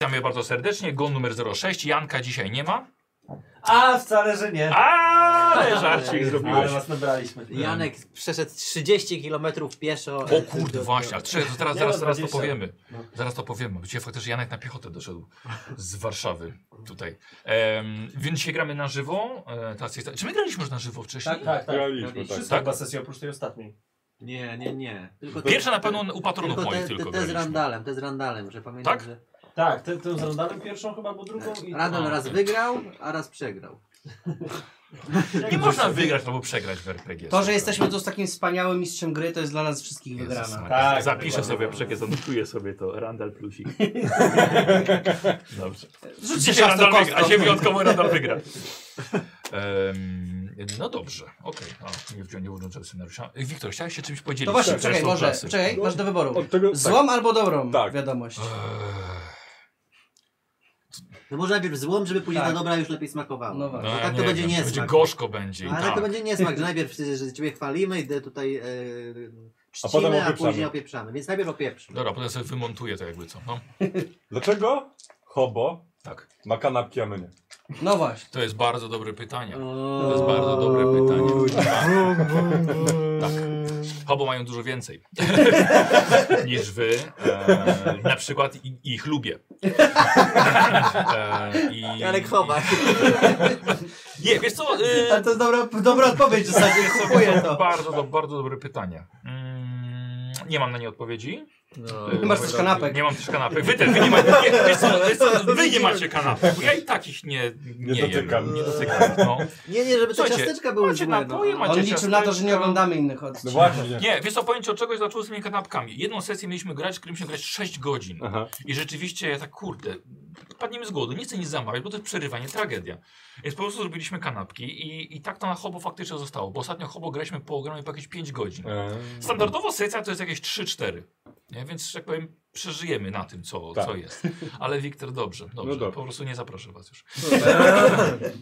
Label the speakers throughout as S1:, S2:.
S1: witamy bardzo serdecznie. Gon numer 06. Janka dzisiaj nie ma.
S2: A, wcale, że nie.
S1: Ale żarcik zrobiłeś.
S2: Ale was nabraliśmy.
S3: Janek przeszedł 30 km pieszo. e,
S1: O kurde, właśnie. A czy, to zaraz, zaraz, zaraz to
S2: 20.
S1: powiemy.
S2: No.
S1: Zaraz to powiemy. Gdzie faktycznie Janek na piechotę doszedł z Warszawy tutaj. Em, więc dzisiaj gramy na żywo. E, teraz jest, czy my graliśmy już na żywo wcześniej?
S2: Tak, tak, tak.
S4: Graliśmy, tak.
S2: Wszystko
S1: Tak.
S2: chyba sesja oprócz tej ostatniej.
S5: Nie, nie, nie.
S3: Tylko te-
S1: Pierwsza na pewno u patronów
S3: tak. tylko
S1: moich
S3: te,
S1: tylko
S3: te, te z
S1: graliśmy.
S3: Randalem, te z Randalem, że pamiętam,
S1: Tak?
S3: że
S2: Tak, tę tę z Randalem pierwszą chyba, bo drugą i...
S3: Randal
S1: A, tak.
S3: raz
S1: okej.
S3: wygrał, a raz przegrał.
S1: Nie można wygrać albo przegrać w RPG.
S6: To, że jesteśmy tu z takim wspaniałym mistrzem gry, to jest dla nas wszystkich
S1: Jezus
S6: wygrana.
S1: Maria.
S2: Tak,
S1: Zapiszę
S2: dokładnie.
S1: sobie przekaz, anotuję sobie to. Randall plusik. Dobrze.
S6: Rzućcie
S1: Dzisiaj
S6: się
S1: Randall
S6: do
S1: wygra, a się
S6: kostką.
S1: wyjątkowo Randall wygra. Em, no dobrze, okej. Okay. Nie wziąłem, nie włączyłem scenariusza. E, Wiktor, chciałeś się czymś podzielić?
S6: To właśnie,
S1: z
S6: czekaj,
S1: resztą
S6: może,
S1: klasy.
S6: czekaj, masz do wyboru.
S4: Od tego, tak,
S6: Złą albo dobrą
S4: Tak.
S6: wiadomość.
S1: Eee,
S3: No może najpierw złom, żeby później
S6: Tak.
S3: ta dobra już lepiej smakowała.
S6: No
S3: No,
S6: właśnie.
S3: tak to
S1: nie
S3: będzie
S1: wiem,
S3: niesmak.
S1: Będzie gorzko będzie. i
S3: Ale
S1: tak.
S3: to będzie niesmak, że najpierw że że ciebie chwalimy, idę tutaj e, czcimy, a,
S4: potem opieprzamy.
S3: później opieprzamy. Więc najpierw opieprzmy.
S1: Dobra, potem sobie wymontuję to jakby co. No,
S4: Dlaczego Hobo
S1: tak.
S4: ma kanapki, a my nie?
S6: No właśnie.
S1: To jest bardzo dobre pytanie.
S3: To
S1: To jest bardzo dobre pytanie. Tak. Hobo mają dużo więcej niż wy. E, na przykład i, ich lubię. E, i,
S3: Janek Chowak.
S1: i- Nie, wiesz co?
S6: Ale
S1: E,
S6: to jest dobra, dobra odpowiedź w zasadzie, kupuję
S1: to
S6: to.
S1: bardzo, do, bardzo dobre pytanie. Mm, nie mam na nie odpowiedzi.
S5: No.
S1: E,
S6: masz też kanapek.
S1: Nie mam też kanapek. Wy też, wy nie macie, nie, wiesz co, wiesz co, wy nie macie kanapek, bo ja i tak ich nie, nie,
S4: Nie dotykam.
S1: Jem, nie dotykam. No.
S3: Nie, nie, żeby te
S1: Słuchajcie,
S3: ciasteczka były
S1: macie
S3: złe.
S1: napoje,
S3: no.
S1: macie-
S6: On liczył na to, że nie oglądamy innych
S4: No
S6: odcinków.
S4: właśnie.
S1: Nie, wiesz co, pojęcie od czegoś zaczęło z tymi kanapkami. Jedną sesję mieliśmy grać, w którym się grać 6 godzin.
S4: Aha.
S1: I rzeczywiście ja tak, kurde, padniemy z głodu, nie chcę nic zamawiać, bo to jest przerywanie, tragedia. Więc po prostu zrobiliśmy kanapki i, i tak to na hobo faktycznie zostało, bo ostatnio hobo graliśmy po ogromie po jakieś 5 godzin. Standardowo sesja to jest jakieś 3-4, nie? więc że tak powiem przeżyjemy na tym, co,
S4: Tak.
S1: co jest. Ale Wiktor, dobrze, No dobrze,
S4: dobra.
S1: po prostu nie zaproszę was już.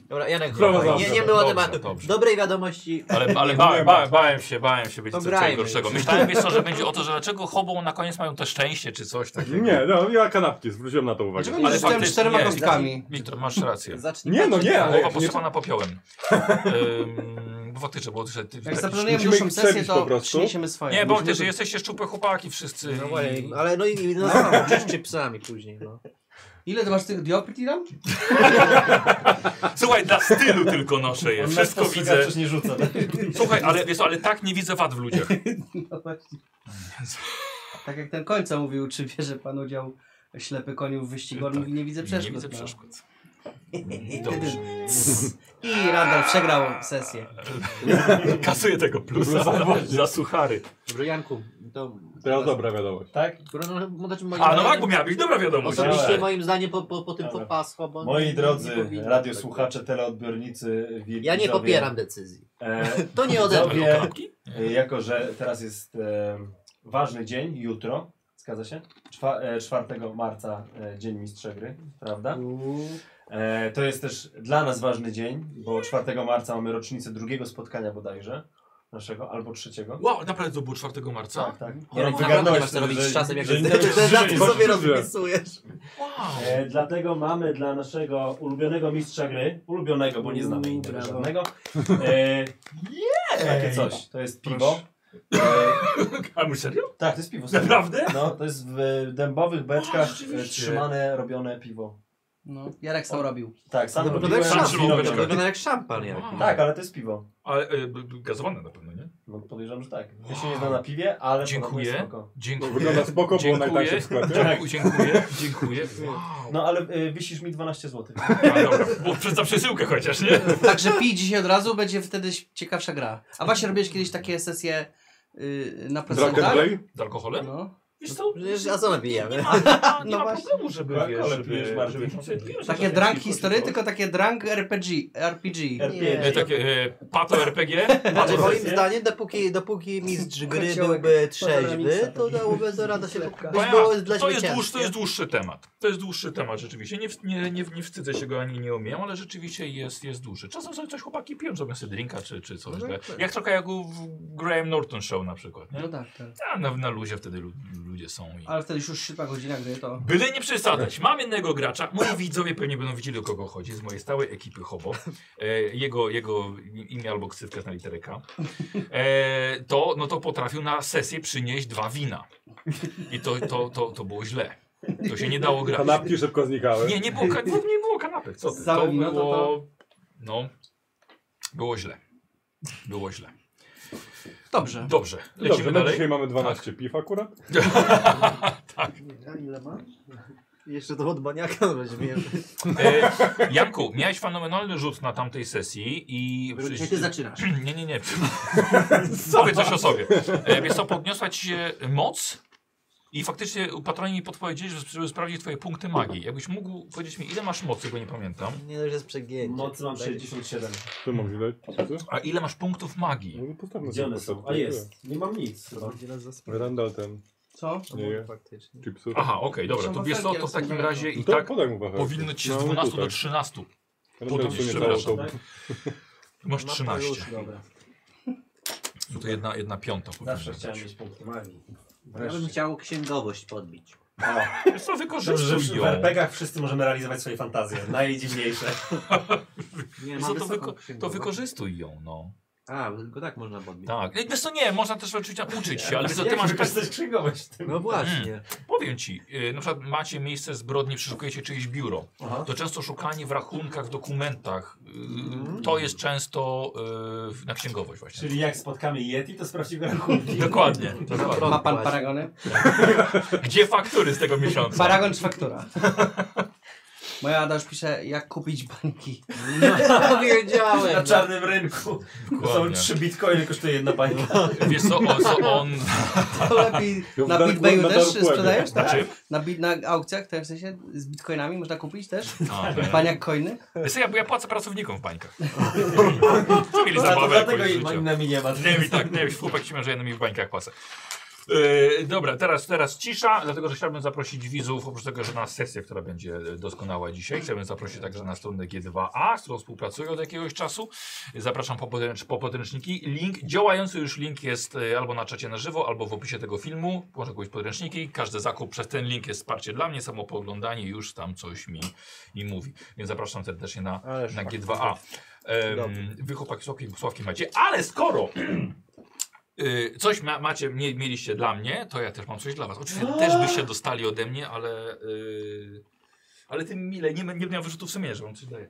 S3: Dobra, Janek
S4: Dobra,
S3: Chowak. Nie,
S4: dobrze,
S3: nie było
S1: dobrze,
S3: tematu.
S1: dobrze.
S3: Dobrej wiadomości.
S1: Ale, ale
S4: Nie
S1: bałem,
S4: byłem
S1: bałem, bałem się, bałem się
S3: To
S1: będzie coś
S3: grajmy
S1: gorszego.
S3: już.
S1: Myślałem, wiesz co, że będzie o to, że dlaczego hobo na koniec mają to szczęście czy coś takiego.
S4: Nie, no ja kanapki, zwróciłem na to uwagę.
S6: Dlaczego nie
S1: Ale
S6: rzuciłem
S1: faktycznie
S6: czterema
S1: nie.
S6: kostkami?
S1: Wiktor, masz rację.
S3: Zacznij
S4: Nie, no
S3: patrzeć
S4: nie,
S3: na-
S4: ale
S1: Głowa
S4: jak nie,
S1: posypana popiołem. Ym, Bo faktycznie było też...
S3: Tak,
S6: Jak
S1: taki-
S6: zaplanujemy
S4: musimy
S6: dłuższą
S4: ich
S6: sesję,
S4: przebić po
S6: to
S4: prostu.
S6: przyniesiemy swoje.
S1: Nie, bo też jesteście szczupłe chłopaki wszyscy.
S3: No
S1: i-
S3: właśnie, ale no i no, no, czy psami później, no.
S6: Ile ty masz tych dioptrii tam?
S1: Słuchaj, dla stylu tylko noszę je.
S2: On nas
S1: Wszystko
S2: postrzega,
S1: widzę.
S2: przecież nie rzuca. tak?
S1: Słuchaj, ale wiesz, co, ale tak nie widzę wad w ludziach.
S6: No właśnie. Tak jak ten końca mówił, czy bierze pan udział ślepy koniu w wyścigu, on
S1: Tak.
S6: mówi, nie widzę przeszkód.
S1: nie widzę
S6: no.
S1: przeszkód.
S6: Wtedy
S1: Dobrze.
S6: cs. I Randall przegrał sesję.
S1: Kasuję tego plusa za suchary.
S3: Dobra, Janku, to...
S4: Teraz dobra wiadomość.
S2: Tak?
S3: Dobra, no, no, znaczy moim
S1: A no tak,
S3: zdaniem-
S1: bo miała być dobra wiadomość.
S3: Osobiście
S2: Dawaj.
S3: moim zdaniem po, po, po tym
S2: Dobra.
S3: popasło, bo... nie-
S2: Moi
S3: nie
S2: drodzy
S3: powinno tak.
S2: radiosłuchacze, teleodbiornicy, widzowie,
S3: Ja nie popieram decyzji.
S2: E,
S3: To nie ode mnie.
S2: Widzowie,
S1: Ale kanapki?
S2: e, jako, że teraz jest e, ważny dzień, jutro, zgadza się? Czwa, e, 4 marca, e, Dzień Mistrza Gry, prawda? E, to jest też dla nas ważny dzień, bo 4 marca mamy rocznicę drugiego spotkania bodajże naszego, albo trzeciego.
S1: Wow, naprawdę to było 4 marca?
S2: tak.
S3: Ja
S2: Jarek,
S3: naprawdę No, nie
S2: wygarnąłeś
S3: masz
S2: to,
S3: co robić
S2: że-
S3: z czasem, jak
S2: że nie
S3: te- te
S2: żyjesz.
S3: daty sobie
S4: Patrzysz,
S3: rozpisujesz.
S1: Wow.
S2: E, dlatego mamy dla naszego ulubionego mistrza gry, ulubionego, bo nie znamy innego
S3: Mm, Brawo.
S2: żadnego, e, takie coś. To jest piwo. E,
S1: A my serio?
S2: tak, to jest piwo. serio.
S1: Naprawdę?
S2: No, to jest w e, dębowych
S1: A,
S2: beczkach e,
S1: rzeczywiście.
S2: trzymane, robione piwo.
S6: No, Jarek sam robił.
S2: Tak, sam
S3: To
S2: no,
S3: wygląda jak
S1: Sam trzymał
S3: szampan.
S1: beczkę.
S3: To wygląda jak szampan, jak.
S1: Wow.
S2: Tak, ale to jest piwo.
S1: Ale y, b- b- gazowane na pewno, nie?
S2: No, podejrzewam, że tak. Ja się nie znam na piwie, ale
S1: Dziękuję.
S2: podobno jest spoko.
S1: Dziękuję.
S4: Wygląda spoko, było
S1: Dziękuję.
S7: tak
S4: najtańsze w sklepie.
S1: Dziękuję, dziękuję, dziękuję. Wow.
S2: No, ale e, wisisz mi 12 zł.
S1: A, No dobra, bo przez za przesyłkę chociaż, nie?
S6: Także pij dzisiaj od razu, będzie wtedy ciekawsza gra. A właśnie robiłeś kiedyś takie sesje yy, na
S4: Drag and
S6: procentach?
S4: play?
S1: Z alkoholem?
S6: No.
S1: Wiesz co?
S3: Przecież a co my
S1: Nie
S3: pijemy?
S1: ma, nie ma, nie
S6: No
S1: ma
S6: właśnie.
S1: problemu, żeby
S2: Tak,
S1: wiesz,
S2: ale
S1: żeby,
S2: pijesz
S1: żeby,
S2: bardziej.
S1: żeby, żeby
S6: Takie drunk history, tylko takie drunk RPG. RPG.
S2: RPG.
S1: E, takie e, pato RPG?
S3: Znaczy,
S1: Pato
S3: moim zdaniem, dopóki, dopóki mistrz gry
S6: Kociołek.
S3: byłby
S6: Kociołek.
S3: trzeźwy, to dałoby za radę się
S1: Bo
S3: być
S1: ja-
S3: było dla
S1: to,
S3: ciebie
S1: jest dłuższy,
S3: ciężkie.
S1: to jest dłuższy temat. To jest dłuższy temat rzeczywiście. Nie, w- nie, nie, nie wstydzę się go ani nie umiem, ale rzeczywiście jest, jest dłuższy. Czasem sobie coś chłopaki piją, zrobią sobie drinka czy, czy coś.
S3: No
S1: tak.
S3: tak.
S1: jak trochę jak u w Graham Norton Show na przykład. Nie?
S6: No tak, tak.
S1: A, na, na luzie wtedy lu, lu, ludzie są. I...
S6: Ale wtedy już siódma godzina gry to...
S1: Byle nie przesadzać. Mam innego gracza. Moi widzowie pewnie będą widzieli, o kogo chodzi. Z mojej stałej ekipy Hobo. E, jego, jego imię albo ksywka jest na literę K. E, to, no to potrafił na sesję przynieść dwa wina. I to, to, to, to było źle. To się nie dało grać.
S4: Kanapki szybko znikały.
S1: Nie, nie było, ka- nie było kanapek. Co ty?
S6: Za
S1: To
S6: wino to
S1: było...
S6: to-
S1: No. Było źle. Było źle.
S6: Dobrze.
S1: Dobrze.
S4: Dobrze,
S1: Lecimy
S4: no
S1: dalej. Tak.
S4: dzisiaj mamy 12 piw akurat.
S3: A ile ma? Jeszcze to od maniaka weźmiemy.
S1: E, Janku, miałeś fenomenalny rzut na tamtej sesji i...
S3: Dzisiaj ty zaczynasz.
S1: Nie, nie, nie. Powiedz coś o sobie. E, Wiesz co, podniosła ci się moc i faktycznie patroni mi podpowiedzieli, że- żeby sprawdzić twoje punkty magii. Jakbyś mógł powiedzieć mi, ile masz mocy, bo nie pamiętam,
S3: Nie dość jest przegięcie. Tak,
S2: Mocy mam
S3: Będzie-
S2: 67.
S4: Tu mam widać.
S1: a ile masz punktów magii?
S4: Może No,
S7: No,
S4: postawmy
S2: Gdzie
S4: sobie
S2: one
S4: po
S2: są?
S4: prostu.
S2: A jest. Nie mam nic chyba.
S3: Będzie nas zaspał.
S4: Randall ten,
S6: Co?
S3: To
S4: nie
S3: może
S4: je.
S3: faktycznie.
S4: chipsów.
S1: Aha, okej, dobra. To wiesz co, to w takim razie i
S4: No to
S1: tak
S4: podaj mu wachę.
S1: powinno ci się z
S4: No,
S1: 12 do
S4: tutaj.
S1: 13.
S4: Randall
S1: podnieść,
S4: tu nie
S1: przepraszam.
S2: Tak?
S4: dało, to-
S1: Masz
S3: Ma
S1: 13.
S3: paluszki. Dobra.
S1: No to jedna, jedna piąta
S2: Zawsze
S1: powinna
S2: chciałem
S1: być.
S2: mieć punkty magii.
S3: Ja bym
S2: Wreszcie.
S3: chciał księgowość podbić.
S1: Wiesz co,
S2: Dobrze,
S1: wykorzystuj
S2: że w
S1: ją.
S2: RPGach wszyscy możemy realizować swoje fantazje. Najdziwniejsze.
S5: Nie,
S1: Wiesz
S5: ma
S1: co, to,
S5: wysoko.
S1: wyko to wykorzystuj ją, no.
S5: A, go tak można podbić.
S1: Tak. Ej, Wiesz co, nie, można też oczywiście uczyć się, ale wiesz co,
S2: Jak
S1: ty masz... tak-
S2: wykorzystać księgowość w tym?
S3: No właśnie.
S1: Powiem ci, y, na przykład macie miejsce zbrodni, przeszukujecie czyjeś biuro.
S2: Aha.
S1: To często szukanie w rachunkach, w dokumentach. y, To jest często y, na księgowość właśnie.
S2: Mm. Czyli jak spotkamy Yeti, to sprawdzi go rachunki.
S1: Dokładnie. dokładnie.
S6: Ma pan
S3: Właśnie.
S6: paragony?
S1: Gdzie faktury z tego miesiąca?
S6: Paragon czy faktura? Moja Adaż pisze, jak kupić bańki.
S2: Na
S3: Powiedziałem.
S2: czarnym rynku. To są
S1: Dokładnie.
S2: trzy bitcoiny, kosztuje jedna bańka.
S1: Wiesz co, on, co on
S2: Tak.
S6: To lepiej
S4: Ja w
S6: na
S4: dark web-
S6: BitBayu
S4: na
S6: też
S4: dark webie.
S6: sprzedajesz? Tak?
S1: znaczy?
S6: Na, bit, na aukcjach też w sensie z bitcoinami można kupić też?
S1: A, nie.
S6: Baniak coiny?
S1: Wiesz co, ja, ja płacę pracownikom w bańkach. Co mieli
S2: No, to
S1: zabawę
S2: dlatego
S1: jakoś
S2: jej
S1: w życiu.
S2: nami nie ma.
S1: Nie mi tak, nie wiem, chłopak się że ja mi w bańkach płacę. Yy, dobra, teraz, teraz cisza, dlatego że chciałbym zaprosić widzów, oprócz tego, że na sesję, która będzie doskonała dzisiaj, chciałbym zaprosić także na stronę G2A, z którą współpracuję od jakiegoś czasu. Zapraszam po, podręcz, po podręczniki. Link, działający już link jest y, albo na czacie na żywo, albo w opisie tego filmu. Można kupić podręczniki. Każdy zakup przez ten link jest wsparcie dla mnie, samo pooglądanie już tam coś mi, mi mówi. Więc zapraszam serdecznie na,
S3: Ależ
S1: na
S3: fakt.
S1: G2A. Um, wy chłopaki sławki, sławki macie, ale skoro y, coś ma, macie, mie, mieliście dla mnie, to ja też mam coś dla was. Oczywiście też byście dostali ode mnie, ale y, ale tym mile, nie, nie miałem wyrzutów sumienia, że wam coś daję.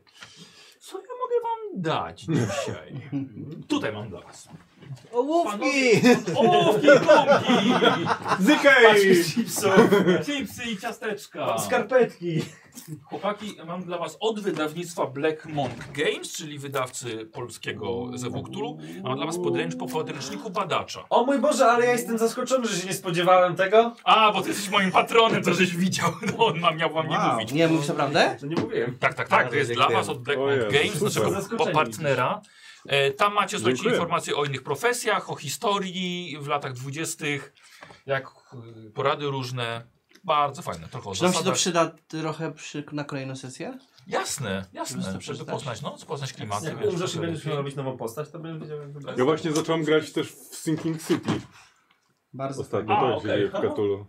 S1: Co ja mogę wam dać dzisiaj? Tutaj mam dla was.
S3: Ołówki!
S1: Ołówki, gąbki,
S4: Zykej!
S1: chipsy i ciasteczka.
S2: Skarpetki.
S1: Chłopaki, mam dla was od wydawnictwa Black Monk Games, czyli wydawcy polskiego Zewuktulu, mam dla was podręcz po podręczniku badacza.
S2: O mój Boże, ale ja jestem zaskoczony, że się nie spodziewałem tego.
S1: A, bo ty jesteś moim patronem, to żeś widział. No, on ma, miał wam nie mówić.
S6: Nie mówisz naprawdę?
S2: No nie mówiłem.
S1: Tak, tak, tak. To
S3: Bardzo
S1: jest dla
S3: dziękuję.
S1: was od Black
S4: O
S1: Monk
S4: Jezu,
S1: Games,
S4: super.
S1: naszego
S2: Zaskoczeni.
S1: pa- partnera. E, tam macie słuchajcie,
S4: Dziękuję.
S1: informacje o innych profesjach, o historii w latach dwudziestych, jak y, porady różne. Bardzo fajne, trochę o
S6: Czy nam się to
S1: zasadach.
S6: przyda trochę przy, na kolejną sesję?
S1: Jasne,
S6: Żeby
S1: jasne.
S6: to Tak,
S1: Żeby
S6: przeczytać.
S1: poznać, no, poznać klimaty.
S2: Jak
S1: wiesz,
S2: umrzesz i
S1: to
S2: będziesz
S1: lepiej.
S2: miał robić nową postać, to będziesz wiedział jak wygląda.
S4: Ja właśnie zacząłem grać też w Sinking City
S6: Bardzo.
S4: ostatnio,
S1: A,
S4: to jak
S1: okej.
S4: się dzieje w Cthulhu.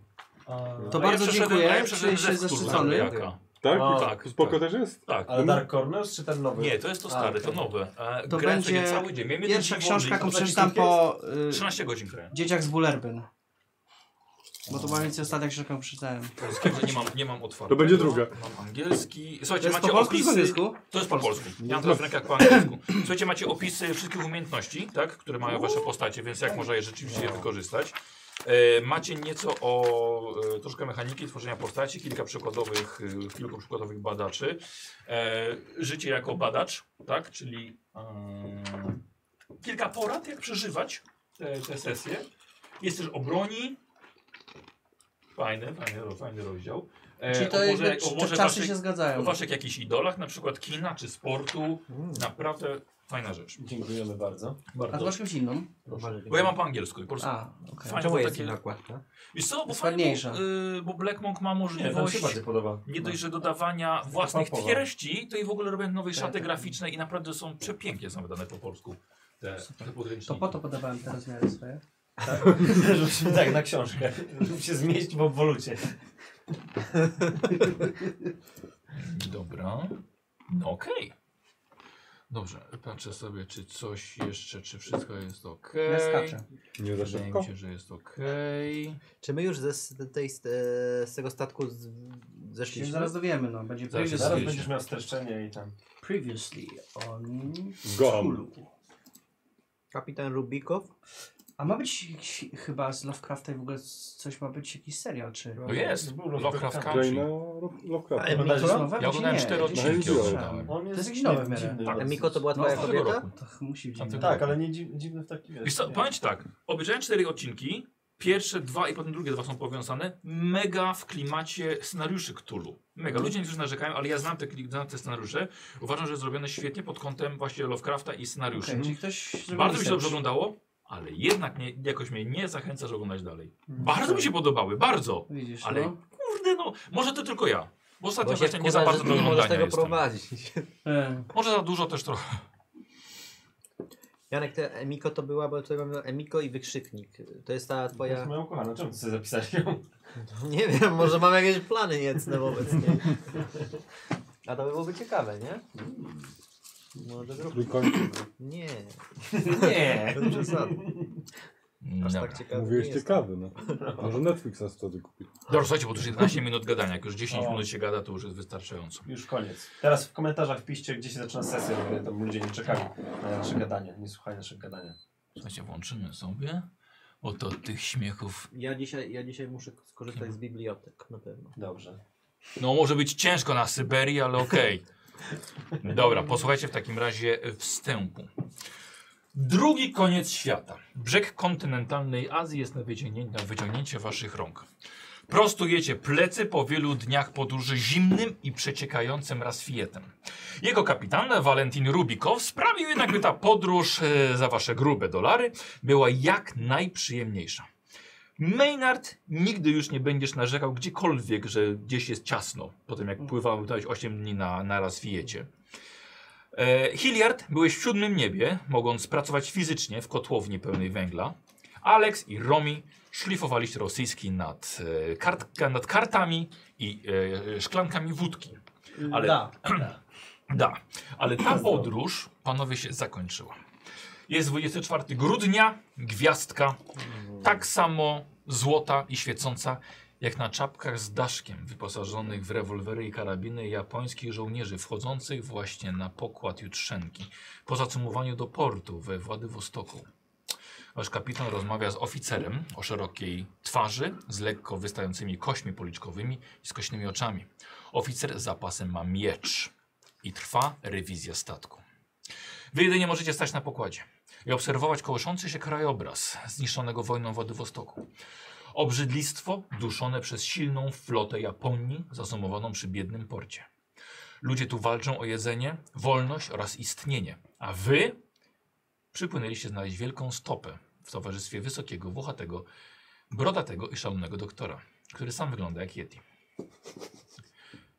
S6: To
S1: A
S6: bardzo
S1: ja przeszedłem-
S6: dziękuję.
S1: a Ja przeszedłem
S6: Czuję się
S1: Zewktulu
S6: zaszczycony.
S1: Zabrajaka.
S4: Tak?
S2: O,
S1: tak,
S4: Spoko
S1: tak.
S4: też jest?
S1: Tak.
S6: Mm.
S2: Ale Dark Corners czy ten nowy?
S1: Nie, to jest to stare,
S2: A,
S1: to
S2: okej.
S1: nowe. E,
S6: Tak. To
S1: grałem
S6: będzie
S1: sobie cały dzień. Miałem jeden
S6: Pierwsza
S1: dzień
S6: książka,
S1: wolny i
S6: jaką
S1: to taki-
S6: przeczytam po y,
S1: 13 godzin grałem.
S6: Dzieciach z Bullerbyn. Bo to była więcej ostatnia książka, którą przeczytałem.
S1: Polskiego nie mam, nie mam otwartego.
S4: To będzie druga.
S1: Mam angielski. Słuchajcie,
S6: To jest
S1: macie
S6: po polsku czy
S1: opisy.
S6: po angielsku?
S1: To jest po polsku. Ja mam teraz w rękach po angielsku. Słuchajcie, macie opisy wszystkich umiejętności, tak, które mają wasze postacie, więc jak można je rzeczywiście wykorzystać. E, macie nieco o e, troszkę mechaniki tworzenia postaci, kilka przykładowych, e, kilku przykładowych badaczy. E, życie jako badacz, tak, czyli e, kilka porad, jak przeżywać te, te sesje. Jest też o broni. Fajny, fajny, ro- fajny rozdział. E,
S6: Czyli
S1: o
S6: to
S1: może-
S6: jakby
S1: o
S6: czy,
S1: może
S6: czasy
S1: waszych-
S6: się
S1: o
S6: zgadzają.
S1: waszych jakichś idolach, na przykład kina czy sportu. Naprawdę fajna rzecz.
S2: Dziękujemy bardzo.
S6: Hmm. A to masz jakąś inną?
S1: Bo ja mam po angielsku i po polsku.
S6: A, okej.
S1: Fajne
S5: Czemu
S1: są
S5: jest
S1: takie-
S5: inna nakładka?
S1: Wiesz co, bo
S6: Jest
S1: fajnie,
S6: ładniejsza.
S1: bo, y, bo Black Monk ma
S2: Nie, tam się
S1: możliwość
S2: bardziej podoba. No.
S1: nie dość, że dodawania własnych
S2: Popowa.
S1: treści, to i w ogóle robią nowe
S6: no. Tak,
S1: szaty
S6: tak.
S1: graficzne i naprawdę są przepięknie są wydane po polsku te, te
S6: To
S1: podręczniki.
S6: po to podawałem te rozmiary swoje.
S2: Rzućmy tak na książkę, żeby się zmieścić w obwolucie.
S1: Dobra. No okej. Dobrze, patrzę sobie, czy coś jeszcze, czy wszystko jest ok.
S6: Ja skaczę.
S4: Nie za
S1: Wydaje
S4: szybko.
S1: mi się, że jest okej.
S3: Czy my już ze, z, tej, z, e, z tego statku z,
S6: Się
S3: zeszliśmy?
S6: zaraz dowiemy, no. Będzie
S1: Zaraz się
S6: previously,
S2: Zaraz
S1: Zbliż się.
S2: będziesz miał streszczenie i tam.
S6: previously on
S4: Gom.
S6: Cthulhu.
S3: Kapitan Rubikow?
S6: A ma być ch- chyba z Lovecrafta i w ogóle z- coś ma być jakiś serial, czy...
S1: No jest,
S2: Był
S1: Lovecraft
S2: Lovecraft
S1: Country.
S4: Jaina Lovecraft.
S3: Ale
S6: To
S2: Oglądałeś
S6: jest
S2: to?
S6: nowe?
S1: Ja
S6: Czy
S1: oglądałem
S6: nie?
S1: cztery
S6: Gdzieś
S1: odcinki.
S6: słyszałem.
S1: oglądałem.
S2: On
S6: To jest jakiś nowy w miarę.
S2: dziwny
S1: Tak.
S2: dosyć.
S3: Miko to była
S6: No,
S3: twoja
S1: z tego
S3: kobieta?
S1: roku.
S6: To ch- musi być.
S1: Tamtego-
S2: Tak, ale nie dziw- dziwny w taki
S1: Wiesz
S2: wiesz.
S1: co,
S2: nie.
S1: powiem ci tak, obejrzałem cztery odcinki, pierwsze dwa i potem drugie dwa są powiązane, mega w klimacie scenariuszy Cthulhu. Mega, ludzie niektórzy narzekają, ale ja znam te, kli- znam te scenariusze, uważam, że zrobione świetnie pod kątem właśnie Lovecrafta i scenariuszy.
S6: Okej, czyli ktoś zrobił
S1: Bardzo mi się
S6: research.
S1: dobrze oglądało, ale jednak nie, jakoś mnie nie zachęca, żeby oglądać dalej.
S6: Mm.
S1: Bardzo mi się podobały, bardzo.
S6: Widzisz,
S1: Ale
S6: no.
S1: kurde no, może to tylko ja. Bo ostatnio
S3: Bo się
S1: właśnie nie
S3: wkurza,
S1: za
S3: że
S1: bardzo
S3: ty
S1: do
S3: nie możesz
S1: oglądania
S3: tego
S1: jestem.
S3: prowadzić.
S6: E,
S1: Może za dużo też trochę.
S3: Janek, te Emiko to była, bo tutaj mamy Emiko i wykrzyknik. To jest ta
S2: To jest
S3: twoja...
S2: moja ukochana, czemu ty sobie zapisałeś ją?
S3: Nie wiem, może mam jakieś plany niecne wobec niej. A to by byłoby ciekawe, nie? Może zróbmy.
S4: Trójkącik.
S3: Nie,
S2: Nie.
S3: bez przesady. Aż tak ciekawe
S4: Mówiłeś
S3: nie jest.
S4: ciekawy, no. Może Netflix nas wtedy kupi.
S1: Dobra, słuchajcie, bo to już 11 minut gadania. Jak już 10
S3: No.
S2: O.
S1: minut się gada, to już jest wystarczająco.
S2: Już koniec. Teraz w komentarzach wpiszcie, gdzie się zaczyna sesja, bo tam ludzie nie czekali na nasze gadanie, nie słuchali naszych gadania.
S1: Słuchajcie, włączymy sobie. Oto tych śmiechów.
S3: Ja dzisiaj, ja dzisiaj muszę skorzystać z bibliotek, na pewno.
S2: Dobrze.
S1: No może być ciężko na Syberii, ale okej. Dobra, posłuchajcie w takim razie wstępu. Drugi koniec świata. Brzeg kontynentalnej Azji jest na wyciągnięcie, na wyciągnięcie waszych rąk. Prostujecie plecy po wielu dniach podróży zimnym i przeciekającym rasfietem. Jego kapitan, Walentin Rubikow, sprawił jednak, by ta podróż e, za wasze grube dolary była jak najprzyjemniejsza. Maynard, nigdy już nie będziesz narzekał gdziekolwiek, że gdzieś jest ciasno, po tym jak pływałeś 8 dni na, na rasfiecie. E, Hilliard, byłeś w siódmym niebie, mogąc pracować fizycznie w kotłowni pełnej węgla. Alex i Romi szlifowaliście rosyjski nad, e, kartka, nad kartami i e, szklankami wódki. Ale-
S6: Da.
S1: Da, ale ta podróż, panowie, się zakończyła. Jest 24 grudnia, gwiazdka, tak samo złota i świecąca, jak na czapkach z daszkiem wyposażonych w rewolwery i karabiny japońskich żołnierzy wchodzących właśnie na pokład Jutrzenki po zacumowaniu do portu we Władywostoku. Wasz kapitan rozmawia z oficerem o szerokiej twarzy, z lekko wystającymi kośćmi policzkowymi i skośnymi oczami. Oficer z zapasem ma miecz i trwa rewizja statku. Wy jedynie możecie stać na pokładzie i obserwować kołyszący się krajobraz zniszczonego wojną Władywostoku. Obrzydlistwo duszone przez silną flotę Japonii zazumowaną przy biednym porcie. Ludzie tu walczą o jedzenie, wolność oraz istnienie, a wy przypłynęliście znaleźć wielką stopę w towarzystwie wysokiego, włochatego, brodatego i szalonego doktora, który sam wygląda jak Yeti.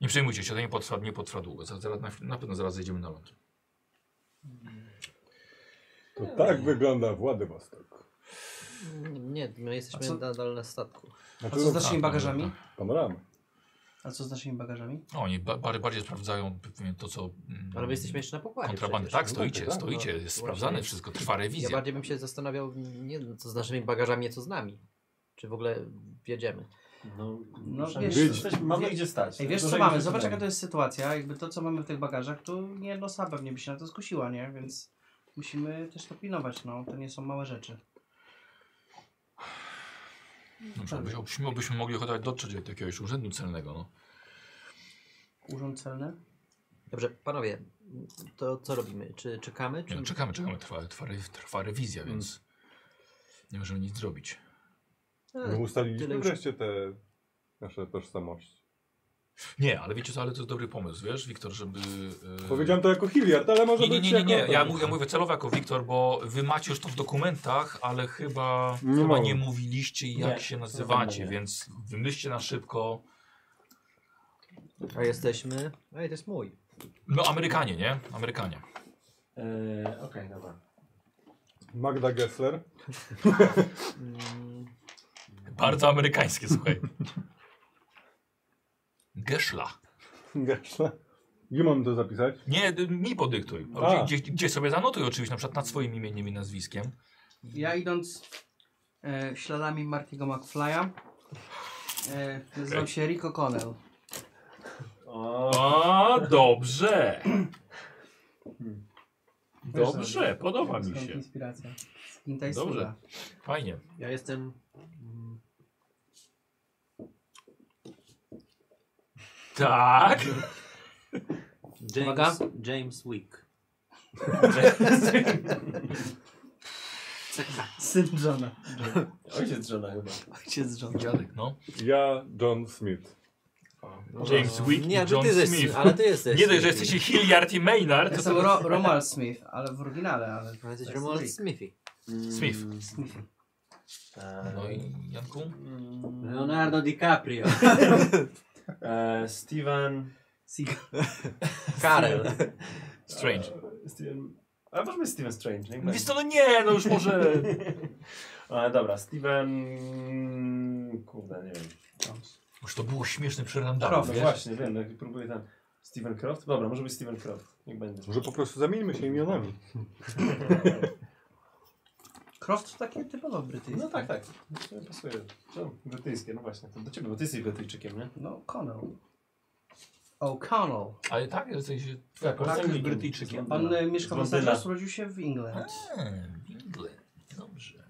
S1: Nie przejmujcie się, to nie potrwa, nie potrwa długo. Za- Zaraz, na, na pewno zaraz zejdziemy na ląd.
S4: To tak wygląda Władywostok.
S3: Nie, my jesteśmy
S6: A co-
S3: nadal na statku.
S6: A
S4: Znaczy, no,
S6: co z naszymi
S1: tak,
S6: bagażami?
S4: Panorama.
S6: A co z naszymi bagażami?
S1: No, oni ba bar bardziej sprawdzają pewnie to, co. mm,
S3: Ale my jesteśmy jeszcze na pokładzie
S1: Kontrabandy.
S3: przecież.
S1: Tak, stoicie,
S4: tak,
S1: stoicie.
S3: no,
S1: Jest
S3: właśnie.
S1: sprawdzane wszystko, trwa
S3: Ja
S1: rewizja.
S3: bardziej bym się zastanawiał, nie no, co z naszymi bagażami, nie co z nami. Czy w ogóle jedziemy.
S2: No,
S6: No,
S2: muszę-
S6: wiesz-
S2: jesteśmy, mamy
S6: wie-
S2: gdzie stać. tak?
S6: Ej, wiesz co
S2: Dużej
S6: mamy?
S2: rzeczy
S6: Zobacz
S2: tutaj.
S6: jaka to jest sytuacja. Jakby to co mamy w tych bagażach, to nie nosa pewnie by się na to skusiła, nie? Więc musimy też to pilnować, no. To nie są małe rzeczy.
S1: Dobrze, No, byśmy, byśmy- byśmy mogli chyba dotrzeć do jakiegoś urzędu celnego. No.
S6: Urząd celny?
S1: Mhm.
S3: Dobrze, panowie, to co robimy? Czy czekamy? Czy...
S1: Nie, no, czekamy, czekamy. Trwa, trwa, re- trwa rewizja,
S4: Mm.
S1: więc nie możemy nic zrobić.
S3: E,
S4: My ustaliliśmy
S3: tyle już.
S4: wreszcie te nasze tożsamości.
S1: Nie, ale wiecie co, ale to jest dobry pomysł, wiesz, Wiktor, żeby. e,
S4: Powiedziałem to jako Hilliard, ale może
S1: Nie, nie,
S4: być
S1: nie, nie, nie.
S4: jako-
S1: Ja, mówię, ja mówię celowo jako Wiktor, bo wy macie już to w dokumentach, ale chyba
S4: Nie
S1: nie, chyba
S4: mamy.
S1: nie mówiliście jak
S2: Nie,
S1: się
S2: na
S1: nazywacie,
S2: pewno nie.
S1: więc wymyślcie na szybko.
S3: A jesteśmy... Ej, to jest mój.
S2: E,
S1: No Amerykanie, nie? Amerykanie.
S2: Eee, Okej, dobra.
S4: Magda Gessler.
S1: Bardzo amerykańskie, słuchaj. Geszla.
S4: Gessler. Gdzie mam to zapisać?
S1: Nie, y, mi podyktuj. O,
S4: A.
S1: Gdzie, gdzie, gdzie sobie zanotuj oczywiście, na przykład nad swoim imieniem i nazwiskiem.
S6: Ja idąc e, śladami Martiego McFly'a, e, nazywam
S1: Okej.
S6: się Rico Connell.
S2: O,
S1: O, dobrze.
S6: Wiesz,
S1: Dobrze, podoba mi
S6: Stąd
S1: się.
S6: inspiracja. Z Kinta i
S1: Dobrze.
S6: Suda.
S1: Fajnie.
S3: Ja jestem... mm,
S1: Tak.
S5: James, James Wick.
S6: Syn Johna.
S2: ojciec żona chyba.
S6: Ojciec Johna.
S1: Dziadek, no.
S4: Ja, John Smith.
S1: James Wick i
S3: no. Nie, ale
S1: John
S3: ty jesteś,
S1: Smith.
S3: ale ty jesteś.
S1: Nie dość, że jesteście Hilliard i Maynard.
S6: Ja
S1: to-
S6: jestem Ro Romal Smith, ale w oryginale, ale...
S3: Ale jesteś
S6: to jest
S3: Romuald
S6: Rick.
S3: Smithy.
S1: Smith.
S6: Smith.
S2: Mm. E,
S1: No i Janku?
S5: Leonardo DiCaprio.
S2: e, Steven. E,
S6: Seagal.
S3: Karel.
S1: Strange.
S2: Steven. Ale możemy Steven Strange, nie?
S1: Wiesz co, no nie, no już może...
S2: E, dobra, Steven. Kurde, nie wiem.
S1: Już to było śmieszne
S2: No
S1: przerandanie, wiesz?
S2: właśnie, wiem, jak próbuję tam. Steven Croft? Dobra, może być Steven Croft. Niech będzie.
S4: Może po prostu zamieńmy się imionami.
S6: Croft to takie typowo brytyjskie.
S2: No tak, tak. To Pasuje. Czemu? Brytyjskie, no właśnie. To do ciebie, bo ty jesteś Brytyjczykiem, nie?
S6: No, Connell. O'Connell.
S1: Ale tak, jesteś
S2: Tak,
S1: tak,
S2: Anglikiem.
S1: Brytyjczykiem.
S6: On
S5: no.
S6: e, mieszka
S2: Z
S6: w Los
S2: Londyna. Tak?
S6: Angeles, urodził się w England.
S1: Hmm, England. Dobrze.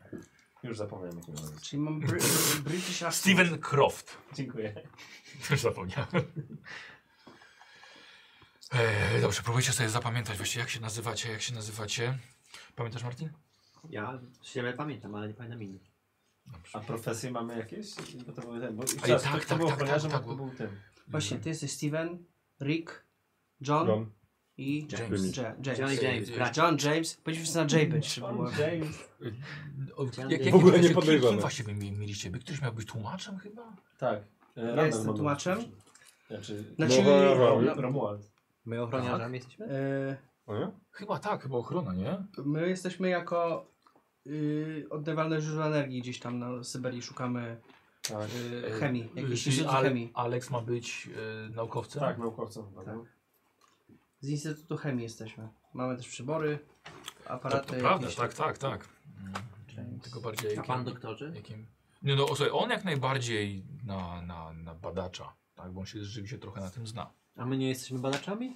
S2: Już zapomniałem. jak miałem.
S6: Czyli mam bry bry- British accent.
S1: Steven Croft.
S2: Dziękuję.
S1: Już zapomniałem. Eee, dobrze, próbujcie sobie zapamiętać właśnie jak się nazywacie, jak się nazywacie. Pamiętasz Martin?
S5: Ja siebie pamiętam, ale nie pamiętam innych.
S2: A profesje mamy jakieś? Bo to był ten. Bo
S1: Ej,
S2: Czas,
S1: tak,
S2: to, to
S1: tak,
S2: był
S1: tak,
S2: ochroniarzem,
S1: tak,
S2: a
S1: tak,
S2: to był tym.
S6: Właśnie, ty jesteś Steven, Rick, John,
S4: John.
S6: i
S1: James.
S6: James. Ja James.
S5: Johnny James,
S1: James.
S5: brat.
S6: John James. Powinniśmy sobie na J być, żeby było...
S2: James.
S1: O,
S5: Chciałem
S1: jak-
S5: wiedzieć.
S1: jak-
S5: W ogóle
S1: jak-
S4: nie
S1: kim-
S4: podejrzane.
S1: Kim właściwie mi- mieliście? By Któryś miał być tłumaczem chyba?
S2: Tak. E, Randall
S6: jestem
S2: Manuel.
S6: tłumaczem.
S2: Znaczy,
S6: Znaczy,
S4: Dobra,
S2: Ro-
S6: no,
S2: Romuald. Tak.
S3: My ochroniarzami jesteśmy?
S6: e,
S4: O nie?
S1: Chyba tak, chyba ochrona, nie?
S6: my jesteśmy jako y, odnawialne źródła energii gdzieś tam na Syberii, szukamy
S2: Tak.
S6: y, chemii, jakiejś
S1: Czyli E,
S6: instytutu
S1: Ale-
S6: chemii.
S1: Alex ma być e, naukowcem?
S2: Tak, naukowcem chyba.
S6: Tak.
S2: no.
S6: Z Instytutu Chemii jesteśmy. Mamy też przybory,
S1: To,
S6: aparaty.
S1: to prawda,
S6: jakieś-
S1: tak, tak, tak. Mm, Tylko bardziej
S5: A
S1: jakim,
S5: pan doktorze?
S1: jakim... Nie no, słuchaj, on jak najbardziej na, na, na badacza, tak? Bo on się rzeczywiście trochę na tym zna.
S5: A my nie jesteśmy badaczami?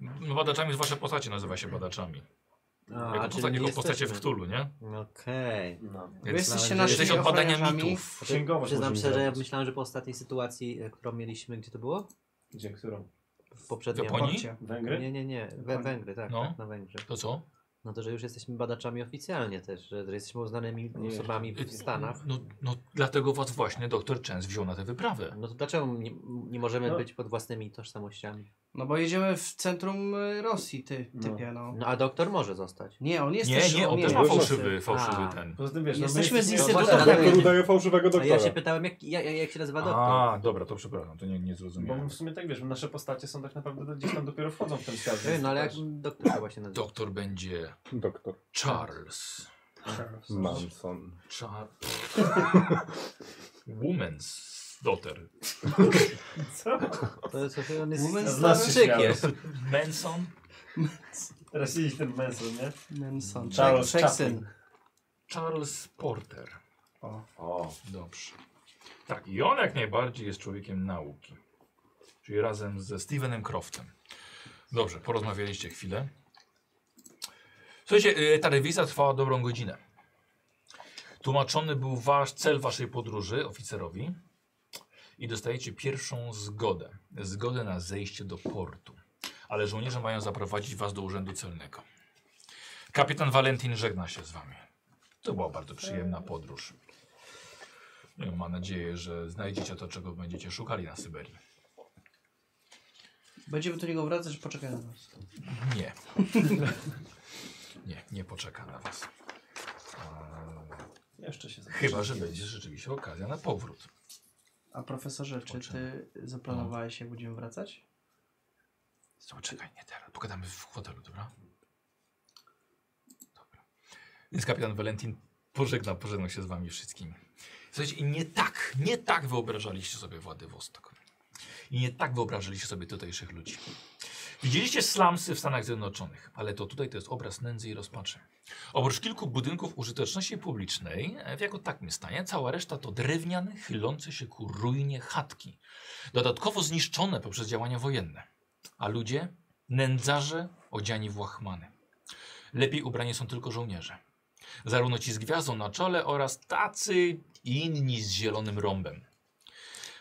S1: No, badaczami z wasze postacie nazywa się badaczami.
S5: A,
S1: Jako,
S5: czyli
S1: posta-
S5: nie
S1: jako postacie w
S5: jesteśmy.
S1: Cthulhu, nie?
S5: Okej.
S2: No.
S6: Wy
S1: Więc
S6: jesteście
S3: znaleźli-
S6: naszymi
S1: Jesteś od badania
S6: ochroniarzami.
S1: mitów.
S2: Księgowość
S3: Przyznam
S2: możemy
S3: szczerze, że
S2: zrobić.
S3: myślałem, że po ostatniej sytuacji, e, którą mieliśmy, gdzie to było?
S2: Gdzie, którą?
S3: W poprzedniej.
S1: Japonii?
S6: Porcie.
S2: Węgry?
S3: Nie, nie, nie. We, Węgry, tak,
S1: No.
S3: tak, na Węgrzech.
S1: To co?
S3: No to, że już jesteśmy badaczami oficjalnie też, że, że jesteśmy uznanymi
S2: Nie.
S3: osobami w Stanach.
S1: No, no dlatego was właśnie doktor Chance wziął na tę wyprawę.
S3: No to dlaczego nie, nie możemy
S2: No.
S3: być pod własnymi tożsamościami?
S6: No bo jedziemy w centrum y, Rosji, ty,
S2: No.
S6: typie, no.
S3: No a doktor może zostać.
S6: Nie, on jest
S1: Nie,
S6: też...
S1: nie, on też
S6: jest.
S1: ma
S4: Właśnie.
S1: fałszywy, fałszywy
S3: A.
S1: ten.
S2: Poza tym wiesz, no
S6: Jesteśmy z
S2: jesteśmy-
S3: instytutu-
S6: Instytutu
S3: właśnie, ale
S4: Doktor
S6: Chemii.
S4: Tak, udaje fałszywego
S5: No,
S3: A
S4: doktora.
S3: ja się pytałem, jak, jak, jak się nazywa doktor.
S1: A, dobra, to przepraszam, to nie, nie
S2: Bo
S1: zrozumiałem.
S2: w sumie tak wiesz, nasze postacie są tak naprawdę gdzieś tam dopiero wchodzą w ten świat.
S3: Nie,
S2: więc
S3: no ale jak
S2: też-
S3: doktor właśnie nazywa?
S1: Doktor będzie
S4: Doktor
S1: Charles.
S2: znaczy?
S4: Manson.
S1: Char... Woman's daughter.
S2: Co?
S3: To jest, on
S6: Woman
S3: jest
S2: z nas się
S3: Stanowczykiem.
S1: Manson.
S2: Teraz siedzisz ten męsem, nie?
S6: Manson.
S2: Charles
S6: Jackson.
S1: Charles Porter.
S6: O.
S2: O.
S1: Dobrze. Tak, i on jak najbardziej jest człowiekiem nauki. Czyli razem ze Stevenem Croftem. Dobrze, porozmawialiście chwilę. Słuchajcie, y, ta rewizja trwała dobrą godzinę. Tłumaczony był wasz cel waszej podróży oficerowi i dostajecie pierwszą zgodę. Zgodę na zejście do portu. Ale żołnierze mają zaprowadzić was do urzędu celnego. Kapitan Valentin żegna się z wami. To była bardzo przyjemna podróż. No, Mam nadzieję, że znajdziecie to, czego będziecie szukali na Syberii.
S6: Będziemy do niego wracać, poczekaj na nas.
S1: Nie. nie, nie poczeka na was.
S2: Jeszcze się zobaczymy.
S1: Chyba, że będzie rzeczywiście okazja na powrót.
S6: A profesorze, czy ty zaplanowałeś, jak będziemy wracać?
S1: Słuchaj, czekaj, nie teraz. Pogadamy w hotelu, dobra? Dobra. Więc kapitan Valentin pożegna, pożegnał się z wami wszystkimi. Słuchajcie, i nie tak, nie tak wyobrażaliście sobie Władywostok. I nie tak wyobrażaliście sobie tutejszych ludzi. Widzieliście slumsy w Stanach Zjednoczonych, ale to tutaj to jest obraz nędzy i rozpaczy. Oprócz kilku budynków użyteczności publicznej, e, w jako takim stanie, cała reszta to drewniane, chylące się ku ruinie chatki. Dodatkowo zniszczone poprzez działania wojenne. A ludzie, nędzarze, odziani w łachmany. Lepiej ubrani są tylko żołnierze. Zarówno ci z gwiazdą na czole oraz tacy i inni z zielonym rąbem.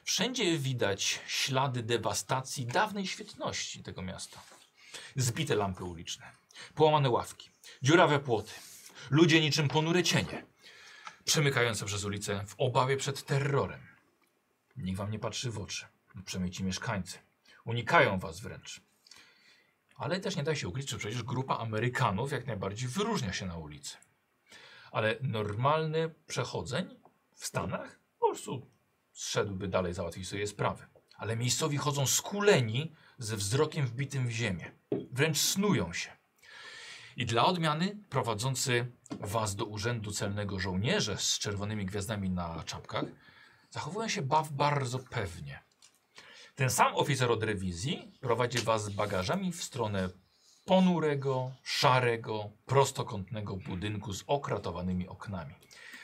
S1: Wszędzie widać ślady dewastacji dawnej świetności tego miasta. Zbite lampy uliczne, połamane ławki, dziurawe płoty, ludzie niczym ponure cienie, przemykające przez ulicę w obawie przed terrorem. Nikt wam nie patrzy w oczy, przynajmniej ci mieszkańcy. Unikają was wręcz. Ale też nie da się ukryć, że przecież grupa Amerykanów jak najbardziej wyróżnia się na ulicy. Ale normalny przechodzeń w Stanach po prostu zszedłby dalej załatwić sobie sprawy. Ale miejscowi chodzą skuleni ze wzrokiem wbitym w ziemię. Wręcz snują się. I dla odmiany prowadzący was do urzędu celnego żołnierze z czerwonymi gwiazdami na czapkach zachowują się baw bardzo pewnie. Ten sam oficer od rewizji prowadzi was z bagażami w stronę ponurego, szarego, prostokątnego budynku z okratowanymi oknami.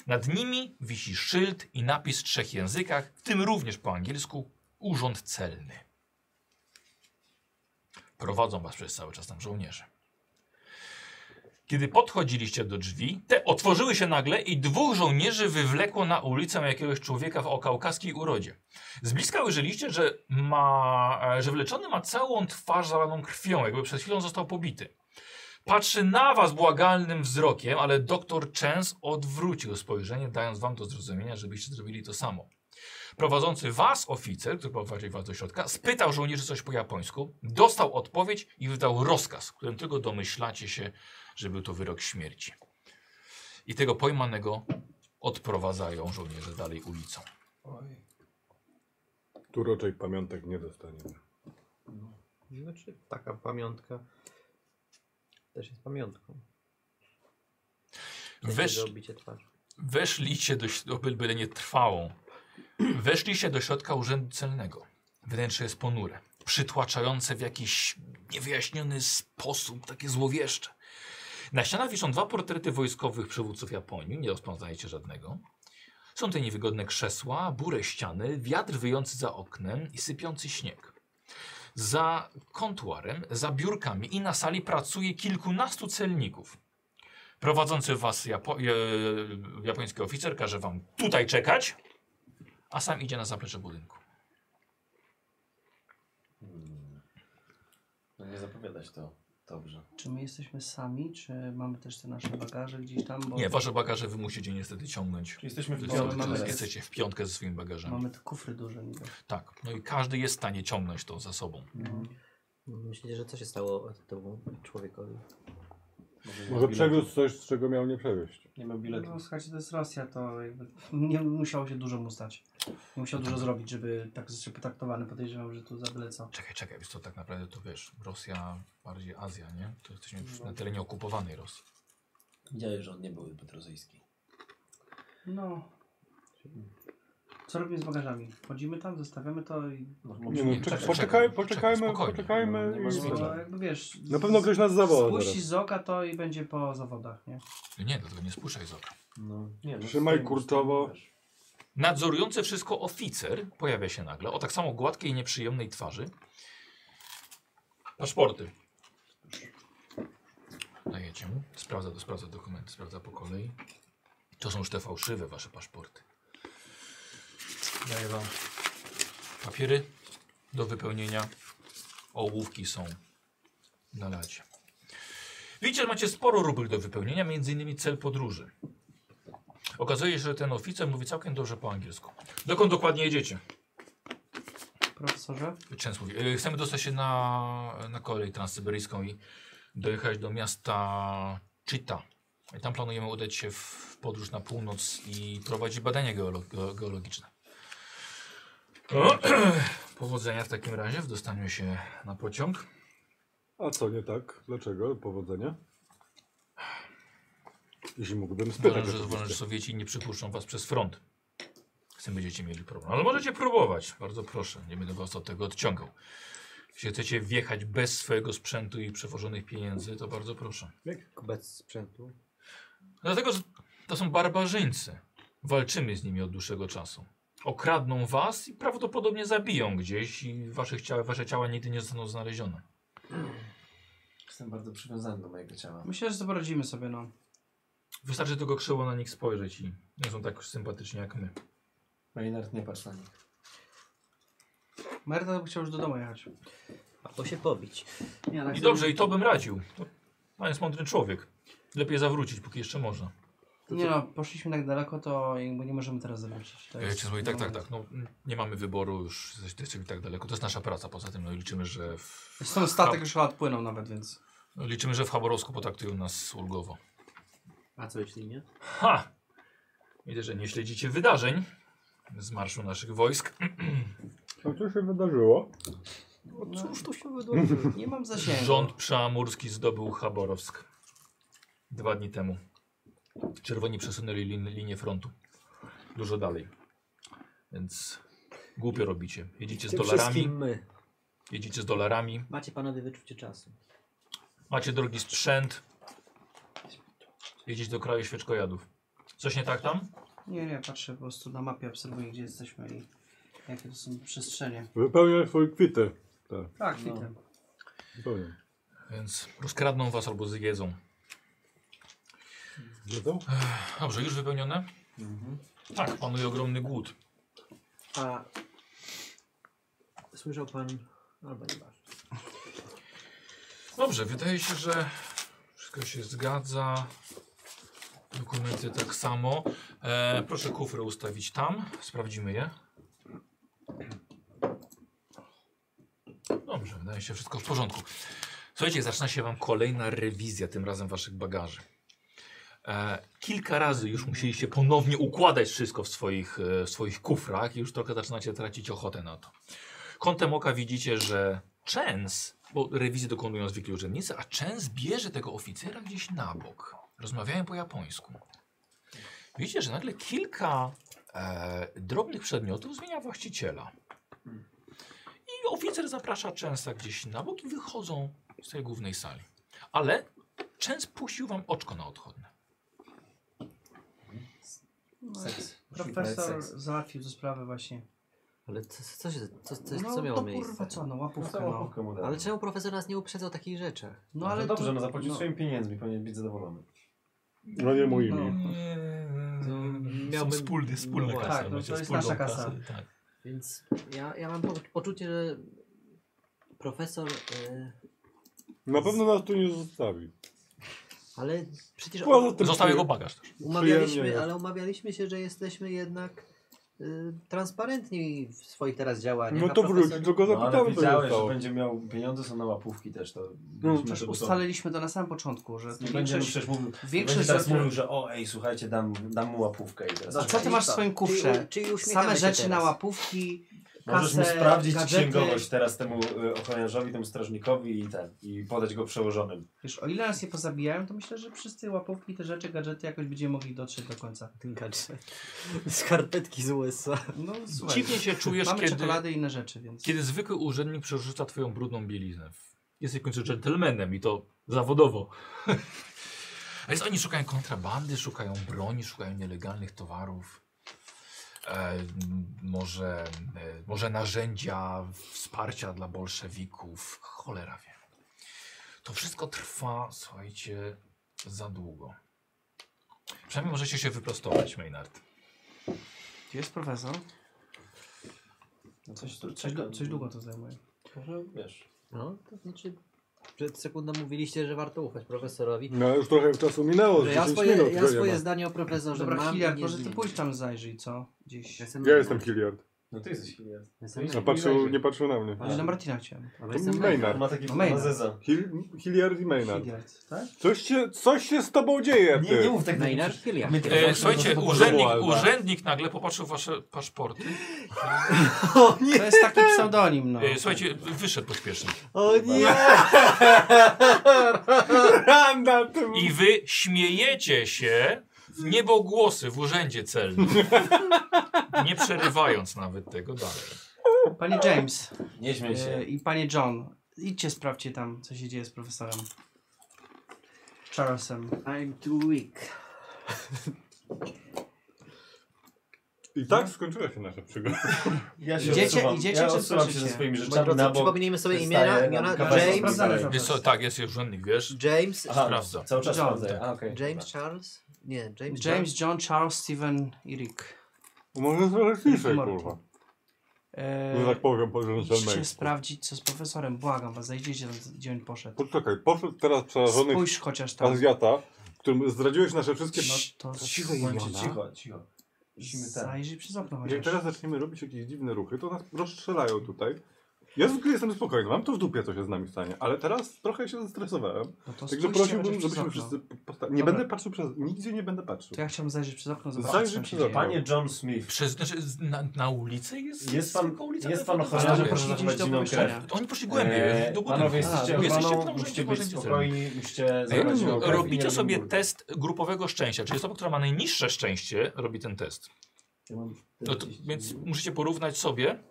S1: Nad nimi wisi szyld i napis w trzech językach, w tym również po angielsku Urząd Celny. Prowadzą was przez cały czas tam żołnierze. Kiedy podchodziliście do drzwi, te otworzyły się nagle i dwóch żołnierzy wywlekło na ulicę jakiegoś człowieka o kaukaskiej urodzie. Z bliska ujrzeliście, że, ma, e, że wleczony ma całą twarz zalaną krwią, jakby przed chwilą został pobity. Patrzy na was błagalnym wzrokiem, ale doktor Chance odwrócił spojrzenie, dając wam do zrozumienia, żebyście zrobili to samo. Prowadzący was oficer, który prowadził was do środka, spytał żołnierzy coś po japońsku, dostał odpowiedź i wydał rozkaz, którym tylko domyślacie się, że był to wyrok śmierci. I tego pojmanego odprowadzają żołnierze dalej ulicą.
S4: Tu raczej pamiątek nie dostaniemy.
S5: Znaczy, taka pamiątka też jest pamiątką.
S1: Wesz,
S5: Obicie twarzy.
S1: weszliście do, ś- o, by- byle nie trwałą. Weszliście do środka urzędu celnego. Wnętrze jest ponure, przytłaczające w jakiś niewyjaśniony sposób, takie złowieszcze. Na ścianach wiszą dwa portrety wojskowych przywódców Japonii, nie rozpoznajecie żadnego. Są te niewygodne krzesła, bure ściany, wiatr wyjący za oknem i sypiący śnieg. Za kontuarem, za biurkami i na sali pracuje kilkunastu celników. Prowadzący was Japo e, japoński oficer każe wam tutaj czekać, a sam idzie na zaplecze budynku.
S8: No nie zapowiadać to dobrze.
S6: Czy my jesteśmy sami, czy mamy też te nasze bagaże gdzieś tam? Bo
S1: Nie, wasze bagaże wy musicie niestety ciągnąć.
S2: Czy jesteśmy w
S8: No,
S1: Wy
S6: Białe
S1: sobie
S2: białym
S6: mamy
S1: teraz
S6: jest.
S1: Jesteście w piątkę ze swoimi bagażami.
S6: Mamy te kufry duże niby.
S1: Tak, no i każdy jest w stanie ciągnąć to za sobą.
S2: No,
S6: No.
S5: Myślicie, że co się stało temu człowiekowi?
S4: Może przewiózł coś, z czego miał nie przewieźć.
S2: no, Nie miał biletu.
S6: No słuchajcie, to jest Rosja, to jakby nie musiało się dużo mu stać. Nie musiał dużo zrobić, żeby tak został potraktowany. Podejrzewam, że tu za byle co.
S1: Czekaj, czekaj, wiesz co, tak naprawdę to wiesz, Rosja, bardziej Azja, nie? To jesteśmy już na terenie okupowanej Rosji.
S8: Widziałem, że on nie był rosyjski.
S6: No. Co robimy z bagażami? Wchodzimy tam, zostawiamy to i...
S4: Nie no,
S1: Nie, czekaj,
S4: czek- poczekaj,
S1: czekaj,
S4: poczekajmy,
S1: spokojnie.
S4: poczekajmy.
S2: No, nie ma
S4: i-
S2: zmiany.
S6: Bo jakby wiesz...
S4: Na pewno ktoś nas zawoła
S6: Spuści
S4: zaraz.
S6: z oka to i będzie po zawodach, nie?
S1: Nie, dlatego nie spuszczaj z oka.
S2: No. Nie, no,
S4: Trzymaj
S2: z tym-
S4: kurczowo.
S2: z tym też.
S1: Nadzorujący wszystko oficer pojawia się nagle o tak samo gładkiej i nieprzyjemnej twarzy. Paszporty. Dajecie mu. Sprawdza, do, sprawdza dokumenty, sprawdza po kolei. To są już te fałszywe wasze paszporty. Daję wam papiery do wypełnienia. Ołówki są na lacie. Widzicie, że macie sporo rubryk do wypełnienia, między innymi cel podróży. Okazuje się, że ten oficer mówi całkiem dobrze po angielsku. Dokąd dokładnie jedziecie?
S6: Profesorze?
S1: Często mówi. "E, Chcemy dostać się na, na kolej transsyberyjską i dojechać do miasta Chita. I tam planujemy udać się w podróż na północ i prowadzić badania geolo ge- geologiczne. O, powodzenia w takim razie w dostaniu się na pociąg.
S4: A co nie tak? Dlaczego? Powodzenia.
S7: Jeśli mógłbym spytać.
S1: Uważam, że,
S7: oczywiście.
S1: uważam, że Sowieci nie przypuszczą was przez front. Z tym będziecie mieli problem. Ale możecie próbować, bardzo proszę. Nie będę was od tego odciągał. Jeśli chcecie wjechać bez swojego sprzętu i przewożonych pieniędzy, to bardzo proszę.
S3: Bez sprzętu.
S1: Dlatego, że to są barbarzyńcy. Walczymy z nimi od dłuższego czasu. Okradną was i prawdopodobnie zabiją gdzieś i wasze ciała, wasze ciała nigdy nie zostaną znalezione.
S9: Jestem bardzo przywiązany do mojego ciała.
S6: Myślę, że poradzimy sobie, no.
S1: Wystarczy tylko krzywo na nich spojrzeć i nie są tak już sympatyczni jak my.
S9: Maynard, nie patrz na nich.
S6: Merda by chciał już do domu jechać.
S3: Albo się pobić.
S6: Nie, tak
S1: I dobrze, i to bym radził. To pan jest mądry człowiek. Lepiej zawrócić, póki jeszcze można.
S6: Nie no, poszliśmy tak daleko, to jakby nie możemy teraz zobaczyć. To jest-
S1: Wiecie, słuchaj, tak, tak, tak. No, nie mamy wyboru, już jesteśmy tak daleko. To jest nasza praca. Poza tym no, i liczymy, że w,
S6: Zresztą statek już chyba odpłynął nawet, więc...
S1: no, liczymy, że w Haborowsku potraktują nas ulgowo.
S3: A co jeśli nie?
S1: Ha! Widzę, że nie śledzicie wydarzeń z marszu naszych wojsk.
S7: No co się wydarzyło?
S6: No,
S3: Cóż tu się wydarzy?
S6: nie mam zasięgu.
S1: Rząd przeamurski zdobył Chaborowsk dwa dni temu. Czerwoni przesunęli lin, linię frontu dużo dalej. Więc głupio robicie. Jedziecie z
S3: Tym
S1: dolarami,
S3: wszystkim my.
S1: jedziecie z dolarami,
S3: Macie panowie wyczucie czasu.
S1: macie drogi sprzęt, jedziecie do kraju świeczkojadów. Coś nie tak tam?
S6: Nie, nie, patrzę po prostu na mapie, obserwuję gdzie jesteśmy i jakie to są przestrzenie.
S7: Wypełniam swój kwitę.
S6: Tak, witam.
S7: Wypełniam.
S1: Więc rozkradną was albo zjedzą.
S7: Wiedzą?
S1: Dobrze, już wypełnione?
S8: Mhm.
S2: No,
S1: Tak, panuje ogromny głód.
S3: A słyszał pan... Albo nie ważne.
S1: Dobrze, wydaje się, że wszystko się zgadza. Dokumenty tak samo. E, proszę kufry ustawić tam. Sprawdzimy je. Dobrze, wydaje się wszystko w porządku. Słuchajcie, zaczyna się Wam kolejna rewizja, tym razem Waszych bagaży. E, kilka razy już musieliście ponownie układać wszystko w swoich, e, w swoich kufrach i już trochę zaczynacie tracić ochotę na to. Kątem oka widzicie, że Częs, bo rewizję dokonują zwykli urzędnicy, a Częs bierze tego oficera gdzieś na bok. Rozmawiają po japońsku. Widzicie, że nagle kilka e, drobnych przedmiotów zmienia właściciela. I oficer zaprasza Częsa gdzieś na bok i wychodzą z tej głównej sali. Ale Częs puścił wam oczko na odchodne.
S9: Seks. Musimy mieć
S6: No, Profesor
S9: seks.
S6: załatwił tę sprawę właśnie.
S3: Ale co, co się... Co, co,
S6: no
S3: co miało
S6: to
S3: miejsce?
S6: kurwa co, no
S2: No,
S6: łapówka,
S2: całą
S6: no.
S2: łapówkę mu dałem.
S3: Ale czemu profesor nas nie uprzedzał o takich rzeczach?
S6: No ale
S2: dobrze,
S6: to-
S2: no zapłacił swoimi pieniędzmi, powinien być zadowolony.
S7: No nie moimi.
S6: No.
S3: miałbym-
S1: Są wspólne, wspólne
S3: no
S1: kasy.
S6: tak, no to
S1: macie
S6: jest
S1: wspólną
S6: nasza kasa.
S1: kasę, Tak.
S3: Więc ja, ja mam po, poczucie, że profesor... e,
S7: Na pewno nas tu nie zostawi.
S3: ale przecież...
S7: Poza tym
S1: Został jego bagaż. też.
S7: przyjemnie.
S3: Umawialiśmy, ale umawialiśmy się, że jesteśmy jednak y, transparentni w swoich teraz działaniach.
S7: No
S3: a
S7: to wróci,
S3: profesor-
S7: tylko
S2: No, ale
S7: zapytamy co się
S2: wiedziałeś, że
S7: stało.
S2: będzie miał pieniądze, są na łapówki też, to żeby
S7: przecież
S2: to-
S6: Ustaliliśmy to na samym początku, że
S2: Nie będzie
S6: No, większość...
S2: przecież mówił,
S6: większość
S2: będzie teraz
S6: rzeczy- Znaczy,
S2: mówił, że o ej, słuchajcie, dam, dam mu łapówkę i teraz...
S3: Dobra,
S6: Co ty
S3: i
S6: masz w
S3: co?
S6: swoim
S3: Czyli,
S6: kufrze?
S3: czyli uśmiechamy
S6: Same
S3: się
S6: rzeczy na
S3: teraz.
S6: łapówki,
S2: Możesz mu
S6: kasę,
S2: sprawdzić
S6: gadżety.
S2: księgowość teraz temu y, ochroniarzowi, temu strażnikowi i ten, i podać go przełożonym.
S6: Wiesz, o ile nas nie pozabijają, to myślę, że wszyscy łapówki, te rzeczy, gadżety jakoś będziemy mogli dotrzeć do końca.
S3: Ten gadżet. Skarpetki z USA.
S6: No słuchaj,
S1: Dziwnie się czujesz,
S6: mamy
S1: kiedy,
S6: czekolady i inne rzeczy, więc...
S1: kiedy zwykły urzędnik przerzuca twoją brudną bieliznę. Jesteś w końcu dżentelmenem i to zawodowo. A więc oni szukają kontrabandy, szukają broni, szukają nielegalnych towarów. E, m- może, e, może narzędzia wsparcia dla bolszewików. Cholera wie. To wszystko trwa, słuchajcie, za długo. Przynajmniej możecie się wyprostować, Maynard.
S6: Gdzie jest profesor?
S2: No coś, tu-
S6: Coś, du- coś długo to zajmuje.
S2: Może, wiesz...
S3: No, to znaczy przed sekundą mówiliście, że warto ufać profesorowi.
S7: No już trochę czasu minęło,
S3: Że ja
S7: 10
S3: swoje,
S7: minut.
S3: ja
S7: że nie no,
S3: swoje
S7: ma.
S3: zdanie o profesorze
S6: Dobra,
S3: No, mam
S6: chwilę,
S3: i nie
S6: może ty
S3: zmienię.
S6: pójdź tam zajrzyj, co? Gdzieś.
S3: jestem,
S7: Ja jestem Hilliard.
S2: No ty jesteś Hilliard.
S5: Jestem
S4: No patrzył, nie patrzył na mnie.
S6: Ale na Martina chciałem.
S5: Albo
S4: To
S5: jestem
S2: On
S4: Maynard.
S2: ma taki
S6: No,
S2: no,
S6: Maynard.
S2: Zeza.
S4: Hil Hilliard i Maynard.
S6: Hilliard, tak?
S4: Coś się, coś się z tobą dzieje, ty.
S2: Nie, nie mów tak
S5: Maynard Hilliard.
S1: E, słuchajcie, urzędnik,
S4: Alba.
S1: urzędnik nagle popatrzył wasze paszporty.
S5: O
S6: To
S5: nie!
S6: jest taki pseudonim, no.
S1: E, słuchajcie, wyszedł pośpiesznie.
S5: O
S3: No
S5: nie!
S4: Randa, ty.
S1: I wy śmiejecie się w niebogłosy w urzędzie celnym. Nie przerywając nawet tego dalej.
S6: Panie James
S2: Nie śmiej
S6: e,
S2: się.
S6: i panie John, idźcie sprawdźcie tam, co się dzieje z profesorem. Charlesem.
S5: I'm too weak.
S4: I tak skończyła się nasza przygoda.
S2: Ja się
S6: Idziecie-
S2: odsuwam.
S6: idziecie,
S2: ja
S6: czy
S2: odsuwam się
S6: słyszycie?
S2: ze swoimi
S5: Moi
S2: rzeczami
S5: drodzy,
S2: na bok.
S5: przypomnijmy sobie
S2: Przestaję
S5: imiona,
S2: nam
S5: imiona
S2: kawałek
S5: James,
S2: sprawdzamy,
S6: Dobra.
S1: Wiesz co, tak, jest urzędnik, wiesz?
S5: James,
S2: Aha,
S1: Sprawdza.
S2: cały czas
S6: John.
S2: sprawdzę. A, okej.
S5: James Charles? Nie, James, James.
S6: James, John, Charles, Stephen i Rick.
S4: Może zrobić ciszej,
S6: Marta.
S4: kurwa. Że
S6: E,
S4: tak powiem, po
S6: idźcie
S4: dżentelmenie.
S6: sprawdzić, co z profesorem. Błagam was, zajdziecie tam, gdzie on poszedł.
S4: Poczekaj, poszedł teraz przerażony
S6: Spójrz chociaż tam.
S4: Azjata, którym zdradziłeś nasze wszystkie...
S6: No to
S4: Cicho,
S2: Bądźcie
S4: Iwona.
S2: Cicho, cicho. Musimy ten.
S6: zajrzyj przez okno
S4: Jeżeli
S6: chociaż.
S4: teraz zaczniemy robić jakieś dziwne ruchy, to nas rozstrzelają tutaj. Ja zwykle jestem spokojny, mam to w dupie, co się z nami stanie, ale teraz trochę się zestresowałem.
S6: No
S4: Także
S6: to spójrzcie
S4: prosiłbym,
S6: chociaż przez
S4: żebyśmy
S6: okno.
S4: wszyscy postawili. Nie
S6: Dobra.
S4: będę patrzył przez. Nigdzie nie będę patrzył.
S6: To ja chciałbym zajrzeć przez okno, zobaczyć
S4: Zajrzyj
S6: co tam
S4: przez
S6: się dzieje.
S4: okno.
S2: Panie John Smith.
S1: Przez, znaczy, z- na, na ulicy jest?
S2: Jest pan-
S1: zwykła ulica,
S2: jest
S1: ale
S2: pan
S1: to-
S2: ochroniarzem,
S1: Ale wiesz,
S2: proszę
S6: Proszę iść do
S2: Prowadziną
S6: pomieszczenia.
S1: Oni poszli głębiej,
S2: Eee,
S1: do no, budynku.
S2: panowie, jesteście,
S6: A,
S1: jesteście
S2: panowie,
S1: tam,
S2: musicie
S1: że
S2: być
S1: uważacie
S2: spokojni, musicie
S1: Ej,
S2: zabrać
S4: no,
S2: ją.
S1: Robicie sobie test grupowego szczęścia, czyli osoba, która ma najniższe szczęście, robi ten test. No to, więc musicie porównać sobie.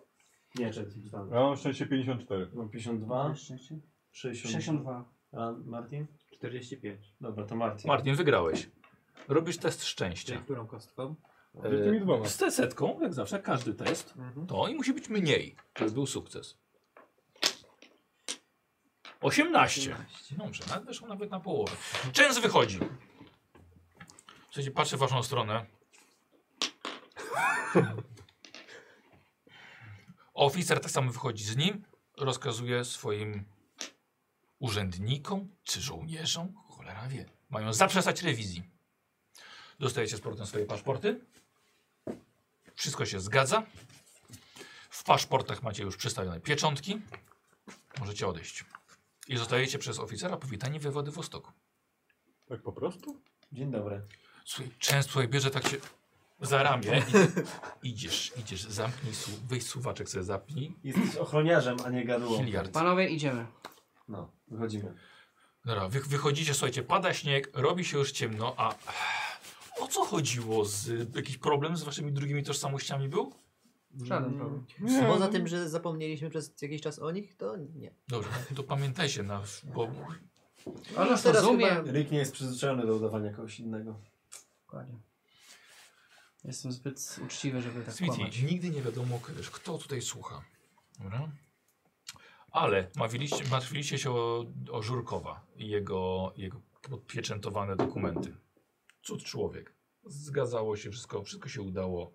S2: Nie, czekaj, tam.
S4: Ja mam szczęście 54.
S2: Mam 52, 60.
S6: 62.
S2: A Martin?
S3: 45.
S2: Dobra, to Martin.
S1: Martin, wygrałeś. Robisz test szczęścia.
S3: którą kostką?
S4: Z tymi dwoma.
S1: Eee, Z te setką, jak zawsze, każdy test.
S3: Mhm.
S1: To i musi być mniej, żeby był sukces. 18. Dobrze, nawet weszło nawet na połowę. Częs wychodzi. Słuchajcie, patrzę w waszą stronę. Oficer tak samo wychodzi z nim, rozkazuje swoim urzędnikom czy żołnierzom, cholera wie, mają zaprzestać rewizji. Dostajecie z powrotem swoje paszporty. Wszystko się zgadza. W paszportach macie już przystawione pieczątki. Możecie odejść. I zostajecie przez oficera powitani we Władywostoku.
S4: Tak po prostu?
S2: Dzień dobry.
S1: Słuchaj, często słuchaj, bierze tak się za ramię. I, idziesz, idziesz, zamknij, su- wyjść suwaczek sobie zapnij.
S2: Jesteś ochroniarzem, a nie gadułą.
S1: Miliard.
S6: Panowie, idziemy.
S2: No, wychodzimy.
S1: Dobra, wy, wychodzicie, słuchajcie, pada śnieg, robi się już ciemno, a o co chodziło? Z, jakiś problem z waszymi drugimi tożsamościami był?
S6: Żaden problem.
S4: Nie.
S5: Poza tym, że zapomnieliśmy przez jakiś czas o nich, to nie.
S1: Dobrze, to pamiętajcie, na, bo
S6: On nas
S5: Teraz
S6: rozumie.
S5: chyba-
S2: Rick nie jest przyzwyczajony do udawania kogoś innego.
S6: Dokładnie. Jestem zbyt uczciwy, żeby tak kłamać.
S1: Smithy, nigdy nie wiadomo, wiesz, kto tutaj słucha. Dobra? Ale martwiliście, martwiliście się o, o Żurkowa i jego, jego podpieczętowane dokumenty. Cud człowiek. Zgadzało się wszystko, wszystko się udało.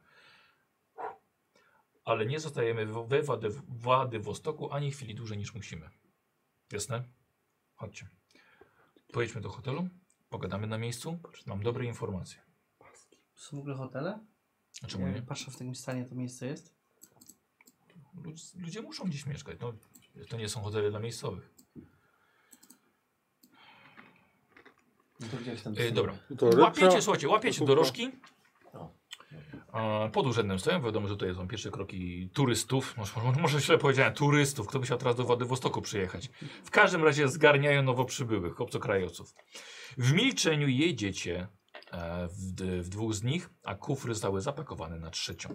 S1: Ale nie zostajemy w- we Włady, Władywostoku ani chwili dłużej niż musimy. Jasne? Chodźcie. Pojedźmy do hotelu, pogadamy na miejscu. Mam dobre informacje.
S6: To są w ogóle hotele?
S1: A czemu nie?
S6: Patrzę w takim stanie to miejsce jest.
S1: Ludz- Ludzie muszą gdzieś mieszkać. No, to nie są hotele dla miejscowych.
S2: No to gdzieś tam.
S1: E, dobra.
S4: To
S1: Łapiecie,
S4: lepsza-
S1: słuchajcie, łapiecie
S4: Kupka.
S1: dorożki. E, Pod urzędem stoją. Wiadomo, że tutaj są pierwsze kroki turystów. Może, może- może źle powiedziałem, turystów. Kto by chciał teraz do Władywostoku przyjechać? W każdym razie zgarniają nowo przybyłych, obcokrajowców. W milczeniu jedziecie e, w, d- w dwóch z nich, a kufry zostały zapakowane na trzecią.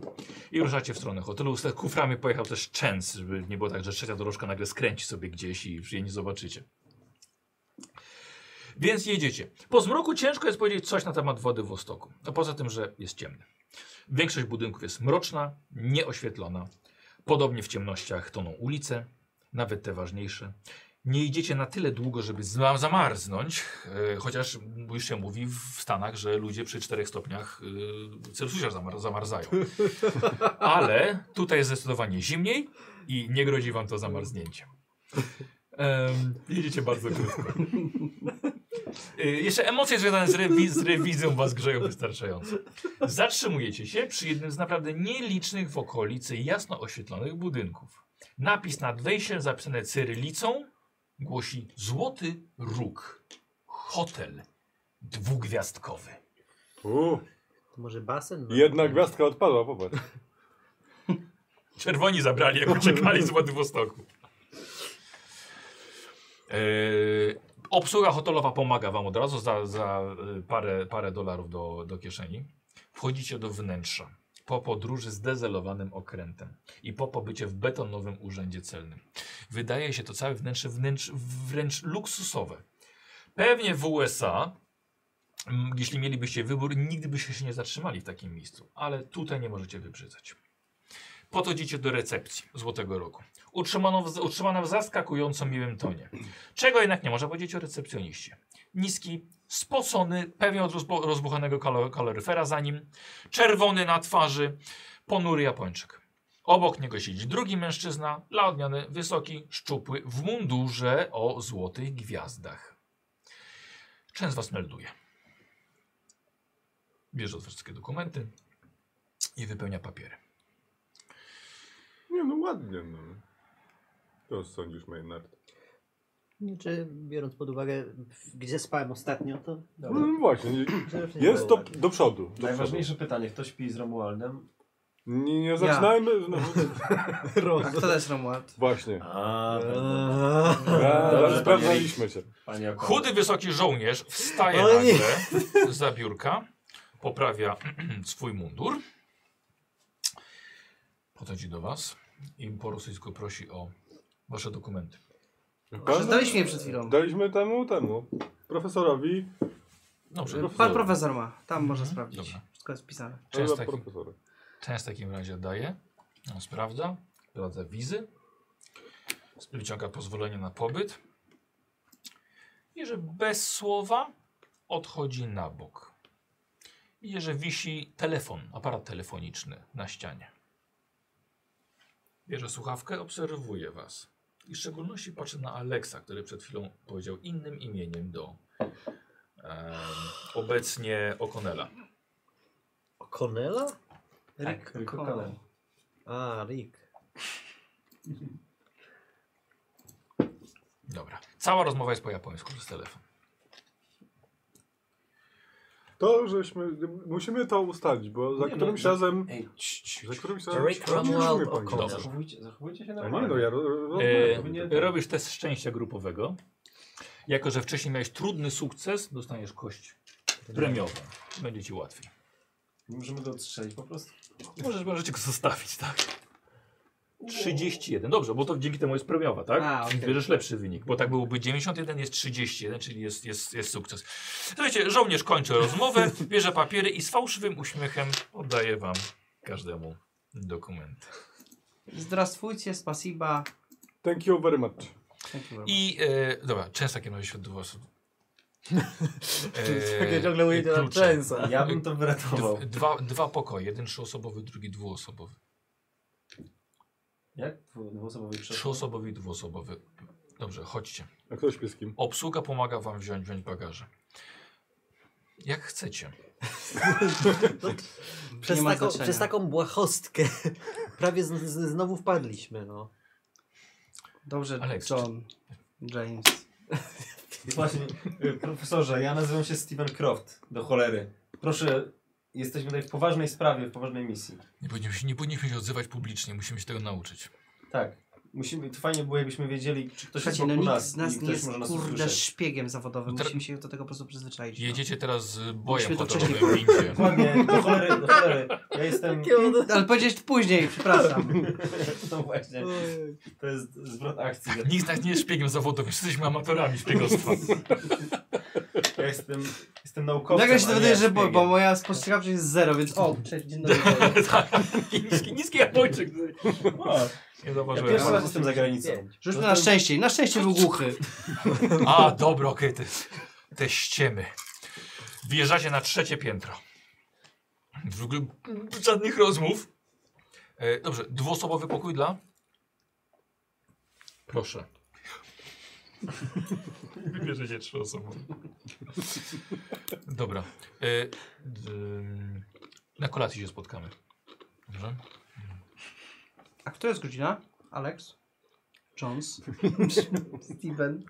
S1: I ruszacie w stronę hotelu. Z tych kuframi pojechał też Częs, żeby nie było tak, że trzecia dorożka nagle skręci sobie gdzieś i jej nie zobaczycie. Więc jedziecie. Po zmroku ciężko jest powiedzieć coś na temat wody w Ostoku. No poza tym, że jest ciemny. Większość budynków jest mroczna, nieoświetlona. Podobnie w ciemnościach toną ulice, nawet te ważniejsze. Nie idziecie na tyle długo, żeby zma- zamarznąć, e, chociaż już się mówi w Stanach, że ludzie przy 4 stopniach yy, Celsjusza zamar zamarzają. Ale tutaj jest zdecydowanie zimniej i nie grozi wam to zamarznięcie. Em, jedziecie bardzo krótko. Y, Jeszcze emocje związane z, rewi z rewizją was grzeją wystarczająco. Zatrzymujecie się przy jednym z naprawdę nielicznych w okolicy jasno oświetlonych budynków. Napis nad wejściem zapisany cyrylicą głosi Złoty Róg. Hotel dwugwiazdkowy.
S4: U,
S5: To może basen? no,
S4: jedna gwiazdka odpadła, popatrz.
S1: Czerwoni zabrali, jak uciekali z Władywostoku. Yy, obsługa hotelowa pomaga wam od razu za, za y, parę, parę dolarów do, do kieszeni. Wchodzicie do wnętrza po podróży z dezelowanym okrętem i po pobycie w betonowym urzędzie celnym. Wydaje się to całe wnętrze wnętrz, wręcz luksusowe. Pewnie w USA, mm, jeśli mielibyście wybór, nigdy byście się nie zatrzymali w takim miejscu, ale tutaj nie możecie wybrzydzać. Podchodzicie do recepcji Złotego Rogu. Utrzymano w, utrzymana w zaskakująco miłym tonie. Czego jednak nie można powiedzieć o recepcjoniście. Niski, spocony, pewnie od rozbu rozbuchanego kalo- kaloryfera za nim, czerwony na twarzy, ponury Japończyk. Obok niego siedzi drugi mężczyzna, laodniony, wysoki, szczupły, w mundurze o złotych gwiazdach. Częst was melduje. Bierze od was wszystkie dokumenty i wypełnia papiery.
S4: Nie no, ładnie no. To sądzisz, Maynard.
S5: Czy biorąc pod uwagę, w- gdzie spałem ostatnio, to... znaczy,
S4: No, no właśnie, nie- jest to do przodu. Do przodu.
S2: Najważniejsze pytanie, kto śpi z Romualdem?
S4: Nie, nie zaczynajmy. No,
S5: tak.
S6: A kto Tak, to jest Romuald?
S4: właśnie.
S2: A,
S4: A,
S2: Dobrze,
S4: Sprawdzaliśmy cię.
S2: panie Okole.
S1: Chudy, wysoki żołnierz wstaje
S3: O nie.
S1: nagle za biurka, poprawia swój mundur, podchodzi do was i po rosyjsku prosi o wasze dokumenty.
S6: Że Daliśmy je przed chwilą.
S4: Daliśmy temu, temu. Profesorowi.
S1: Dobrze,
S6: Pan profesor ma, tam można
S1: Mhm,
S6: sprawdzić.
S1: dobra.
S6: Wszystko jest wpisane.
S1: część,
S4: Dla
S1: taki,
S4: profesora.
S1: część w takim razie daje, on sprawdza, sprawdza wizy, wyciąga pozwolenie na pobyt i że bez słowa odchodzi na bok. I że wisi telefon, aparat telefoniczny na ścianie. Bierze słuchawkę, obserwuje was. I w szczególności patrzy na Aleksa, który przed chwilą powiedział innym imieniem do em, obecnie Okonela.
S3: Konela?
S6: Rick
S2: Rick
S6: Connell.
S2: Connell.
S3: A, Rick.
S1: Dobra. Cała rozmowa jest po japońsku przez telefon.
S4: To, żeśmy. Musimy to ustalić, bo za
S2: Nie, no,
S4: którymś
S2: za-
S4: razem.
S2: Ej, cii, cii,
S4: Za którymś razem.
S3: Rick
S4: Nie musimy
S3: Romuald
S4: pani-
S3: O'Connell.
S2: Zachowujcie, zachowujcie się
S4: A
S2: normalnie.
S4: nie no, ja ro, ro,
S1: E,
S4: rozmawiam.
S1: robisz test szczęścia grupowego. Jako, że wcześniej miałeś trudny sukces, dostaniesz kość premiową. Będzie ci łatwiej.
S2: Nie Możemy go odstrzelić po prostu.
S1: Możesz, możecie go zostawić, tak? 31. Dobrze, bo to dzięki temu jest premiowa, tak?
S6: A, okej.
S1: Więc bierzesz lepszy wynik, bo tak byłoby 91, jest 31, czyli jest, jest, jest sukces. Słuchajcie, żołnierz kończy rozmowę, bierze papiery i z fałszywym uśmiechem oddaje wam każdemu dokumenty.
S6: Zdrastwujcie, spasiba.
S4: Thank you very much.
S6: Thank you very much.
S1: I e, dobra, często takim razie świat dwóch osób.
S4: Eee,
S1: E,
S3: Takie ciągle mówię na
S1: Eee, klucze.
S3: Częsa.
S2: Ja bym to wyratował.
S1: Dw- Dwa, dwa pokoje, jeden trzyosobowy, drugi dwuosobowy.
S2: Jak? Dwu- Dwuosobowy przeszło.
S1: Trzyosobowy i dwuosobowy. Dobrze, chodźcie.
S4: A kto śpi z kim?
S1: Obsługa pomaga wam wziąć, wziąć bagaże. Jak chcecie.
S5: Przez
S6: Nie ma
S5: taką,
S6: znaczenia.
S5: przez taką błahostkę prawie z, z, znowu wpadliśmy, no.
S6: Dobrze,
S1: Alex,
S6: John. James.
S2: Właśnie, y, profesorze, ja nazywam się Steven Croft, do cholery. Proszę, jesteśmy tutaj w poważnej sprawie, w poważnej misji.
S1: Nie powinniśmy, się- nie powinniśmy się odzywać publicznie, musimy się tego nauczyć.
S2: Tak. Musimy, to fajnie było, jakbyśmy wiedzieli, czy ktoś
S6: Słuchajcie,
S2: jest
S6: no
S2: wokół
S6: nikt
S2: nas,
S6: z nas
S2: i
S6: nie
S2: ktoś
S6: jest
S2: może nas
S6: kurde
S2: usłyszeć.
S6: szpiegiem zawodowym.
S1: Tra-
S6: Musimy się do tego po prostu przyzwyczaić. no.
S1: Jedziecie teraz z bojem
S6: Musimy to
S1: hotelowym w
S6: wcześniej-
S1: windzie.
S2: Dokładnie, do cholery, do cholery. Ja jestem...
S6: Ale powiedziałeś później, przepraszam.
S2: No właśnie, to jest zwrot akcji.
S1: Nikt z nas nie jest szpiegiem zawodowym, jesteśmy amatorami szpiegostwa.
S2: Ja jestem, jestem naukowcem,
S6: Nagle się
S2: a nie
S6: dowiaduję, że bo,
S2: szpiegiem.
S6: bo moja spostrzegawczość jest zero, więc o, cześć, dzień dobry.
S1: niski, niski Japończyk.
S2: O,
S1: Nie
S2: Ja
S1: zauważyłem.
S2: pierwszy raz jestem za granicą.
S6: Rzućmy na szczęście. Na szczęście był głuchy.
S1: A, dobra, okej, te, te ściemy. Wjeżdżacie na trzecie piętro. W ogóle żadnych rozmów. E, dobrze, dwuosobowy pokój dla? Proszę. Bierze się trzy osoby. Dobra. Y, ym, na kolacji się spotkamy. Dobrze?
S6: A która jest godzina? Alex? Jones? Steven?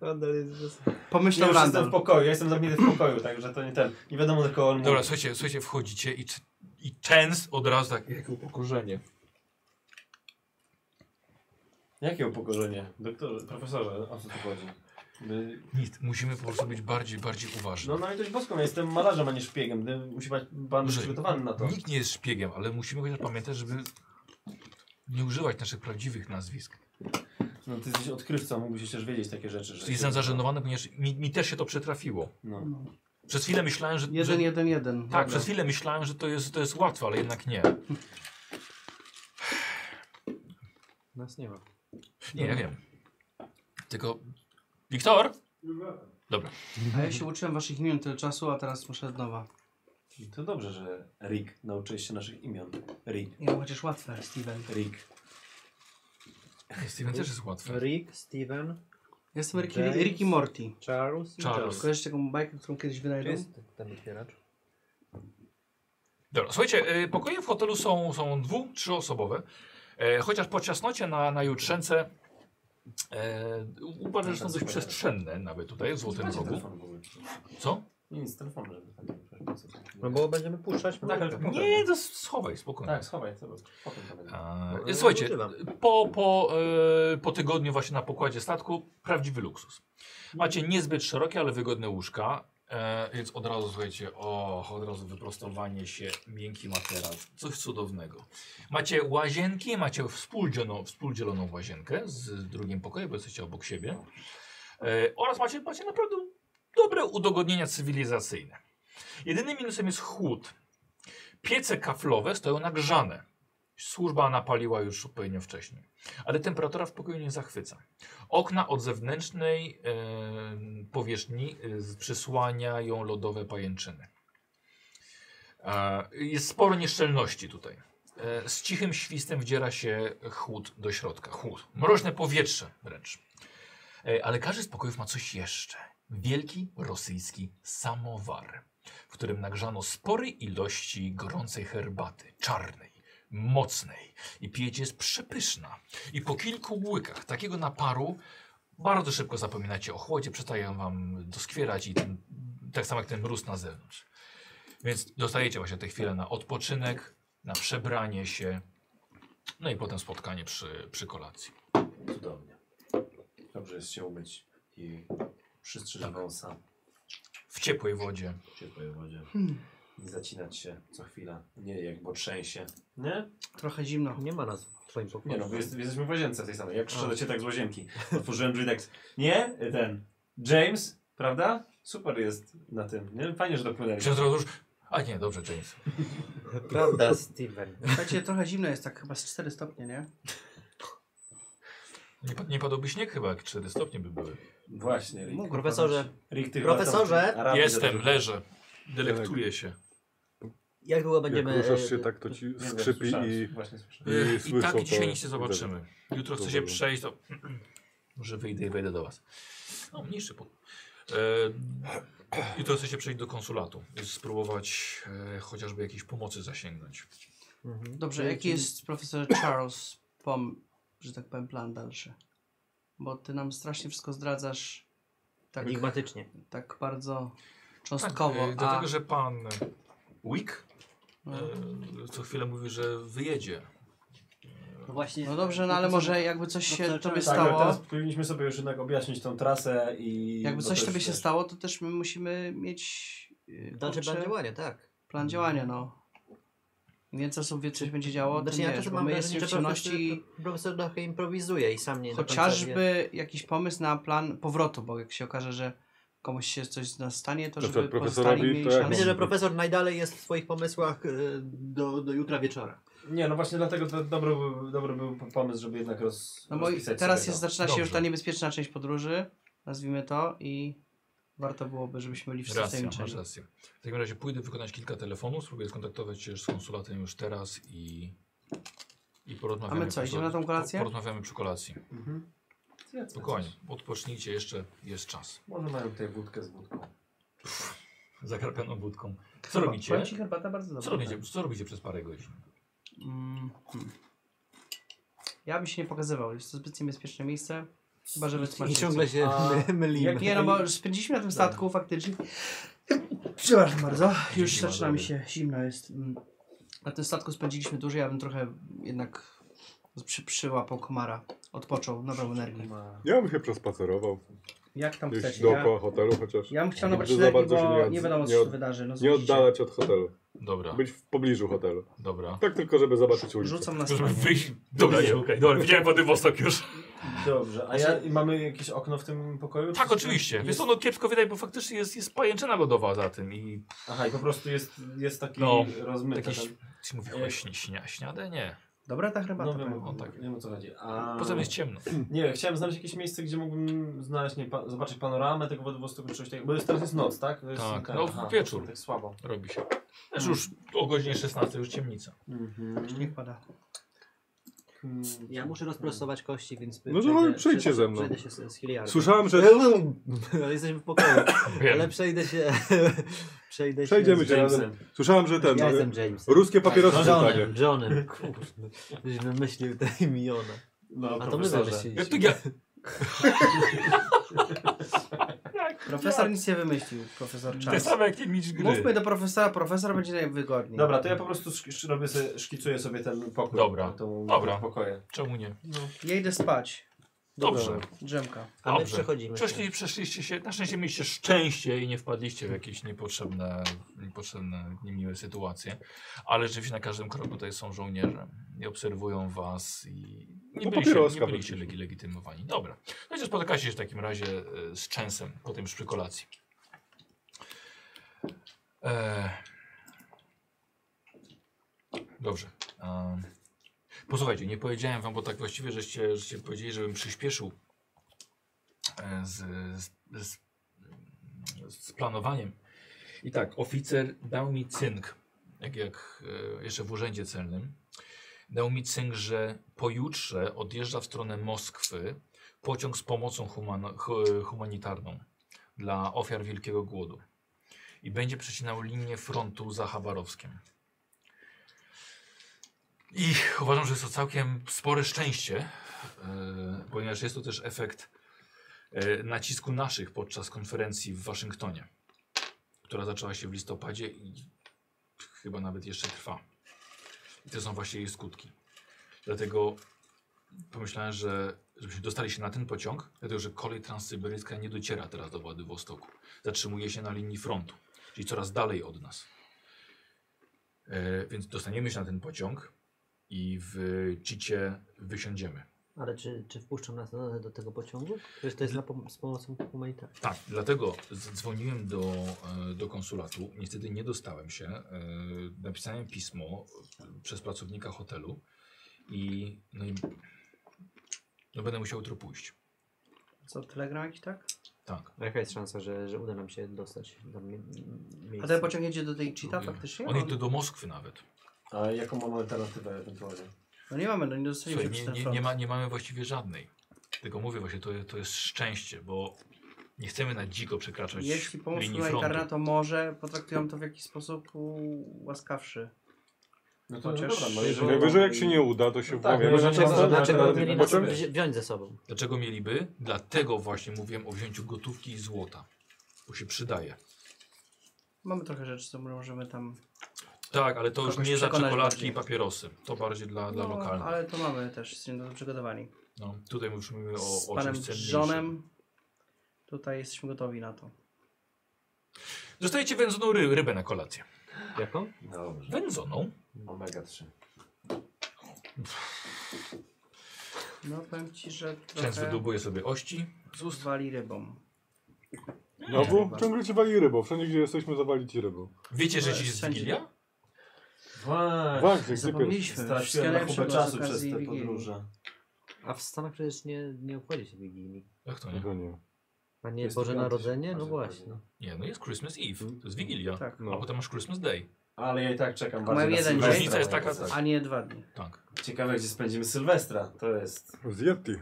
S3: Randall jest bez...
S2: Ja
S6: Pomyślał
S2: już jestem w
S6: Randall.
S2: pokoju, ja jestem zamknięty w pokoju, także to nie ten. Nie wiadomo tylko on
S1: Dobra, słuchajcie, słuchajcie wchodzicie i, c- i częs od razu tak, jakie upokorzenie.
S2: Jakie upokorzenie? Doktorze, profesorze, o co tu chodzi? My-
S1: Nic, musimy po prostu być bardziej, bardziej uważni.
S2: No na litość boską, ja jestem malarzem, a nie szpiegiem. Gdy musi być pan
S1: Dobrze.
S2: przygotowany na no to.
S1: Nikt nie jest szpiegiem, ale musimy chociaż pamiętać, żeby nie używać naszych prawdziwych nazwisk.
S2: No ty jesteś odkrywcą, mógłbyś też wiedzieć takie rzeczy. Że
S1: Jestem zażenowany, ponieważ mi, mi też się to przytrafiło.
S2: No.
S6: No.
S1: Przez chwilę myślałem, że... że
S6: Jeden, no. jeden, jeden.
S1: tak,
S6: Dobra.
S1: przez chwilę myślałem, że to jest, to jest łatwe, ale jednak nie.
S3: Nas nie ma.
S1: Nie, ja wiem. Tylko... Wiktor? Dobra.
S6: A ja się uczyłem waszych imion tyle czasu, a teraz muszę od nowa.
S2: To dobrze, że Rick, nauczyłeś się naszych imion. Rick,
S6: Ja mam no chociaż łatwe, Steven.
S2: Rick.
S1: Steven też jest łatwy.
S3: Rick, Steven,
S6: Ja Jestem Ricky,
S3: James.
S6: Ricky Morty.
S3: Charles i
S1: Charles.
S3: Charles.
S6: Kojarzysz taką bajkę, którą kiedyś
S3: Gdzie
S6: wynajdą?
S3: jest ten- ten otwieracz?
S1: Dobra, słuchajcie, y, pokoje w hotelu są, są dwu, trzyosobowe. E, chociaż po ciasnocie na, na jutrzence e, uważam, że
S2: Tak,
S1: są dość przestrzenne nawet tutaj w Złotym
S2: Znaczy, Macie
S1: Rogu.
S2: telefon w ogóle.
S1: Co?
S2: Nie, nic, telefon, żeby tak nie przeszkadzać.
S3: No bo będziemy puszczać
S2: Tak, ale to potem.
S1: Nie, to schowaj, spokojnie.
S2: Tak, schowaj, to potem to będzie.
S1: E,
S3: nie
S1: słuchajcie,
S3: używam.
S1: po, po, e, po tygodniu właśnie na pokładzie statku prawdziwy luksus. Macie niezbyt szerokie, ale wygodne łóżka. E, więc od razu, słuchajcie, o, od razu wyprostowanie się, miękki materac, coś cudownego. Macie łazienki, macie współdzieloną, współdzieloną łazienkę z drugim pokojem, bo jesteście obok siebie. E, oraz macie, macie naprawdę dobre udogodnienia cywilizacyjne. Jedynym minusem jest chłód. Piece kaflowe stoją nagrzane. Służba napaliła już zupełnie wcześniej. Ale temperatura w pokoju nie zachwyca. Okna od zewnętrznej em, powierzchni y, z- przysłaniają lodowe pajęczyny. E, jest sporo nieszczelności tutaj. E, z cichym świstem wdziera się chłód do środka. Chłód. Mroźne powietrze wręcz. E, ale każdy z pokojów ma coś jeszcze. Wielki rosyjski samowar, w którym nagrzano spory ilości gorącej herbaty, czarnej mocnej i pijecie jest przepyszna. I po kilku łykach takiego naparu bardzo szybko zapominacie o chłodzie, przestają wam doskwierać i ten, tak samo jak ten mróz na zewnątrz. Więc dostajecie właśnie tę chwilę na odpoczynek, na przebranie się, no i potem spotkanie przy, przy kolacji.
S2: Cudownie. Dobrze jest się umyć i przystrzyć
S1: Tak.
S2: wąsa
S1: W ciepłej wodzie.
S2: w ciepłej wodzie. Nie zacinać się co chwila. Nie, jak bo trzęsie. Nie?
S6: Trochę zimno.
S3: Nie ma nas w twoim
S2: Nie no,
S3: pokoju.
S2: wy jest, jesteśmy w łazience tej samej. Jak przyszedłeś tak z łazienki. Otworzyłem drzwi tak. Nie? Ten. James, prawda? Super jest na tym. Nie? Fajnie, że dopłynęli.
S1: Ksiądz Rozusz... A nie, dobrze, James.
S3: Prawda, Steven.
S6: Słuchajcie, trochę zimno jest, tak chyba z 4 stopnie, nie?
S1: Nie, pa- nie padałby śnieg chyba, jak 4 stopnie by były.
S2: Właśnie, Rick.
S6: Mógł
S3: Profesorze,
S2: Rick tych
S3: Profesorze?
S2: lat- Arabów-
S1: Jestem, leżę, delektuję się.
S3: jak długo będziemy...
S4: Jak ruszasz się
S3: e,
S4: tak, to ci
S2: Nie wiem,
S4: skrzypi
S2: słyszałem,
S4: i...
S2: Właśnie słyszałem.
S1: Yy, I
S4: słyszą
S1: tak
S4: to-
S1: dzisiaj nic nie zobaczymy. Jutro chcę się
S4: Dobra.
S1: przejść, to może wyjdę i wejdę do was. No, mniejszy pokój. E, jutro chcę się przejść do konsulatu i spróbować e, chociażby jakiejś pomocy zasięgnąć. Tak,
S3: Mhm.
S6: Dobrze, jaki jest profesor Charles pom, że tak powiem, plan dalszy? Bo ty nam strasznie wszystko zdradzasz tak,
S3: Enigmatycznie.
S6: tak bardzo
S1: Tak,
S6: cząstkowo,
S1: e,
S6: a...
S1: dlatego, że pan Wick e,
S6: no,
S1: co chwilę mówił, że wyjedzie.
S3: No właśnie.
S6: no dobrze, no ale może jakby coś
S3: No
S6: się
S3: to-
S6: tobie
S2: Tak, ale teraz
S6: stało,
S2: powinniśmy sobie już jednak objaśnić tą trasę i...
S6: jakby
S2: bo
S6: coś
S2: to
S6: tobie
S2: jest-
S6: się stało, to też my musimy mieć yy,
S3: Dalszy
S6: kurczę,
S3: plan działania, Znaczy, tak.
S6: plan działania, no. Więcej osób wie, coś będzie działo, to
S3: Znaczy, ja
S6: wiesz,
S3: czasem
S6: bo
S3: mam
S6: my
S3: wrażenie,
S6: jesteśmy
S3: że
S6: w ciemności...
S3: profesor, profesor trochę improwizuje i sam nie do końca wie.
S6: Chociażby jakiś pomysł na plan powrotu, bo jak się okaże, że komuś się coś nastanie, to
S4: Na
S6: żeby
S4: przykład
S6: pozostali
S4: profesorowi
S6: mieli
S4: to jak
S3: A
S6: szansę.
S4: mam-
S3: Myślę, że profesor najdalej jest w swoich pomysłach e, do, do jutra wieczora.
S2: Nie, no właśnie dlatego to dobry, był- dobry był pomysł, żeby jednak roz,
S6: No bo i
S2: rozpisać
S6: teraz
S2: sobie
S6: jest,
S2: to.
S6: zaczyna się już
S1: Dobrze.
S6: ta niebezpieczna część podróży, nazwijmy to, i warto byłoby, żebyśmy byli wszyscy
S1: Racja, masz
S6: tajemniczeni.
S1: rację. W takim razie pójdę wykonać kilka telefonów, spróbuję skontaktować się z konsulatem już teraz i, i porozmawiamy.
S6: co,
S1: po-
S6: idziemy na tą kolację?
S1: Porozmawiamy przy kolacji.
S2: Mhm. Zjedzmy
S1: Spokojnie,
S2: coś.
S1: odpocznijcie, jeszcze jest czas.
S2: Może mają tutaj wódkę z wódką.
S1: Zakarpioną budką. Co
S6: Powiem
S1: robicie?
S6: ci, herbata bardzo dobra.
S1: Co robicie, co robicie przez parę godzin?
S6: Mm. hmm. Ja bym się nie pokazywał, jest to zbyt niebezpieczne miejsce. Chyba, że
S10: I
S6: wytłumaczycie.
S10: ciągle się
S6: A-
S10: mylimy.
S6: Jak nie, no bo już spędziliśmy na tym statku faktycznie. Przepraszam bardzo, już
S1: Dzięki,
S6: zaczyna
S1: ma
S6: mi
S1: dobry.
S6: się, zimno jest. Mm. Na tym statku spędziliśmy dłużej, ja bym trochę jednak przy, przyłapał komara, odpoczął, nową energię.
S2: Ma...
S7: Ja bym się przespacerował.
S6: Jak tam
S7: Gdzieś
S6: chcecie? Ja,
S7: dookoła hotelu chociaż.
S6: ja bym chciał
S7: Nigdy
S6: nabrać
S7: za
S6: energii,
S7: bardzo się
S6: bo
S7: nie od-
S6: nie wiadomo co
S7: nie
S6: się
S7: od-
S6: wydarzy. No,
S7: Nie
S6: zbudzicie.
S7: oddalać od hotelu.
S1: Dobra,
S7: Być w pobliżu hotelu.
S1: dobra.
S7: Tak tylko, żeby zobaczyć ulicę.
S6: Rzucam na
S1: Możemy
S6: stronę.
S1: wyjść. Dobra, nie, okej, dobra, widziałem Władywostok już.
S2: Dobrze, a
S6: Znaczy-
S2: ja, i mamy jakieś okno w tym pokoju?
S1: Tak, oczywiście. Wiesz
S2: Jest...
S1: co, no kiepsko wydaje, bo faktycznie jest, jest pajęczyna lodowa za tym i
S2: Aha, i po prostu jest, jest taki
S1: No,
S2: rozmyty.
S1: jakiś...
S2: ten-
S1: Czy mówi, chyba śni- śnia, śniade? Nie.
S6: Dobra ta
S2: No
S6: herbata.
S2: wiem,
S1: o
S2: o,
S1: tak.
S2: tak. wiem o co chodzi. A...
S1: Poza tym jest ciemno.
S2: Nie, chciałem znaleźć jakieś miejsce, gdzie mógłbym znaleźć, nie, pa zobaczyć panoramę tego wodowostoku czy coś takiego. Bo jest, teraz jest noc, tak? To Jest
S1: Tak, no, wieczór.
S2: Tak słabo.
S1: Robi się. Też już o godzinie 16 już ciemnica.
S6: Nie
S2: Mhm.
S6: pada.
S3: Mhm. Ja muszę rozprostować kości, więc...
S7: No to chodź, przejdźcie ze mną.
S3: Przejdę się z, z Hiliarem.
S7: Słyszałem, że
S3: Jesteśmy w pokoju, ale
S1: Wiem.
S3: przejdę się... przejdę
S7: Przejdziemy
S3: się...
S7: się razem. Słyszałem, że ten.
S3: Ja
S7: e,
S3: jestem Jamesem.
S7: Ruskie papierosy
S3: No,
S7: zostanie.
S3: Johnem, Johnem, kurde. Gdzieś wymyślił te imiona.
S2: No,
S3: A to my
S1: Jak
S3: wymyśliliśmy.
S1: to ja...
S6: Profesor nic nie wymyślił, profesor
S1: Te
S6: Charles.
S1: same jak nie mieć gry.
S6: Mówmy do profesora, profesor będzie najwygodniej.
S2: Dobra, to ja po prostu sz- sz- robię sobie, szkicuję sobie ten pokój.
S1: Dobra.
S2: Tą,
S1: Dobra.
S2: Pokoje.
S1: Czemu nie?
S6: Ja idę spać.
S1: Dobrze.
S6: Drzemka.
S3: A my
S1: Dobrze.
S3: przechodzimy.
S1: Przeszli, przeszliście się, na szczęście mieliście szczęście i nie wpadliście w jakieś niepotrzebne, niepotrzebne niemiłe sytuacje, ale rzeczywiście na każdym kroku tutaj są żołnierze i obserwują was i nie byliście,
S7: No, papieroska
S1: nie byliście
S7: praktycznie.
S1: legi- legitymowani. Dobra, no i spotykacie się w takim razie e, z Częsem, potem już przy kolacji. E... Dobrze. em, Posłuchajcie, nie powiedziałem wam, bo tak właściwie żeście, żeście powiedzieli, żebym przyspieszył e, z, z, z, z planowaniem. I tak, oficer dał mi cynk, jak, jak e, jeszcze w urzędzie celnym, dał mi cynk, że pojutrze odjeżdża w stronę Moskwy pociąg z pomocą humano, hu- humanitarną dla ofiar wielkiego głodu. I będzie przecinał linię frontu za Chabarowskiem. I uważam, że jest to całkiem spore szczęście, e, ponieważ jest to też efekt e, nacisku naszych podczas konferencji w Waszyngtonie, która zaczęła się w listopadzie i chyba nawet jeszcze trwa. I to są właśnie jej skutki. Dlatego pomyślałem, że żebyśmy dostali się na ten pociąg, dlatego że kolej transsyberyjska nie dociera teraz do Władywostoku. Zatrzymuje się na linii frontu, czyli coraz dalej od nas. E, więc dostaniemy się na ten pociąg i w Cicie wysiądziemy.
S3: Ale czy, czy wpuszczą nas na- do tego pociągu? Przecież to jest na pom z pomocą humanitarną.
S1: Tak, dlatego zadzwoniłem do, e, do konsulatu. Niestety nie dostałem się. E, Napisałem pismo e, przez pracownika hotelu i no, i, no będę musiał jutro pójść.
S6: Co, telegram jakiś tak?
S1: Tak.
S3: A jaka jest szansa, że, że uda nam się dostać do mi-
S6: A
S3: miejsca?
S6: ten pociąg jedzie do tej cheata
S1: Próbuję.
S6: faktycznie? No,
S1: On
S6: On-
S1: idzie do Moskwy nawet.
S2: A jaką mam alternatywę ewentualnie?
S6: No nie mamy, no nie dostaniemy
S1: Słuchaj,
S6: się
S1: nie,
S6: przez ten
S1: nie,
S6: front.
S1: nie, ma, nie mamy właściwie żadnej. Tylko mówię właśnie, to, je- to jest szczęście, bo nie chcemy na dziko przekraczać
S6: Jeśli pomoc
S1: linii frontu.
S6: humanitarna, to może potraktują to w jakiś sposób u- łaskawszy.
S2: No to
S6: Chociaż-
S2: dobra, no
S7: Jeżeli Najwyżej jak się nie uda, to się
S2: No tak,
S7: włamiemy
S2: no
S7: na
S1: Znaczy,
S2: dlaczego-
S7: następny-
S3: Dlaczego
S7: na
S3: by mieli nas
S7: pociąg.
S3: wzi- wziąć ze sobą?
S1: Dlaczego mieliby? Dlatego właśnie mówiłem o wzięciu gotówki i złota. Bo się przydaje.
S6: Mamy trochę rzeczy, co możemy tam...
S1: Tak, ale to już
S6: Kogoś
S1: nie za
S6: przekonać
S1: czekoladki
S6: bardziej.
S1: i papierosy. To bardziej dla, dla
S6: No,
S1: lokalnych.
S6: ale to mamy też, jesteśmy do tego przygotowani.
S1: No, tutaj już mówimy o,
S6: Z
S1: o
S6: panem
S1: czymś cenniejszym.
S6: żonem tutaj jesteśmy gotowi na to.
S1: Dostajecie wędzoną ry rybę na kolację.
S3: Jaką?
S2: Dobrze.
S1: Wędzoną?
S2: Omega 3.
S6: No powiem ci, że
S1: Często
S6: trochę
S1: dubuje sobie ości z ust.
S6: zwali rybą.
S7: Znowu? Ciągle ci wali rybą. Wszędzie, gdzie jesteśmy, zawali ci rybą.
S1: Wiecie, że
S6: Ale
S1: dziś jest
S6: No, wszędzie.
S1: Wigilia?
S2: Właśnie.
S7: Właśnie, gdzie pierwszy?
S6: Zapomnieliśmy. Wszystkie
S2: Straciłem na
S6: lepsze
S2: kupę
S6: były z
S2: czasu przez
S6: okazji
S2: te
S6: Wigilii.
S2: podróże.
S3: A w Stanach przecież nie, nie obchodzi się Wigilii.
S1: Jak to nie?
S7: To nie.
S3: A nie
S2: Jest
S3: Boże
S2: piąty,
S3: Narodzenie? No
S2: Boże
S3: właśnie.
S2: Narodzenie.
S1: Nie, no jest Christmas Eve. To jest Wigilia.
S6: Tak.
S1: A potem masz Christmas Day.
S2: Ale ja i tak czekam
S6: Tylko
S2: bardziej
S6: mam
S2: na
S6: jeden dzień.
S2: Sylwestra.
S1: Różnica jest
S2: moja
S1: taka-
S2: postać.
S6: A nie dwa dni.
S1: Tak.
S2: Ciekawe, gdzie spędzimy Sylwestra. To jest...
S7: Z Yeti.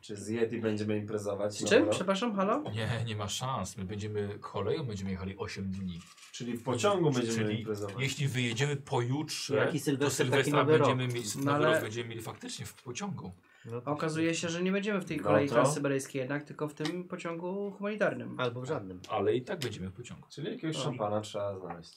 S2: Czy z Yeti będziemy imprezować?
S6: Z czym?
S2: No Dobra.
S6: Przepraszam, halo?
S1: Nie, nie ma szans. My będziemy koleją, będziemy jechali 8 dni.
S2: Czyli w pociągu będziemy
S1: Czyli
S2: imprezować.
S1: Jeśli wyjedziemy pojutrze,
S5: Jaki
S1: do
S5: Sylwester, taki
S1: Sylwestra
S5: nowy rok.
S1: będziemy mieli,
S6: No
S1: nowy
S6: ale-
S1: rok będziemy mieli faktycznie w pociągu.
S3: No,
S6: A okazuje się, że nie będziemy w tej
S2: No
S6: kolei
S2: to-
S6: transsyberyjskiej jednak, tylko w tym pociągu humanitarnym.
S3: Albo w żadnym.
S1: Ale i tak będziemy w pociągu.
S2: Czyli jakiegoś
S6: No.
S2: szampana trzeba znaleźć.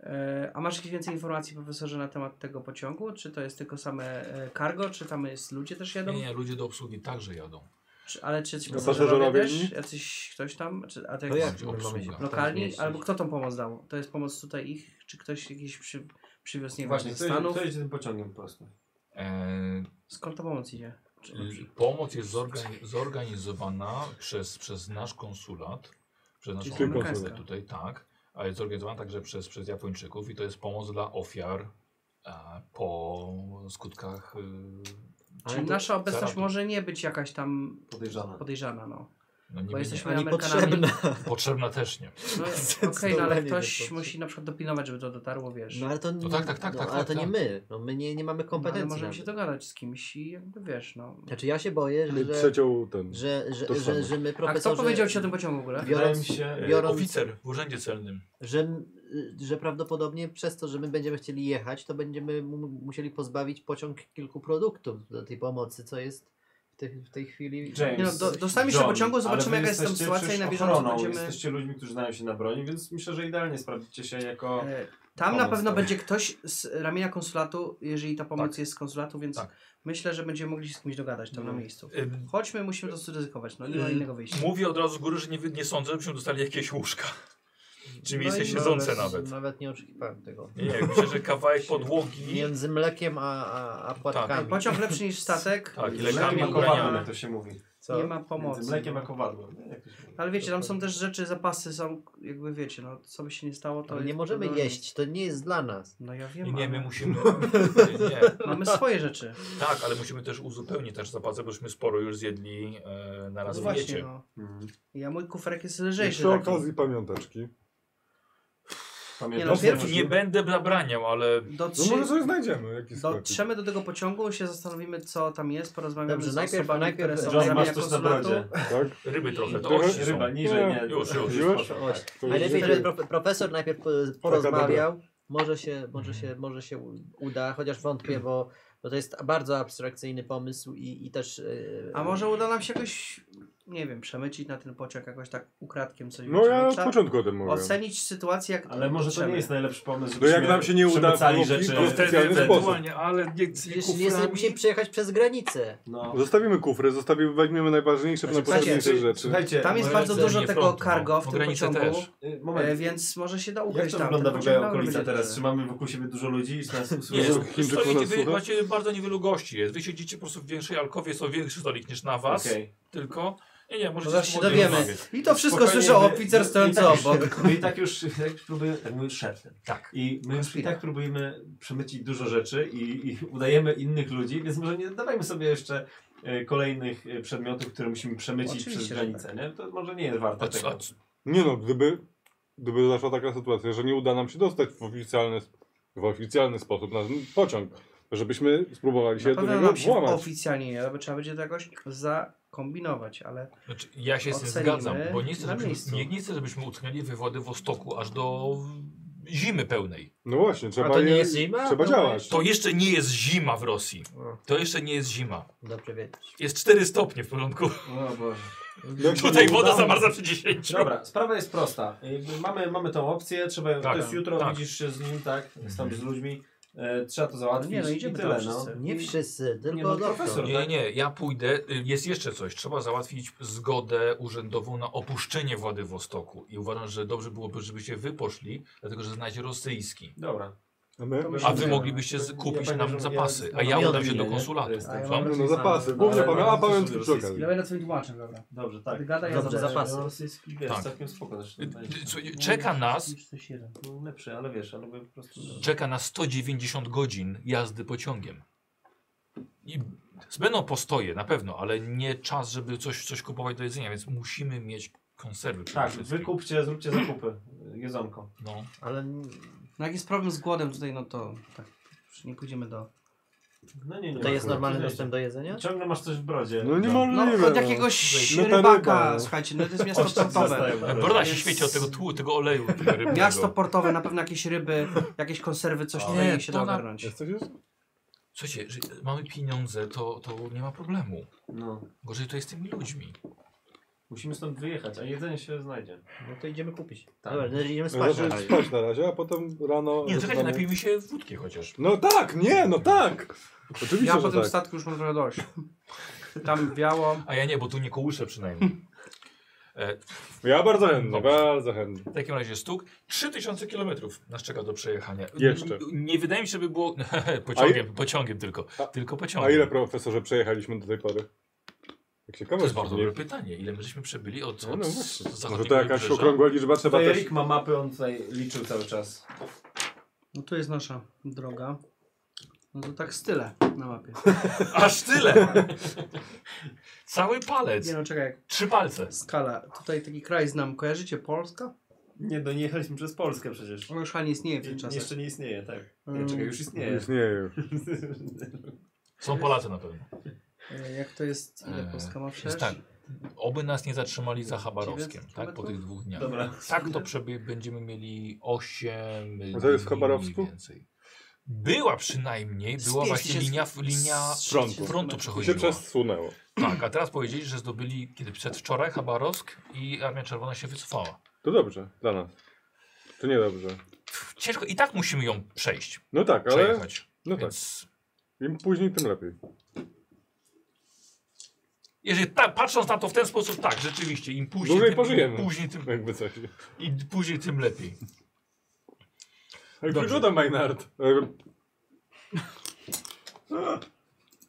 S6: E, a masz jakieś więcej informacji, profesorze, na temat tego pociągu? Czy to jest tylko same e, cargo, czy tam jest ludzie też jadą?
S1: Nie, nie, ludzie do obsługi także jadą.
S6: Czy, ale czy ci
S4: No
S6: pasażerowie
S4: pasażerowie
S6: też?
S4: inni?
S6: Jacyś ktoś tam? Czy, a to
S3: To
S6: jak
S3: jak my
S1: obsługa.
S3: mamy się tam
S6: lokalni?
S3: zmieścić?
S6: Albo kto tą pomoc dał? To jest pomoc tutaj ich? Czy ktoś jakiś przy, przywiózł, nie wiem,
S2: Właśnie,
S6: ze
S2: co jedzie,
S6: Stanów?
S2: co jedzie tym pociągiem po prostu?
S1: Eee,
S6: Skąd ta pomoc idzie? Czy,
S1: l- pomoc jest zorgani- zorganizowana przez, przez nasz konsulat, przez naszą
S6: Czyli
S1: konsulat
S6: amerykańska.
S1: tutaj, tak, ale jest zorganizowana także przez, przez Japończyków i to jest pomoc dla ofiar e, po skutkach e,
S6: czyli nasza obecność
S1: zaradu.
S6: może nie być jakaś tam
S2: Podejrzana.
S6: podejrzana no.
S1: no, niby
S6: Bo
S1: nie,
S6: jesteśmy
S3: Ani
S6: Amerykanami.
S3: potrzebna.
S1: potrzebna też nie.
S6: No, Okej, no ale
S3: Zdecydowanie
S6: ktoś
S3: nie
S6: musi na przykład dopilnować, żeby to dotarło, wiesz.
S3: No ale to,
S1: No tak, tak, tak,
S3: no,
S1: tak,
S3: ale
S1: tak,
S3: to nie
S1: tak.
S3: my. No, my nie, nie mamy
S6: Kompetencje.
S3: kompetencji.
S6: Ale możemy
S3: na
S6: się
S3: to.
S6: dogadać z kimś i jakby wiesz, no.
S3: Znaczy ja się boję, że, że,
S4: Przeciął ten.
S3: że,
S4: to
S3: że, że,
S4: samo.
S3: że my
S6: A
S3: profesorze...
S6: kto powiedział ci o tym pociągu w ogóle?
S2: Wydaje mi
S3: Biorąc,
S2: się,
S1: E,
S3: biorąc-
S1: Oficer w urzędzie celnym.
S3: że, y, że prawdopodobnie przez to, że my będziemy chcieli jechać, to będziemy mu, musieli pozbawić pociąg kilku produktów do tej pomocy, co jest w, tych, w tej chwili...
S2: James,
S6: Nie no, do, dostaniemy się do
S2: John,
S6: pociągu,
S2: ale wy
S6: zobaczymy jaka jest tam
S2: jesteście
S6: sytuacja i na
S2: przecież
S6: bieżąco
S2: ochroną,
S6: będziemy...
S2: Jesteście ludźmi, którzy znają się na broni, więc myślę, że idealnie sprawdzicie się jako...
S6: E, Tam na
S2: Pomoc,
S6: pewno
S2: tak.
S6: będzie ktoś z ramienia konsulatu, jeżeli ta pomoc
S1: Tak.
S6: jest z konsulatu, więc
S1: Tak.
S6: myślę, że będziemy mogli się z kimś dogadać tam na miejscu.
S1: Ym,
S6: Chodźmy, musimy to zryzykować, no nie ma
S1: Ym,
S6: innego wyjścia.
S1: Mówię od razu z góry, że nie, wy- nie sądzę, żebyśmy dostali jakieś łóżka. Czy miejsce
S3: no
S6: No
S3: i
S1: siedzące
S3: nawet-
S1: nawet.
S3: Nawet nie oczekiwałem tego.
S1: Nie, myślę, że kawałek podłogi.
S3: Między mlekiem a, a, a płatkami.
S6: Pociąg lepszy niż statek,
S1: Tak, i
S2: Mlekiem
S1: lekami
S2: a kowadłem,
S1: ubraniami.
S2: jak to się mówi.
S3: Co?
S6: nie ma
S2: Między
S6: pomocy. no.
S2: mlekiem a kowadłem. nie? Jak to się mówi.
S6: Ale wiecie, tam są też rzeczy, zapasy są, jakby wiecie, no co by się nie stało, to...
S3: Ale nie
S6: jest
S3: możemy
S6: problem.
S3: jeść, to nie jest dla nas.
S6: No ja wiem,
S1: Nie, nie,
S6: ale
S1: my musimy. Nie, nie.
S6: mamy swoje rzeczy.
S1: Tak, ale musimy też uzupełnić nasz zapasę, bośmy sporo już zjedli e, na raz
S6: No
S1: w
S6: właśnie,
S1: diecie.
S6: no.
S2: Mhm.
S6: Ja mój kuferek jest
S4: I
S6: lżejszy
S4: Przy
S6: taki.
S4: okazji pamiąteczki. No,
S6: Nie
S2: Pamiętasz?
S6: no,
S2: co
S6: pierwszy-
S1: Znaczy, Nie
S2: mówiłem?
S1: będę zabraniał, ale
S4: No
S6: Dotrzy...
S4: może coś znajdziemy, jakiś sklepik.
S6: Dotrzemy do tego pociągu, się zastanowimy co tam jest, porozmawiamy
S3: Dobrze,
S6: z
S3: najpierw-
S6: osobami,
S3: najpierw-
S6: które są
S3: John,
S6: z
S2: John,
S6: ramienia
S2: masz coś na
S6: konsulatu.
S2: brodzie.
S4: Tak?
S1: ryby trochę. To
S4: Trochę
S1: ości są.
S2: Ryba, niżej, nie.
S1: Już, już,
S4: już.
S2: poszło,
S3: Chodź.
S2: tak.
S4: To już
S3: Najlepiej,
S4: wiecie.
S3: żeby prof- profesor najpierw po- porozmawiał, może się, może,
S1: Mhm.
S3: się, może się u- uda, chociaż wątpię, bo, bo to jest bardzo abstrakcyjny pomysł i, i też... yy,
S6: A może uda nam się jakoś, nie wiem, przemycić na ten pociąg jakoś tak ukradkiem coś.
S4: No
S6: wiecie,
S4: ja od
S6: trzeba
S4: początku o tym mówię.
S6: Ocenić sytuację jak
S2: Ale może to
S6: dotrzemy.
S2: nie jest najlepszy pomysł,
S4: No jak
S2: żebyśmy
S4: nam się nie uda,
S2: przemycali
S4: to
S2: rzeczy.
S4: to
S1: Wtedy
S4: specjalny sposób.
S1: ewentualnie, ale nie, nie
S3: Przecież nie jesteśmy-
S1: kuframi.
S3: musimy przejechać przez granicę.
S2: No.
S4: Zostawimy kufry, zostawimy, weźmiemy najważniejsze,
S6: Znaczy,
S4: najpotrzebniejsze
S6: słuchajcie,
S4: rzeczy.
S2: Słuchajcie,
S6: Tam jest
S2: może-
S6: bardzo dużo
S1: nie
S6: tego
S1: frontu, no.
S6: cargo w
S1: O
S6: tym
S1: granicy
S6: pociągu,
S1: też.
S2: Y,
S6: e,
S2: Moment,
S6: więc może się da
S2: jak
S6: ukraść
S2: to
S6: tam.
S2: wygląda w
S6: ten
S2: ogóle
S6: pociąg
S2: okolica
S6: będzie
S2: teraz?
S6: dobrze.
S2: Czy mamy wokół siebie dużo ludzi i czy nas
S1: Nie,
S2: usłyszą?
S1: jest,
S4: Chińczyków
S1: stoliki,
S4: nas
S1: wy
S4: słucha?
S1: macie bardzo niewielu gości. Jest. Wy siedzicie po prostu w większej alkowie, są większy stolik niż na was.
S2: Okej.
S1: Tylko. Nie, nie, może
S3: No zaraz się dowiemy.
S6: I to wszystko
S2: Spokojnie,
S6: słyszę
S2: my-
S6: oficer
S2: my-
S6: stojący
S2: my i tak
S6: obok.
S2: już- My i tak już, tak już próbujemy, tak mówię szeptem.
S1: Tak.
S2: I my już i
S6: Chwila.
S2: tak próbujemy przemycić dużo rzeczy i, i udajemy innych ludzi, więc może nie dawajmy sobie jeszcze e, kolejnych e, przedmiotów, które musimy przemycić
S6: Oczywiście,
S2: przez
S6: że tak.
S2: granicę, nie? To może nie jest warte
S1: A,
S2: tego.
S1: co- a, co-
S4: Nie no, gdyby, gdyby zaszła taka sytuacja, że nie uda nam się dostać w oficjalny, w oficjalny sposób na ten pociąg, żebyśmy spróbowali się
S6: Na
S4: do
S6: pewno
S4: niego
S6: nam się
S4: włamać.
S6: oficjalnie nie da, bo trzeba będzie to jakoś zakombinować, ale
S1: Znaczy, ja się z tym
S6: Ocenimy
S1: zgadzam, bo nie chcę,
S6: na
S1: żebyśmy,
S6: miejscu.
S1: nie, nie chcę, żebyśmy utknęli we Władywostoku aż do zimy pełnej.
S4: No właśnie,
S3: A
S4: trzeba,
S3: to nie
S4: je,
S3: jest zima?
S4: trzeba
S3: No
S4: działać.
S1: To jeszcze nie jest zima w Rosji. To jeszcze nie jest zima.
S3: Dobrze wiedzieć.
S1: Jest 4 stopnie w porządku.
S2: O Boże.
S4: Jak się
S1: Tutaj
S4: nie
S1: woda
S4: uda-
S1: zamarza przy 10.
S2: Dobra, sprawa jest prosta. Jakby Mamy, mamy tą opcję, trzeba ją.
S1: Tak,
S2: to jest jutro,
S1: tak. Mhm.
S2: widzisz się z nim, tak? Tam z ludźmi. E, trzeba to załatwić.
S6: No nie, no
S2: I
S6: idziemy
S2: tyle,
S6: tam
S2: no.
S6: wszyscy.
S3: Nie wszyscy, tylko
S2: no,
S3: doktor.
S2: profesor.
S1: Nie, nie, ja pójdę. Y, Jest jeszcze coś. Trzeba załatwić zgodę urzędową na opuszczenie Władywostoku. I uważam, że dobrze byłoby, żebyście wy poszli, dlatego że znacie rosyjski.
S2: Dobra.
S4: A my?
S6: To my się
S1: A wy
S6: Dobra.
S1: moglibyście z-
S2: Ja
S1: kupić
S2: pamiętam,
S1: nam
S2: że ja
S1: zapasy, a ja
S2: znam
S1: udam się do
S2: Japonii, nie?
S1: konsulatu. tak?
S2: To jest tak ten
S6: A ja
S1: Co?
S6: mam-
S4: No, no zapasy, głównie
S2: Ale
S4: pamię
S2: mamy
S4: a pamiątki
S2: też
S4: przy okazji.
S2: rosyjskie.
S6: ja będę twoim tłumaczem, dobra.
S2: Dobrze, tak.
S6: Ty gadaj, ja
S3: Dobrze,
S6: zobaczę.
S3: zapasy.
S2: Rosyjski wiesz,
S1: Tak.
S2: całkiem spoko zresztą.
S1: Y, y, słuchajcie, Czeka nas,
S2: No, Lepszy, ale wiesz, ale po prostu. no.
S1: czeka nas 190 godzin jazdy pociągiem. I będą postoje na pewno, ale nie czas, żeby coś, coś kupować do jedzenia, więc musimy mieć konserwy. przede
S2: Tak,
S1: wszystkim.
S2: wykupcie, zróbcie zakupy. Jedzonko.
S1: No.
S3: Ale
S6: No jak jest problem z głodem tutaj, no to tak, już nie pójdziemy do
S2: No nie, nie.
S11: Tutaj jest
S2: ma.
S11: normalny
S2: Nie,
S11: dostęp do jedzenia?
S2: Ciągle masz coś w brodzie.
S7: No
S6: No,
S7: niemożliwe.
S6: od jakiegoś
S7: No ta ryba,
S6: rybaka,
S7: no.
S6: słuchajcie, no to jest miasto
S2: Oszczędz
S6: portowe.
S2: zostaje.
S1: E, Broda się świeci od tego tłu, tego oleju. tego rybnego.
S6: Miasto portowe, na pewno jakieś ryby, jakieś konserwy, coś
S1: Nie,
S6: tutaj się da
S1: to na-
S6: ogarnąć.
S7: Jest coś jeszcze?
S1: Słuchajcie, że mamy pieniądze, to, to nie ma problemu.
S2: No.
S1: Gorzej to jest z tymi ludźmi.
S2: Musimy stąd wyjechać, a jedzenie się znajdzie.
S11: No to idziemy kupić.
S2: Tak.
S11: Dobra, no, idziemy spać na
S7: Zacząć
S11: razie.
S7: spać na razie, a potem rano...
S1: Nie, no czekajcie,
S7: zaczynamy-
S1: napijmy się wódki chociaż.
S7: No tak, nie, no tak! Oczywiście,
S6: Ja po
S7: że
S6: tym
S7: tak.
S6: statku już mam trochę dość. Tam biało.
S1: A ja nie, bo tu nie kołyszę przynajmniej. E,
S7: Ja bardzo chętnie,
S1: Dobrze.
S7: bardzo chętnie.
S1: W takim razie stuk. 3000 km nas czeka do przejechania.
S7: Jeszcze.
S1: N- Nie wydaje mi się, by było. pociągiem, pociągiem tylko.
S7: A-
S1: tylko pociągiem.
S7: A ile profesorze przejechaliśmy do tej pory? Jak ciekawe.
S1: To jest bardzo
S7: nie-
S1: dobre pytanie. Ile my żeśmy przebyli od,
S7: No,
S1: od
S7: no właśnie.
S1: zachodniego
S7: Może to jakaś
S1: wybrzeża?
S7: okrągła liczba trzeba
S2: Tutaj
S7: też.
S2: Rick ma mapy, on tutaj liczył cały czas.
S6: No tu jest nasza droga. No to tak style na mapie.
S1: Aż tyle! Cały palec.
S6: Nie no, czekaj, jak
S1: Trzy palce.
S6: skala. Tutaj taki kraj znam. Kojarzycie Polska?
S2: Nie, no nie jechaliśmy przez Polskę przecież.
S6: Ona już chyba nie istnieje w tym
S2: I,
S6: czasie.
S2: jeszcze nie istnieje, tak.
S6: Mm.
S2: Nie, czekaj, już istnieje.
S7: Już nie wiem.
S1: Są Polacy na pewno.
S6: E, Jak to jest, ile
S1: E,
S6: Polska ma
S1: Jest
S6: przecież?
S1: tak. Oby nas nie zatrzymali za Chabarowskiem,
S6: 900
S1: tak? Po tych dwóch dniach.
S2: Dobra.
S1: Tak to przebie będziemy mieli 8.
S7: A to jest w Chabarowsku?
S1: Więcej. Była przynajmniej,
S6: Z
S1: była
S6: pięć
S1: właśnie
S6: tysięcy-
S1: linia, linia
S6: z
S7: frontu.
S1: frontu
S7: I się
S1: przechodziła.
S7: przesunęło.
S1: Tak, a teraz powiedzieli, że zdobyli kiedy przedwczoraj Chabarowsk i Armia Czerwona się wycofała.
S7: To dobrze, dla nas. To niedobrze.
S1: Pff, Ciężko, i tak musimy ją przejść,
S7: No tak, ale
S1: przejechać.
S7: no tak.
S1: Więc
S7: im później tym lepiej.
S1: jeżeli ta, patrząc na to w ten sposób, tak, rzeczywiście, im później,
S7: Dłużej
S1: tym,
S7: pożyjemy.
S1: Im później, tym,
S7: Jakby coś.
S1: im później tym lepiej.
S7: Jak
S1: Dobrze.
S7: wygląda Maynard?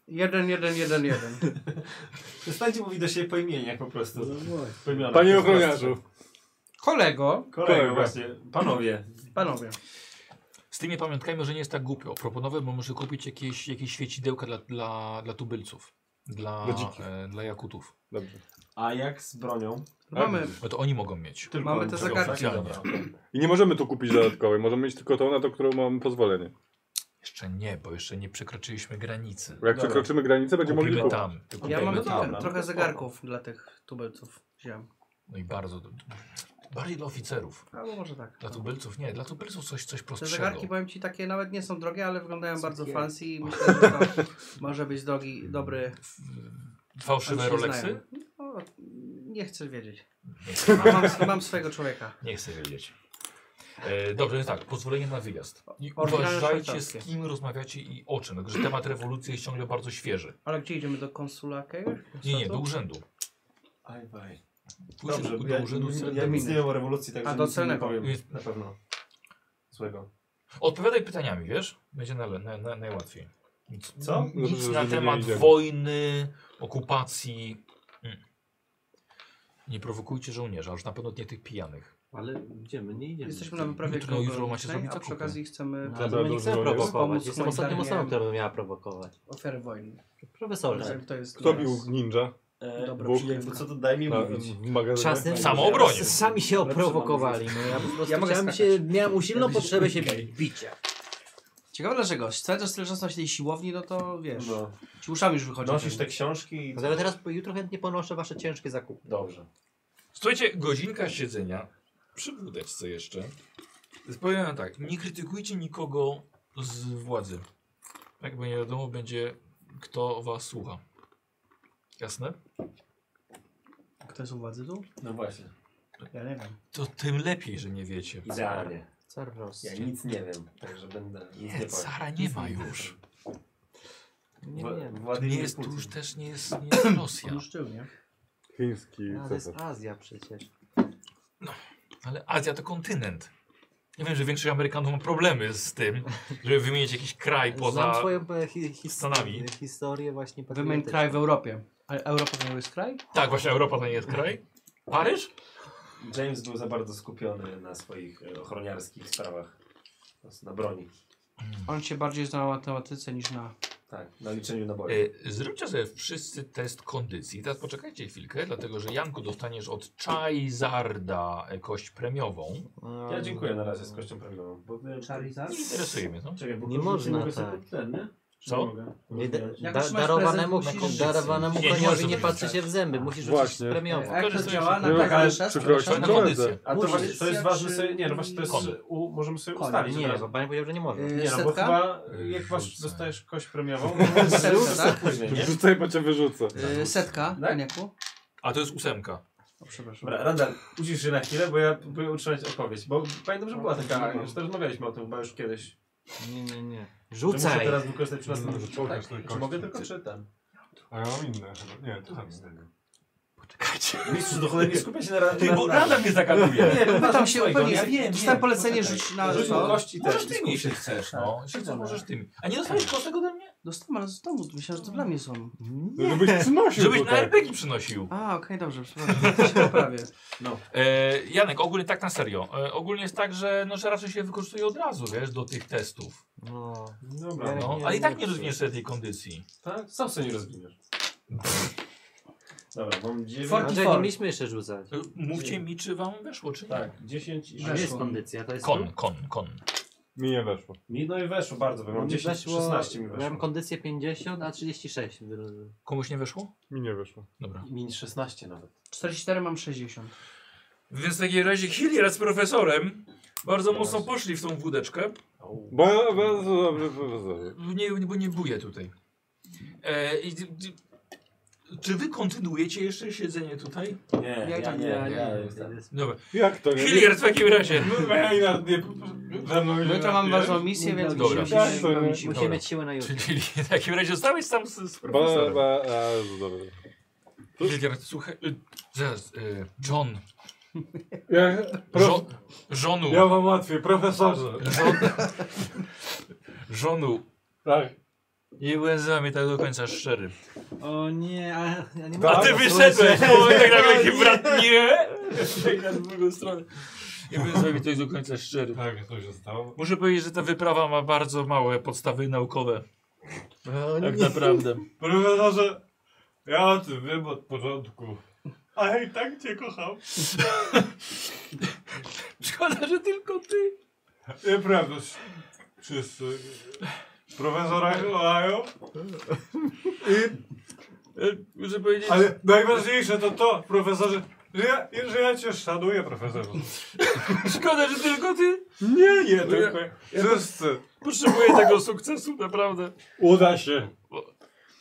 S6: Jeden, jeden, jeden, jeden.
S2: Przestańcie mówić do siebie po imieniach po prostu. Po imionach.
S7: Panie ochroniarzu.
S6: Kolego,
S2: Kolego,
S7: Kolega.
S2: właśnie. Panowie.
S6: panowie.
S1: Z tymi pamiątkami może nie jest tak głupio. Proponowe, bo może kupić jakieś, jakieś świecidełka dla, dla, dla tubylców. Dla,
S7: Dla dzikich.
S1: e, dla jakutów.
S7: Dobrze.
S2: A jak z bronią?
S6: Mamy,
S1: No to oni mogą mieć.
S2: Tylko
S6: Mamy te
S2: czego?
S6: zagadki.
S2: Tak, dobra.
S7: I nie możemy tu kupić dodatkowej. Możemy mieć tylko tą, na to, którą mamy pozwolenie.
S1: Jeszcze nie, bo jeszcze nie przekroczyliśmy granicy.
S7: Bo jak
S2: Dobra.
S7: przekroczymy granicę, będziemy mogli
S1: Kupimy
S7: kupić.
S1: tam. to
S6: ja
S1: kupimy
S6: mam
S1: tam.
S6: trochę, trochę zegarków dla tych tubelców wziąłem.
S1: No i bardzo. do- Bardziej dla oficerów.
S6: Albo może tak.
S1: Dla tubylców nie, dla tubylców coś, coś
S6: Te
S1: prostszego.
S6: zegarki, powiem Ci, takie nawet nie są drogie, ale wyglądają bardzo
S2: Cukierki.
S6: fancy i myślę, że to może być drogi, dobry...
S1: F- Fałszywe
S6: ale się
S1: Mm. Rolexy?
S6: znają. No, nie chcesz wiedzieć.
S1: Nie chcę,
S6: Mam, mam swojego człowieka.
S1: nie chcę wiedzieć. E, dobrze, więc tak, pozwolenie na wyjazd. I
S6: Oryginalne
S1: uważajcie z
S6: szwajcarskie.
S1: kim rozmawiacie i o czym. Także temat rewolucji jest ciągle bardzo świeży.
S6: Ale gdzie idziemy? Do konsula jakiegoś?
S1: Nie, nie, do
S6: Konsulatu?
S1: urzędu.
S2: Aj, baj.
S1: Pójdziesz
S2: Dobrze,
S1: do,
S2: bo
S1: do
S2: ja,
S1: urzędu
S2: ja nic
S1: celnego.
S2: nie wiem o rewolucji, także
S6: A, do
S2: nic nie
S6: celnego.
S2: powiem.
S1: Jest-
S2: Na pewno. Złego.
S1: Odpowiadaj pytaniami, wiesz? Będzie na, na, na, najłatwiej. Nic,
S2: Co?
S1: Nic
S7: Dobrze, że
S1: na
S7: nie
S1: temat
S7: idziemy.
S1: wojny, okupacji. Mm. Nie prowokujcie żołnierza, już na pewno nie tych pijanych.
S3: Ale gdzie my nie idziemy?
S6: Jesteśmy na wyprawie
S1: Jutro- jutro
S6: ekonomicznej,
S1: macie zrobić
S6: a przy
S1: zakupy.
S6: okazji chcemy
S3: No,
S7: Za
S3: ale my
S7: dużo
S3: nie chcemy
S7: żołnierzy.
S3: prowokować.
S6: Pomóc
S3: Jestem ostatnią
S6: humanitarnie.
S3: osobą, która by miała prowokować.
S6: ofiary wojny.
S3: Profesorze.
S6: Kto, jest
S7: Kto
S6: teraz-
S7: bił ninja
S2: E,
S6: Dobra,
S2: bo-
S6: przyjemka.
S2: jakby co to daj mi
S7: na,
S2: mówić.
S7: w magazynie?
S3: Czasem
S1: Samoobronie.
S3: s- Sami się
S2: Lepszy mam
S3: oprowokowali. No, ja po prostu
S6: Ja mogę
S3: chciałem
S6: skakać.
S3: się, miałem usilną potrzebę się bicia.
S6: Ciekawe dlaczego. Spędzasz tyle czasu na tej siłowni, no to wiesz.
S2: No.
S6: Ci uszami już wychodzi.
S2: Nosisz te książki i...
S3: No, ale teraz jutro chętnie ponoszę wasze ciężkie zakupy.
S2: Dobrze.
S1: Słuchajcie, godzinka siedzenia przy wódeczce jeszcze. Powiem wam tak, nie krytykujcie nikogo z władzy. Tak, bo nie wiadomo będzie, kto was słucha. Jasne?
S6: Kto jest u władzy tu?
S2: No właśnie.
S6: Ja nie wiem.
S1: To tym lepiej, że nie wiecie.
S2: Idealnie.
S3: Zaraz.
S2: Ja nic nie wiem, także będę nic nie
S1: Nie,
S2: powiem.
S1: cara nie ma już.
S3: Nie
S2: Wła-
S3: wiem.
S1: To nie
S2: Władimir
S1: jest, to
S2: Putin.
S1: już też nie jest, nie jest Rosja.
S6: On już żył, nie?
S7: Chiński
S3: No, to jest
S7: cesarz.
S3: Azja przecież.
S1: Ale Azja to kontynent. Ja wiem, że większość Amerykanów ma problemy z tym, żeby wymienić jakiś kraj
S3: Znam
S1: poza...
S3: swoją e, hi, his,
S1: Stanami.
S3: historię właśnie
S6: Wymień
S3: patriotyczną.
S6: kraj w Europie. Ale Europa to nie jest kraj?
S1: Tak, właśnie Europa to nie jest kraj. Paryż?
S2: James był za bardzo skupiony na swoich e, ochroniarskich sprawach. Po prostu Na broni.
S6: On się bardziej zna na matematyce niż na.
S2: Tak, na liczeniu naboi.
S1: Y, Zróbcie sobie wszyscy test kondycji. Teraz poczekajcie chwilkę, dlatego że Janku dostaniesz od Charizarda e, kość premiową.
S3: No,
S2: Ja dziękuję na razie z kością prawidłową. Bo, e,
S1: Nie interesuje mnie to.
S2: Czekaj, bo
S3: Nie
S2: koszulki
S3: można
S2: mogę sobie
S3: tak.
S2: pod ten, nie?
S1: Co?
S2: Nie mogę.
S3: Nie, da,
S6: Jak
S3: da,
S6: już masz
S3: darowanemu,
S6: prezent, musisz-
S3: darowanemu
S1: Nie, nie
S3: koniowi
S1: możesz
S3: nie,
S1: sobie
S3: patrzy
S1: tak.
S3: się w zęby, musisz rzucić
S7: Właśnie.
S3: premiowo.
S2: E,
S6: A jak to
S1: Korzystaj
S6: działa?
S1: się-
S6: Na
S7: Nie,
S6: każdą
S7: ale
S6: czas?
S7: przykrością
S1: Na
S7: koledze.
S1: kondycję.
S2: A to
S6: Musisz.
S2: właśnie, to jest ważne
S6: Czy-
S2: sobie, nie no właśnie to jest,
S1: Kon.
S2: u, możemy sobie
S6: Kon.
S2: ustalić
S3: Nie,
S2: nie,
S3: bo pani powiedział, że nie może.
S6: Yy,
S2: nie no bo
S6: setka?
S2: chyba jak masz,
S1: Rzucaj.
S2: dostajesz kość premiową,
S6: Setka, tak?
S2: później, nie?
S7: Rzucaj, bo cię wyrzucę.
S6: Yy, Setka,
S2: Tak?
S6: Aniaku.
S1: A to jest ósemka.
S6: O, przepraszam.
S2: Dobra, Randall, ucisz się na chwilę, bo ja próbuję utrzymać odpowiedź, bo pamiętam, że była taka, już też rozmawialiśmy o tym chyba już kiedyś.
S3: Nie, nie, nie.
S2: Że muszę
S3: Rzucaj!
S2: teraz wykorzystać przy
S7: Może
S2: następnym
S7: pokaż
S2: tak?
S7: tej
S2: Czy
S7: kości.
S2: mogę tylko czy ten?
S7: A ja mam inne chyba. Nie, to tam innego.
S1: Poczekajcie.
S2: Mistrzu, do cholery nie skupię się na no Randall.
S1: Ty, bo Rada mnie zakaduje.
S6: Nie, pytam się,
S2: swojego,
S6: pewnie,
S2: nie?
S6: ja wiem, dostałem polecenie rzuć na
S2: Rzuć mu
S6: to.
S2: kość i Tak. ten.
S1: Możesz tymi, jeśli chcesz, no. Jeśli chcesz, możesz tymi. A nie dostajesz kostek ode mnie?
S6: Dostałem, ale z domu, myślałem, że to dla mnie są.
S7: No, Żebyś przynosił
S1: Żebyś na
S7: tutaj.
S1: RPG przynosił.
S6: A, okej, dobrze, przepraszam, to się poprawię.
S1: E, Janek, ogólnie tak na serio. E, ogólnie jest tak, że, no, że raczej się wykorzystuje od razu, wiesz, do tych testów.
S3: No.
S2: Dobra,
S1: No,
S3: nie,
S1: ale i
S3: nie
S1: tak nie
S3: psuj.
S1: rozwiniesz sobie tej kondycji.
S2: tak? Sam sobie nie rozwiniesz. Dobra, mam 9.
S6: Forty-
S3: Andrzej, nie mieliśmy jeszcze rzucać.
S1: E, Mówcie mi, czy wam weszło, czy nie.
S2: Tak, 10 i
S3: To nie jest
S6: Weszło.
S2: 6.
S3: kondycja, to jest...
S1: Kon, kon, kon.
S7: Mi nie weszło.
S2: Mi no i weszło bardzo, bo mam
S3: Mi
S2: 10, 16 mi
S3: Miałem
S2: weszło.
S3: kondycję 50, a 36. wyrobiłem.
S1: Komuś nie weszło?
S7: Mi nie weszło.
S1: Dobra.
S2: Min 16 nawet.
S6: 44 mam 60.
S1: Więc w takim razie Hilliard z profesorem bardzo mocno poszli w tą wódeczkę.
S7: Bo ja bardzo dobry profesor.
S1: Nie, bo nie buję tutaj. E, i, d- d- czy wy kontynuujecie jeszcze siedzenie tutaj?
S2: Nie, ja,
S6: ja
S2: nie,
S6: nie,
S2: ja,
S6: ja
S2: jestem.
S1: Dobra.
S7: Jak to nie?
S1: Hilliard w takim razie.
S7: Maynard nie... Ze
S2: No,
S7: mną nie
S6: Jutro mam
S7: napijesz?
S6: ważną misję, więc
S1: Dobra.
S6: musimy
S7: Tak,
S6: się
S7: to nie.
S6: wypełnić siłą.
S3: Musimy mieć siłę na jutro.
S1: Czyli w takim razie zostałeś tam z, z
S7: Ba,
S1: profesorem.
S7: ba, a, dobra.
S1: Hilliard, słuchaj. y, Zaraz, y, John.
S7: Ja, prof,
S1: Żo żonu.
S7: ja mam łatwiej, profesorze.
S1: Żon żonu.
S7: Tak.
S1: Nie byłem z wami tak do końca szczery.
S3: O nie, a, ja nie
S1: A
S7: A,
S1: ty
S7: no,
S1: wyszedłeś,
S3: słyszę.
S1: bo tak na wielki brat nie. Tak na drugą stronę. Nie byłem z wami tak do końca szczery.
S7: Tak, to się stało.
S1: Muszę powiedzieć, że ta wyprawa ma bardzo małe podstawy naukowe.
S3: O
S1: Tak
S3: nie.
S1: naprawdę.
S7: Profesorze, ja o tym wiem od początku. Ale i tak cię kocham.
S1: Szkoda, że tylko ty.
S7: Nieprawda. Wszyscy profesora kochają. I,
S1: E, Muszę powiedzieć.
S7: ale najważniejsze to to, profesorze, że ja, że ja cię szanuję, profesorze.
S1: Szkoda, że tylko ty.
S7: Nie, nie,
S1: tylko-
S7: Wszyscy.
S1: Potrzebuję tego sukcesu, naprawdę.
S7: Uda się.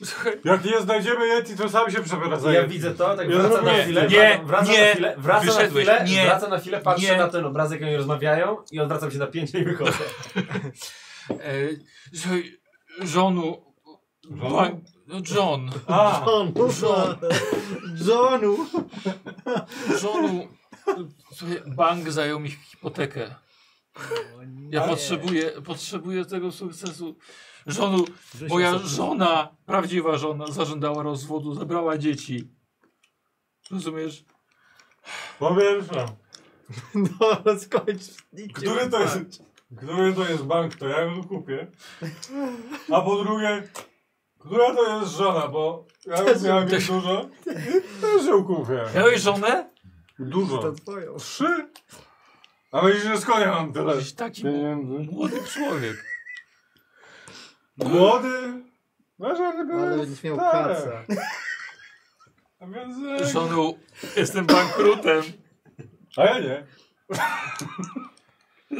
S1: Słuchaj.
S7: Jak nie znajdziemy Yeti, to sam się przebiera za
S2: Ja
S7: Yeti.
S2: widzę to, tak
S7: Ja
S2: wraca na
S7: nie,
S2: chwilę,
S1: nie,
S2: wraca- wraca
S1: nie,
S2: na chwilę, wraca na
S1: wyszedłeś,
S2: chwilę,
S1: nie,
S2: wraca na chwilę, patrzy
S1: nie.
S2: na ten obrazek, jak oni rozmawiają i odwracam się na pięcie i wychodzę.
S1: E, słuchaj, żonu. Ba- no, John.
S7: A,
S3: John,
S1: John.
S3: Johnu!
S1: Żonu. Słuchaj, bank zajął mi hipotekę. Ja potrzebuję, potrzebuję tego sukcesu. Żonu, moja żona, prawdziwa żona, zażądała rozwodu, zabrała dzieci. Rozumiesz?
S7: powiem wam.
S3: No, skończ.
S7: Który to jest, który to jest bank, to ja go kupię. A po drugie, która to jest żona, bo ja już miałem jej dużo i też ją kupię.
S1: Miałeś żonę?
S7: Dużo. Trzy? A myślisz, że z konia mam tyle
S1: Jesteś taki
S7: pieniędzy?
S1: młody człowiek.
S7: Młody? Masz, ale
S3: Ale będziesz miał kaca.
S7: A więc, e,
S1: Żonu, jestem bankrutem.
S7: A ja nie.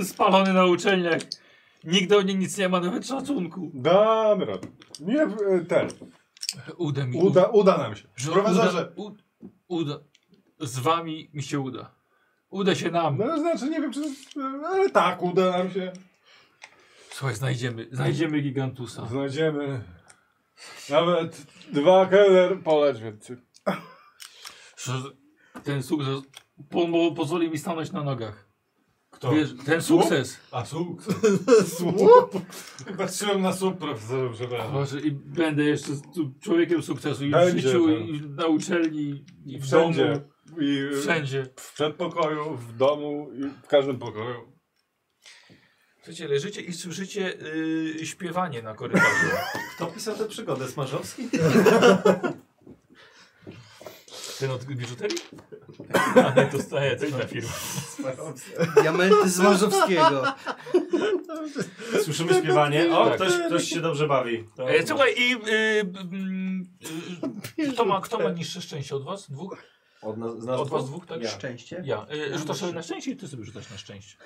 S1: Spalony na uczelniach. Nigdy o niej nic nie ma, nawet szacunku.
S7: Damy radę. Nie, e, ten.
S1: Uda mi
S7: Uda, uda nam się.
S1: Że
S7: Profesorze.
S1: Uda, u, uda. Z wami mi się uda. Uda się nam.
S7: No znaczy, nie wiem czy... Ale tak, uda nam się.
S1: Słuchaj, znajdziemy, znajdziemy gigantusa.
S7: No. Znajdziemy nawet dwa keller poleć więcej.
S1: Że Ten sukces pomo- pozwoli mi stanąć na nogach.
S7: Kto?
S1: Wiesz, ten sukces.
S7: A słup? słup? Patrzyłem na słup profesorze, przepraszam.
S1: Boże, I będę jeszcze z- tu człowiekiem sukcesu i w
S7: Będzie,
S1: życiu,
S7: tak.
S1: i na uczelni, i w
S7: Wszędzie.
S1: domu.
S7: I
S1: Wszędzie.
S7: w przedpokoju, w domu i w każdym pokoju.
S1: Słuchajcie, leżycie i słyszycie yy, śpiewanie na korytarzu.
S2: Kto pisał tę przygodę? Smarzowski?
S1: Ten od biżuterii? A nie, to staje, coś na firmę.
S6: Diamenty z Marzowskiego.
S2: Słyszymy śpiewanie. O, ktoś, ktoś się dobrze bawi. To,
S1: E, słuchaj, i... Y, mm, y, kto, ma, kto ma niższe szczęście od was? Dwóch?
S12: Od, nas, z nas
S1: Od was
S12: dwóch?
S1: dwóch, tak?
S12: Ja.
S6: Szczęście.
S1: Ja. Y, rzucasz sobie na szczęście i ty sobie rzucasz na szczęście.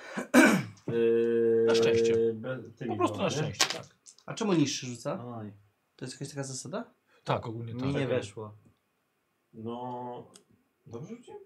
S12: Yy,
S1: Na szczęście.
S12: be- tymi
S1: Po prostu na
S12: dwoma, nie?
S1: szczęście, tak.
S6: A czemu niższy rzuca?
S2: Aj.
S6: To jest jakaś taka zasada?
S1: Tak, ogólnie tak.
S3: Mi nie weszło.
S12: No... Dobrze rzuciłem?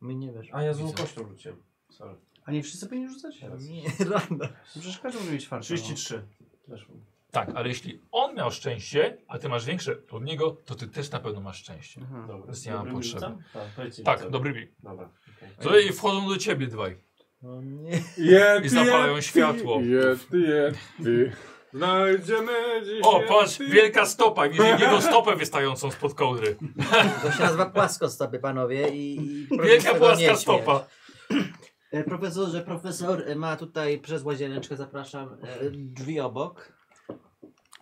S3: Mi nie weszło.
S12: A ja złą
S1: Widzę.
S12: kością rzuciłem. Sorry.
S6: A nie wszyscy powinni rzucać?
S3: Nie, no rano.
S6: Przecież każdy może mieć no. czwartą.
S2: 33.
S12: Weszło.
S1: Tak, ale jeśli on miał szczęście, a ty masz większe od niego, to ty też na pewno masz szczęście.
S6: Aha.
S12: Dobra.
S1: Więc nie mam
S12: Dobrymi
S1: potrzeby.
S12: rzucam? Tak, powiedzcie mi
S1: Tak, No
S12: co.
S1: dobry bieg.
S12: Dobra. okej.
S1: Tutaj wchodzą do ciebie dwaj
S2: No
S3: O nie.
S13: Je,
S1: i zapalają światło.
S7: Je, ty, je, ty. Znajdziemy dzisiaj.
S1: O, patrz, wielka stopa, widzisz jego stopę wystającą spod kołdry.
S3: To się nazywa płaskostopy, panowie. I, i proszę się
S1: Wielka
S3: tego nie
S1: płaska
S3: śmiać.
S1: stopa.
S3: E, Profesorze, profesor e, ma tutaj przez łazieneczkę, zapraszam, e, drzwi obok.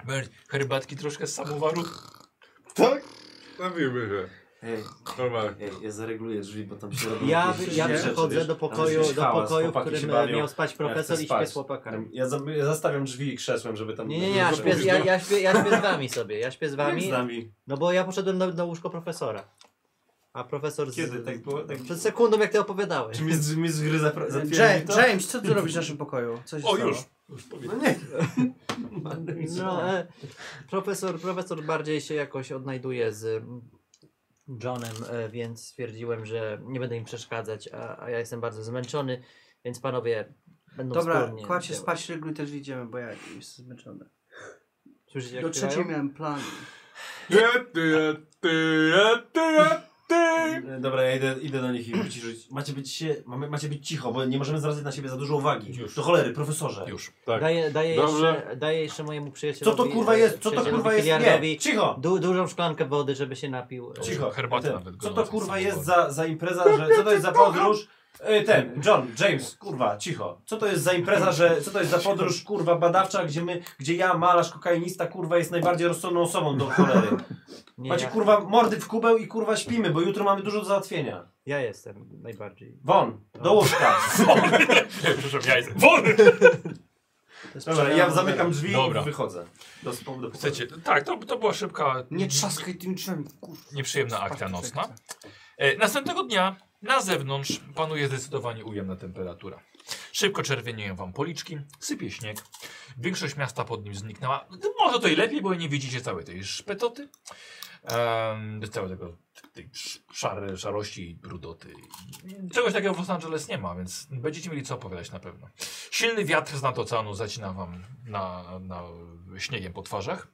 S1: Ber- Herbatki troszkę z samowaru.
S7: Tak? Zabijmy się.
S2: Ej,
S7: Normalnie.
S2: ej, ja zareguluję drzwi, bo tam się robi...
S3: Ja,
S2: jakieś-
S3: ja
S2: rzeczy,
S3: przychodzę
S2: wiesz?
S3: do
S2: Tam
S3: pokoju,
S2: jest
S3: do
S2: hałas,
S3: pokoju w
S2: chłopaki się
S3: którym e,
S2: bawią.
S3: miał spać profesor
S2: chcę
S3: i śpię
S2: spać.
S3: z chłopakami.
S2: Ja, za, ja zastawiam drzwi krzesłem, żeby tam...
S3: Nie, nie, nie, ja śpię, z- ja, ja, śpię, ja śpię z wami sobie, ja śpię z
S2: Jak
S3: wami,
S2: z nami.
S3: no bo ja poszedłem na, na łóżko profesora. A profesor z...
S2: Kiedy tak było? Tak...
S3: Przed sekundą jak ty opowiadałeś.
S2: Czy mnie z, mnie z gry zapra-
S6: Ja-
S2: zatwierdzi to?
S6: E, James, co ty robisz w naszym pokoju? Co się
S1: O,
S6: stało?
S1: już. Już
S2: No
S1: powiem.
S2: nie.
S3: No, e, profesor, profesor bardziej się jakoś odnajduje z mm, Johnem, e, więc stwierdziłem, że nie będę im przeszkadzać, a, a ja jestem bardzo zmęczony, więc panowie będą
S6: Dobra,
S3: wspólnie
S6: kładź się
S3: działać.
S6: spać, reguluj te drzwi, idziemy, bo ja jestem zmęczony.
S3: Słyszycie, jak
S6: Do trzeciej
S3: śpiewają?
S6: miałem plan.
S7: Je, ty, je, ty, je, ty, je, ty.
S2: E, Dobra, ja idę, idę do nich i wyciszyć. Macie być, się, mamy, macie być cicho, bo nie możemy zwracać na siebie za dużo uwagi.
S1: Już.
S2: Do cholery, profesorze.
S1: Już.
S7: Tak.
S3: Daję, daję,
S7: Dobrze.
S3: jeszcze, daję jeszcze mojemu
S2: Co
S3: przyjacielowi.
S2: to kurwa
S3: e,
S2: jest? Co to
S3: przyjacielowi
S2: kurwa jest? Nie,
S3: biliardowi
S2: cicho!
S3: Du, dużą szklankę wody, żeby się napił. e,
S2: Cicho.
S1: Herbaty
S2: Ten,
S1: nawet
S2: Co to
S1: gorące
S2: kurwa
S1: są
S2: jest
S1: dobre.
S2: za, za impreza, że, co to jest za podróż? E, Ten, John, James, kurwa, cicho. Co to jest za impreza, że, co to jest za podróż, kurwa, badawcza, gdzie my, gdzie ja, malarz, kokainista, kurwa, jest najbardziej rozsądną osobą do cholery.
S3: Nie,
S2: Macie,
S3: ja,
S2: kurwa, mordy w kubeł i, kurwa, śpimy, bo jutro mamy dużo do załatwienia.
S3: ja jestem najbardziej.
S2: Won, do łóżka.
S1: Nie, Przepraszam, ja jestem. Wolny!
S2: Dobra, ja zamykam drzwi
S1: Dobra.
S2: i wychodzę. Do, spo- do pokoju.
S1: Chcecie? Tak, to, to była szybka,
S6: Nie trzaskaj tym drzwiami, kurwa.
S1: nieprzyjemna akcja nocna. E, Następnego dnia na zewnątrz panuje zdecydowanie ujemna temperatura. Szybko czerwienieją wam policzki, sypie śnieg. Większość miasta pod nim zniknęła. Może to i lepiej, bo nie widzicie całej tej szpetoty. Um, całej tego, tej sz- szare, szarości i brudoty. Czegoś takiego w Los Angeles nie ma, więc będziecie mieli co opowiadać na pewno. Silny wiatr z nad oceanu zacina wam na, na śniegiem po twarzach.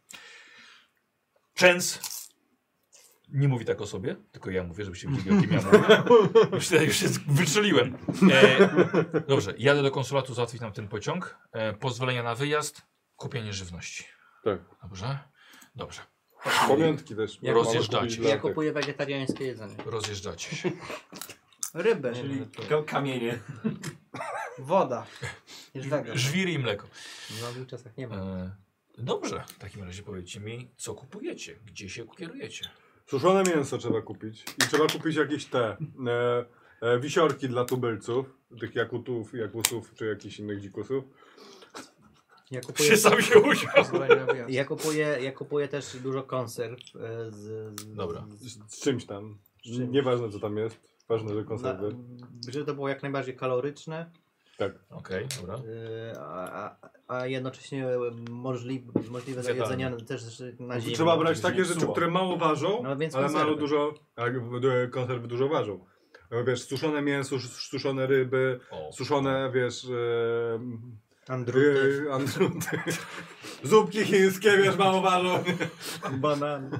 S1: Częs nie mówi tak o sobie, tylko ja mówię, żebyście wiedzieli, o kim ja mówię. Już, się- już się wyczuliłem. E, dobrze, jadę do konsulatu załatwić nam ten pociąg. E, pozwolenia na wyjazd, kupienie żywności.
S7: Tak.
S1: Dobrze? Dobrze.
S7: Pamiątki też.
S3: Ja
S1: rozjeżdżacie.
S7: Mamy kupić
S3: Ja
S7: latek.
S3: kupuję wegetariańskie jedzenie.
S1: Rozjeżdżacie się.
S6: Rybę,
S2: Czyli ka- kamienie.
S6: woda. Jest wega.
S1: Żwiry i mleko.
S3: W nowych czasach nie ma.
S1: E, dobrze, w takim razie powiedzcie mi, co kupujecie, gdzie się kierujecie.
S7: Suszone mięso trzeba kupić. I trzeba kupić jakieś te e, e, wisiorki dla tubylców. Tych jakutów, jakusów czy jakichś innych dzikusów.
S3: Ja kupuję,
S1: Się sam się usiadł.
S3: ja kupuję, ja kupuję też dużo konserw e, z, z,
S1: Dobra.
S3: z,
S7: Z, z czymś tam.
S3: Z czymś.
S7: Nieważne co tam jest. Ważne, że
S3: na,
S7: konserwy.
S3: żeby to było jak najbardziej kaloryczne.
S1: Okej, dobra.
S3: Yy, A, a, a jednocześnie możliwe, możliwe do
S1: Zjadalne.
S3: jedzenia też na zimę.
S7: Znaczy, Trzeba brać takie
S2: zimno.
S7: rzeczy, które mało ważą,
S3: No więc
S7: ale mało
S3: konserwy.
S7: dużo. Tak, e, konserwy dużo ważą. E, Wiesz, suszone mięso, sus- suszone ryby,
S1: O.
S7: suszone, wiesz, e,
S3: Andruty,
S7: Yy, Andruty. Zupki chińskie, wiesz, mało ważą.
S3: banany.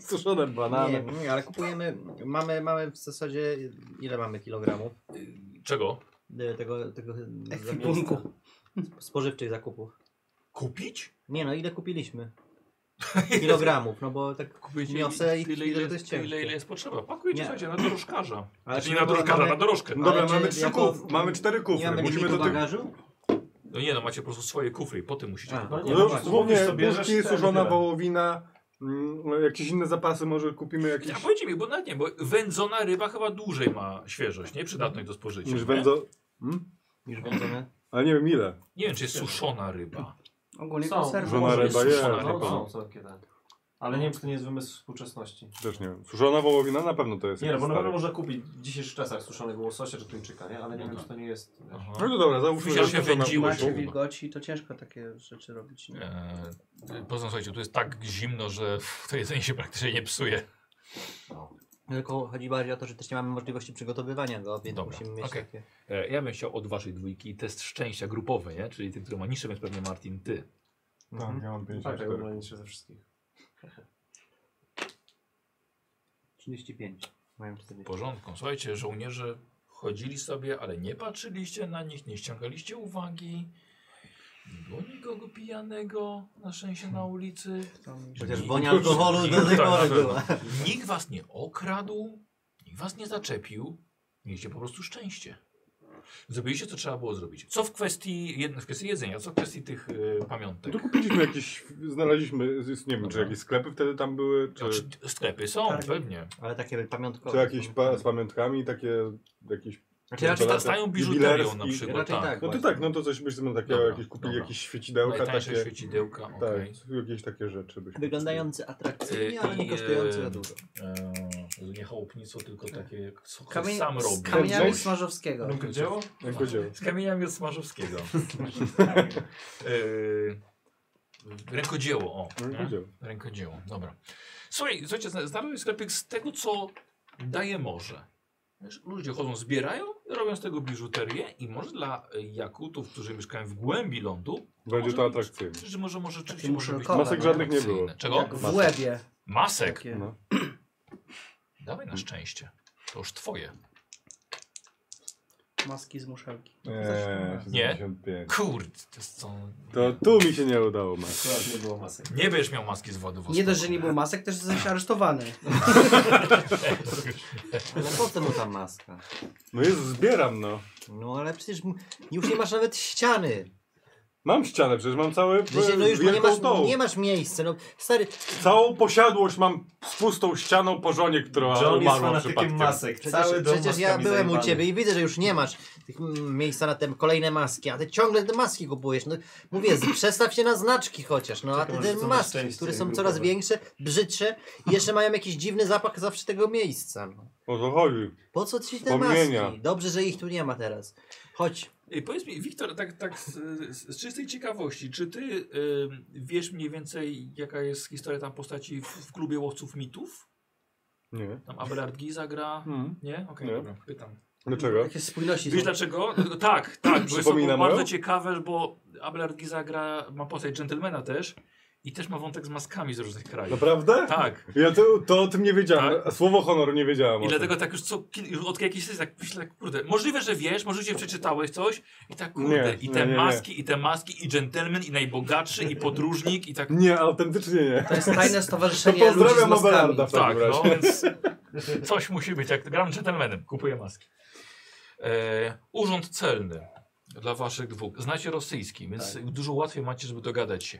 S7: Suszone
S3: Nie,
S7: banany.
S3: nie, ale kupujemy, mamy, mamy w zasadzie, ile mamy kilogramów
S1: Czego?
S3: yy, tego, tego
S6: Ekwipunku.
S3: zamiast- spożywczych zakupów?
S1: Kupić?
S3: Nie no, ile kupiliśmy? Kilogramów, no bo tak
S1: Kupujecie
S3: Niosę i
S1: tyle, ile,
S3: widzę, że
S1: to
S3: to jest
S1: jest tyle, ile,
S3: ciężkie.
S1: jest potrzeba. Pakujecie,
S3: Nie.
S1: słuchajcie, na dorożkarza.
S3: Ale
S1: Znaczy nie
S3: czy
S1: na
S3: w ogóle
S1: dorożkarza,
S3: mamy-
S1: na dorożkę.
S7: No Dobra,
S3: Ale
S7: mamy
S3: czy
S7: trzy
S3: jako-
S7: kufry. Mamy cztery
S3: nie mamy
S7: kufry. Musimy
S3: limitu
S7: do tych...
S3: bagażu?
S1: No nie, no macie po prostu swoje kufry, po tym musicie.
S3: A,
S1: kupować.
S3: no nie,
S7: No,
S3: no
S7: już
S3: właśnie.
S7: głównie
S2: sobie
S7: buźki,
S2: bierzesz
S7: suszona
S2: tyle.
S7: wołowina, mm, jakieś inne zapasy, może kupimy jakieś...
S1: A powiedzcie mi, bo nawet nie, bo wędzona ryba chyba dłużej ma świeżość, nie? Przydatność do spożycia.
S7: Niż
S1: nie?
S7: wędzo...
S3: Już będziemy.
S7: Ale nie wiem ile.
S1: Nie wiem, czy jest suszona ryba.
S6: Ogólnie
S2: Są.
S6: konserwy.
S7: Żona
S6: może
S7: ryba
S6: być
S7: jest.
S6: suszona
S2: No,
S6: ryba.
S2: są, są kiedy. Ale nie wiem, czy to nie jest wymysł współczesności.
S7: Też nie wiem. Suszona wołowina na pewno to jest.
S2: Nie, no
S7: jakiś
S2: bo na pewno
S7: stary.
S2: można kupić w dzisiejszych czasach suszonego łososia czy tuńczyka, nie? Ale nie
S1: No
S2: wiem,
S1: tak.
S2: czy to nie jest... wiesz.
S1: Aha.
S7: No to dobra, załóżmy,
S1: Myślę, że się
S7: suszona
S1: wędziło
S7: wołowina.
S1: się.
S6: Macie wilgoci, to ciężko takie rzeczy robić. Nie?
S1: Eee, poza tym, słuchajcie, tu jest tak zimno, że pff, to jedzenie się praktycznie nie psuje.
S5: Tylko chodzi bardziej o to, że też nie mamy możliwości przygotowywania go, więc
S1: Dobra,
S5: musimy mieć
S1: okej.
S5: takie...
S1: E, ja bym chciał od waszej dwójki test szczęścia grupowy, nie? Czyli ten, który ma niższe, więc pewnie Martin, ty.
S7: Tak, ja mam
S2: Tak,
S7: 54.
S2: najmniejsze ze wszystkich.
S5: 35. Mają 40.
S1: W porządku. Słuchajcie, żołnierze chodzili sobie, ale nie patrzyliście na nich, nie ściągaliście uwagi. Nie było nikogo pijanego na szczęście na ulicy.
S6: Tam-
S5: Chociaż
S1: Nikt-
S5: wonia alkoholu do tej
S1: Tak,
S5: pory
S1: tak.
S5: była.
S1: Nikt was nie okradł, nikt was nie zaczepił. Mieliście po prostu szczęście. Zrobiliście, co trzeba było zrobić. Co w kwestii, jed- w kwestii jedzenia, co w kwestii tych y, pamiątek.
S7: To kupiliśmy jakieś, znaleźliśmy, z- nie wiem, czy
S1: Dobra.
S7: jakieś sklepy wtedy tam były, czy,
S1: Znaczy, sklepy są,
S6: Targi.
S1: pewnie.
S3: Znaczy,
S5: Ale takie pamiątkowe. Znaczy,
S7: czy jakieś
S5: są.
S7: pa, z pamiątkami, takie, jakieś...
S1: Czy raczej
S7: Chocolate,
S1: stają biżuterią na
S7: jubilerski.
S1: przykład.
S5: Raczej
S1: tak.
S5: tak.
S7: No to
S5: właśnie.
S7: tak, no to coś byśmy takiego,
S1: Dobra,
S7: jakieś kupili,
S1: dobra.
S7: jakieś świecidełka,
S1: Najtańsze
S7: takie...
S1: świecidełka, okej.
S7: Tak, jakieś takie rzeczy byśmy
S5: Wyglądający
S1: Yy,
S5: atrakcyjnie, ale
S1: i,
S5: nie kosztujący
S1: yy,
S5: za dużo.
S1: Eee, nie chałupnicą, tylko takie, jak co
S6: Kamień-
S1: sam
S6: z
S1: robi.
S6: kamieniami
S1: Coś.
S6: Smarzowskiego.
S7: No,
S2: Dzieło?
S7: kupili. Jak powiedziałem.
S1: Z kamieniami od Smarzowskiego.
S6: Tak,
S1: Eee, Rękodzieło, o.
S7: No, jak
S1: nie?
S7: powiedziałem.
S1: Rękodzieło, dobra. Słuchaj, słuchajcie, zna- znalazłem sklepik z tego, co daje morze. Wiesz, Ludzie chodzą, zbierają, robią z tego biżuterię i może dla e, jakutów, którzy mieszkają w głębi lądu,
S7: Będzie to
S1: może być-
S7: atrakcyjne.
S1: że może, może rzeczywiście
S6: Takie
S1: może być
S6: muszelkowe, no.
S7: Masek żadnych nie
S1: atrakcyjne.
S7: było.
S1: Czego? Tak.
S6: Jak w łebie.
S1: Masek.
S6: Takie.
S7: No.
S1: Dawaj na szczęście. To już twoje.
S6: Maski z muszelki.
S7: Eee,
S1: Nie.
S7: 75.
S1: Kurde, to jest co...
S7: To tu mi się nie udało, Max.
S2: Akurat nie było masek.
S1: Nie będziesz miał maski z Władywostoku.
S6: Nie dość, że nie był masek, też zostałeś aresztowany.
S1: No.
S5: Ale po co mu ta maska?
S7: No jest, zbieram no.
S5: No ale przecież m- już nie masz nawet ściany.
S7: Mam ścianę, przecież mam cały
S5: Przecież,
S7: e,
S5: no już nie
S7: wielką
S5: masz,
S7: tą.
S5: nie masz miejsca. No, stary,
S7: Całą posiadłość mam z pustą ścianą po żonie, która
S2: John jest
S7: umarła
S2: fanatykiem
S7: przypadkiem.
S2: masek.
S5: przecież,
S2: Cały dom
S5: przecież ja
S2: maskami
S5: byłem u
S2: zajebany.
S5: ciebie i widzę, że już nie masz tych mm, miejsca na te kolejne maski, a ty ciągle te maski kupujesz. No, mówię, z- przestaw się na znaczki chociaż, no a
S2: Czekam,
S5: ty
S2: aż
S5: te
S2: są na
S5: maski,
S2: szczęście
S5: które są
S2: grupowe.
S5: coraz większe, brzydsze i jeszcze mają jakiś dziwny zapach zawsze tego miejsca. No.
S7: O to chodzi.
S5: Po co ci te
S7: Wspomnienia.
S5: maski? Dobrze, że ich tu nie ma teraz. Chodź.
S1: Ej, powiedz mi, Wiktor, tak, tak z, z z czystej ciekawości, czy ty y, wiesz mniej więcej, jaka jest historia tam postaci w, w klubie łowców mitów?
S7: Nie.
S1: Tam Abelard Giza gra?
S7: Hmm.
S1: Nie? Okej,
S7: Nie.
S1: dobra, pytam.
S7: Dlaczego?
S6: Jakie spójności
S1: Wiesz
S6: są.
S1: dlaczego? Dlatego- Tak, tak, bo jest to
S7: Przypominam
S1: bardzo
S7: ją?
S1: ciekawe, bo Abelard Giza gra, ma postać gentlemana też i też ma wątek z maskami z różnych krajów.
S7: Naprawdę?
S1: Tak.
S7: Ja to, to o tym nie wiedziałem. Słowo honoru nie wiedziałem.
S1: I
S7: o tym.
S1: dlatego tak już co, ki- już od jakiejś sesji tak myślę, tak, kurde, możliwe, że wiesz, możliwe, że przeczytałeś coś i tak, kurde,
S7: Nie,
S1: i te
S7: nie, nie, nie.
S1: maski, i te maski, i dżentelmen, i najbogatszy, i podróżnik, i tak,
S7: Nie, autentycznie nie.
S6: To jest tajne
S7: To
S6: stowarzyszenie ludzi z
S7: pozdrawiam
S6: maskami.
S7: Abelarda w
S1: tak,
S7: takim
S1: no,
S7: razie.
S1: więc coś musi być, jak gram dżentelmenem, kupuję maski. E, urząd celny dla waszych dwóch, znacie rosyjski, więc dużo łatwiej macie, żeby dogadać się.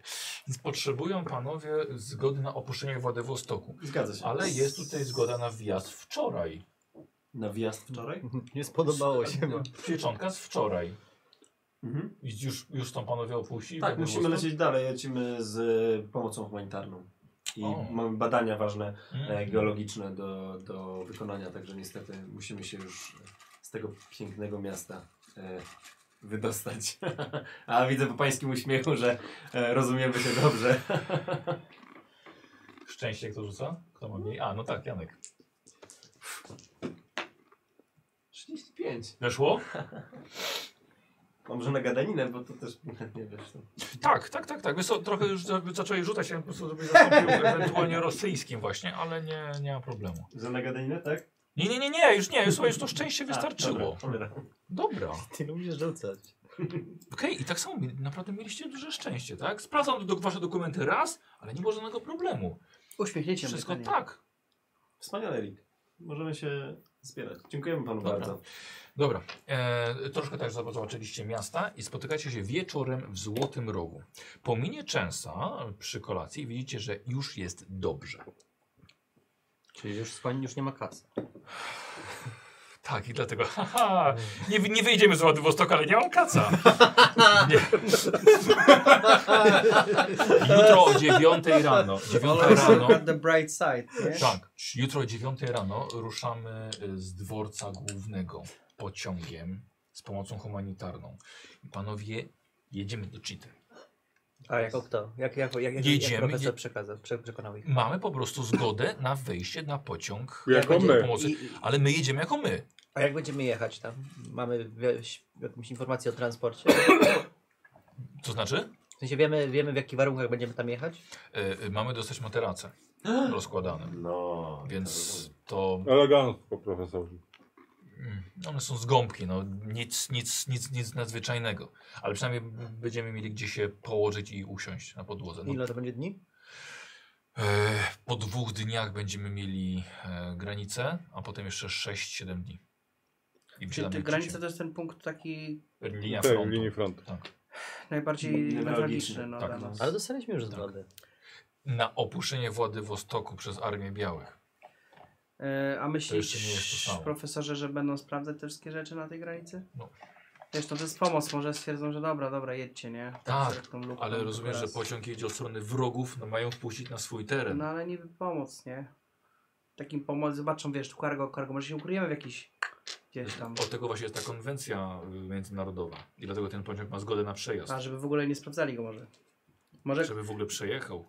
S1: Więc potrzebują panowie zgody na opuszczenie Władywostoku,
S2: Zgadza się.
S1: ale jest tutaj zgoda na wjazd wczoraj.
S2: Na wjazd wczoraj?
S5: Nie spodobało się.
S1: Pieczątka z wczoraj.
S2: Mhm.
S1: I Już, już tam panowie opuścili?
S2: Tak,
S1: Władywostok?
S2: musimy lecieć dalej. Lecimy z e, pomocą humanitarną. I
S1: O.
S2: mamy badania ważne,
S1: Mm.
S2: e, geologiczne do, do wykonania, także niestety musimy się już z tego pięknego miasta e, wydostać. A widzę po pańskim uśmiechu, że e, rozumiemy się dobrze.
S1: Szczęście kto rzuca? Kto ma mniej? A, no tak, Janek.
S2: 35.
S1: Weszło?
S2: Mam że na gadaninę, bo to też nie wiesz. no.
S1: Tak, tak, tak, tak. Wiesz co, trochę już za- zacząłeś rzucać, ja po prostu sobie zastąpił ewentualnie rosyjskim właśnie, ale nie, nie ma problemu.
S2: Że na gadaninę, tak?
S1: Nie, nie, nie, nie, już nie, już, słuchaj, już to szczęście
S2: A,
S1: wystarczyło.
S2: dobra, cholera.
S1: Dobra.
S5: Ty lubisz rzucać.
S1: Okej, i tak samo mi- naprawdę mieliście duże szczęście, tak? Sprawdzam do, wasze dokumenty raz, ale nie było żadnego problemu.
S6: Uśmiechnięcie
S1: Wszystko
S6: pytanie.
S1: tak.
S2: Wspaniale, Rick. Możemy się zbierać. Dziękujemy panu
S1: Dobra.
S2: bardzo.
S1: Dobra, e, troszkę też zobaczyliście miasta i spotykacie się wieczorem w Złotym Rogu. Po minie Częsa przy kolacji widzicie, że już jest dobrze.
S5: Czyli już skłoni, już nie ma kasy.
S1: Tak, i dlatego, haha, nie, wy- nie wyjdziemy z Władywostoka, ale nie mam kaca. Nie. Jutro o 9 rano, 9
S6: Always
S1: rano,
S6: look at the bright side, nie?
S1: tak, jutro o 9 rano ruszamy y, z dworca głównego pociągiem z pomocą humanitarną. Panowie, jedziemy do Cheaty.
S5: A jako kto? Jak, jak, jak, jak,
S1: Jedziemy,
S5: jak profesor
S1: je-
S5: przekazał, prze, przekonał ich?
S1: Mamy po prostu zgodę na wejście na pociąg
S7: Jako
S1: będzie
S7: my.
S1: pomocy,
S5: I-
S1: ale my jedziemy jako my.
S5: A jak będziemy jechać tam? Mamy wieś, jakąś informację o transporcie?
S1: To znaczy,
S5: W sensie wiemy, wiemy w jakich warunkach będziemy tam jechać?
S1: y, y, mamy dostać materace rozkładane,
S8: No.
S1: więc to
S7: Elegancko, profesorze.
S1: Mm, One są z gąbki, no nic, nic, nic, nic nadzwyczajnego. Ale przynajmniej b- będziemy mieli gdzie się położyć i usiąść na podłodze. No,
S5: Ile to będzie dni?
S1: e, po dwóch dniach będziemy mieli e, granicę, a potem jeszcze 6-7 dni. I
S6: Czyli
S1: wsiadamy
S6: te
S1: w
S6: granice to jest ten punkt taki
S1: Checie. linia
S7: Tak,
S1: frontu.
S7: linii frontu.
S6: najbardziej
S2: Newralgiczny,
S6: newralgiczny. No,
S1: tak.
S6: dla nas.
S5: Ale dostaliśmy już zgodę.
S1: Na opuszczenie Władywostoku przez Armię Białych.
S6: E, A
S1: jeszcze nie jest to
S6: myślisz,
S1: samo.
S6: profesorze, że będą sprawdzać te wszystkie rzeczy na tej granicy?
S1: No.
S6: Wiesz, to jest pomoc, może stwierdzą, że dobra, dobra, jedźcie, nie?
S1: Tak,
S6: że tą lupą
S1: Ale
S6: tylko
S1: rozumiem, że
S6: raz.
S1: pociąg jedzie od strony wrogów, no mają wpuścić na swój teren.
S6: No ale niby pomoc, nie? Takim pomoc, zobaczą, wiesz, tu cargo, cargo, może się ukryjemy w jakiś, gdzieś tam.
S1: Od tego właśnie jest ta konwencja y, międzynarodowa. I dlatego ten pociąg ma zgodę na przejazd.
S6: A, żeby w ogóle nie sprawdzali go może. Może,
S1: Żeby w ogóle przejechał.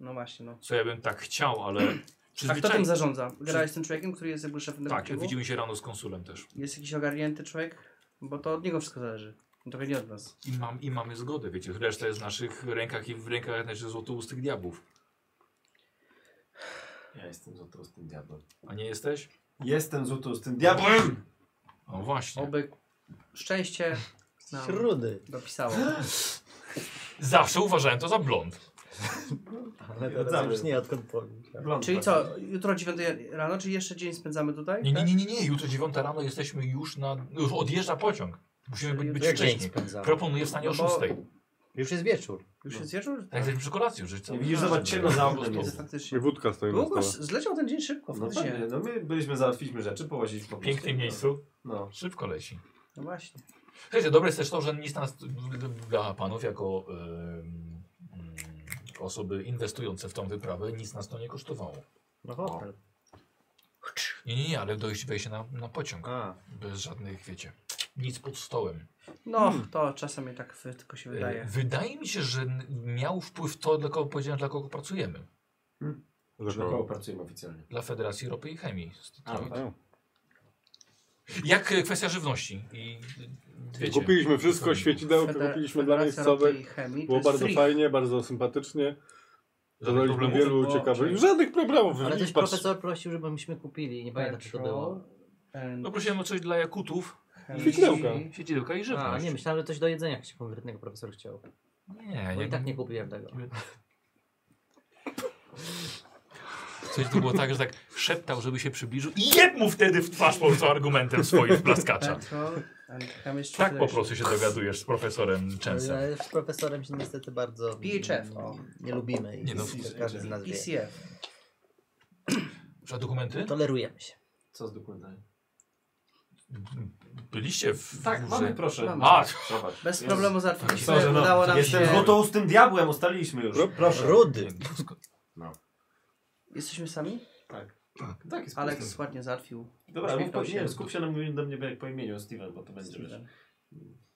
S6: no właśnie, no.
S1: Co ja bym tak chciał, ale
S6: A kto tym
S1: przyzwyczaj...
S6: zarządza? Grałeś z tym człowiekiem, który jest jakby szefem tego
S1: Tak,
S6: pociągu?
S1: widzimy się rano z konsulem też.
S6: Jest jakiś ogarnięty człowiek? Bo to od niego wszystko zależy. Trochę nie od nas.
S1: I, mam, I mamy zgodę, wiecie. Reszta jest w naszych rękach i w rękach naszych złotoustych diabłów.
S2: Ja jestem złotą z tym diabłem.
S1: A nie jesteś?
S2: Jestem złotą z tym diabłem!
S1: No właśnie.
S6: Oby szczęście nam
S5: Rudy.
S6: dopisało.
S1: Zawsze uważałem to za blond.
S5: Ale
S2: teraz
S5: teraz
S2: już
S5: już nie, odkąd powiem.
S2: Blond
S6: Czyli
S2: taki.
S6: co, jutro o 9 rano, czy jeszcze dzień spędzamy tutaj?
S1: Nie, nie, nie, nie, nie. Jutro 9 rano jesteśmy już na... Już odjeżdża pociąg. Musimy być, być
S5: Jak dzień
S1: wcześniej.
S5: spędzamy?
S1: Proponuję wstanie o
S6: No bo-
S1: 6.
S5: Już jest wieczór.
S6: Już jest wieczór?
S1: Tak, jesteśmy przy kolacji już.
S2: Nie widzisz, zobacz, ciemno za oknem
S6: Jest
S2: jest.
S7: I
S6: faktycznie.
S7: wódka stoi na
S6: Długo
S7: stole.
S6: zleciał ten dzień szybko,
S2: No,
S6: faktycznie.
S2: pewnie, no my byliśmy, załatwiliśmy rzeczy, połaziliśmy po
S1: W pięknym
S2: prostu.
S1: miejscu.
S2: No.
S1: Szybko leci.
S6: No właśnie.
S1: Słuchajcie, dobre jest też to, że nic nas dla panów jako em, mm, osoby inwestujące w tą wyprawę, nic nas to nie kosztowało.
S5: No hotel.
S1: Nie, nie, nie, ale dojść, wejście na, na pociąg.
S5: A.
S1: Bez żadnych, wiecie, nic pod stołem.
S6: No, to czasami tak wy- tylko się
S1: E,
S6: wydaje.
S1: Wydaje mi się, że n- miał wpływ to, dla kogo powiedziałem, dla kogo pracujemy.
S2: Że koło
S7: Zakoło.
S2: pracujemy oficjalnie.
S1: Dla Federacji Ropy i Chemii. Z-
S2: A,
S1: to-
S2: tak.
S1: Jak e, kwestia żywności i e, wiecie.
S7: Kupiliśmy wszystko,
S1: Feder-
S7: świecidełkę
S6: Feder-
S7: kupiliśmy dla
S6: Federacja
S7: miejscowych.
S6: Ropy i Chemii, to
S7: Było
S6: jest
S7: bardzo
S6: free.
S7: fajnie, bardzo sympatycznie.
S1: Żadnych
S7: Zadaliśmy
S1: problemów?
S7: wielu
S6: Było-
S7: ciekawych.
S6: czyli-
S7: Żadnych problemów.
S5: Ale też
S7: Patrz-
S5: profesor prosił, żebyśmy kupili. Nie pamiętam, czy Tak, to było.
S1: No prosiłem o coś dla Jakutów,
S7: Świecidełka.
S1: siedzidełka i
S5: A,
S1: żywność.
S5: nie, myślałem, że coś do jedzenia się konkretnego profesor chciał.
S1: nie,
S5: Bo
S1: nie,
S5: i tak nie kupiłem tego.
S1: Coś to było tak, że tak szeptał, żeby się przybliżył i jeb mu wtedy w twarz po prostu argumentem swoim plaskacza.
S6: Petrol and chemistry
S1: Tak po
S6: federation.
S1: prostu się dogadujesz z profesorem Częsem.
S5: Ale z profesorem się niestety bardzo
S6: PHF,
S5: mm,
S6: o.
S5: nie lubimy i
S1: Nie no,
S5: każdy z nas wie.
S6: PCF.
S1: Że dokumenty?
S5: Tolerujemy się.
S2: Co z dokumentami?
S1: Byliście w
S2: Tak, mamy,
S1: górze.
S2: proszę.
S6: Mamy.
S1: A,
S2: Zobacz.
S6: Bez
S2: Jest-
S6: problemu załatwiliśmy.
S2: Sorry, no.
S6: Udało nam
S2: Jestem
S6: się.
S2: złotą z tym diabłem, ustaliliśmy już.
S7: Pro-
S2: Proszę.
S5: Rudy!
S6: Jesteśmy sami?
S2: Tak, jest
S6: Aleks ładnie załatwił.
S2: Dobra, mów
S6: Uśmiechnął
S2: po,
S6: się.
S2: nie, wiem, skup się na mówieniu do mnie jak po imieniu Steven, bo to będzie wiesz.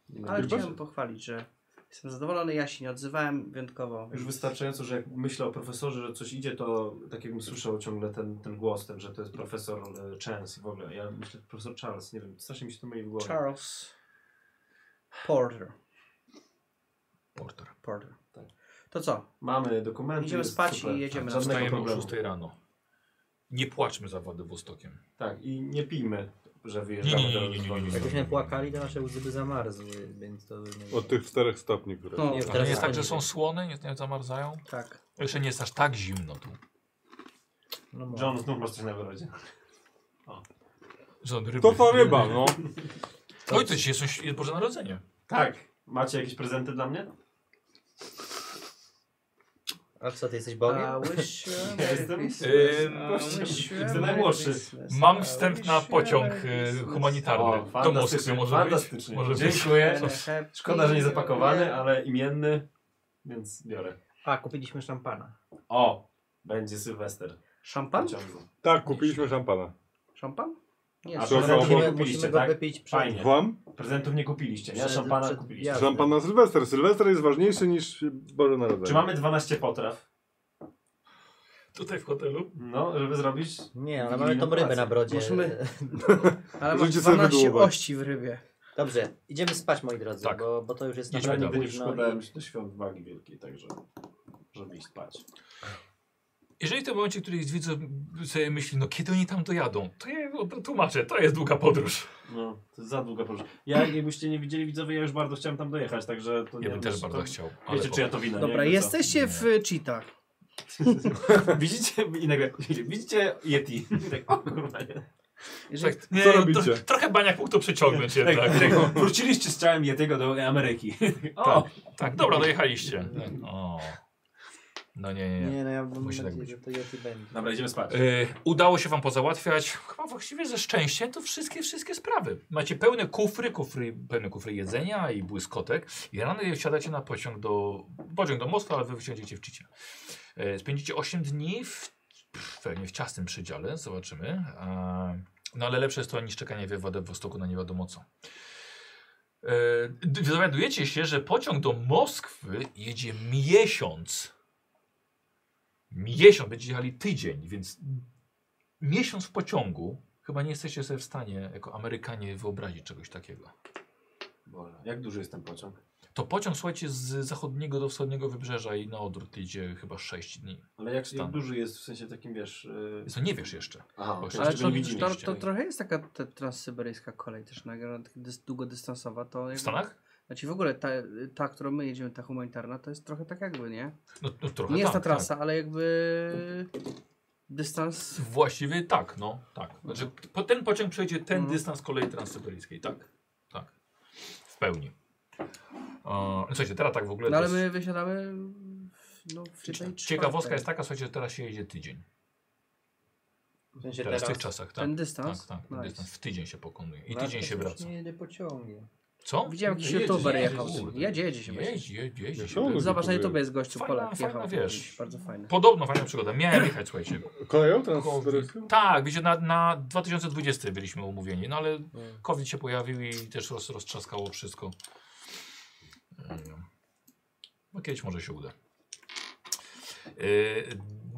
S2: nie
S6: Ale
S2: będzie-
S6: chciałem pochwalić, że jestem zadowolony, ja się nie odzywałem wyjątkowo.
S2: Już wystarczająco, że jak myślę o profesorze, że coś idzie, to tak jakbym słyszał ciągle ten, ten głos, ten, że to jest profesor e, Chance i w ogóle. Ja myślę, że profesor Charles, nie wiem, strasznie mi się to myli w głowie.
S6: Charles Porter.
S1: Porter.
S6: Porter.
S2: Tak.
S6: To co?
S2: Mamy dokumenty.
S6: Idziemy
S2: jest
S6: spać
S2: super.
S6: i jedziemy
S2: tak,
S6: na-
S2: żadnego
S1: Wstajemy o
S2: problemu.
S1: 6 rano. Nie płaczmy za Władywostokiem.
S2: Tak, i nie pijmy, że
S1: Nie,
S2: wyjeżdżamy
S1: nie, nie,
S2: do
S1: nie, nie, nie, nie, nie.
S5: Jakbyśmy płakali, to nasze łzy by zamarzły, więc to by...
S7: Od tych czterech stopni, które...
S6: No,
S5: Nie,
S1: Ale
S5: teraz
S1: nie jest tak, że
S5: poniżej.
S1: są słone, nie, nie zamarzają?
S6: tak.
S1: Jeszcze nie jest aż tak zimno tu,
S5: No, może.
S2: John znów masz coś na wyrodzie.
S1: że od ryby.
S7: To ta ryba, no.
S1: Oj, to dzisiaj są, świ- jest Boże Narodzenie.
S2: Tak. Macie jakieś prezenty dla mnie?
S5: A co, ty jesteś Bogiem?
S6: I wish you a
S2: Ja
S6: Merry
S2: jestem-
S6: Christmas. I wish you a
S2: Jestem
S6: Merry
S2: najmłodszy.
S6: Christmas.
S1: Mam
S6: I
S1: wstęp
S6: wish
S1: na
S6: you a
S1: pociąg
S6: Merry
S2: y,
S1: e,
S6: Christmas.
S1: humanitarny. Do Moskwy może być.
S2: fantastycznie.
S1: Może być.
S2: Dziękuję.
S6: And a happy
S2: Szkoda, że nie
S6: year.
S2: zapakowany, ale imienny, więc biorę.
S5: A, kupiliśmy szampana.
S2: O, będzie Sylwester.
S6: Szampan?
S2: Ciągu.
S7: Tak, kupiliśmy szampana.
S6: Szampan? Nie,
S2: A
S7: Proszę,
S2: prezentów nie
S7: obok-
S2: kupiliście,
S5: Musimy go
S2: tak?
S5: wypić przed...
S2: Fajnie.
S7: Wam?
S2: Prezentów nie kupiliście, nie?
S5: Przed-
S2: Szampana
S5: przed-
S2: kupiliście.
S5: ja-
S7: Szampan na Tak. Sylwester. Sylwester jest ważniejszy niż Boże Narodzenie.
S2: Czy mamy 12 potraw?
S1: Tutaj w hotelu.
S2: No, żeby zrobić...
S5: Nie, ale mamy tą rybę na brodzie.
S6: Musimy- Ale masz
S7: Możecie sobie
S6: 12
S7: wydłubać.
S6: ości w rybie.
S5: Dobrze, idziemy spać moi drodzy,
S1: Tak.
S5: bo, bo to już jest
S1: Idźmy
S2: Ja
S5: naprawdę
S2: nigdy nie
S5: późno.
S2: przykładałem się do świąt wagi wielkiej, także żeby iść spać.
S1: Jeżeli w tym momencie któryś z widzów sobie myśli, no kiedy oni tam dojadą, to ja im tłumaczę, to jest długa podróż.
S2: No, to jest za długa podróż. Ja, jakbyście nie widzieli widzowie, ja już bardzo chciałem tam dojechać, także to nie
S1: Ja bym
S2: wiem,
S1: też
S2: czy
S1: bardzo
S2: to...
S1: chciał. Ale
S2: Wiecie, czy ja to wina,
S6: Dobra,
S2: nie? Jakby
S6: jesteście w cheatach.
S2: co? Widzicie? I nagle, widzicie Yeti. I tak, o kurwa, nie.
S6: Jeżeli,
S1: tak, nie,
S7: Co
S1: to-
S7: robicie?
S1: trochę baniak mógł to przyciągnąć
S2: Tak,
S1: jednak.
S2: tak, wróciliście z ciałem Yetiego do Ameryki. O,
S1: Tak, dobra, dojechaliście.
S2: Tak.
S1: O. No nie, nie, nie.
S5: Nie, no ja mam
S1: Musi tak
S5: nadzieję, że to Yeti będzie.
S2: Dobra, idziemy spać.
S1: Y, udało się wam pozałatwiać, chyba właściwie ze szczęściem, to wszystkie, wszystkie sprawy. Macie pełne kufry, kufry, pełne kufry jedzenia i błyskotek i rano wsiadacie na pociąg do, pociąg do Moskwy, ale wy wysiądziecie w Cicie. Y, spędzicie 8 dni w, pewnie w ciasnym przedziale, zobaczymy. A, no ale lepsze jest to niż czekanie we Władywostoku na nie wiadomo co. Y, d- dowiadujecie się, że pociąg do Moskwy jedzie miesiąc. Miesiąc, będziecie jechali tydzień, więc miesiąc w pociągu chyba nie jesteście sobie w stanie jako Amerykanie wyobrazić czegoś takiego.
S2: Boże, jak duży jest ten pociąg?
S1: To pociąg, słuchajcie, z zachodniego do wschodniego wybrzeża i na odwrót idzie chyba 6 dni.
S2: Ale jak,
S1: Stan.
S2: jak duży jest w sensie takim, wiesz... Yy...
S1: Więc to nie wiesz jeszcze. Bo
S2: Aha, okej,
S1: jeszcze
S6: ale
S2: jeszcze
S1: czego
S6: to,
S2: nie widzimy.
S6: to,
S1: widzieliście.
S6: to trochę jest taka ta transsyberyjska kolej też nagra, dys, długodystansowa. To
S1: W
S6: jakby-
S1: Stanach?
S6: Znaczy w ogóle ta, ta, którą my jedziemy, ta humanitarna, to jest trochę tak jakby, nie?
S1: No, no trochę
S6: Nie jest ta
S1: tak,
S6: trasa, ale jakby dystans...
S1: Tak. Właściwie tak, no tak. Znaczy, po- ten pociąg przejdzie ten
S6: Mhm.
S1: dystans kolei transsyberyjskiej, tak. Tak. W pełni. E, słuchajcie, teraz tak w ogóle.
S6: No ale
S1: to jest-
S6: my wysiadamy w- no, w tej
S1: Ciekawostka jest taka, słuchajcie, że teraz się jedzie tydzień.
S5: W sensie
S1: Teraz,
S5: teraz,
S1: w tych czasach, tak.
S6: Ten
S1: Tak,
S6: dystans?
S1: tak.
S6: Nice.
S1: Dystans w tydzień się pokonuje. I
S5: Warto
S1: tydzień się wraca.
S5: Nie jedę pociągiem.
S1: Co?
S6: Widziałem jakiś
S2: Jedzie,
S6: youtuber
S2: jedzie,
S6: jechał.
S1: kurde.
S6: Jedzie, jedzie się. właśnie.
S1: Jeździ, jeździ, jeździ się.
S7: Ciągle
S6: Zobacz, na
S7: kupuje.
S6: YouTubie jest gościu,
S1: Fajna-
S6: Polak
S1: fajna No.
S6: jechał.
S1: wiesz.
S6: Bardzo fajny.
S1: Podobno fajna przygoda. Miałem jechać, słuchajcie.
S7: Koleją transferyjską?
S1: Tak, wiecie, na, na 2020 byliśmy umówieni, no ale COVID się pojawił i też roz, roztrzaskało wszystko. Mm. No kiedyś może się uda. Yy,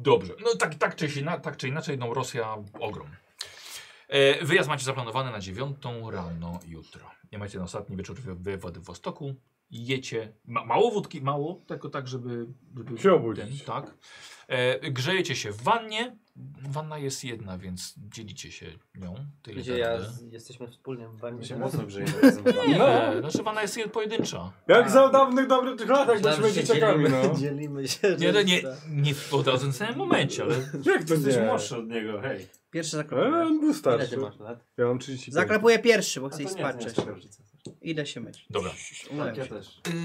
S1: dobrze. No tak, tak, czy, się, tak czy inaczej, no Rosja ogrom. E, wyjazd macie zaplanowany na 9 rano jutro. Nie macie na ostatni wieczór we- we Władywostoku. Jecie ma, mało wódki, mało, tylko tak, żeby, żeby
S7: Się obudzić.
S1: ten, tak. E, grzejecie się w wannie. Wanna jest jedna, więc dzielicie się nią. Tyle
S5: Gdzie
S1: da
S5: ja
S1: radę.
S5: z, jesteśmy wspólnie w
S2: My
S5: bani.
S2: się mocno grzejemy razem z wami.
S1: Nie, znaczy wanna jest jed- pojedyncza.
S7: Jak za dawnych dobrych latach byliśmy dzieciakami, no.
S5: dzielimy się.
S1: Nie, nie,
S5: że-
S1: nie, nie od razu w samym momencie, ale
S7: Jak to
S2: Jesteś
S7: nie?
S2: młodszy od niego, hej.
S6: Pierwszy
S7: Ale
S1: Eee.
S6: zaklapuje.
S7: on był
S5: Ile
S7: starszy.
S5: ty masz lat?
S7: Ja mam 35.
S6: Zaklapuje pierwszy, bo
S2: A
S6: chce
S2: to
S6: iść
S2: nie, to
S6: spać
S2: nie jest
S6: wcześniej.
S2: taka różnica.
S6: Idę się myć.
S1: dobra.
S2: Tak,
S6: Umyłem
S2: ja
S6: się.
S2: też.
S1: Ale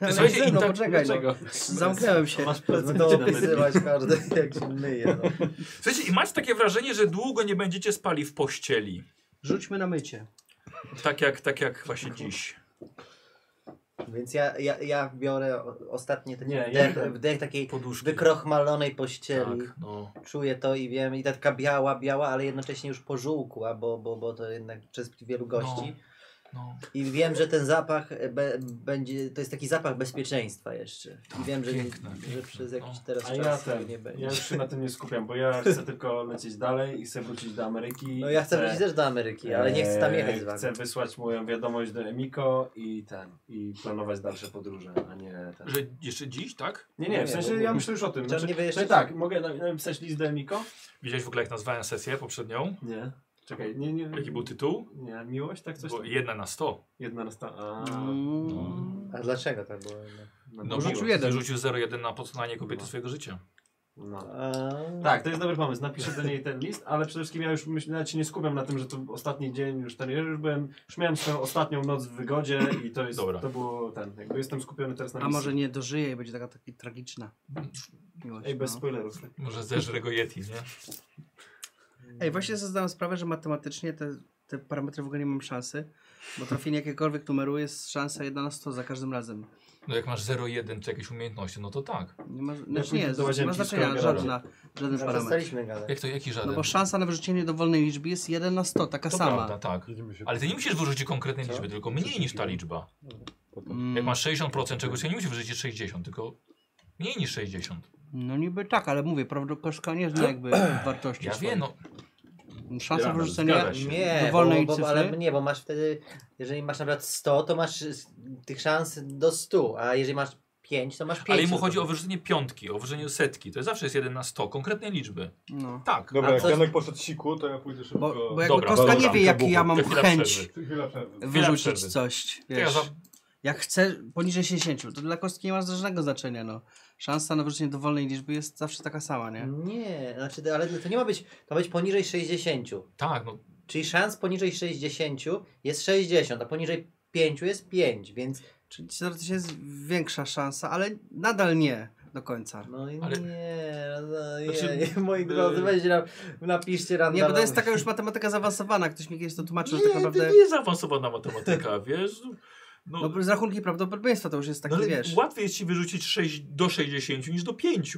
S6: Ale
S1: słuchajcie,
S6: no,
S1: i tak-
S6: poczekaj, no. Zamknąłem się.
S5: Masz prawo to opisywać każdy, jak się myje. No.
S1: Słuchajcie, i macie takie wrażenie, że długo nie będziecie spali w pościeli.
S6: Rzućmy na mycie.
S1: Tak jak, tak jak właśnie dziś.
S5: Więc ja, ja, ja biorę o- ostatnie ten
S2: Nie,
S5: wdech,
S2: ja-
S5: wdech takiej
S1: Poduszki.
S5: wykrochmalonej pościeli.
S1: Tak, no.
S5: Czuję to i wiem, i ta taka biała, biała, ale jednocześnie już pożółkła, bo, bo, bo to jednak przez wielu gości.
S1: no.
S5: I wiem, że ten zapach e, be, będzie, to jest taki zapach bezpieczeństwa jeszcze. I
S1: Tak,
S5: wiem, że,
S1: piękne,
S5: że
S1: piękne.
S5: przez jakiś
S1: No.
S5: teraz
S2: A ja
S5: czas tego
S2: ten,
S5: nie
S2: ja
S5: będzie.
S2: już się na tym nie skupiam, bo ja chcę tylko lecieć dalej i chcę wrócić do Ameryki. e,
S5: No ja chcę wrócić też do Ameryki, ale nie chcę tam jechać z Znaczy, wami.
S2: Eee, Chcę wysłać moją wiadomość do Emiko i ten, i planować dalsze podróże, a nie ten.
S1: no. Że jeszcze dziś, tak?
S2: Nie,
S5: No
S2: nie, w sensie ja myślę już o tym.
S5: Chciałem
S2: Znaczy,
S5: nie wyjeżdżać.
S2: no i tak, mogę na- napisać list do Emiko?
S1: Widziałeś w ogóle jak nazwałem sesję poprzednią?
S2: Nie. Czekaj, nie, nie.
S1: Jaki był tytuł?
S2: Nie, miłość, tak coś?
S1: Bo
S2: tam?
S1: jedna na sto.
S2: Jedna na sta... A,
S6: Mm.
S5: A dlaczego tak było?
S2: no,
S1: No,
S2: miłość.
S5: no,
S6: No.
S1: rzucił jeden. Rzucił 0,1 na poznanie kobiety swojego życia.
S14: No.
S2: Tak, to jest dobry pomysł. Napiszę do niej ten list, ale przede wszystkim ja już myślę, nawet się nie skupiam na tym, że to był ostatni dzień, już ten, ja już byłem, już miałem swoją ostatnią noc w wygodzie i to jest,
S1: Dobra.
S2: to było ten, jakby jestem skupiony teraz na
S6: A
S2: misji.
S6: może nie dożyje i będzie taka, taka tragiczna miłość.
S2: Ej, bez
S6: no.
S2: spoilerów.
S1: Może zeżre go Yeti, nie?
S6: Ej, właśnie sobie zdałem sprawę, że matematycznie te, te parametry w ogóle nie mam szansy, bo trafienie jakiegokolwiek numeru jest szansa 1 na 100 za każdym razem.
S1: No jak masz 0,1 czy jakieś umiejętności, no to tak.
S6: Nie ma, znaczy nie,
S2: pójdę do
S6: nie ma
S2: łazienki,
S6: znaczenia
S2: skoro biorę.
S6: żadna,
S1: Znaczy,
S6: żaden parametr.
S3: Przestaliśmy gadać.
S1: Jak to, jaki żaden?
S6: No bo szansa na wyrzucenie dowolnej liczby jest 1 na 100, taka
S1: to
S6: sama.
S1: prawda, tak.
S7: Widzimy się
S1: Ale ty nie musisz wyrzucić konkretnej
S7: Co?
S1: liczby, tylko mniej niż ta liczba.
S7: potem.
S1: Jak
S6: Mm,
S1: masz 60% czegoś, to nie musisz wyrzucić 60, tylko mniej niż 60.
S6: no niby tak, ale mówię, prawdokoszka nie zna jakby wartości
S1: Ja
S6: swojej.
S1: wiem, no.
S6: Szansa
S1: Ja, no,
S6: wyrzucenia
S2: Tak,
S1: zgadza się.
S3: Nie,
S6: Dowolnej
S3: bo, bo,
S6: cyfry?
S3: ale nie, bo masz wtedy, jeżeli masz na przykład 100, to masz y, tych szans do 100, a jeżeli masz 5, to masz 5.
S1: Ale mu
S5: no.
S1: chodzi o wyrzucenie piątki, o wyrzucenie setki. To jest zawsze jest 1 na 100, konkretnej liczby.
S6: No.
S1: Tak.
S7: Dobra,
S3: A
S7: jak
S3: coś-
S7: Janek poszedł siku, to ja pójdę szybko.
S6: Bo, bo jakby
S1: Dobra,
S6: Kostka nie
S1: dobra.
S6: wie, jaki ja mam
S1: To chwila
S6: chęć
S1: przerwy.
S7: Chwila przerwy.
S6: wyrzucić
S1: przerwy.
S6: coś.
S1: To ja
S6: Wiesz.
S1: za...
S6: Jak chcę poniżej 60, to dla kostki nie ma żadnego znaczenia. No. Szansa na wyrzucenie dowolnej liczby jest zawsze taka sama, nie?
S3: Nie, znaczy, to- ale to nie ma być, to ma być poniżej 60.
S1: Tak, no.
S3: Czyli szans poniżej 60 jest 60, a poniżej 5 jest 5, więc
S6: Czyli teoretycznie jest większa szansa, ale nadal nie do końca.
S3: no i
S1: Ale-
S3: nie, no,
S2: Znaczy,
S3: nie, moi drodzy, weźcie na, napiszcie random.
S6: Nie, bo to jest taka już matematyka zaawansowana. Ktoś mi kiedyś to tłumaczył, że tak
S1: Nie, to
S6: naprawdę...
S1: nie jest zaawansowana matematyka, wiesz? No,
S6: No, z rachunki prawdopodobieństwa Tak to już jest
S1: no,
S6: takie,
S1: ale
S6: wiesz...
S1: łatwiej jest ci wyrzucić sześć- do 60 niż do 5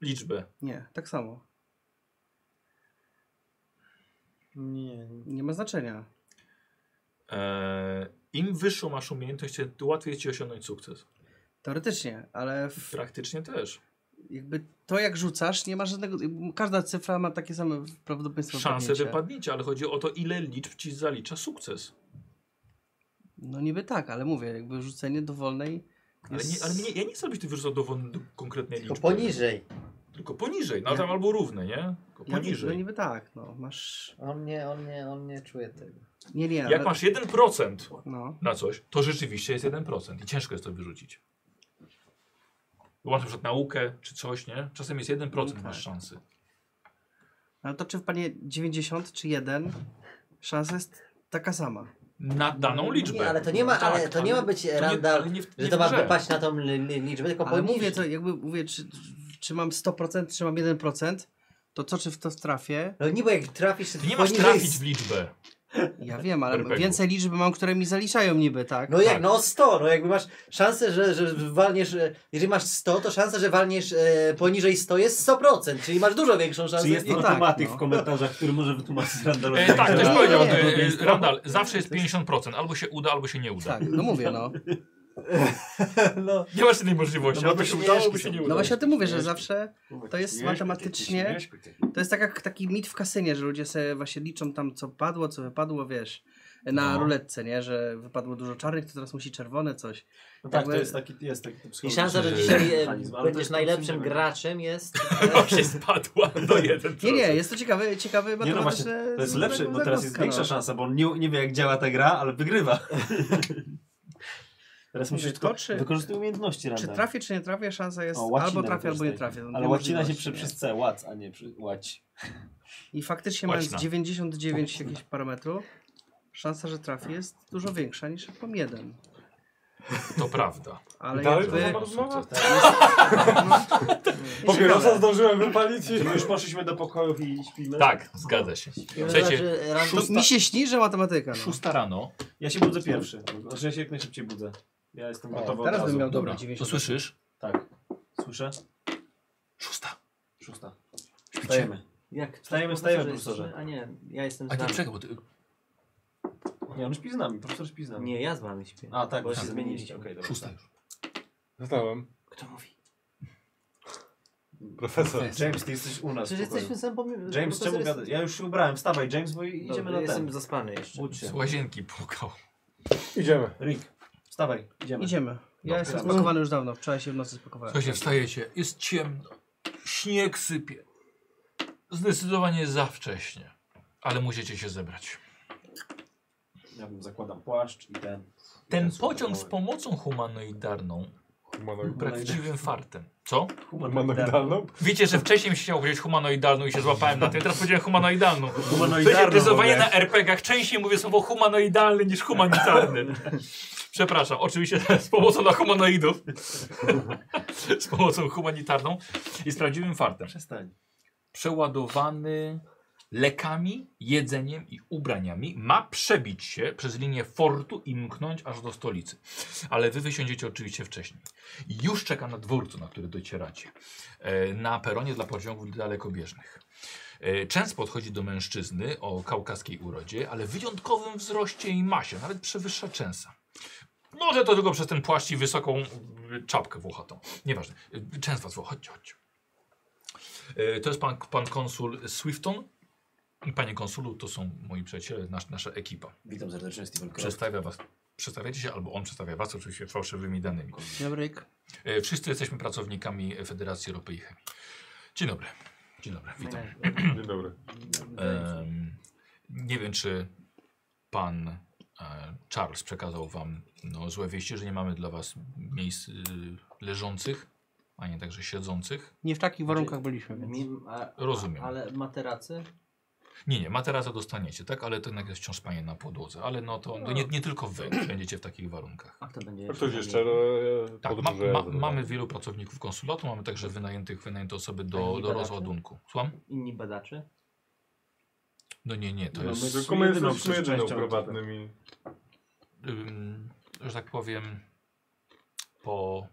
S1: liczbę.
S6: Nie, tak samo.
S3: Nie.
S6: Nie ma znaczenia.
S1: Eee, Im wyższą masz umiejętność, tym łatwiej jest ci osiągnąć sukces.
S6: Teoretycznie, ale w,
S1: Praktycznie też.
S6: jakby to jak rzucasz, nie ma żadnego... Każda cyfra ma takie same prawdopodobieństwo
S1: Szanse
S6: wpadnięcia.
S1: wypadnięcia, ale chodzi o to, ile liczb ci zalicza sukces.
S6: No niby tak, ale mówię, jakby rzucenie dowolnej...
S1: Ale,
S6: jest-
S1: nie, ale mnie, ja nie chcę, żebyś ty wyrzucał dowolny do konkretnej
S3: Tylko
S1: liczby.
S3: poniżej.
S1: Tylko poniżej, no,
S6: Ja-
S1: tam albo równe, nie? Tylko
S6: Ja- No
S1: poniżej.
S6: niby tak, no. Masz...
S3: On nie, on nie, on nie czuje tego.
S6: Nie, nie,
S1: Jak masz 1%
S6: No.
S1: na coś, to rzeczywiście jest 1% i ciężko jest to wyrzucić. Bo masz na przykład naukę czy coś, nie? Czasem jest 1%
S6: No
S1: masz
S6: tak.
S1: szansy.
S6: Ale to czy w panie 90 czy 1 szansa jest taka sama.
S1: Na daną liczbę.
S3: Nie, ale to nie ma,
S1: Tak,
S3: ale to nie ma być
S1: to nie-
S3: random,
S1: ale nie w-
S3: że
S1: nie
S3: to
S1: w
S3: ma
S1: grze.
S3: wypaść na tą li, li, liczbę, tylko
S6: Ale
S3: poniżej.
S6: mówię, to jakby mówię, czy, czy mam 100%, czy mam 1%, to co czy w to trafię?
S3: No niby jak trafisz
S1: Ty nie masz
S3: poniżej
S1: trafić w liczbę.
S6: Ja wiem, ale
S1: Perfekt.
S6: więcej liczby mam, które mi zaliczają niby, tak?
S3: No jak, no o 100, no jakby masz szansę, że, że walniesz, e, jeżeli masz 100, to szansa, że walniesz e, poniżej 100 jest 100%, czyli masz dużo większą szansę.
S14: Czy jest
S6: no tak,
S14: automatyk
S6: no.
S14: w komentarzach, który może wytłumaczyć Randalowi?
S1: E, tak, ktoś powiedział,
S3: nie,
S1: e,
S3: nie,
S1: e, Randall, zawsze jest 50%, albo się uda, albo się nie uda.
S6: Tak, no mówię, no.
S3: no,
S1: Nie masz innej możliwości,
S3: No bo
S1: albo się
S3: to
S1: udało, albo
S3: śmieszki
S1: się
S3: są.
S1: nie udało.
S6: No właśnie o tym mówię, że zawsze to jest matematycznie, to jest tak jak taki mit w kasynie, że ludzie sobie właśnie liczą tam co padło, co wypadło, wiesz, na
S1: No.
S6: ruletce, nie? Że wypadło dużo czarnych, to teraz musi czerwone coś.
S2: No tak,
S6: Jakby-
S2: to jest taki, jest taki
S3: I
S2: psychologiczny
S3: szansa, że dzisiaj e,
S2: mechanizm, ale to
S3: będziesz
S2: jest
S3: najlepszym
S2: absolutnie-
S3: graczem jest... e,
S1: Chyba się spadła do 1%.
S6: Nie, nie, jest to e, ciekawe, ciekawe
S2: Nie no właśnie,
S6: matematyczne
S2: to jest lepsze, bo teraz jest
S6: zagadka,
S2: większa
S6: no.
S2: szansa, bo on nie, nie wie jak działa ta gra, ale wygrywa. teraz musisz
S6: to,
S2: tylko
S6: czy-
S2: wykorzystuj umiejętności
S6: Czy
S2: Randall.
S6: trafię, czy nie trafię, szansa jest
S2: O, łacina
S6: albo trafię,
S2: też
S6: albo nie
S2: taki.
S6: trafię. Są
S2: Ale
S6: dwie
S2: łacina się
S6: możliwości,
S2: przy,
S6: nie?
S2: przez C, łac, a nie przy, łać.
S6: I faktycznie mając
S1: Łacina.
S6: 99 jakichś parametrów, szansa, że trafi jest dużo większa niż jak mam jeden.
S1: To prawda.
S6: Ale
S2: No
S7: Dalej
S6: jakby...
S7: to
S6: Ciekawe.
S2: No.
S15: Papierosa zdążyłem wypalić i...
S2: My już poszliśmy do pokojów i śpimy.
S1: Tak, zgadza się. Słuchajcie,
S3: Znaczy, random-
S6: To mi się śni, że matematyka. No.
S1: szósta rano.
S2: Ja się budzę pierwszy. Znaczy ja się jak najszybciej budzę. Ja jestem gotowy
S6: Teraz
S2: od
S6: bym
S2: razu.
S6: miał dobre
S1: No Dobra, to
S6: 90.
S1: słyszysz?
S2: Tak. Słyszę?
S1: Szósta.
S2: Szósta. Wstajemy.
S3: Jak?
S2: Wstajemy, wstajemy, profesorze.
S3: A nie, ja jestem
S1: A
S3: z
S1: ty
S3: wami.
S1: czekaj, bo ty...
S2: Nie, on śpi z nami, profesor śpi z nami.
S3: Nie, ja z wami śpię.
S2: A tak,
S3: Bo
S2: tak.
S3: się zmieniliście.
S2: Okej, dobra.
S1: Szósta już.
S7: Zostałem.
S3: Kto mówi?
S7: Profesor.
S2: James, ty jesteś u nas.
S3: Przecież
S2: w pokoju.
S3: jesteśmy sam pomi...
S2: James, czemu gadasz? Ja już się ubrałem, wstawaj James, bo i- idziemy na
S3: Jestem
S2: ten.
S3: zaspany jeszcze.
S2: Budź
S1: Z
S2: się.
S1: łazienki pukał.
S7: Idziemy.
S2: Rick, wstawaj, idziemy.
S6: Idziemy. Ja
S2: Dobra.
S6: jestem spakowany już dawno, wczoraj się w nocy spakowałem.
S1: Słuchajcie, wstajecie, jest ciemno. Śnieg sypie. Zdecydowanie za wcześnie. Ale musicie się zebrać.
S2: Ja bym zakładam płaszcz i ten.
S1: Ten pociąg z pomocą humanoidarną
S7: Humanoid.
S1: Prawdziwym fartem. Co?
S7: Humanoidalną?
S1: Wiecie, że wcześniej mi się chciało powiedzieć humanoidalną i się złapałem na tym, teraz powiedziałem humanoidalną.
S2: Humanoidalną,
S1: Słuchajcie, zdecydowanie
S2: dobra.
S1: na RPG-ach częściej mówię słowo humanoidalny niż humanitarny. Przepraszam, oczywiście z pomocą dla humanoidów. z pomocą humanitarną i z prawdziwym fartem.
S2: Przestań.
S1: przeładowany lekami, jedzeniem i ubraniami, ma przebić się przez linię fortu i mknąć aż do stolicy. Ale wy wysiądziecie oczywiście wcześniej. Już czeka na dworcu, na który docieracie. E, Na peronie dla pociągów dalekobieżnych. E, Często podchodzi do mężczyzny o kaukaskiej urodzie, ale wyjątkowym wzroście i masie, nawet przewyższa Częsa. Może to tylko przez ten płaszcz i wysoką y, czapkę włochatą. Nieważne. Y, Częs was woła. Chodźcie, chodźcie. E, To jest pan, pan konsul Swifton. I Panie konsulu, to są moi przyjaciele, nasz, nasza ekipa.
S3: Tak.
S2: Witam serdecznie, Steven Cross.
S1: Przedstawia was. Przedstawiacie się albo on przedstawia was oczywiście fałszywymi danymi.
S6: Dobry.
S1: E, Wszyscy jesteśmy pracownikami Federacji Ropy i Chemii. Dzień dobry. Dzień dobry, witam.
S7: Dzień dobry.
S1: Em, nie wiem, czy pan e, Charles przekazał wam no, złe wieści, że nie mamy dla was miejsc y, leżących, a nie także siedzących.
S6: Nie w takich warunkach byliśmy, więc.
S3: Mi- a-
S1: Rozumiem.
S3: Ale materacy?
S1: Nie, nie, materasa dostaniecie, tak? Ale to jednak jest wciąż panie na podłodze. Ale no to to nie, nie tylko wy będziecie w takich warunkach.
S3: A kto będzie
S7: A ktoś jeszcze e,
S1: Tak, ma,
S7: podróżuje?
S1: ma, mamy wielu pracowników konsulatu, mamy także wynajętych, wynajęte osoby do,
S3: Pani
S1: do
S3: badaczy?
S1: rozładunku. Słucham?
S3: Inni badacze?
S1: No nie, nie, to
S16: No,
S1: jest,
S7: Tylko my
S16: Jedyną
S7: jesteśmy jedyną
S16: częścią
S7: prywatnymi.
S1: ym, że tak powiem, po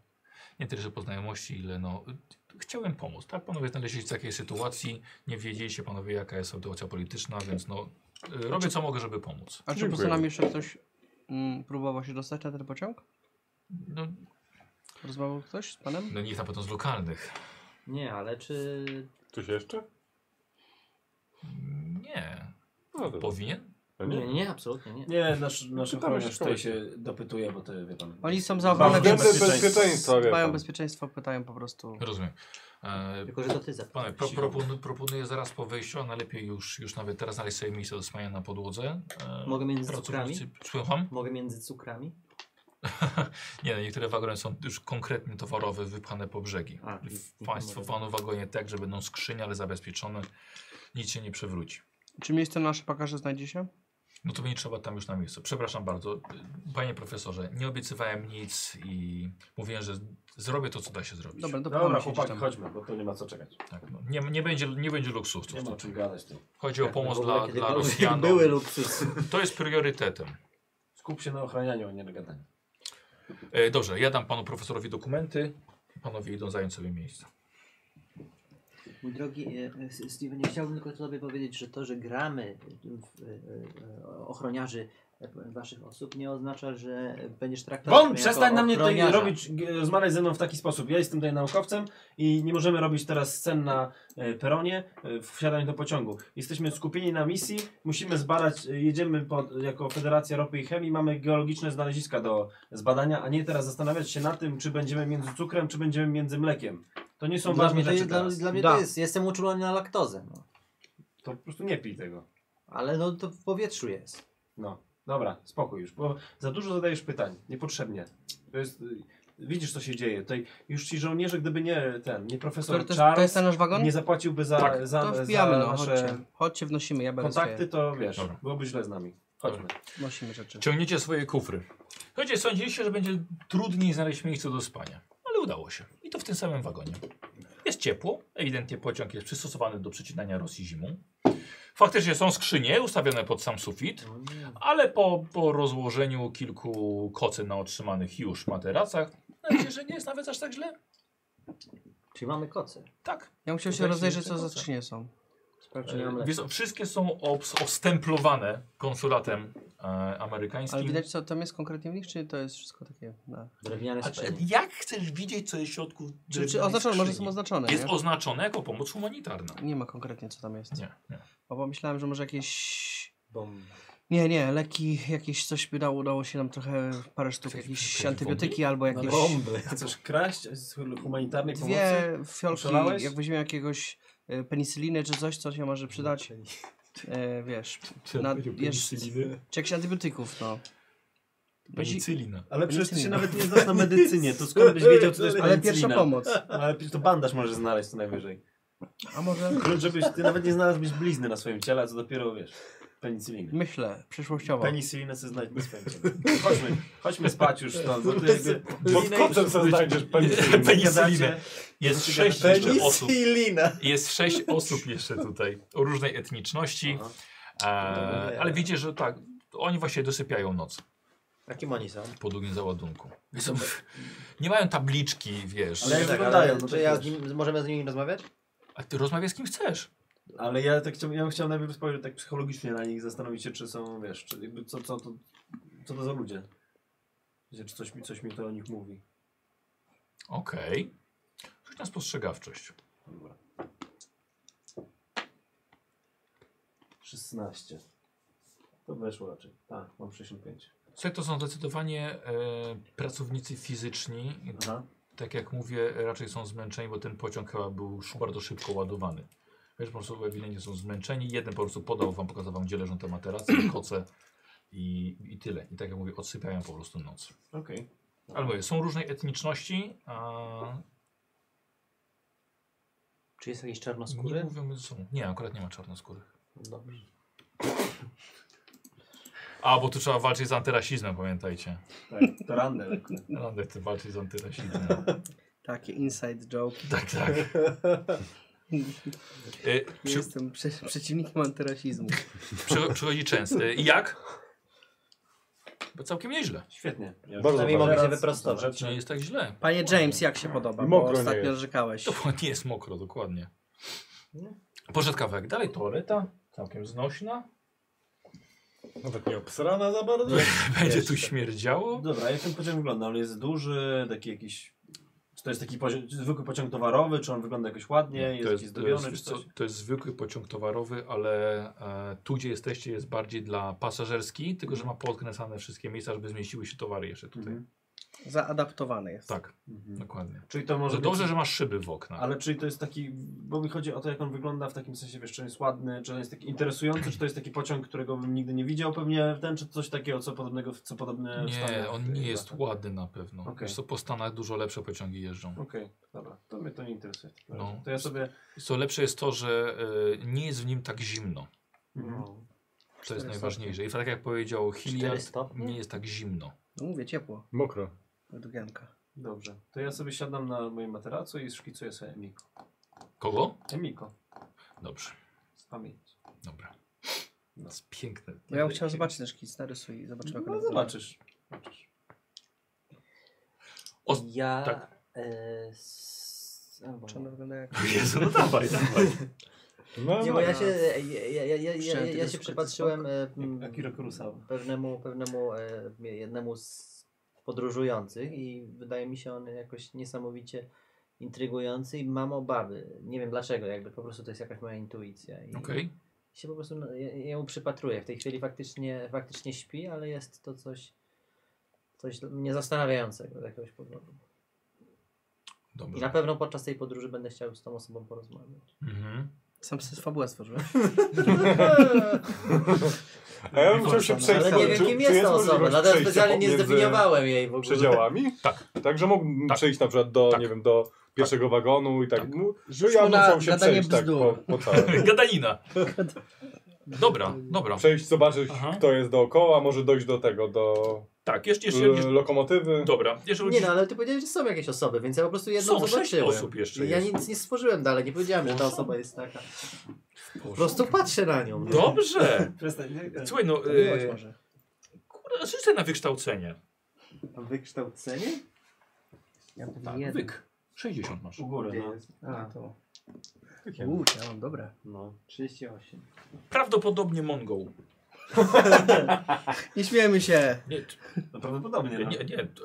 S1: nie tyle, że po znajomości, ile no... y, Chciałem pomóc, tak? Panowie znaleźli się w takiej sytuacji, nie wiedzieliście panowie jaka jest sytuacja polityczna, więc no y, robię co mogę, żeby pomóc.
S6: A czy poza
S7: Dziękuję.
S6: nami jeszcze ktoś mm, próbował się dostać na ten pociąg?
S1: No,
S6: Rozmawiał ktoś z panem?
S1: no nikt na pewno z lokalnych.
S3: Nie, ale czy...
S7: Coś jeszcze?
S1: Nie.
S7: No, dobra.
S1: Powinien?
S7: No
S3: Nie,
S7: nie.
S3: nie, nie absolutnie nie.
S2: Nie, nasz, nasz
S7: Pytamy
S2: ochroniarz
S7: się
S2: tutaj
S7: kogoś.
S2: się dopytuje, bo to wie pan.
S6: Oni są za ochronę,
S2: Względy
S6: więc
S7: Względy
S2: bezpieczeństwa.
S7: No, bezpieczeństwa, wie
S6: dbają o
S7: pan.
S6: bezpieczeństwo, pytają po prostu.
S1: Rozumiem. E,
S3: Tylko, że to ty zapytałeś.
S1: Panie, pro, propon, proponuję zaraz po wejściu, a najlepiej już, już nawet teraz znaleźć sobie miejsce do spania na podłodze. E,
S3: Mogę między
S1: pracownicy-
S3: cukrami?
S1: Słucham?
S3: Mogę między cukrami?
S1: Nie, no, niektóre wagony są już konkretnie towarowe, wypchane po brzegi.
S3: A, i-
S1: W
S3: i-
S1: Państwowano wagonie tak, że będą skrzynie, ale zabezpieczone. Nic się nie przewróci.
S6: Czy miejsce na nasze pakaże znajdzie się?
S1: No to będzie trzeba tam już na miejscu. Przepraszam bardzo. Panie profesorze, nie obiecywałem nic i mówiłem, że zrobię to, co da się zrobić.
S6: Dobra, to
S2: Dobra,
S6: pomóżcie gdzieś
S2: chłopaki,
S6: tam.
S2: chodźmy, bo tu nie ma co czekać.
S1: Tak, no. nie, nie, będzie, nie będzie luksusów.
S2: Nie ma o
S1: tutaj.
S2: czym gadać tu.
S1: Chodzi o
S3: Tak,
S1: pomoc dla, dla Rosjan.
S3: Były luksusy.
S1: To jest priorytetem.
S2: Skup się na ochranianiu, a nie na gadaniu.
S1: E, dobrze, ja dam panu profesorowi dokumenty. Panowie idą zająć sobie miejsce.
S3: Mój drogi e, e, Steven, ja chciałbym tylko tobie powiedzieć, że to, że gramy w e, e, ochroniarzy e, waszych osób nie oznacza, że będziesz traktował
S2: Bon, przestań na mnie tutaj
S3: Tak, ochroniarza.
S2: robić, g- rozmawiać ze mną w taki sposób. Ja jestem tutaj naukowcem i nie możemy robić teraz scen na e, peronie, e, wsiadać do pociągu. Jesteśmy skupieni na misji, musimy zbadać, e, jedziemy pod, jako Federacja Ropy i Chemii, mamy geologiczne znaleziska do zbadania, a nie teraz zastanawiać się na tym, czy będziemy między cukrem, czy będziemy między mlekiem. To nie są
S3: Dla
S2: ważne
S3: mnie, to
S2: rzeczy
S3: jest, dla,
S2: teraz.
S3: dla mnie
S6: Da.
S3: to jest, jestem uczulony na laktozę, no.
S2: To po prostu nie pij tego.
S3: ale no to w powietrzu jest.
S2: No, dobra, spokój już, bo za dużo zadajesz pytań, niepotrzebnie. To jest, y, widzisz co się dzieje, tutaj już ci żołnierze, gdyby nie ten, nie
S6: Który
S2: profesor
S6: to jest, to
S2: Charles,
S6: jest ten nasz wagon?
S2: nie zapłaciłby za, za,
S6: to
S2: za
S6: wbijamy, no,
S2: nasze
S6: chodźcie. Chodźcie, wnosimy, ja będę
S2: kontakty,
S6: Kontakty...
S2: to wiesz,
S1: Dobra.
S2: byłoby źle z nami. Chodźmy.
S6: Wnosimy rzeczy.
S1: Ciągniecie swoje kufry. Słuchajcie, sądziliście, że będzie trudniej znaleźć miejsce do spania, ale udało się. I to w tym samym wagonie. Jest ciepło, ewidentnie pociąg jest przystosowany do przecinania Rosji zimą. Faktycznie są skrzynie ustawione pod sam sufit,
S3: No
S1: ale po, po rozłożeniu kilku kocy na otrzymanych już materacach, myślę, że nie jest nawet aż tak źle.
S3: Czyli mamy koce.
S1: Tak.
S6: Ja musiał się
S1: Tutaj się
S6: rozejrzeć, co
S1: jeszcze
S6: za
S1: końca.
S6: skrzynie są.
S3: Sprawdźmy
S1: E, Wiesz, co, wszystkie są obs- ostemplowane konsulatem e, amerykańskim.
S6: Ale widać, co tam jest konkretnie w nich, czy to jest wszystko takie... Na...
S3: drewniane
S1: A czy-
S3: skrzynie.
S1: jak chcesz widzieć, co jest w środku?
S6: Czy, czy
S1: drewnianej
S6: oznaczone, może są
S1: skrzyni?
S6: oznaczone,
S1: Jest
S6: nie?
S1: oznaczone jako pomoc humanitarna.
S6: Nie ma konkretnie, co tam jest.
S1: Nie, nie.
S6: No Bo pomyślałem, że może jakieś... Nie, nie, leki, jakieś coś by dało, udało się nam trochę, parę sztuk,
S1: Jakieś-
S6: jakieś
S1: jakieś
S6: antybiotyki albo jakieś...
S2: Bomby. Chcesz kraść z humanitarnej pomocy?
S6: Dwie fiolki,
S2: Oszalałeś?
S6: jak weźmiemy jakiegoś y, penicyliny czy coś, co się może przydać, E, y, wiesz, na, wiesz, czy jakichś antybiotyków, no.
S1: Penicylina.
S2: Ale przecież ty się
S6: Medycyna.
S2: nawet nie znasz na medycynie, to skąd byś wiedział, co to jest
S6: Ale pierwsza pomoc.
S2: Ale to bandaż możesz znaleźć co najwyżej.
S6: A może...
S2: Klucz, żebyś ty nawet nie znalazłbyś blizny na swoim ciele, a co dopiero wiesz. Penicyliny.
S6: Myślę, przyszłościowo.
S2: Penicyliny se znajdźmy swoim ciele. Chodźmy, chodźmy spać już stąd, bo to jakby...
S4: Pod kotem sobie znajdziesz penicyllinę.
S1: Penicyllinę. Jest sześć jeszcze osób.
S6: Penicillina.
S1: Jest sześć osób jeszcze tutaj o różnej etniczności.
S2: Aha.
S1: E, ale widzicie, że tak, oni właśnie dosypiają noc
S3: Jakim oni są?
S1: po długim załadunku. Są, nie mają tabliczki, wiesz.
S2: Ale jak
S3: tak,
S2: wyglądają,
S3: ale
S2: no to
S3: czy ja z
S2: wiesz.
S3: nim, możemy z nimi rozmawiać?
S1: A ty rozmawiaj z kim chcesz.
S2: Ale ja tak chciałbym, ja bym chciał najpierw spojrzeć tak psychologicznie na nich, zastanowić się, czy są, wiesz, czy jakby co, co, to, co to za ludzie. Wiecie, Czy coś, mi- coś mi to o nich mówi.
S1: Okej. Rzuć na spostrzegawczość.
S2: 16. To weszło raczej. Tak, mam 65.
S1: Słuchaj, to są zdecydowanie e, pracownicy fizyczni.
S2: Aha.
S1: Tak jak mówię, raczej są zmęczeni, bo ten pociąg chyba był sz- bardzo szybko ładowany. Wiesz, po prostu ewidentnie są zmęczeni. Jeden po prostu podał wam, pokazał wam, gdzie leżą te materace, koce i, i tyle. I tak jak mówię, odsypiają po prostu noc.
S2: Okej.
S1: Ale mówię, są różnej etniczności, a
S3: Czy jest jakiś
S1: nie
S3: czarnoskóry?
S1: mówią, że są. Nie, akurat nie ma czarnoskórych.
S3: Dobrze.
S1: A, bo tu trzeba walczyć z antyrasizmem, pamiętajcie.
S2: Tak, to randel.
S1: Radę No, ty walczyć z antyrasizmem.
S6: Takie inside joke.
S1: Tak, tak. E,
S6: Nie
S1: przy,
S6: Jestem prze przeciwnikiem antyrasizmu.
S1: przy, przychodzi często. I jak? Bo całkiem nieźle.
S2: Świetnie. Ja
S7: Bardzo
S2: już-
S3: Przynajmniej mogę się
S2: Teraz-
S3: wyprostować.
S2: Znaczy,
S1: Czy nie jest tak źle?
S6: Panie James, jak się podoba?
S7: I
S6: Bo
S7: mokro nie
S6: ostatnio
S7: jest.
S6: narzekałeś.
S1: To nie jest mokro, dokładnie. Poszedł kawałek dalej, toaleta, całkiem znośna.
S7: Nawet No tak, nie obsrana za bardzo.
S1: Będzie tu
S2: Jeszcze.
S1: śmierdziało.
S2: Dobra, jak ten pociąg wygląda? On jest duży, taki jakiś... Czy to jest taki pozi- zwykły pociąg towarowy, czy on wygląda jakoś ładnie, jest,
S1: to,
S2: jakiś
S1: jest, to, jest,
S2: zdobiony,
S1: wiesz
S2: czy
S1: co,
S2: coś?
S1: to jest zwykły pociąg towarowy, ale e, tu gdzie jesteście jest bardziej dla pasażerski, tylko że ma podkręcane wszystkie miejsca, żeby zmieściły się towary jeszcze tutaj.
S2: Mhm.
S6: Zaadaptowany jest.
S1: Tak,
S2: Mhm.
S1: dokładnie.
S2: Czyli to może
S1: Może dobrze,
S2: być...
S1: że masz szyby w oknach.
S2: Ale czyli to jest taki, bo mi chodzi o to, jak on wygląda w takim sensie, wiesz, czy on jest ładny, czy on jest taki interesujący, czy to jest taki pociąg, którego bym nigdy nie widział pewnie, ten, czy coś takiego, co podobnego, w- co podobne w Stanach
S1: Nie, on
S2: chyba,
S1: nie jest
S2: tak?
S1: ładny na pewno.
S2: Okej.
S1: Wiesz co, po Stanach dużo lepsze pociągi jeżdżą.
S2: Okej, dobra, to mnie to nie interesuje.
S1: No.
S2: To ja sobie...
S1: Wiesz Co lepsze jest to, że e, nie jest w nim tak zimno. Mhm.
S2: No.
S1: To jest najważniejsze. I tak jak powiedział Hilliard,
S3: 400?
S1: nie jest tak zimno.
S6: No mówię, ciepło.
S7: Mokro.
S6: Według Janka.
S2: Dobrze, to ja sobie siadam na moim materacu i szkicuję sobie Emiko.
S1: Kogo?
S2: Emiko,
S1: Dobrze,
S2: z pamięci.
S1: dobra. To jest piękne.
S6: No ja bym chciał zobaczyć ten szkic, narysuj i zobaczymy. jak
S2: No
S6: on wygląda.
S2: zobaczysz.
S1: Os-
S3: Ja...
S1: tak.
S3: E, s... albo
S6: Czy on wygląda jak...
S1: Jezu, no dawaj, dawaj.
S7: No,
S3: Nie,
S7: no.
S3: bo ja się, ja, ja, ja, ja, ja,
S6: Chciałem
S3: ja
S6: tego
S3: się
S6: szukać
S3: przypatrzyłem e,
S2: Jak-
S3: m,
S2: Akira Kurosawa.
S3: pewnemu, pewnemu e, jednemu z podróżujących i wydaje mi się on jakoś niesamowicie intrygujący i mam obawy. Nie wiem dlaczego, jakby po prostu to jest jakaś moja intuicja. I
S1: Okej.
S3: się po prostu, no, ja, ja mu przypatruję. W tej chwili faktycznie, faktycznie śpi, ale jest to coś, coś mnie zastanawiającego z jakiegoś powodu. I na
S1: Dobrze.
S3: pewno podczas tej podróży będę chciał z tą osobą porozmawiać.
S1: Mhm.
S6: Sam sobie fabułę stworzyłem.
S7: A ja bym chciał się przejść.
S3: Ale nie wiem, kim jest ta osoba, dlatego specjalnie nie zdefiniowałem jej w ogóle.
S7: Przedziałami?
S1: Tak.
S7: Także mógłbym
S1: Tak.
S7: przejść na przykład do,
S1: Tak.
S7: nie wiem, do pierwszego wagonu i tak.
S1: Tak.
S7: No, Że
S6: Rzućmy
S7: ja bym
S6: na
S7: chciał się
S6: gadanie
S7: przejść tak po,
S6: bzdur.
S7: po całym.
S1: Gadanina. Dobra, dobra.
S7: Przejść, zobaczyć
S1: Aha.
S7: kto jest dookoła, może dojść do tego, do
S1: Tak, jeszcze, jeszcze,
S7: y,
S1: jeszcze
S7: lokomotywy.
S1: dobra. Jeszcze
S3: Nie no, ale ty powiedziałeś, że są jakieś osoby, więc ja po prostu jedną
S1: Są sześć
S3: zobaczyłem.
S1: osób jeszcze
S3: ja
S1: jest.
S3: nic nie stworzyłem dalej, nie powiedziałem, że ta osoba jest taka. Po prostu patrzę na nią. No.
S1: Dobrze.
S2: Przestań, nie-
S1: Słuchaj, no...
S6: Miłość
S1: E,
S6: może.
S1: kurde, życzę na wykształcenie.
S3: Wykształcenie?
S6: Ja pewnie
S1: Tak,
S6: jeden.
S1: wyk. 60 masz.
S2: U góry, no.
S6: A, to... Uuu, ja mam dobre.
S2: no.
S3: 38.
S1: Prawdopodobnie Mongol.
S6: Nie śmiejemy się.
S1: Nie,
S2: No prawdopodobnie, no.
S1: nie, nie. to-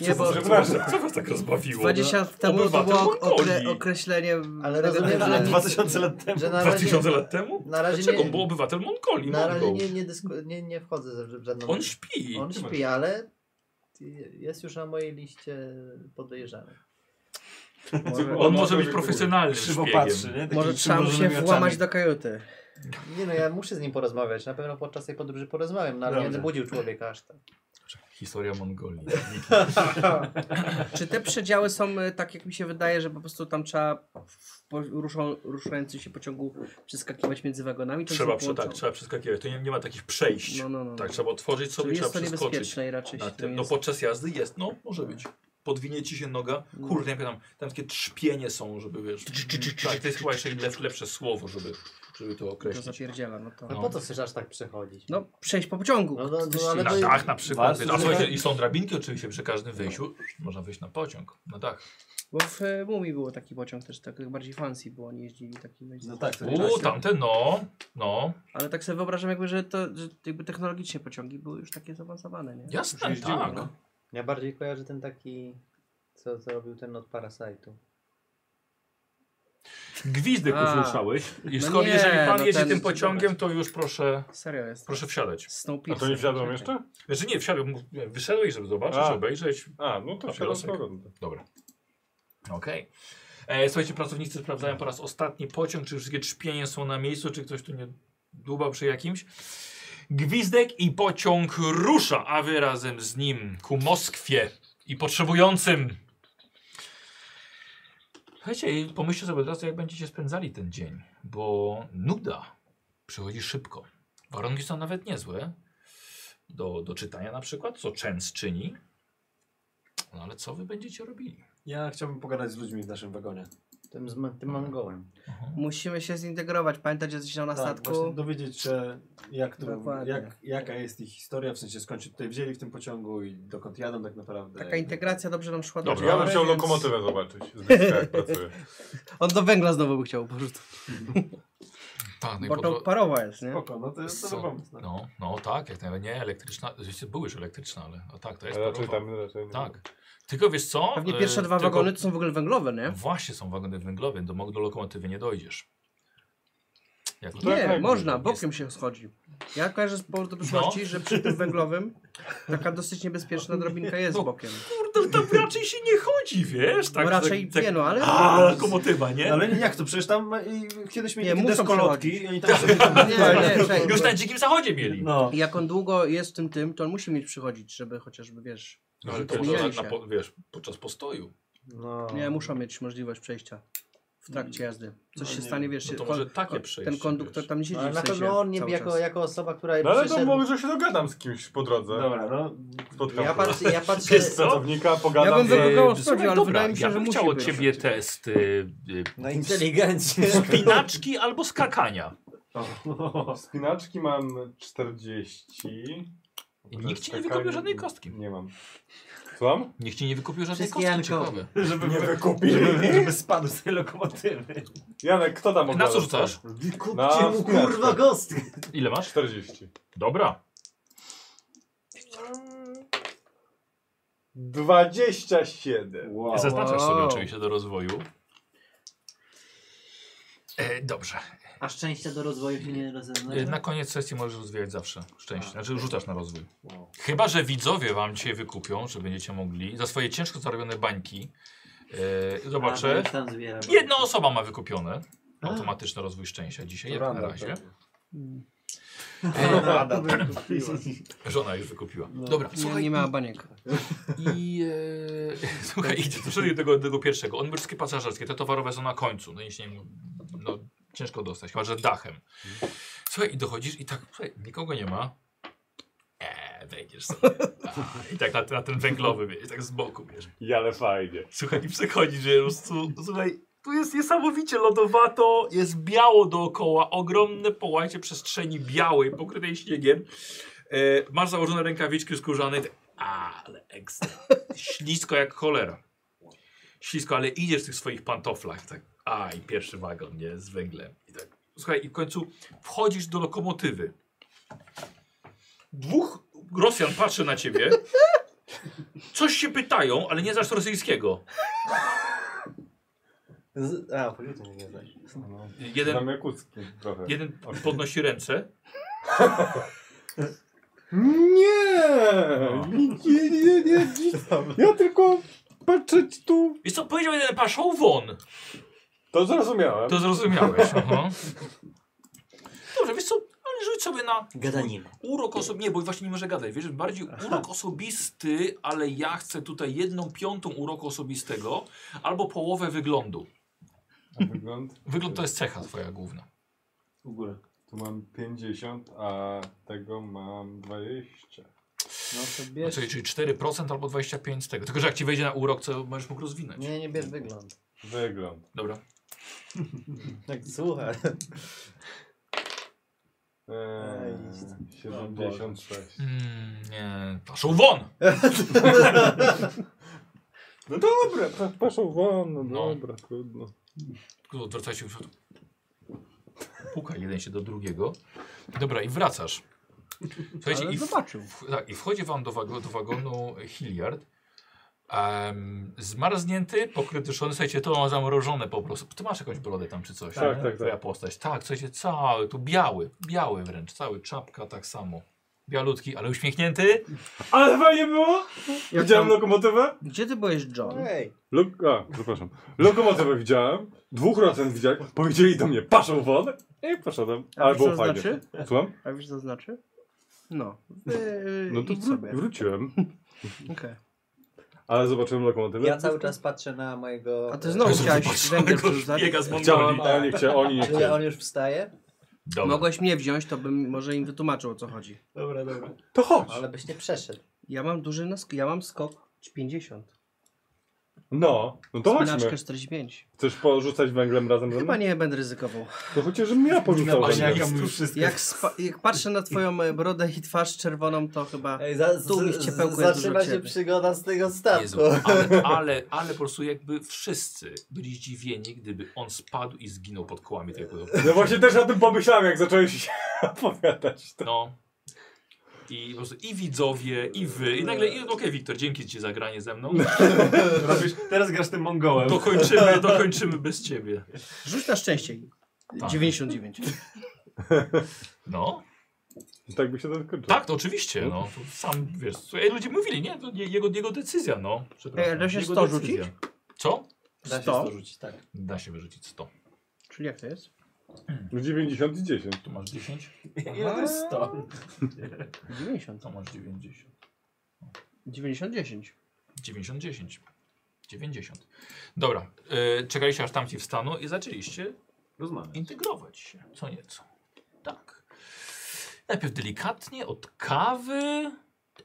S6: Nie, bo
S1: Przepraszam, co was tak rozbawiło?
S6: 20 lat temu to
S1: Obywatel
S6: było okre
S1: Mongolii.
S6: określenie...
S3: Ale rozumiem,
S6: negatywne.
S3: że nic-
S2: 2000 lat temu.
S3: Że na razie,
S1: 2000 lat temu?
S3: na razie
S1: Dlaczego?
S3: nie-
S1: On był obywatel Mongolii.
S3: na razie
S1: Mongol.
S3: nie, nie, dysku, nie, nie wchodzę ze- w żadną...
S1: On śpi.
S3: On śpi, ale jest już na mojej liście podejrzanych.
S1: On może być profesjonalnym
S2: Krzywo
S1: szpiegiem.
S2: patrzy, nie? Takim
S6: Może trzeba mu się
S2: przymrużonymi
S6: włamać
S2: oczami.
S6: do kajuty.
S3: Nie no, ja muszę z nim porozmawiać. Na pewno podczas tej podróży porozmawiam, no ale nie
S2: Dobrze.
S3: zbudził człowieka aż tak.
S1: Historia Mongolii.
S6: Czy te przedziały są e, tak, jak mi się wydaje, że po prostu tam trzeba w po, ruszą, ruszający się pociągu przeskakiwać między wagonami? Czy one
S1: Trzeba,
S6: są
S1: prze, tak,
S6: połączone?
S1: trzeba przeskakiwać. To nie, nie ma takich przejść.
S6: No, no, no.
S1: Tak, trzeba otworzyć sobie,
S6: Czyli jest to
S1: trzeba przeskoczyć.
S6: niebezpieczne i raczej
S1: Na
S6: się
S1: tym.
S6: tym
S1: No
S6: jest...
S1: podczas jazdy jest, no może być. Podwinie ci się noga.
S3: No.
S1: Kurde, nie pamiętam. Tam takie trzpienie są, żeby wiesz. Tak, to jest chyba jeszcze lep- lepsze słowo, żeby, żeby to
S6: To
S1: określić.
S6: zapierdziela, no to...
S3: No, po co chcesz aż tak przechodzić?
S6: No, przejść po pociągu.
S3: No, no, no,
S6: Oczywiście.
S3: ale
S1: Na
S3: to-
S1: dach na przykład.
S2: Was-
S1: A słuchajcie, i są drabinki oczywiście przy każdym wejściu. Można wejść na pociąg. Na dach.
S6: Bo w e, Mumii było taki pociąg też, tak bardziej fancy, bo oni jeździli takim...
S2: No tak, to
S1: Uuu, tamte, no, no.
S6: Ale tak sobie wyobrażam jakby, że to że jakby technologicznie pociągi były już takie zaawansowane, nie?
S1: Jasne,
S2: jeździłem,
S1: tak.
S2: no.
S3: Ja bardziej kojarzę ten taki, co, co robił ten od Parasite'u.
S17: Gwizdek
S6: A.
S17: usłyszałeś.
S1: I
S6: No
S1: skoro,
S6: nie,
S1: jeżeli pan
S6: no
S1: jeździ
S6: ten-
S1: tym pociągiem, to już proszę,
S6: Serio jest.
S1: proszę wsiadać.
S6: Snowpiercer.
S7: A to nie wsiadłem
S6: Czekaj.
S7: jeszcze?
S1: Znaczy nie, wsiadłem, mówię, wyszedłeś, żeby zobaczyć,
S7: A.
S1: obejrzeć.
S7: A, no to
S1: A
S7: wsiadam z
S1: plasek.
S7: powrotem.
S1: Dobra. Okej. E, Słuchajcie, pracownicy sprawdzają po raz ostatni pociąg, czy wszystkie trzpienie są na miejscu, czy ktoś tu nie dłubał przy jakimś. Gwizdek i pociąg rusza, a wy razem z nim ku Moskwie i potrzebującym. Słuchajcie, i pomyślcie sobie teraz, jak będziecie spędzali ten dzień, bo nuda przychodzi szybko. Warunki są nawet niezłe. Do, do czytania na przykład, co Częs czyni. No ale co wy będziecie robili?
S2: Ja chciałbym pogadać z ludźmi w naszym wagonie.
S3: Tym, z, ma- tym Mongołem.
S6: Musimy się zintegrować, pamiętać, że jesteśmy
S3: Tak,
S2: Tak,
S6: na
S2: właśnie
S6: statku.
S2: dowiedzieć się, jak tu,
S6: Dokładnie.
S2: jak, jaka jest ich historia, w sensie skąd się tutaj wzięli w tym pociągu i dokąd jadą tak naprawdę.
S6: Taka integracja dobrze nam szła.
S1: Dobra,
S6: do
S7: Ja bym
S6: dziury,
S7: chciał
S6: więc-
S7: lokomotywę zobaczyć, z bliska jak pracuje.
S6: On do węgla znowu by chciał porzucić.
S1: Tak, no i
S6: Bo
S1: po
S6: to
S1: dro-
S6: parowa jest, nie?
S2: Spoko, no to jest
S1: Co?
S2: dobry pomysł. No.
S1: no, no tak, jak najbardziej. Nie, elektryczna. Oczywiście były już elektryczne, ale no tak, to jest
S7: Ale raczej
S1: parowa.
S7: tam, raczej nie.
S1: Tak. Tylko wiesz co?
S6: Pewnie
S1: E,
S6: pierwsze dwa
S1: tylko-
S6: wagony to są w ogóle węglowe, nie?
S1: Właśnie są wagony węglowe, do, do lokomotywy nie dojdziesz. Jak
S7: Tak,
S6: nie,
S7: tak,
S6: można,
S1: No jest-
S6: bokiem się schodzi. Ja kojarzę z powodu przyszłości, że przy tym węglowym taka dosyć niebezpieczna drobinka jest
S1: No.
S6: bokiem.
S1: Kurde, tam raczej się nie chodzi, wiesz?
S6: No raczej
S1: tak,
S6: nie, no ale...
S1: A, lokomotywa, nie?
S2: Ale jak to? Przecież tam e, i kiedyś mieli
S6: Nie,
S2: takie
S6: muszą
S2: deskolotki i oni tam sobie tam...
S6: Nie, nie, czekaj,
S1: Już tak.
S6: bo-
S1: na dzikim zachodzie mieli.
S2: No.
S6: Jak on długo jest w tym tym, to on musi mieć przychodzić, żeby chociażby, wiesz...
S1: No, ale to
S6: Zmieniali
S1: może na,
S6: się.
S1: na, po- wiesz, podczas postoju.
S3: No.
S6: Nie, muszą mieć możliwość przejścia w trakcie jazdy. Coś
S2: No
S6: się
S2: nie
S6: stanie,
S2: wiem.
S6: wiesz,
S1: No to
S6: się-
S1: może
S6: kon-
S1: takie
S6: ten
S1: przejście,
S6: konduktor
S1: wiesz.
S6: tam nie siedzi
S3: No, Ale
S6: w
S3: na
S6: sensie
S3: pewno on nie,
S6: cały
S3: jako,
S6: czas.
S3: jako osoba, która
S7: No ale to
S3: przeszedł-
S7: może się dogadam z kimś po drodze.
S2: Dobra, no.
S7: Spotkam
S3: Ja patrzę, ja patrzę,
S1: Wiesz co?
S7: pracownika,
S6: Ja
S7: pogadam.
S6: bym
S7: z-
S6: wykonało
S1: Słuchaj,
S6: wchodził, ale
S1: dobra,
S6: wydaje mi się,
S1: ja
S6: że
S1: bym
S6: musi
S1: chciał od
S6: być.
S1: ciebie test y, y,
S3: na inteligencję.
S1: spinaczki albo skakania.
S7: Spinaczki mam 40.
S1: I nikt ci nie wykupił żadnej kostki.
S7: Nie mam. Słucham?
S1: Niech ci nie wykupił żadnej
S3: Wszystkie
S1: kostki,
S3: Jankowe.
S1: ciekawe.
S2: Żeby
S7: Nie
S2: nie
S7: wykupili.
S2: żeby spadł z tej lokomotywy.
S7: Janek, kto tam
S1: Na co
S7: ogląda?
S1: rzucasz?
S7: Na
S1: No,
S3: Kupcie mu
S7: spinaczkę.
S3: kurwa gostkę.
S1: Ile masz?
S7: 40.
S1: Dobra.
S7: 27.
S2: Wow.
S1: Zaznaczasz sobie
S6: Wow.
S1: oczywiście do rozwoju. E, dobrze.
S3: A szczęścia do rozwoju się nie
S1: E, na
S3: rozeznacza?
S1: koniec sesji możesz rozwijać zawsze szczęście. Znaczy rzucasz na rozwój. Chyba, że widzowie wam dzisiaj wykupią, że będziecie mogli za swoje ciężko zarobione bańki. E,
S3: A,
S1: zobaczę.
S3: już tam zbieram.
S1: Jedna osoba ma wykupione. Automatyczny rozwój szczęścia dzisiaj, jak na razie. E,
S2: Rada.
S1: żona już wykupiła.
S3: No.
S1: Dobra,
S6: Nie,
S1: słuchaj,
S6: nie miała baniek.
S1: I e, słuchaj, idzie do tego, do tego pierwszego. On wszystkie pasażerskie, te towarowe są na końcu. No i się, no, ciężko dostać, chyba że dachem. Słuchaj, i dochodzisz i tak, słuchaj, nikogo nie ma. Eee, wejdziesz sobie. A, I tak na, na ten węglowy, wiesz, tak z boku, wiesz.
S7: I ale fajnie.
S1: Słuchaj, i przechodzi, że po prostu, słuchaj, tu jest niesamowicie lodowato, jest biało dookoła, ogromne połacie przestrzeni białej, pokrytej śniegiem. E, masz założone rękawiczki skórzane, i tak, ale ekstra. Ślisko jak cholera. Ślisko, ale idziesz w tych swoich pantoflach, tak, a i pierwszy wagon, nie, z węglem. I tak, słuchaj, i w końcu wchodzisz do lokomotywy. Dwóch Rosjan patrzy na ciebie. Coś się pytają, ale nie znasz rosyjskiego.
S3: Z... A, po prostu
S2: Nie znasz.
S7: Znam
S1: Jeden,
S7: Jakucki trochę.
S1: jeden podnosi ręce.
S7: Nie!
S1: No.
S7: Nie, nie, nie, Ja tylko patrzeć tu.
S1: I co powiedział jeden paszą won.
S7: To zrozumiałem.
S1: To zrozumiałeś. Aha. Dobrze, wiesz co, ale rzuć sobie na
S5: Gadaninę.
S1: urok osobisty. Nie, bo właśnie nie może gadać, wiesz, bardziej urok osobisty, ale ja chcę tutaj jedną piątą uroku osobistego albo połowę wyglądu.
S7: A wygląd?
S1: Wygląd to jest cecha twoja główna.
S2: W górę.
S7: Tu mam 50, a tego mam 20.
S3: No to
S1: No,
S3: bierz.
S1: czyli, czyli 4% albo 25% z tego. Tylko, że jak ci wejdzie na urok, co będziesz mógł rozwinąć.
S3: Nie, nie bierz wygląd.
S7: Wygląd.
S1: Dobra.
S3: Tak, słuchaj.
S7: Eee,
S3: Ej,
S7: 76.
S1: Mm, nie, paszą won!
S7: No dobra, pa- paszą won, no,
S1: No.
S7: dobra, trudno.
S1: Tylko No, Odwracaj się. Puka jeden się do drugiego. Dobra, i wracasz. Słuchajcie, i, w,
S6: zobaczył.
S1: w, tak, i wchodzi wam do, wago, do wagonu Hilliard. Em, zmarznięty, pokryty szony, słuchajcie, to ma zamrożone po prostu. Ty masz jakąś brodę tam czy coś,
S7: Tak,
S1: nie?
S7: tak,
S1: Twoja
S7: tak.
S1: postać. Tak, słuchajcie, cały, tu biały, biały wręcz, cały, czapka tak samo. Bialutki, ale uśmiechnięty.
S7: Ale fajnie było!
S6: Jak
S7: Widziałem
S6: tam,
S1: no-
S7: lokomotywę?
S6: gdzie ty byłeś, John?
S3: Ej,
S7: Lok a, przepraszam. Lokomotywę widziałem, dwóch razem widziałem, powiedzieli do mnie paszą won i poszedłem,
S6: A
S7: ale
S6: wiesz, co
S7: było
S6: to
S7: fajnie.
S6: znaczy?
S7: Słucham?
S6: A wiesz co to znaczy? No. Wy,
S7: No to
S6: idź sobie.
S7: wró- wróciłem,
S6: Okej.
S7: ale zobaczyłem lokomotywę.
S3: ja cały czas patrzę na mojego.
S6: A ty znowu
S3: e,
S6: chciałeś węgiel przerzucać.
S1: Biega z
S7: Chciałem,
S1: Mongolii.
S7: ale nie chciałem, oni nie
S3: Czyli
S7: chcieli.
S3: on już wstaje?
S1: Dobra.
S6: Mogłeś mnie wziąć, to bym może im wytłumaczył o co chodzi.
S3: Dobra, dobra.
S7: To chodź!
S3: Ale byś nie przeszedł.
S6: Ja mam duży nask, ja mam skok 50.
S7: No, no to
S6: Spinaczkę
S7: chodźmy.
S6: 45.
S7: Chcesz porzucać węglem
S1: No,
S7: razem ze
S6: Chyba
S7: mną?
S6: nie będę ryzykował.
S7: To chociaż żebym ja porzucał
S6: No,
S7: węglem.
S1: jak-
S6: Jak, spa- jak patrzę na twoją e, brodę i twarz czerwoną, to chyba...
S3: Ej, za, z,
S6: Tu mi w ciepełku jest dużo
S3: zaczyna się
S6: ciebie.
S3: przygoda z tego statku.
S1: Jezu, ale, ale, ale po prostu jakby wszyscy byli zdziwieni, gdyby on spadł i zginął pod kołami tego.
S7: No właśnie też o tym pomyślałem, jak zacząłeś się opowiadać. To...
S1: No. I po prostu i widzowie, i wy. I nagle, i okej, Wiktor, dzięki ci za granie ze mną.
S2: Robisz, teraz grasz tym Mongołem.
S1: Dokończymy, dokończymy bez ciebie.
S6: Rzuć na szczęście.
S1: Tak.
S6: 99.
S1: No,
S7: Tak by się to skończyło.
S1: tak, to oczywiście, no. To sam, wiesz, słuchaj, ludzie mówili, nie, to nie, jego, jego decyzja, no. Przepraszam,
S6: Ej, da się
S1: jego
S6: 100
S1: decyzja. Co?
S2: Da się
S6: 100.
S2: to rzucić, tak.
S1: Da się wyrzucić 100.
S6: Czyli jak to jest?
S7: No 90 i 10.
S1: Tu masz 10,
S2: Ile to jest 100?
S6: 90.
S1: to masz 90.
S6: 90, 10.
S1: 90, 10. 90. Dobra, yy, czekaliście aż tamci wstaną i zaczęliście
S2: Rozmawiam.
S1: integrować się co nieco. Tak. Najpierw delikatnie od kawy.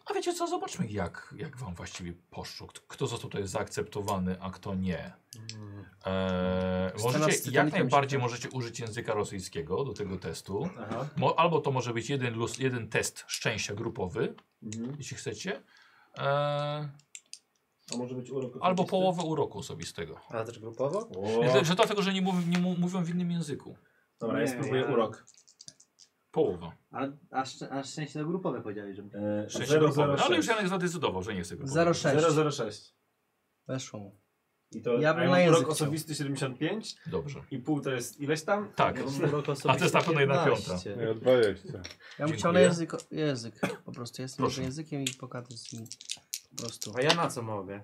S1: A wiecie co, zobaczmy jak, jak wam właściwie poszło. Kto- Kto został tutaj zaakceptowany, a kto nie.
S2: Mm,
S1: Eee,
S6: Scena z
S1: możecie,
S6: Titanikiem
S1: jak
S6: się
S1: najbardziej
S6: tak.
S1: możecie użyć języka rosyjskiego do tego testu.
S2: Aha.
S1: Mo, albo to może być jeden, luz, jeden test szczęścia grupowy,
S2: Mhm.
S1: jeśli chcecie. Eee,
S2: A może być urok
S1: albo połowę uroku osobistego.
S3: A też grupowo?
S1: Znaczy, Że, że dlatego, że nie, mów, nie mu- mówią w innym języku.
S2: Dobra, ja
S5: Nie,
S2: spróbuję
S5: ja-
S2: urok.
S1: Połowa.
S5: A, a, szczę- a szczęście do grupowe powiedziałeś, że
S2: E,
S1: Sześć grupowy.
S2: 006.
S1: Ale już Janek zadecydował, że nie chce grupowy.
S6: 06.
S2: 006.
S6: Weszło mu.
S2: I to
S6: Ja
S2: ja
S6: bym
S2: bym
S6: na
S2: urok
S6: język chciał.
S2: osobisty 75
S1: Dobrze.
S2: i pół to jest ileś tam?
S1: Tak.
S6: no,
S1: A to jest na pewno jedna piąta.
S7: No Ja 20.
S6: Ja bym
S1: Dziękuję.
S6: chciał na język, język. Po prostu jestem
S1: Proszę.
S6: Proszę. językiem i pogadać z nim. Po prostu.
S2: A ja na co mogę?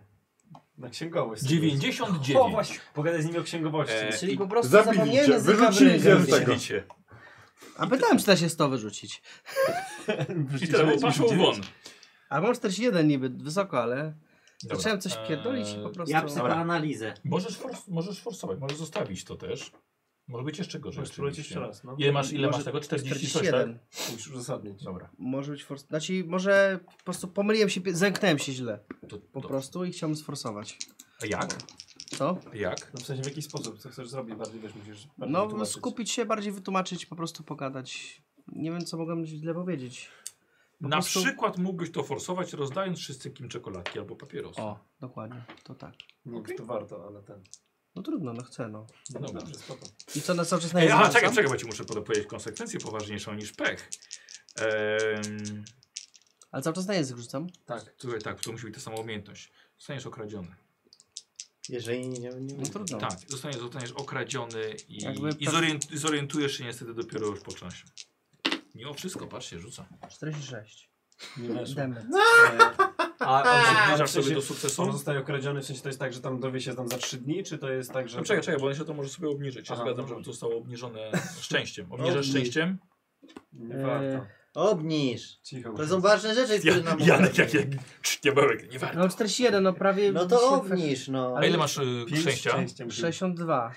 S2: Na księgowość.
S1: 99.
S2: O właśnie, pogadaj z nimi o księgowości.
S1: E,
S6: Czyli po prostu
S7: Zabili
S6: zapomniałem
S7: cię,
S6: języka w
S7: wyrzucili cię
S6: ryj.
S7: z tego.
S1: Widzicie.
S6: A pytałem, czy da się 100 wyrzucić.
S1: I teraz paszą won.
S6: A mam 41 niby, wysoko, ale
S1: Dobra.
S6: zacząłem coś pierdolić i po
S1: Eee,
S6: prostu...
S5: Ja psychoanalizę.
S1: Możesz, fors, możesz forsować, możesz zostawić to też. Może być jeszcze gorzej.
S2: Możesz spróbować
S1: oczywiście.
S2: jeszcze raz, no.
S1: Ile masz, ile
S6: Może
S1: masz tego? 40 coś, tak?
S6: 47.
S2: Musisz uzasadnić.
S1: Dobra.
S6: Może być forsować. Znaczy, może po prostu pomyliłem się, pie- zęknąłem się źle.
S1: To,
S6: Po
S1: to.
S6: prostu i chciałem sforsować.
S1: A jak?
S6: Co?
S1: A jak?
S2: No w sensie w jaki sposób, co chcesz zrobić, bardziej wiesz, musisz bardziej
S6: No,
S2: wytłumaczyć.
S6: skupić się, bardziej wytłumaczyć, po prostu pogadać. Nie wiem, co mogłem źle powiedzieć. Po
S1: Na
S6: prostu-
S1: przykład mógłbyś to forsować rozdając wszystkim czekoladki albo papierosy.
S6: O, dokładnie, to tak.
S2: Nie wiem, czy to warto, ale ten.
S6: No trudno, no chcę, no.
S2: No
S1: Dobra.
S2: dobrze, spoko.
S6: I co na cały czas na
S1: Ej, aha,
S6: język
S1: czekaj,
S6: wracam?
S1: czekaj, bo ci muszę powiedzieć konsekwencję poważniejszą niż pech. Ehm,
S6: Ale cały czas na język rzucam.
S2: Tak.
S1: tutaj tak, to musi być ta sama umiejętność. Zostaniesz okradziony.
S3: Jeżeli nie, nie, nie
S6: No trudno.
S1: Tak, zostaniesz, zostaniesz okradziony i,
S6: Jakby
S1: i
S6: prac-
S1: zorient, i zorientujesz się niestety dopiero już po czasie. Mimo wszystko, patrzcie, rzuca.
S6: 46.
S2: Nie weszło.
S6: Demy.
S3: No.
S2: A on, się,
S1: Zbliżasz
S2: w sensie,
S1: sobie do
S2: on
S1: sukcesu.
S2: zostaje okradziony, w sensie to jest tak, że tam dowie się tam za trzy dni, czy to jest tak, że...
S1: No czekaj, czekaj, bo on jeszcze to może sobie obniżyć. Ja
S2: Aha,
S1: zgadzam,
S2: dobra.
S1: żeby to zostało obniżone szczęściem. Obniżasz szczęściem?
S2: Nie warto.
S1: E,
S3: Obniż!
S2: Cicho.
S3: To są ważne rzeczy,
S1: Ja,
S3: które nam
S1: Janek,
S3: mówią.
S1: jak, jak czciabełek, nie warto.
S6: No 41, no prawie...
S3: No to obniż, no.
S1: A ile masz y,
S2: Pięć
S1: szczęścia?
S2: szczęścia musimy.
S6: 62.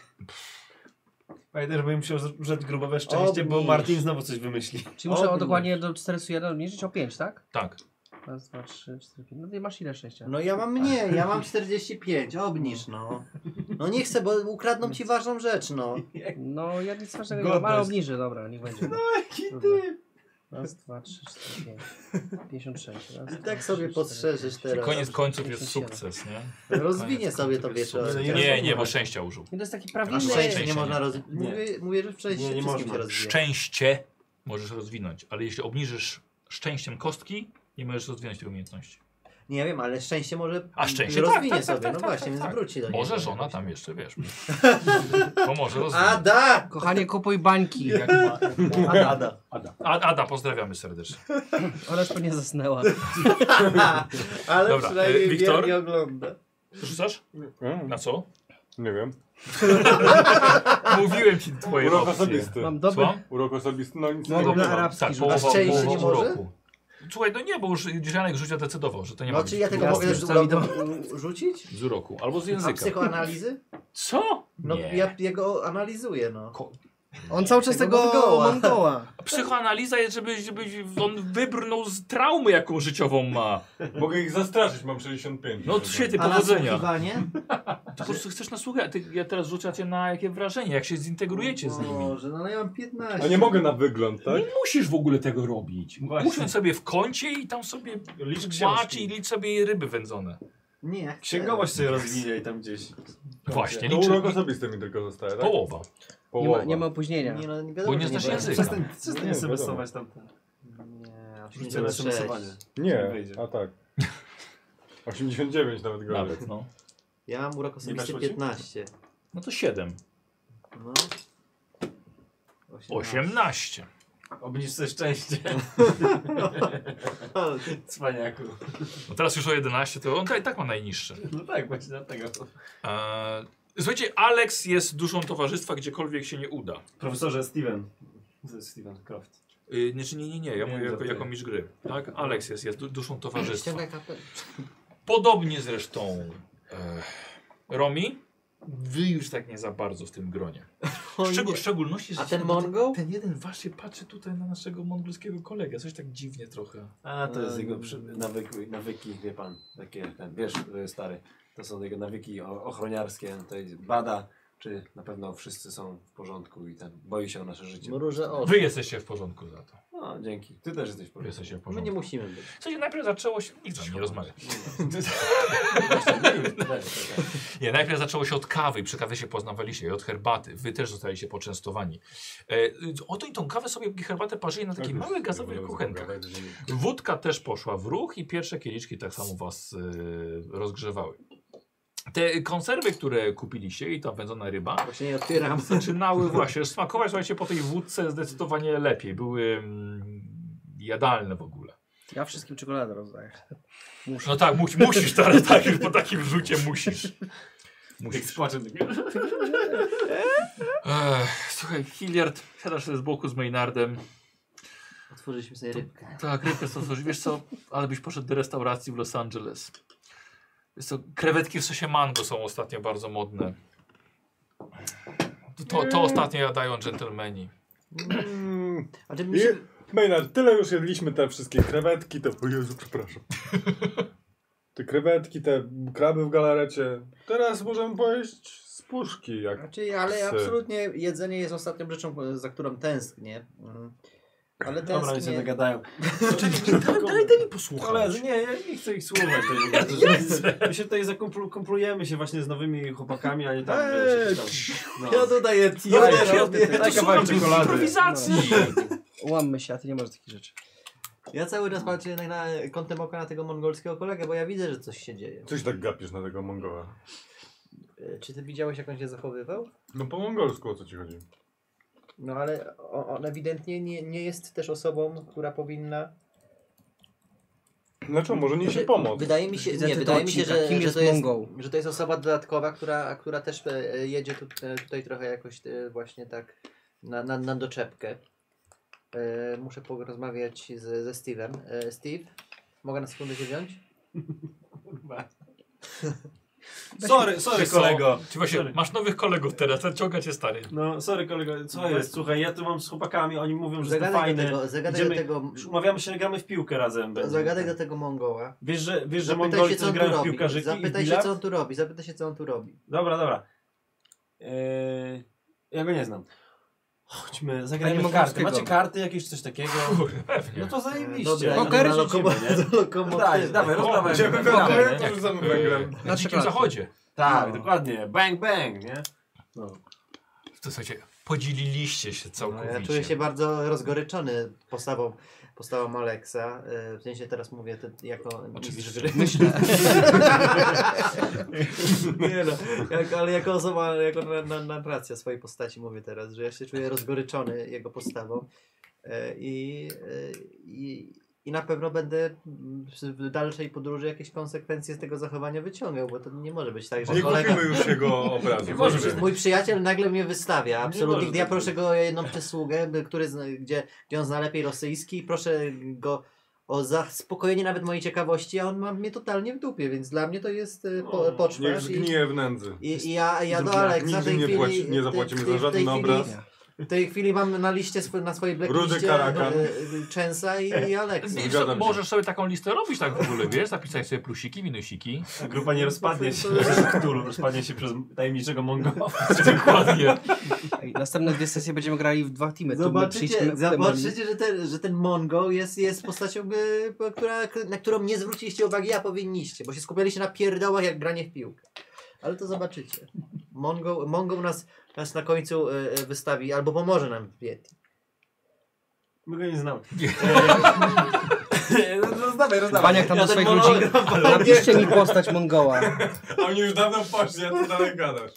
S2: Pamiętaj, że bym musiał użyć grubowe szczęście, bo
S3: Obniż.
S2: Martin znowu coś wymyśli.
S6: Czyli muszę o
S3: Obniż.
S6: dokładnie do 41 obniżyć o 5, tak?
S1: Tak.
S6: Raz, dwa, trzy, cztery, pięć. No ty masz ile szczęścia?
S3: No ja mam mniej, ja mam 45, obniż, no. No nie chcę, bo ukradną ci ważną rzecz, no.
S6: No ja nic ważnego nie mam, ale
S2: Godność.
S6: obniżę, dobra, niech będzie. No jaki ty! Raz, dwa, trzy, cztery, pięć. 56. Raz,
S3: I tak
S6: dwa,
S3: sobie
S6: trzy, cztery,
S3: podszerzysz
S6: pięć.
S1: Czyli
S3: teraz.
S1: koniec końców jest
S6: 57.
S1: sukces, nie?
S3: Rozwinie sobie to wieczorem.
S1: Nie, nie, nie, bo szczęścia użył.
S6: I to jest taki
S3: A
S6: prawidłowy...
S3: szczęście
S1: Szczęście
S3: nie można
S1: nie.
S3: roz... Mówię, mówię, że w szczęście
S2: Nie, nie
S3: wszystkim się
S2: można.
S3: rozwija.
S1: Szczęście możesz rozwinąć, ale jeśli obniżysz szczęściem kostki, nie możesz rozwinąć tej umiejętności.
S3: Nie wiem, ale szczęście może
S1: A szczęście, tak,
S3: rozwinie
S1: tak, tak,
S3: sobie,
S1: tak,
S3: no
S1: tak,
S3: właśnie,
S1: tak,
S3: więc
S1: tak.
S3: wróci do niej.
S1: Może żona tam jeszcze, wiesz. Pomoże
S3: Ada!
S1: rozwinąć.
S3: da!
S6: Kochanie, kupuj bańki. Jak ma.
S3: Ada, Ada.
S1: A- Ada, pozdrawiamy serdecznie.
S6: Ona już pewnie zasnęła.
S3: Ale
S1: Dobra, e,
S3: przynajmniej
S1: Wiktor?
S3: wiem, nie ogląda.
S1: Rzucasz?
S7: Mm,
S1: Na co?
S7: Nie wiem.
S1: Mówiłem ci twoje
S7: Urok
S1: opcje.
S7: osobisty.
S6: Mam dobry...
S1: Słucham?
S7: Urok osobisty, no nic
S6: No
S7: nie
S6: dobra.
S7: mam.
S6: arabski
S1: tak,
S6: rzuc.
S1: połowa,
S3: A szczęście
S1: połowa
S3: nie może?
S1: uroku. Słuchaj, no nie, bo już Janek życia decydował, że to nie ma
S3: No
S1: być
S3: czy ja tego
S6: Jasne,
S3: mogę
S6: czasami
S3: rzu- u- rzucić?
S1: z uroku albo z
S3: A
S1: języka.
S3: psychoanalizy?
S1: Co?
S3: No
S1: nie.
S3: ja jego analizuję, no.
S1: Ko-
S6: On cały czas
S3: Tego
S6: tego
S3: Mongoła.
S6: Mongoła.
S1: Psychoanaliza jest, żebyś, żebyś on wybrnął z traumy, jaką życiową ma.
S4: Mogę ich zastraszyć, mam 65.
S1: No świetnie,
S3: A
S1: powodzenia.
S3: nasłuchiwanie?
S1: Ty po prostu chcesz nasłuchać. Ty, ja teraz rzucę cię na jakie wrażenie, jak się zintegrujecie z nimi.
S3: Boże, no ale ja mam
S7: A
S3: 15.
S7: nie mogę na wygląd, tak?
S1: Nie musisz w ogóle tego robić.
S2: Właśnie.
S1: Usiądź sobie w kącie i tam sobie
S2: Licz
S1: płacz
S2: książki.
S1: i licz sobie ryby wędzone.
S3: Nie, ja chcę.
S2: Księgowość sobie rozwinie i tam gdzieś.
S1: Właśnie,
S7: To
S1: liczy
S7: urok osobisty mi tylko zostaje, tak?
S1: połowa.
S6: Nie ma,
S7: Połowa.
S6: nie ma opóźnienia.
S3: Nie, no, nie
S1: Bo
S3: wiadomo,
S1: nie
S3: że
S1: znasz
S3: będzie.
S1: języka.
S2: Przestań, przestań
S7: Nie,
S2: no, nie, no,
S7: wiadomo.
S2: SMS-ować tam. tam.
S3: Nie,
S2: Rzucę na SMS-owanie.
S7: Nie,
S2: Wyjdzie.
S7: a tak. 89 nawet grałem.
S1: Nawet, no.
S3: Ja mam urok osobisty
S2: weszło ci?
S3: 15.
S1: No to 7.
S3: No.
S1: 18.
S2: Obniż sobie szczęście. Cwaniaku.
S1: No teraz już o 11, to on i tak ma najniższe.
S2: No tak, właśnie dlatego.
S1: Eee, słuchajcie, Alex jest duszą towarzystwa, gdziekolwiek się nie uda.
S2: Profesorze Steven. Steven Croft.
S1: Yy, znaczy nie, nie, nie, ja
S2: Nie,
S1: mówię jako,
S2: dobra.
S1: jako mistrz gry. Tak? Alex jest, jest du- duszą towarzystwa.
S3: Ściągaj kapel.
S1: Podobnie zresztą e, Romi, wy już tak nie za bardzo w tym gronie.
S3: O
S1: Szczegu-
S3: nie.
S1: w szczególności, że
S3: A ten
S1: się-
S3: Mongol?
S1: Ten jeden wasz się patrzy tutaj na naszego mongolskiego kolegę, coś tak dziwnie trochę.
S2: A, to jest
S3: Em.
S2: jego przy, nawyki, nawyki, wie pan, takie, ten, wiesz, y, stary, to są jego nawyki o- ochroniarskie, on tutaj bada, czy na pewno wszyscy są w porządku i ten, boi się o nasze życie.
S3: Mrużę oczy.
S1: Wy jesteście w porządku za to.
S2: No, dzięki. Ty też jesteś w
S1: Wy
S2: porządku.
S1: jesteście w
S3: My nie
S1: porządku.
S3: musimy być.
S1: Słuchajcie, najpierw zaczęło się... Nic tam nie rozmawia. Nie, najpierw zaczęło się od kawy, i przy kawie się poznawaliście i od herbaty. Wy też zostaliście poczęstowani. E, oto i tą kawę sobie i herbatę parzyli na takiej małej gazowej kuchenkach. Wódka też poszła w ruch i pierwsze kieliczki tak samo was e, rozgrzewały. Te konserwy, które kupiliście i ta wędzona ryba
S3: Właśnie nie otwieram.
S1: zaczynały właśnie smakować, słuchajcie, po tej wódce zdecydowanie lepiej. Były mm, jadalne w ogóle.
S6: Ja wszystkim czekoladę rozdaję.
S1: No tak, mu, musisz teraz, tak, już po takim rzucie musisz. Musisz.
S2: tak,
S1: Ech, słuchaj, Hilliard, siadasz sobie z boku z Maynardem.
S3: Otworzyliśmy sobie rybkę.
S1: Tak, rybkę stosować. Wiesz co, ale byś poszedł do restauracji w Los Angeles. Wiesz co, krewetki w sosie mango są ostatnio bardzo modne. To- To, to ostatnio jadają dżentelmeni.
S7: Mm,
S3: A ty mi
S7: I,
S3: się...
S7: Maynard, tyle już jedliśmy te wszystkie krewetki, te... O Jezu, przepraszam. Te krewetki, te kraby w galarecie. Teraz możemy pojeść z puszki, jak
S3: Znaczy, ale
S7: Psy.
S3: absolutnie jedzenie jest ostatnią rzeczą, e, za którą tęsknię. Mm. Ale
S2: Dobra, oni się
S3: tęsknię.
S2: dogadają.
S1: Daj, daj mi posłuchać.
S2: Koledzy, nie, ja nie chcę ich słuchać. to jest bardzo, że My się tutaj zakumplu- kumplujemy się właśnie z nowymi chłopakami, a nie tam,
S3: Eee,
S2: wiesz, jakiś tam.
S3: Ja
S2: No.
S3: dodaję ti.
S2: No,
S3: ale
S2: ja
S3: robię.
S2: tutaj-
S1: To
S2: Taka
S1: słucham
S2: mała
S1: tych
S2: czekolady.
S1: improwizacji.
S6: Łammy się, a ty nie możesz takich rzeczy.
S3: Ja cały czas patrzę jednak na, kątem oka na tego mongolskiego kolegę, bo ja widzę, że coś się dzieje.
S7: Coś tak gapisz na tego Mongoła.
S3: E, Czy ty widziałeś, jak on się zachowywał?
S7: No po mongolsku o co ci chodzi?
S3: No ale on, on ewidentnie nie, nie jest też osobą, która powinna...
S7: Dlaczego? No Może nie się pomóc.
S3: Wydaje mi się,
S6: Widzę
S3: nie,
S6: ty
S3: wydaje
S6: do
S3: mi się,
S6: odcinka.
S3: że,
S6: Kim
S3: że,
S6: jest
S3: to jest,
S6: Mongol?
S3: że to jest osoba dodatkowa, która, która też e, jedzie tu, e, tutaj trochę jakoś e, właśnie tak na, na, na doczepkę. E, muszę porozmawiać z, ze Steve'em. E, Steve, mogę na sekundę się wziąć?
S2: Sorry, sorry kolego.
S1: Czy właśnie,
S2: Sorry.
S1: masz nowych kolegów teraz, nadciąga cię stary.
S2: No, sorry kolego, co jest? Słuchaj, ja tu mam z chłopakami, oni mówią, że jestem
S3: Zagadaj do
S2: fajny.
S3: tego, zagadaj do
S2: Idziemy-
S3: tego,
S2: Już Umawiamy się, że gramy w piłkę razem. będzie.
S3: zagadaj do tego Mongoła.
S2: Wiesz, że, wiesz, że
S3: Zapytaj
S2: Mongoli
S3: się, co
S2: też
S3: on tu
S2: grają w
S3: robi.
S2: piłkarzyki i
S3: Zapytaj się,
S2: bilat?
S3: co on tu robi. Zapytaj się, co on tu robi. E,
S2: Dobra, dobra. Eee, ja go nie znam. Chodźmy,
S6: Panie
S2: zagrajmy w karty.
S6: Mogórskiego.
S2: Macie karty jakieś, coś takiego?
S1: Kurde, pewnie.
S2: No to zajebiście.
S3: Dobra,
S2: No to
S6: Poker?
S2: siedzimy, nie? No daj,
S3: Do lokomotywy.
S2: dawaj, rozmawiamy.
S7: Idziemy w
S2: Dobra,
S7: ogóle,
S2: nie?
S7: to rzucamy węglem.
S1: Na
S6: Na
S1: dzikim
S6: czekolady.
S1: zachodzie.
S2: Tak, dokładnie. Bang, bang, nie?
S1: To słuchajcie, podzieliliście się
S3: No,
S1: całkowicie.
S3: ja czuję się bardzo rozgoryczony postawą, postawą Alexa. E, W sensie teraz mówię to jako mistrz gry. Nie no, jak, ale jako osoba, jako na- na- narracja swojej postaci mówię teraz, że ja się czuję rozgoryczony jego postawą E, i, e, i, i na pewno będę w dalszej podróży jakieś konsekwencje z tego zachowania wyciągał, bo to nie może być tak, że
S7: Nie
S3: kolega...
S7: kupimy już jego obrazu.
S1: Może
S7: Dobrze.
S1: być.
S3: Mój przyjaciel nagle mnie wystawia, absolutnie.
S2: może
S3: Gdy ja
S2: tak
S3: proszę go o jedną przysługę, by- który, zna- gdzie, gdzie on zna lepiej rosyjski, proszę go o zaspokojenie nawet mojej ciekawości, a on ma mnie totalnie w dupie, więc dla mnie to jest e, po,
S7: No, Niech
S3: poczwarz. I,
S7: zgnije w nędzy.
S3: i, I ja, ja do
S7: Drugi raz.
S3: Aleksa w
S7: Nigdy
S3: tej
S7: nie
S3: chwili...
S7: płaci- nie
S3: w tej-
S7: zapłacimy
S3: w tej-
S7: za żaden
S3: w tej chwili-
S7: obraz.
S3: W tej chwili mam na liście, swo- na swojej blackliście
S7: Karakan.
S3: e, e, Częsa i, i
S2: No,
S3: Aleksa.
S1: Wiesz,
S7: Zgadzam
S1: co,
S7: się.
S1: możesz sobie taką listę robić tak w ogóle, wiesz, zapisać sobie plusiki, minusiki.
S2: Ta grupa nie rozpadnie się Cthulhu, rozpadnie się przez tajemniczego Mongola.
S1: Dokładnie.
S6: Ej, Następne dwie sesje będziemy grali w dwa teamy. Tu my przyjdźmy
S3: Zobaczycie,
S6: w temat.
S3: zobaczycie że, ten, że ten Mongo jest, jest postacią, y, która, na którą nie zwróciliście uwagi, a powinniście, bo się skupialiście na pierdołach jak granie w piłkę. Ale to zobaczycie. Mongo, Mongo nas, nas na końcu y, y, wystawi albo pomoże nam w Yeti.
S2: My go nie no znamy. E,
S8: Rozdawaj, rozdawaj.
S6: Baniak tam do
S3: ten
S6: swoich
S3: monolog-
S6: ludzi. Napiszcie mi postać Mongoła.
S4: A mnie już dawno poszli, a ty dalej gadasz.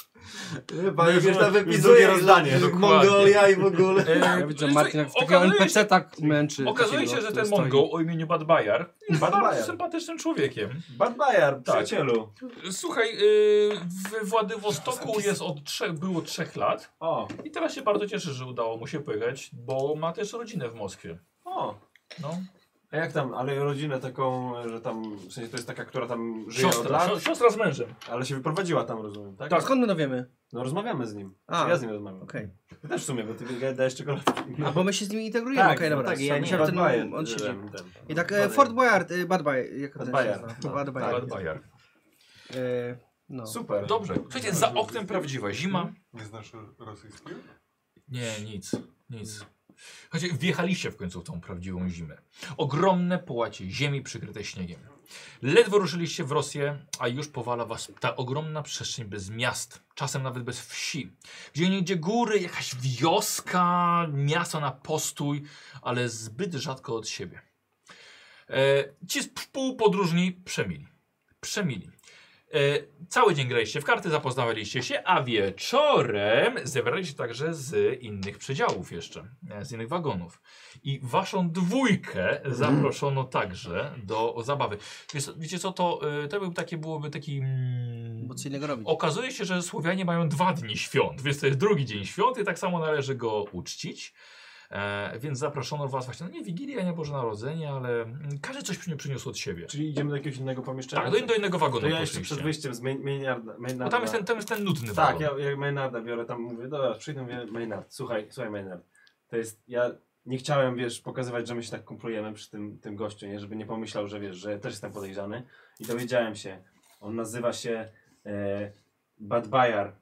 S2: No już
S3: już
S2: na-
S3: tam
S2: już
S3: wypisuje
S2: drugie rozdanie,
S3: że
S1: dokładnie.
S3: Mongolia i w ogóle.
S1: E,
S6: Ja widzę, Martin jak takiego
S1: no okazuje się-
S6: NPC tak męczy.
S1: Okazuje się,
S6: takiego,
S1: że
S6: który
S1: ten
S6: stoi.
S1: Mongol o imieniu Bad Bajar jest
S2: Bad
S1: bardzo
S2: Bajar.
S1: sympatycznym człowiekiem.
S2: Bad Bayer,
S1: Tak.
S2: przyjacielu.
S1: Słuchaj, yy, w Władywostoku jest od trzech, było trzech lat
S2: O,
S1: i teraz się bardzo cieszę, że udało mu się pojechać, bo ma też rodzinę w Moskwie.
S2: o.
S1: No.
S2: A jak tam, ale rodzinę taką, że tam, w sensie to jest taka, która tam żyje od
S1: Siostra,
S2: lat,
S1: sio- siostra z mężem.
S2: ale się wyprowadziła tam, rozumiem, tak?
S6: A skąd my to wiemy?
S2: No rozmawiamy z nim.
S6: A.
S2: ja z nim rozmawiam.
S6: Okej.
S2: Ty też w sumie, bo ty dajesz czekoladki.
S6: A bo my się z nimi integrujemy. Okej,
S2: no
S6: dobra.
S2: tak, ja nie
S6: Myślałem,
S2: Bad
S6: ten-
S2: Bayer.
S6: on siedzi.
S2: ten- ten-
S6: I tak e,
S2: Bayer.
S6: Fort Boyard, e, Bad Boy, jak to
S2: Bad
S6: się
S2: Bayer.
S6: nazywa?
S2: No,
S6: Bad Boyer.
S1: Tak, Bad Bajar.
S6: E, no.
S2: Super.
S1: Dobrze. Słuchajcie, za oknem prawdziwa zima.
S4: Nie znasz rosyjskiego?
S1: Nie, nic, nic. Chodźcie, wjechaliście w końcu w tą prawdziwą zimę. Ogromne połacie ziemi przykryte śniegiem. Ledwo ruszyliście w Rosję, a już powala was ta ogromna przestrzeń bez miast, czasem nawet bez wsi. Gdzie niegdzie góry, jakaś wioska, miasto na postój, ale zbyt rzadko od siebie. E, ci z półpodróżni przemili. Przemili. E, cały dzień graliście w karty, zapoznawaliście się, a wieczorem zebraliście także z innych przedziałów jeszcze, e, z innych wagonów. I waszą dwójkę zaproszono także do zabawy. Wiesz, co- wiecie co, to, e, to był takie, byłoby taki... Mm,
S6: Bo co innego robić.
S1: Okazuje się, że Słowianie mają dwa dni świąt, więc to jest drugi dzień świąt i tak samo należy go uczcić. E, więc zaproszono was właśnie, no nie Wigilia, nie Boże Narodzenie, ale mm, każdy coś przy- przyniósł od siebie.
S2: Czyli idziemy do jakiegoś innego pomieszczenia?
S1: Tak, do, do innego wagonu
S2: To ja jeszcze
S1: poszliście.
S2: przed wyjściem z Main- Maynarda.
S1: Bo
S2: Maynarda-
S1: tam jest ten, tam jest ten nudny
S2: Tak,
S1: wagon.
S2: ja, ja Maynarda biorę, tam mówię, dobra, przyjdę, mówię, Maynard, słuchaj, słuchaj Maynard, to jest, ja nie chciałem, wiesz, pokazywać, że my się tak kumplujemy przy tym, tym gościu, nie, żeby nie pomyślał, że wiesz, że też jestem podejrzany i dowiedziałem się, on nazywa się e, Bad Bajar,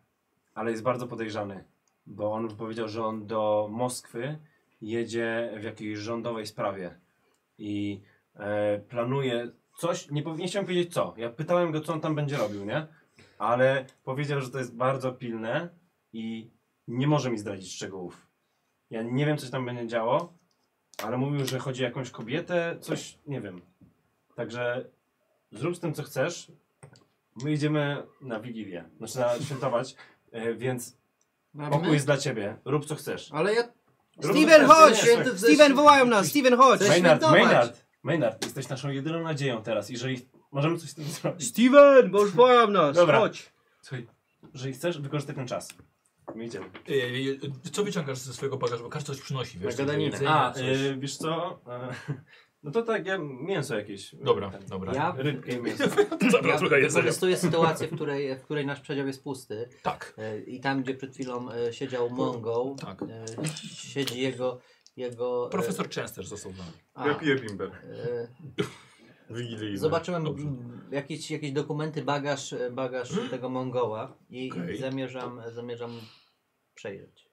S2: ale jest bardzo podejrzany, bo on powiedział, że on do Moskwy jedzie w jakiejś rządowej sprawie i e, planuje coś, nie, powi- nie chciałem powiedzieć co, ja pytałem go, co on tam będzie robił, nie? ale powiedział, że to jest bardzo pilne i nie może mi zdradzić szczegółów. Ja nie wiem, co się tam będzie działo, ale mówił, że chodzi o jakąś kobietę, coś, nie wiem. Także zrób z tym, co chcesz. My idziemy na Wigilię, znaczy na świętować, e, więc pokój jest dla ciebie, rób co chcesz.
S3: Ale ja...
S2: Rób co
S6: Steven,
S2: chcesz.
S6: chodź!
S2: Nie, słuchaj,
S6: Steven, wołają nas! Steven, chodź!
S3: Chcesz
S2: Maynard,
S3: świętować.
S2: Maynard, Maynard, jesteś naszą jedyną nadzieją teraz, jeżeli możemy coś z tym zrobić.
S6: Steven, bo już wołają nas!
S2: Dobra.
S6: Chodź!
S2: Słuchaj, jeżeli chcesz, wykorzystaj ten czas. My idziemy.
S1: Ej, E, Co wyciągasz ze swojego bagażu? Bo każdy coś przynosi, wiesz?
S3: Na gadaninę.
S1: jedzenie,
S2: A,
S1: coś.
S2: e, wiesz co? E, no to tak, ja mięso jakieś. e,
S1: Dobra,
S2: ten,
S1: dobra.
S3: Ja,
S2: Rybkę i mięso.
S1: Dobra, trochę
S3: ja
S1: jedzenia.
S3: wykorzystuję sytuację, w której, w której nasz przedział jest pusty
S1: Tak.
S3: e, i tam, gdzie przed chwilą e, siedział Mongo,
S1: Tak.
S3: e, siedzi jego... jego e,
S1: Profesor Częster został z nami.
S3: a,
S7: Ja piję bimber.
S3: e,
S7: Wigilijny.
S3: Zobaczyłem
S1: Dobrze.
S3: mm, jakieś, jakieś dokumenty, bagaż, e, bagaż
S7: Mm.
S3: tego Mongoła i
S1: Okej.
S3: i zamierzam, zamierzam przejrzeć.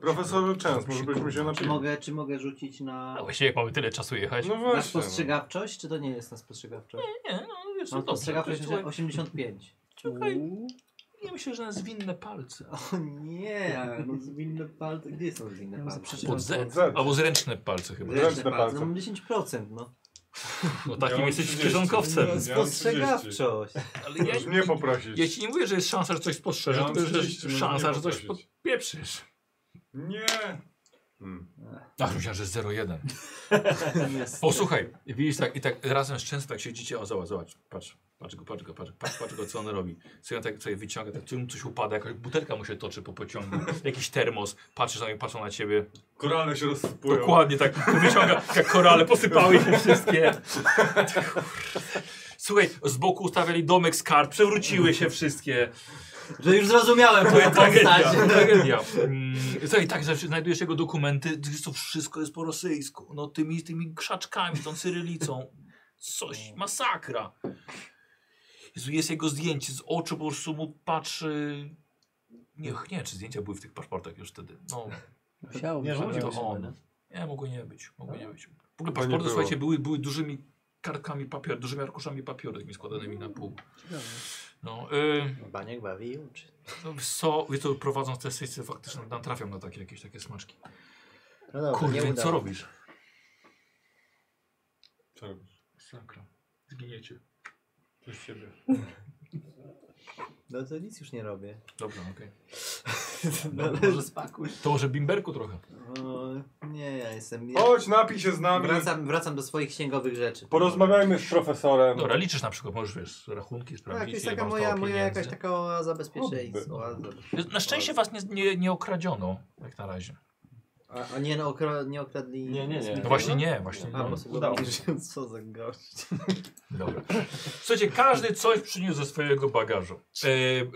S7: Profesor Częst, może byśmy się
S3: Czy
S7: napili.
S3: mogę, czy mogę rzucić na,
S1: A właściwie jak mamy tyle czasu jechać.
S7: No
S3: na
S7: właśnie.
S3: spostrzegawczość, czy to nie jest na spostrzegawczość?
S1: Nie, no wiesz, no
S3: Mam
S1: dobrze.
S3: spostrzegawczość
S1: człowiek-
S3: 85.
S1: czekaj. Ja myślę, że na zwinne palce.
S3: O nie, no zwinne palce, gdzie są zwinne
S6: Ja
S3: palce?
S6: muszę
S1: Pod
S6: przeczytać.
S1: Z,
S7: Z.
S1: albo zręczne palce chyba.
S7: Zręczne
S3: Ręczne palce,
S7: palce.
S3: no mam 10%, no.
S1: No
S7: Ja
S1: takim
S7: mam
S1: jesteś
S7: 30.
S1: kieszonkowcem.
S7: Ja mam 30.
S3: Spostrzegawczość.
S1: Ale ja,
S7: Możesz mnie poprosić.
S1: ja ci nie mówię, że jest szansa, że coś spostrzeże,
S7: Ja mam
S1: tylko że
S7: 30,
S1: jest szansa,
S7: możesz
S1: że
S7: mnie
S1: coś
S7: poprosić.
S1: podpieprzysz.
S7: Nie! Hmm.
S1: Ach, myślałem, że jest 0,1.
S3: Jest.
S1: O, słuchaj, widzisz tak, i tak razem z często tak siedzicie, o zobacz, zobacz, patrz, patrz go, patrz go, patrz, patrz, patrz go, co on robi. Co on tak sobie wyciąga, tak czym coś upada, jakaś butelka mu się toczy po pociągu, jakiś termos, patrzysz na niego, patrzą na ciebie.
S7: Korale się rozsypują.
S1: Dokładnie tak, wyciąga, jak korale posypały się wszystkie. Słuchaj, z boku ustawiali domek z kart, przewróciły się wszystkie. Tak,
S3: Że już zrozumiałem twoją postać.
S1: Tragedia, tragedia. Mm, Słuchaj, tak, że znajdujesz jego dokumenty, to wszystko jest po rosyjsku. No tymi, tymi krzaczkami, tą cyrylicą. Coś, masakra. Jezu, jest jego zdjęcie, z oczu po prostu mu patrzy... Nie, nie, wiem, czy zdjęcia były w tych paszportach już wtedy. No,
S6: Musiało
S2: Nie,
S6: być.
S2: że
S1: to
S2: mówił.
S1: on. Nie, mogło nie być, mogło
S3: No.
S1: nie być. W ogóle
S7: nie
S1: paszporty,
S7: było.
S1: słuchajcie, były, były dużymi kartkami papieru, dużymi arkuszami papieru, takimi składanymi na pół. No, y,
S3: Baniek bawi i uczy.
S1: no, so, wiesz, to prowadząc te sesje faktycznie nam trafią na takie jakieś takie smaczki.
S3: No dobra, nie
S1: Kurde,
S3: udało.
S1: co robisz?
S7: Co robisz?
S1: Sakra. Zginiecie. Przez siebie.
S3: No to nic już nie robię.
S1: Dobra, okej.
S3: No, może spakuj.
S1: To może bimberku trochę.
S3: O, No, nie, ja jestem... Ja
S7: Chodź, napij się z nami.
S3: wracam, wracam do swoich księgowych rzeczy.
S7: Porozmawiajmy z profesorem.
S1: Dobra, liczysz na przykład, możesz wiesz, rachunki sprawdzić.
S3: Tak, to jest
S1: ile
S3: taka
S1: wam
S3: moja,
S1: stało
S3: moja
S1: pieniędzy.
S3: jakaś tak- taka oaza bezpieczeństwa. Oaza.
S1: Na szczęście was nie, nie, nie okradziono, jak na razie.
S3: A, a nie, no, okra nie okradli...
S2: Nie, nie, nie.
S1: No właśnie nie, właśnie
S3: A,
S1: nie.
S3: bo sobie
S2: Udało
S3: myślałem, co za gość.
S1: Dobra. Słuchajcie, każdy coś przyniósł ze swojego bagażu.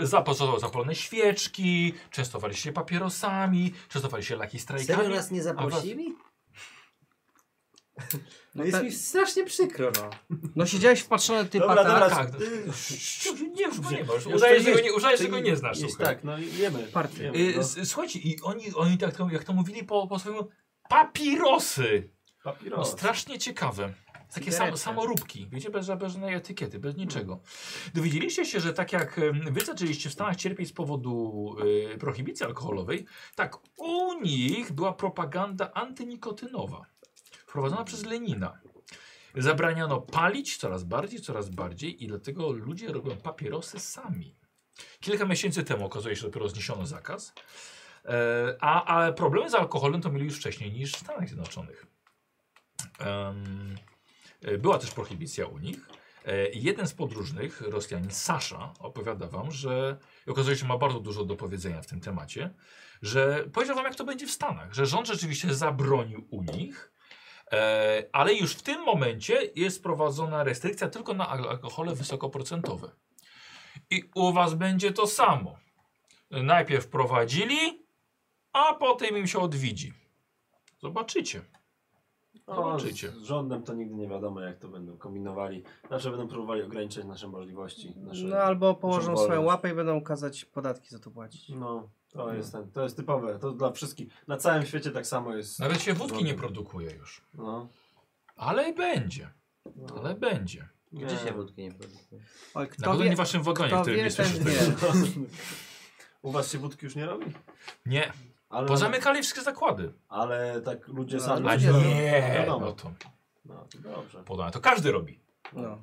S1: E, zapasował zapalone świeczki, częstowali się papierosami, częstowali się laki
S3: Serio
S1: strajkami.
S3: nas nie zaprosili? No
S6: tak.
S3: jest mi strasznie przykro, no.
S6: No siedziałeś wpatrzony ty
S2: Dobra,
S6: pata.
S2: dobra. y,
S1: Tak. Nie, już go nie masz.
S2: Już
S1: Udajesz,
S2: to
S1: że go
S2: jest-
S1: nie, udajesz, że
S2: to
S1: go
S2: i-
S1: nie znasz,
S2: Jest
S1: słuchaj.
S2: tak, no i jemy.
S6: Party.
S2: jemy
S1: Y,
S2: no.
S1: s- Słuchajcie, i oni, oni tak, to- jak to mówili po, po swojemu, papirosy. No,
S2: Papieros.
S1: strasznie ciekawe. Takie sam,
S6: Cigarety.
S1: samoróbki, wiecie, bez, bez żadnej etykiety, bez niczego. Dowiedzieliście się, że tak jak em, wy zaczęliście w Stanach cierpieć z powodu y, prohibicji alkoholowej, tak u nich była propaganda antynikotynowa, wprowadzona przez Lenina. Zabraniano palić coraz bardziej, coraz bardziej i dlatego ludzie robią papierosy sami. Kilka miesięcy temu okazuje się, że dopiero zniesiono zakaz, E, a, ale problemy z alkoholem to mieli już wcześniej niż w Stanach Zjednoczonych. Em, e, była też prohibicja u nich. E, i Jeden z podróżnych, Rosjanin Sasza, opowiada wam, że i okazuje się, że ma bardzo dużo do powiedzenia w tym temacie, że powiedział wam, jak to będzie w Stanach, że rząd rzeczywiście zabronił u nich, e, ale już w tym momencie jest prowadzona restrykcja tylko na al- alkohole wysokoprocentowe. I u was będzie to samo. Najpierw prowadzili, a potem im się odwidzi. Zobaczycie. Zobaczycie.
S2: No, z rządem to nigdy nie wiadomo, jak to będą kombinowali. Znaczy będą próbowali ograniczać nasze możliwości. Nasze...
S6: No albo położą
S2: wolność.
S6: swoją łapę i będą kazać podatki za to płacić.
S2: No, to jest ten, to jest typowe, to dla wszystkich. Na całym świecie tak samo jest.
S1: Nawet się wódki nie produkuje już.
S2: No.
S1: Ale będzie,
S2: no.
S1: ale będzie.
S2: Nie.
S3: Gdzie się wódki nie Tak, produkuje?
S6: Oj,
S1: Na
S6: kto
S1: pewno nie
S6: wie,
S1: w waszym wagonie, w
S6: kto
S1: którym
S6: wie
S1: nie
S6: ten
S1: słyszysz tego.
S6: wie.
S2: U was się wódki już nie robi?
S1: Nie,
S2: Ale,
S1: pozamykali wszystkie zakłady.
S2: ale tak ludzie
S6: No,
S2: sami.
S1: A
S6: ludzie robią.
S1: nie,
S2: Wiadomo.
S1: no to
S2: No, to dobrze.
S1: podane. To każdy robi.
S6: No.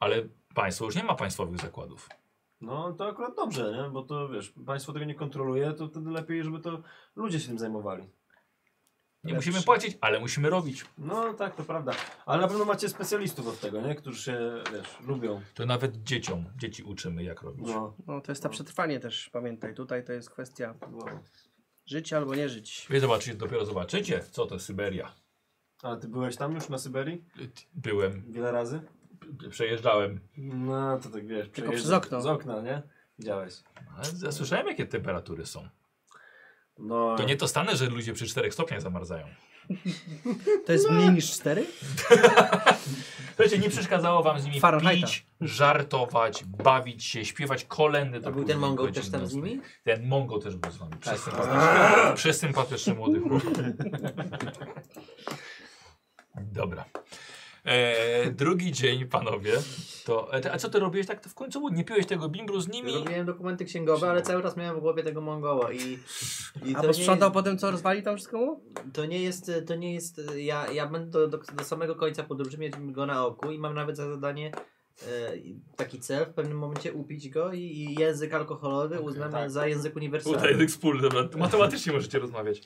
S1: Ale państwo już nie ma państwowych zakładów.
S2: No to akurat dobrze, nie? Bo to wiesz, państwo tego nie kontroluje, to wtedy lepiej, żeby to ludzie się tym zajmowali.
S1: Nie musimy płacić, ale musimy robić.
S2: No tak, to prawda. Ale na pewno macie specjalistów od tego, nie? Którzy się, wiesz, lubią.
S1: To nawet dzieciom, dzieci uczymy jak robić.
S2: No,
S6: No to jest ta przetrwanie też, pamiętaj. Tutaj to jest kwestia
S2: no.
S6: żyć albo nie żyć.
S1: Wy zobaczycie, dopiero zobaczycie, co to Syberia.
S2: Ale ty byłeś tam już na Syberii?
S1: Byłem,
S2: Wiele razy?
S1: przejeżdżałem.
S2: No, to tak wiesz. przejeżdżasz
S6: przez okno.
S2: Z okna, nie? Widziałeś.
S1: Ale ja słyszałem, jakie temperatury są.
S2: No,
S1: To nie to stane, że ludzie przy 4 stopniach zamarzają.
S6: To jest mniej niż cztery?
S1: Słuchajcie, nie przeszkadzało wam z nimi
S6: Fahrenheita.
S1: pić, żartować, bawić się, śpiewać kolendy.
S3: To
S1: do
S3: był ten
S1: późnych
S3: Mongol
S1: godzin
S3: też tam z
S1: nocnych.
S3: nimi?
S1: Ten Mongo też był z nami.
S2: tak,
S1: Przesym-
S2: tak.
S1: Przesympatyczny młody chłopak. Dobra. E, drugi dzień, panowie. To, e, a co ty robiłeś tak to w końcu? Nie piłeś tego bimbru z nimi?
S3: Robiłem dokumenty księgowe, ale cały czas miałem w głowie tego Mongoła i, i
S6: A
S3: to, nie,
S6: posprzątał po tym, co rozwali tam wszystko mu?
S3: to nie jest, to nie jest, ja, ja będę do, do, do samego końca podróży mieć go na oku i mam nawet za zadanie e, i taki cel, w pewnym momencie upić go i, i język alkoholowy uznam
S2: tak.
S3: za język uniwersalny.
S1: Tutaj język wspólny, dobra. Matematycznie możecie rozmawiać.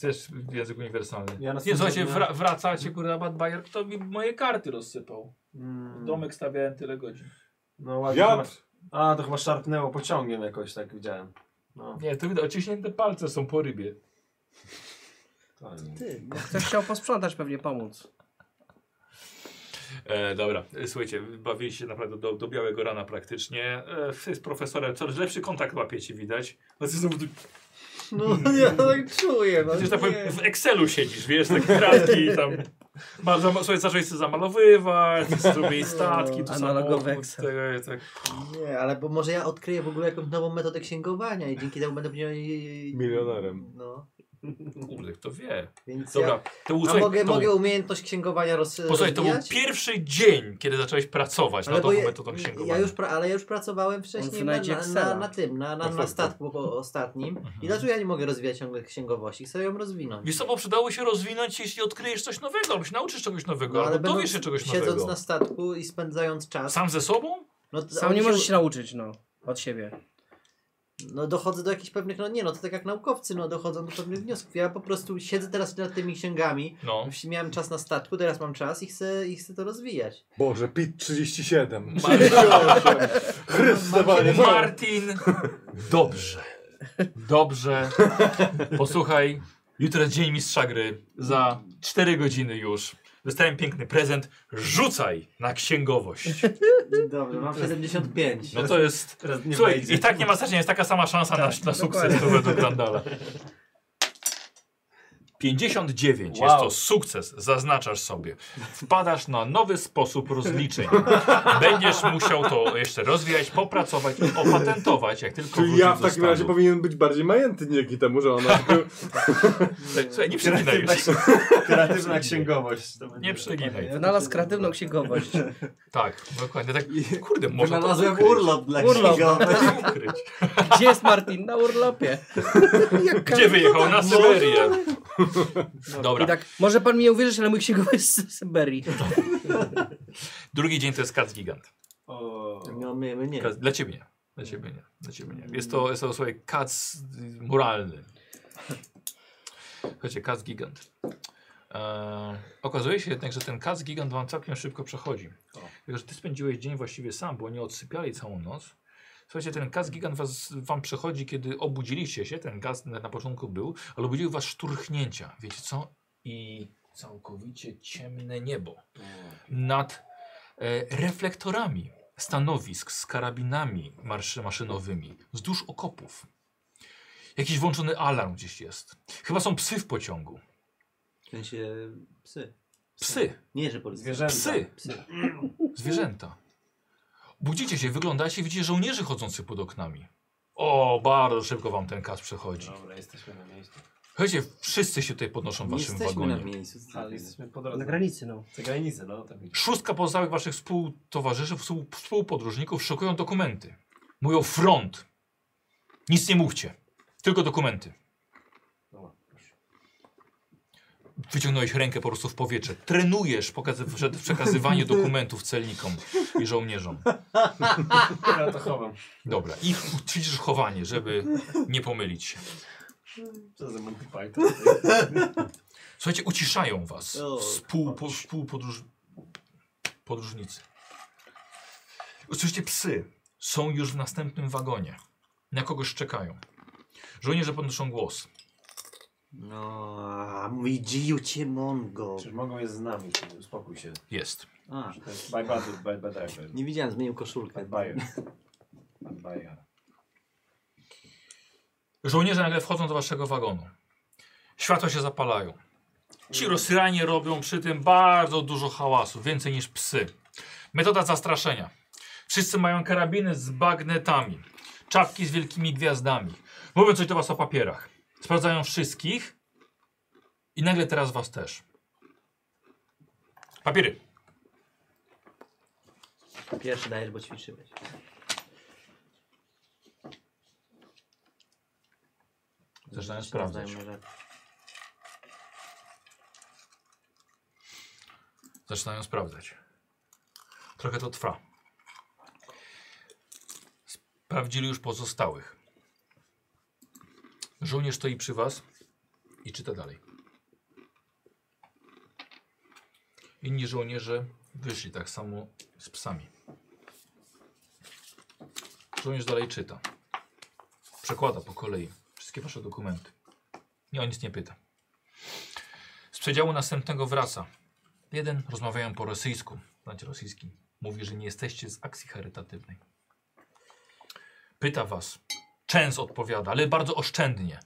S1: Też język uniwersalny.
S2: Ja na
S1: nie,
S2: studiach
S1: słuchajcie,
S2: na-
S3: no.
S1: wra wracacie, kurde, Abad Bayer, kto mi moje karty rozsypał.
S2: Mm,
S1: Domek stawiałem tyle godzin.
S2: No ładnie.
S4: Ja,
S2: A, to chyba szarpnęło pociągiem jakoś, tak widziałem. No,
S1: Nie, to widać, ociśnięte palce są po rybie.
S2: to
S6: Ty, bo ktoś chciał posprzątać, pewnie pomóc.
S1: E, dobra, E, słuchajcie, bawiliście się naprawdę do, do białego rana praktycznie. E, z profesorem coraz lepszy kontakt łapiecie, widać. No, ty znowu tu-
S3: No ja tak czuję, no
S1: Przecież tak powiem,
S3: nie.
S1: w Excelu siedzisz, wiesz, takie kratki i tam. Ma, zam, słuchaj, zacząłeś sobie zamalowywać,
S3: No,
S1: zrobiłeś statki, tu
S6: Analogowy
S1: samochód,
S6: Excel.
S1: te- tak.
S3: nie, ale bo może ja odkryję w ogóle jakąś nową metodę księgowania i dzięki temu będę później...
S7: Milionerem.
S3: No,
S1: Kurde, kto wie.
S3: więc ja...
S1: Dobra, to był,
S3: A
S1: słuchaj,
S3: mogę,
S1: to, był-
S3: mogę umiejętność księgowania roz,
S1: posłuchaj, to był
S3: rozwijać?
S1: pierwszy dzień, kiedy zacząłeś pracować no
S3: Ale
S1: nad
S3: bo
S1: tą
S3: ja,
S1: metodą
S3: ja
S1: księgowania.
S3: już pra, ale ja już pracowałem wcześniej na,
S6: wynajdzie
S3: na, na,
S6: Excela.
S3: na tym, na, na, na statku po- ostatnim. I dlaczego ja nie mogę rozwijać ciągle księgowości? Chcę ją rozwinąć.
S1: Mhm. Wiesz co, bo przydało się rozwinąć, jeśli odkryjesz coś nowego, albo się nauczysz czegoś nowego,
S3: No,
S1: albo
S3: będąc-
S1: dowiesz się czegoś
S3: siedząc
S1: nowego.
S3: na statku i spędzając czas.
S1: Sam ze sobą?
S3: No, to
S6: Sam nie
S3: oni
S6: możesz się nauczyć, no. Od siebie.
S3: No dochodzę do jakichś pewnych, no nie no, to tak jak naukowcy, no dochodzą do pewnych wniosków. Ja po prostu siedzę teraz nad tymi księgami.
S1: No.
S3: Miałem czas na statku, teraz mam czas i chcę, i chcę to rozwijać.
S7: Boże, PIT 37.
S1: No,
S7: Chryste,
S3: Mam
S7: panie,
S3: siedem-
S7: no.
S1: Martin! Dobrze. Dobrze. Posłuchaj. Jutro jest dzień mistrza gry. Za 4 godziny już. Dostałem piękny prezent. Rzucaj na księgowość.
S3: Dobrze, mam 75.
S1: No to jest.
S2: Teraz nie
S1: Słuchaj,
S2: wejdzie.
S1: i tak nie ma znaczenia, jest taka sama szansa na,
S7: Tak.
S1: na sukces to według Randala. 59
S2: Wow.
S1: jest to sukces, zaznaczasz sobie. Wpadasz na nowy sposób rozliczeń. Będziesz musiał to jeszcze rozwijać, popracować, opatentować, jak tylko
S7: Czyli
S1: wrócisz
S7: ja w
S1: do
S7: takim razie
S1: Stanów.
S7: powinien być bardziej majętny dzięki temu, że ona tylko
S1: Słuchaj, nie przeginaj już.
S2: Kreatywna księgowość. To będzie-
S1: Nie przeginaj.
S6: Wynalazł kreatywną księgowość.
S1: Tak, dokładnie. Tak, kurde, można to
S3: Znalazłem
S1: ukryć.
S3: urlop dla
S6: Urlop.
S3: księgowych.
S1: Można to ukryć.
S6: Gdzie jest Martin? Na urlopie. Jaka-
S1: Gdzie wyjechał? Na Syberię.
S6: I
S1: Dobra,
S6: tak, może pan mi nie uwierzyć, ale mój księgowy jest z Syberii.
S1: drugi dzień to jest Kac Gigant.
S2: O,
S3: No my, my nie.
S1: Kac- Dla ciebie nie. Dla ciebie nie. Dla ciebie nie. Jest to, jest to słuchaj, kac y, moralny. Słuchajcie, kac gigant. Eee, okazuje się jednak, że ten kac gigant wam całkiem szybko przechodzi. Tylko, że ty spędziłeś dzień właściwie sam, bo nie odsypiali całą noc. Słuchajcie, ten gaz gigant was, wam przechodzi, kiedy obudziliście się, ten gaz na, na początku był, ale obudziły was szturchnięcia, wiecie co? I całkowicie ciemne niebo nad e, reflektorami stanowisk z karabinami marszy, maszynowymi wzdłuż okopów. Jakiś włączony alarm gdzieś jest. Chyba są psy w pociągu.
S3: W sensie psy.
S1: Psy,
S3: Nie, że policja.
S2: zwierzęta.
S1: psy, zwierzęta. Budzicie się, wyglądacie i widzicie żołnierzy chodzący pod oknami. O, bardzo szybko wam ten kas przechodzi.
S2: Dobra, jesteśmy na miejscu.
S1: Słuchajcie, wszyscy się tutaj podnoszą w
S3: Nie
S1: waszym
S3: jesteśmy na
S1: wagonie.
S3: miejscu.
S2: Ale jesteśmy po drodze.
S6: Na granicy, no.
S2: Za granicę, no. Tak widzisz.
S1: Szóstka pozostałych waszych współtowarzyszy, współ- współpodróżników szukują dokumenty. Mówią front. Nic nie mówcie. Tylko dokumenty.
S2: no, Dobra, proszę.
S1: Wyciągnąłeś rękę po prostu w powietrze. Trenujesz pokazy- przed- przekazywanie dokumentów celnikom i żołnierzom.
S2: Ja to chowam.
S1: Dobra, i ćwiczysz chowanie, żeby nie pomylić się.
S2: Co za Monty Python?
S1: Słuchajcie, uciszają was.
S3: O,
S1: Współpo, współpodróż... Podróżnicy. Oczywiście psy są już w następnym wagonie. Na kogoś czekają. Żołnierze podnoszą głos.
S3: No, a mój dziucie mongo.
S2: Czy mogą je z nami? Uspokój się.
S1: Jest.
S3: A,
S2: To jest Bye bye, bye bye, driver.
S3: nie widziałem, zmienił
S2: Bye
S3: koszulkę.
S2: bye. Bye bye.
S1: Żołnierze nagle wchodzą do waszego wagonu. Światła się zapalają. Ci Rosjanie robią przy tym bardzo dużo hałasu, więcej niż psy. Metoda zastraszenia. Wszyscy mają karabiny z bagnetami, czapki z wielkimi gwiazdami. Mówią coś do was o papierach. Sprawdzają wszystkich i nagle teraz was też. Papiery.
S3: Pierwszy dajesz, bo ćwiczyłeś.
S1: Zaczynają
S3: Się
S1: sprawdzać.
S3: znają na rzeczy.
S1: Zaczynają sprawdzać. Trochę to trwa. Sprawdzili już pozostałych. Żołnierz stoi przy was i czyta dalej. Inni żołnierze wyszli tak samo z psami. Żołnierz dalej czyta. Przekłada po kolei wszystkie wasze dokumenty. Nie o nic nie pyta. Z przedziału następnego wraca. Jeden rozmawiają po rosyjsku, znacie rosyjski. Mówi, że nie jesteście z akcji charytatywnej. Pyta was. Częs odpowiada, ale bardzo oszczędnie.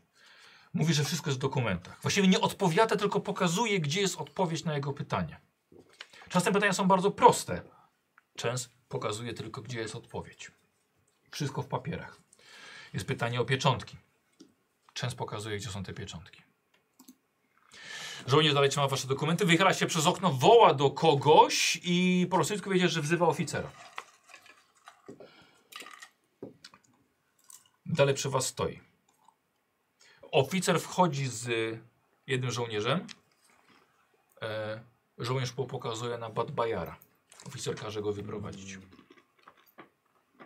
S1: Mówi, że wszystko jest w dokumentach. Właściwie nie odpowiada, tylko pokazuje, gdzie jest odpowiedź na jego pytanie. Czasem pytania są bardzo proste. Częs pokazuje tylko, gdzie jest odpowiedź. Wszystko w papierach. Jest pytanie o pieczątki. Częs pokazuje, gdzie są te pieczątki. Żołnierz dalej trzyma wasze dokumenty, wychyla się przez okno, woła do kogoś i po rosyjsku wiedzieć, że wzywa oficera. Dalej przy was stoi. Oficer wchodzi z jednym żołnierzem. E, żołnierz po- pokazuje na Badbajara. Oficer każe go wyprowadzić.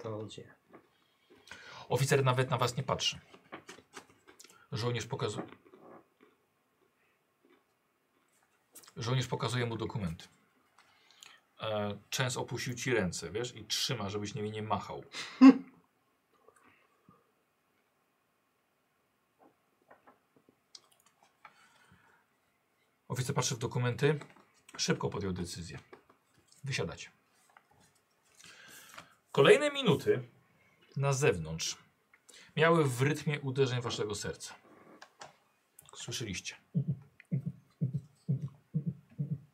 S3: To gdzie?
S1: Oficer nawet na was nie patrzy. Żołnierz pokazuje. Żołnierz pokazuje mu dokument. E, Częs opuścił ci ręce, wiesz, i trzyma, żebyś nimi nie machał. Oficer patrzy w dokumenty. Szybko podjął decyzję. Wysiadać. Kolejne minuty na zewnątrz miały w rytmie uderzeń waszego serca. Słyszeliście.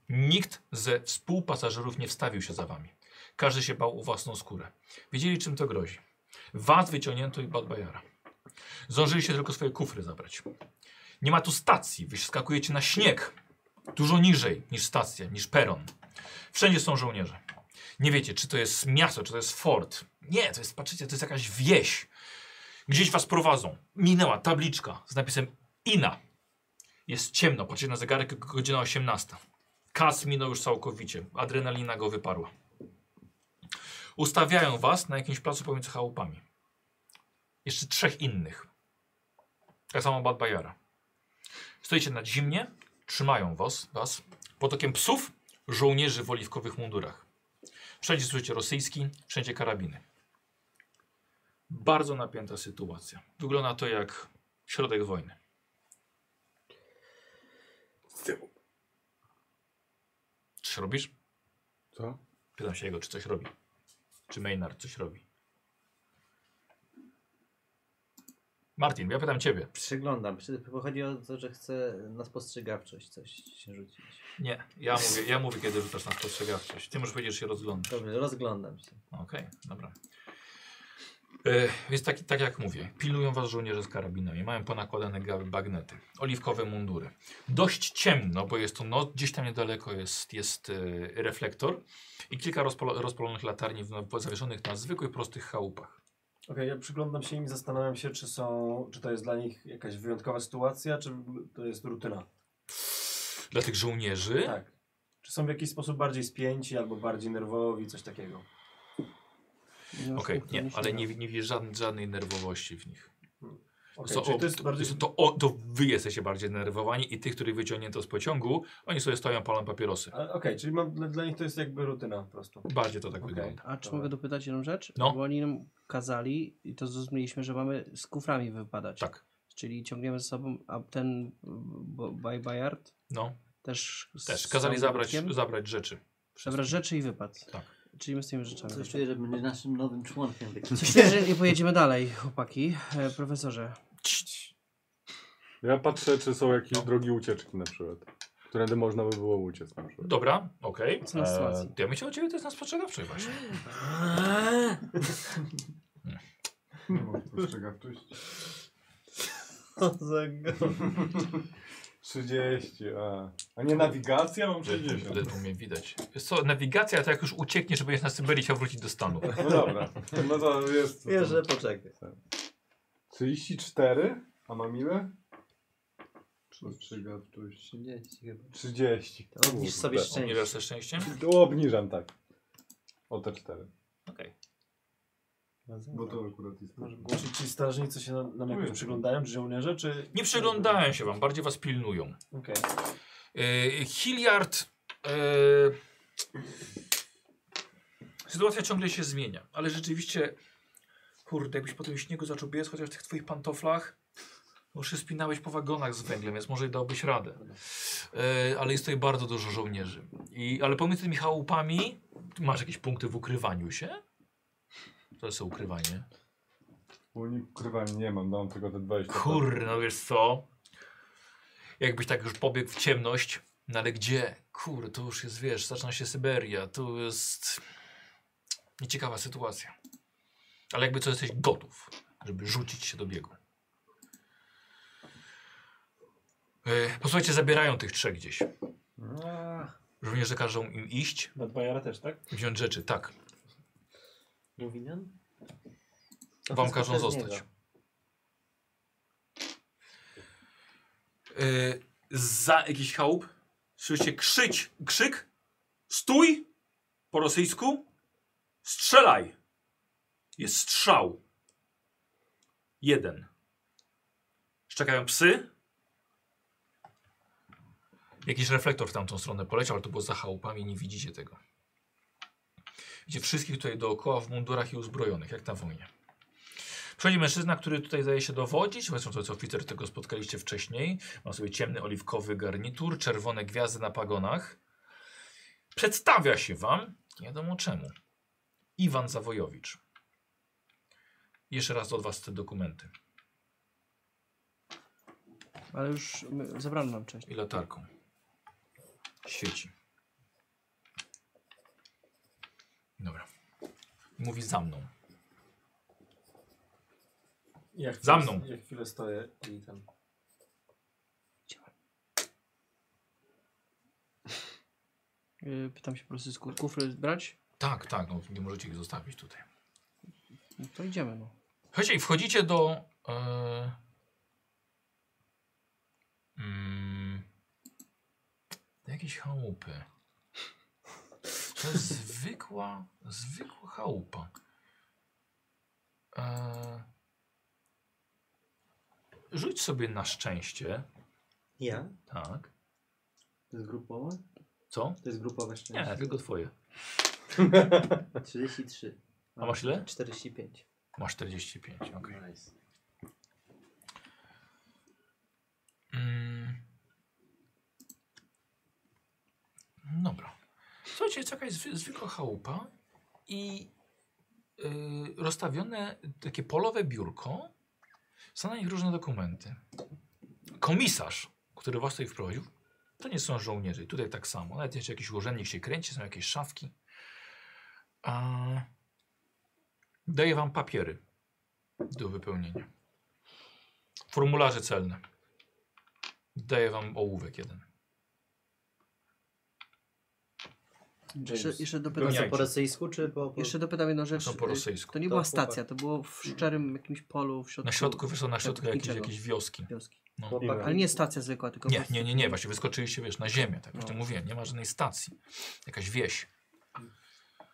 S1: Nikt ze współpasażerów nie wstawił się za wami. Każdy się bał o własną skórę. Wiedzieli, czym to grozi. Was wyciągnięto i Badbajara. Zdążyli się tylko swoje kufry zabrać. Nie ma tu stacji. Wy skakujecie na śnieg. Dużo niżej niż stacja, niż peron. Wszędzie są żołnierze. Nie wiecie, czy to jest miasto, czy to jest fort. Nie, to jest, patrzycie, to jest jakaś wieś. Gdzieś was prowadzą. Minęła tabliczka z napisem INA. Jest ciemno, patrzycie na zegarek, godzina 18. Kas minął już całkowicie. Adrenalina go wyparła. Ustawiają was na jakimś placu pomiędzy chałupami. Jeszcze trzech innych. Tak samo Bad Bajara. Stoicie nad zimnie, trzymają was, was potokiem psów, żołnierzy w oliwkowych mundurach. Wszędzie słyszycie rosyjski, wszędzie karabiny. Bardzo napięta sytuacja. Wygląda to jak środek wojny. Coś robisz?
S7: Co?
S1: Pytam się jego, czy coś robi. Czy Maynard coś robi. Martin, ja pytam ciebie.
S3: Przyglądam. Przy- bo Chodzi o to, że chcę na spostrzegawczość coś się rzucić.
S1: Nie, ja mówię, ja mówię kiedy rzucasz na spostrzegawczość. Ty możesz powiedzieć, że się rozglądasz.
S3: Dobrze, rozglądam się.
S1: Okej, dobra. E, Więc tak, tak jak mówię, pilnują was żołnierze z karabinami, mają ponakładane ga- bagnety, oliwkowe mundury. Dość ciemno, bo jest to noc, gdzieś tam niedaleko jest, jest e, reflektor i kilka rozpalo, rozpalonych latarni w, w, zawieszonych na zwykłych, prostych chałupach.
S2: Okej, ja przyglądam się im i zastanawiam się, czy są, czy to jest dla nich jakaś wyjątkowa sytuacja, czy to jest rutyna.
S1: Dla tych żołnierzy
S2: Tak. Czy są w jakiś sposób bardziej spięci albo bardziej nerwowi, coś takiego.
S1: Okej, nie, ale nie, nie widzisz żadnej, żadnej nerwowości w nich.
S8: tak. Okej,
S1: So,
S8: czyli
S1: o,
S8: to jest
S1: to,
S8: bardziej...
S1: to, o, to wy jesteście bardziej denerwowani i tych, których wyciągnięto z pociągu, oni sobie stoją, palą papierosy.
S2: A, Okej, czyli mam, dla, dla nich to jest jakby rutyna po prostu.
S1: Bardziej to tak
S2: Okej.
S1: wygląda.
S6: A czy
S2: Dobra.
S6: mogę dopytać jedną rzecz?
S1: No.
S6: Bo oni nam kazali i to zrozumieliśmy, że mamy z kuframi wypadać.
S1: Tak.
S6: Czyli ciągniemy ze sobą, a ten bo- Baj Bajard
S1: No,
S6: też. z
S1: też. Kazali
S6: całym
S1: zabrać,
S6: workiem?
S1: zabrać rzeczy.
S6: Zabrać rzeczy i wypadł.
S1: Tak.
S6: Czyli my z tymi rzeczami.
S3: Coś czuję, że będzie naszym nowym członkiem. takim.
S6: Myślę, że i pojedziemy dalej, chłopaki. E, profesorze.
S7: Ja patrzę, czy są jakieś
S1: No.
S7: drogi ucieczki na przykład. Którędy można by było uciec na przykład.
S1: Dobra, okej.
S6: Co na
S1: Eee,
S6: sytuacji?
S1: Ja myślę o ciebie, to jest nas spostrzegawczy właśnie.
S4: Spostrzegawczość.
S7: 30, a. A nie nawigacja? Mam No 60.
S1: Ledwo mnie widać. Wiesz co, nawigacja to jak już uciekniesz, będziesz na Syberii chciał wrócić do Stanów.
S7: No dobra. No to jest. co
S3: Wiesz,
S7: tam.
S3: że poczekaj.
S7: 34, a mam ile?
S4: Spostrzegawczość.
S3: 30 chyba.
S7: 30.
S3: To obniż sobie
S7: Kurde.
S3: szczęście.
S1: Umierzasz ze szczęściem?
S7: O, Obniżam tak. O te 4.
S1: Okej.
S4: Bo to akurat jest.
S2: Może- Czy ci strażnicy się nam, nam jakoś
S4: Mówię.
S2: przyglądają, czy żołnierze, czy...
S1: Nie przyglądają się wam, bardziej was pilnują.
S2: Okej.
S1: Yy, Hilliard. e, sytuacja ciągle się zmienia, ale rzeczywiście. Kurde, jakbyś po tym śniegu zaczął biec, chociaż w tych twoich pantoflach. bo Już się spinałeś po wagonach z węglem, więc może i dałbyś radę. E, ale jest tutaj bardzo dużo żołnierzy. I, ale pomiędzy tymi chałupami ty masz jakieś punkty w ukrywaniu się? To jest ukrywanie.
S7: Unikrywania nie mam, dam tylko te 20.
S1: Kur, no wiesz co? Jakbyś tak już pobiegł w ciemność, no ale gdzie? Kur, tu już jest, wiesz, zaczyna się Syberia, tu jest nieciekawa sytuacja. Ale jakby co, jesteś gotów, żeby rzucić się do biegu. E, Posłuchajcie, zabierają tych trzech gdzieś. Żołnierze każą im iść,
S2: Nad Bajara też, tak?
S1: wziąć rzeczy, tak.
S3: Mówinian?
S1: Wam każą
S3: przez
S1: zostać.
S3: niego.
S1: Yy, za jakiś chałup słyszycie krzyć, krzyk stój po rosyjsku strzelaj. Jest strzał. Jeden. Szczekają psy. Jakiś reflektor w tamtą stronę poleciał, ale to było za chałupami, nie widzicie tego. Widzicie wszystkich tutaj dookoła w mundurach i uzbrojonych, jak na wojnie. Przychodzi mężczyzna, który tutaj zdaje się dowodzić. Zresztą to jest oficer, tego spotkaliście wcześniej. Ma sobie ciemny oliwkowy garnitur, czerwone gwiazdy na pagonach. Przedstawia się wam, nie wiadomo czemu. Iwan Zawojowicz. Jeszcze raz od was te dokumenty.
S6: Ale już my, zabrano nam część.
S1: I latarką. Świeci. Dobra. Mówi za mną.
S2: Ja chwilę,
S1: Za mną.
S2: Ja chwilę stoję i ten...
S6: E, pytam się po prostu, sku- kufry brać?
S1: Tak, tak, no, nie możecie ich zostawić tutaj.
S6: No to idziemy, no.
S1: Słuchajcie, i wchodzicie do. E, mm, do jakiejś chałupy. To jest zwykła, zwykła chałupa. E, rzuć sobie na szczęście.
S3: Ja?
S1: Tak.
S3: To jest grupowe?
S1: Co?
S3: To jest grupowe szczęście.
S1: Nie, tylko twoje.
S3: 33.
S1: A masz ile?
S3: 45.
S1: Masz 45, okej.
S3: Nice.
S1: Mm. Dobra. Słuchajcie, jest jakaś zwy, zwykła chałupa i yy, rozstawione takie polowe biurko. Są na nich różne dokumenty. Komisarz, który was tutaj wprowadził, to nie są żołnierze. I Tutaj tak samo. Nawet jeszcze jakiś urzędnik się kręci, są jakieś szafki. A... Daję wam papiery do wypełnienia. Formularze celne. Daję wam ołówek jeden.
S6: Jeszcze, jeszcze, dopytam,
S3: To
S1: Jajce.
S3: co, po rosyjsku czy po... po...
S6: jeszcze dopytam jedną rzecz.
S1: Są po
S6: E,
S1: rosyjsku.
S6: To nie
S3: To
S6: była
S3: Tak, chłopak.
S6: stacja, to było w szczerym jakimś polu w środku.
S1: Na środku, wiesz, co, na środku jakieś,
S6: niczego.
S1: jakieś wioski.
S6: wioski.
S7: Tak.
S6: Tak,
S3: Chłopak,
S6: Ale nie stacja zwykła, tylko.
S1: Nie,
S6: po-
S1: nie, nie, nie, właśnie wyskoczyliście, wiesz, na ziemię, tak jak no. mówiłem, nie ma żadnej stacji. Jakaś wieś.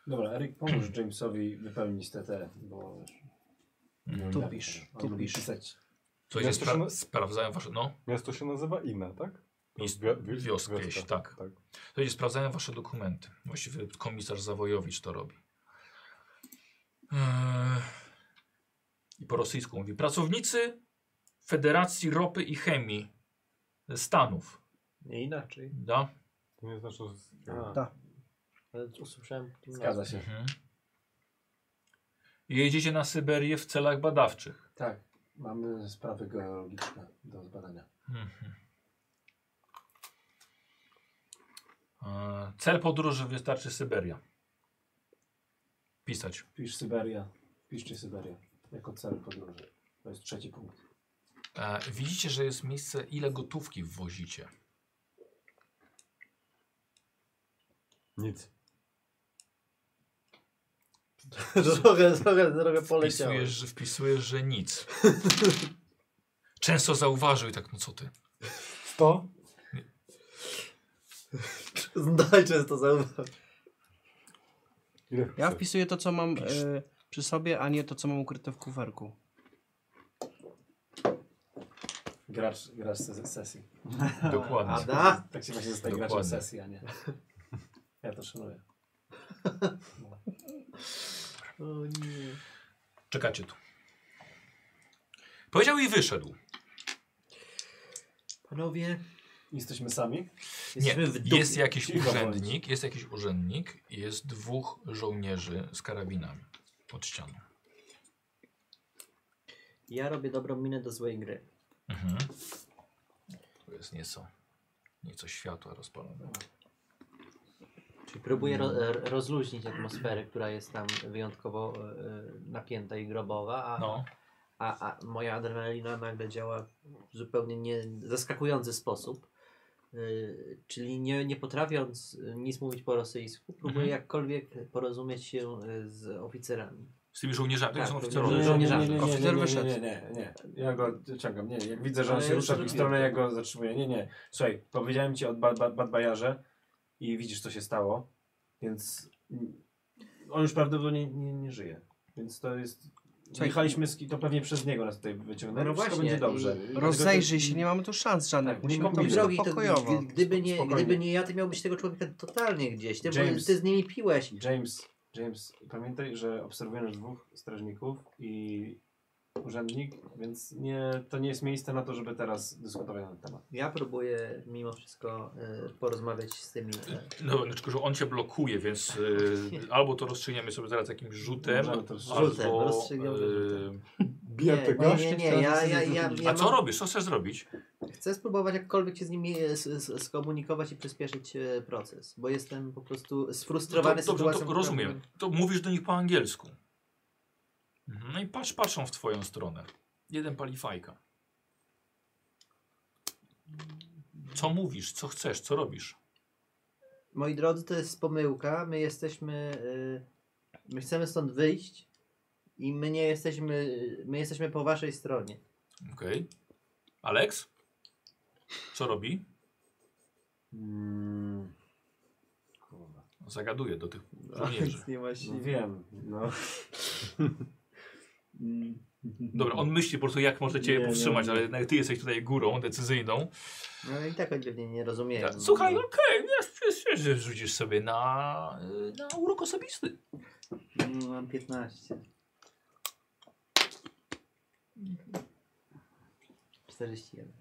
S2: Dobra, Erik, pomóż Jamesowi wypełnić te te, bo...
S1: Mhm.
S2: Tupisz,
S6: tupisz.
S2: Pisać
S1: Co jest,
S7: Miasto się
S1: spra
S7: na-
S1: sprawdzają wasze, no,
S7: Miasto się nazywa Ina, tak?
S1: Jest
S7: Wio- wi-
S1: wioska gdzieś, tak.
S7: tak.
S1: Słuchajcie, sprawdzają wasze dokumenty. Właściwie komisarz Zawojowicz to robi. Eee, I po rosyjsku mówi. Pracownicy Federacji Ropy i Chemii ze Stanów.
S8: Nie inaczej.
S1: Da?
S7: To nie znaczy, że... z-
S8: A.
S3: Ale usłyszałem.
S2: Zgadza się.
S1: Mhm. Jedziecie na Syberię w celach badawczych.
S2: Tak, mamy sprawy geologiczne do zbadania.
S1: Mhm. Eee, Cel podróży wystarczy Syberia. Pisać.
S2: Pisz Syberia, piszcie Syberia jako cel podróży. To jest trzeci punkt.
S1: E, widzicie, że jest miejsce, ile gotówki wwozicie.
S7: Nic.
S3: Drogę, drogę, drogę poleciałem.
S1: Wpisujesz, że, wpisujesz, że nic. Często zauważył i tak, no co ty.
S7: Sto?
S3: Zdaj często zauważył.
S7: Ile
S6: Ja
S7: chcesz?
S6: wpisuję to, co mam e, przy sobie, a nie to, co mam ukryte w kuferku.
S2: Gracz, gracz se sesji.
S1: Dokładnie.
S3: Ada?
S2: Tak się właśnie zostaje
S1: Dokładnie.
S2: graczem sesji, a nie. Ja to szanuję.
S3: O nie.
S1: Czekacie tu. Powiedział i wyszedł.
S3: Panowie,
S2: Jesteśmy sami?
S1: Nie,
S3: jesteśmy w dupie.
S1: jest jakiś
S2: Cicho bądź.
S1: urzędnik, jest jakiś urzędnik i jest dwóch żołnierzy z karabinami pod ścianą.
S3: Ja robię dobrą minę do złej gry.
S1: Mhm. Tu jest nieco, nieco światła rozpalone.
S3: Czyli próbuję ro e, rozluźnić atmosferę, która jest tam wyjątkowo e, e, napięta i grobowa, a,
S1: No,
S3: a, a moja adrenalina nagle działa w zupełnie nie, zaskakujący sposób. Yy, czyli nie, nie potrafiąc y, nic mówić po rosyjsku, próbuję
S1: Mhm.
S3: jakkolwiek porozumieć się y, z oficerami.
S1: z tymi żołnierzami, tak,
S3: Tak,
S1: są
S3: to
S1: oficerowie.
S3: żo-
S2: nie, nie,
S3: żołnierzami.
S2: nie, nie,
S6: Oficer
S2: nie,
S6: wyszedł.
S2: nie, nie, nie. Ja go ciągam, nie, jak widzę, że on
S3: Ale
S2: się
S3: ja
S2: rusza w
S3: już
S2: ich
S3: robię.
S2: stronę, ja go zatrzymuję. Nie, nie. Słuchaj, powiedziałem ci o Bad- Bad- Badbajarze i widzisz, co się stało, więc mm, on już prawdopodobnie nie, nie żyje. Więc to jest...
S6: Słuchaj,
S2: Jechaliśmy z... to pewnie przez niego nas tutaj wyciągnęli.
S3: No
S2: No Wszystko
S3: właśnie,
S2: będzie dobrze. I-
S6: Rozejrzyj się, nie mamy tu szans żadnych.
S2: Tak,
S6: Musimy
S2: nie
S6: to
S2: mówię.
S6: zrobić
S3: Drogi, to,
S6: pokojowo.
S3: gdy- gdyby, nie,
S2: Spokojnie.
S3: gdyby nie ja, ty miałbyś tego człowieka totalnie gdzieś. Ty, bo
S2: James.
S3: ty z nimi piłeś.
S2: James, James, pamiętaj, że obserwujesz dwóch strażników i urzędnik, więc nie, to nie jest miejsce na to, żeby teraz dyskutować na ten temat.
S3: Ja próbuję mimo wszystko y, porozmawiać z tymi. y,
S1: No, tylko, że on cię blokuje, więc y, albo to rozstrzygniemy sobie zaraz jakimś rzutem,
S2: Możemy to rozstrzygać.
S3: Rzutem,
S1: albo...
S3: rozstrzygniemy
S1: y,
S3: rzutem.
S7: Bija
S3: nie,
S7: tego?
S3: nie, nie, nie, ja, ja, ja, ja
S1: A co
S3: mam-
S1: robisz? Co chcesz zrobić?
S3: Chcę spróbować jakkolwiek się z nimi e, s- s- skomunikować i przyspieszyć e, proces, bo jestem po prostu sfrustrowany
S1: No to,
S3: sytuacją.
S1: to
S3: która-
S1: rozumiem. To mówisz do nich po angielsku. Mhm, No i patrz, patrzą w twoją stronę. Jeden pali fajka. Co mówisz? Co chcesz? Co robisz?
S3: Moi drodzy, to jest pomyłka. My jesteśmy. e, My chcemy stąd wyjść i my nie jesteśmy. My jesteśmy po waszej stronie.
S1: Okej. Alex? Co robi?
S2: Mm. Kurwa.
S1: Zagaduje do tych żołnierzy.
S3: nie ma
S2: No wiem, no. Mm.
S1: Dobra, on myśli po prostu jak może cię
S2: Nie, nie,
S1: powstrzymać,
S2: nie.
S1: ale jednak ty jesteś tutaj górą decyzyjną.
S3: No i tak oni pewnie nie rozumieją.
S1: Tak. Słuchaj, okej, okay, że rzucisz sobie na, y, na urok osobisty.
S3: Mm, Mam 15. 41.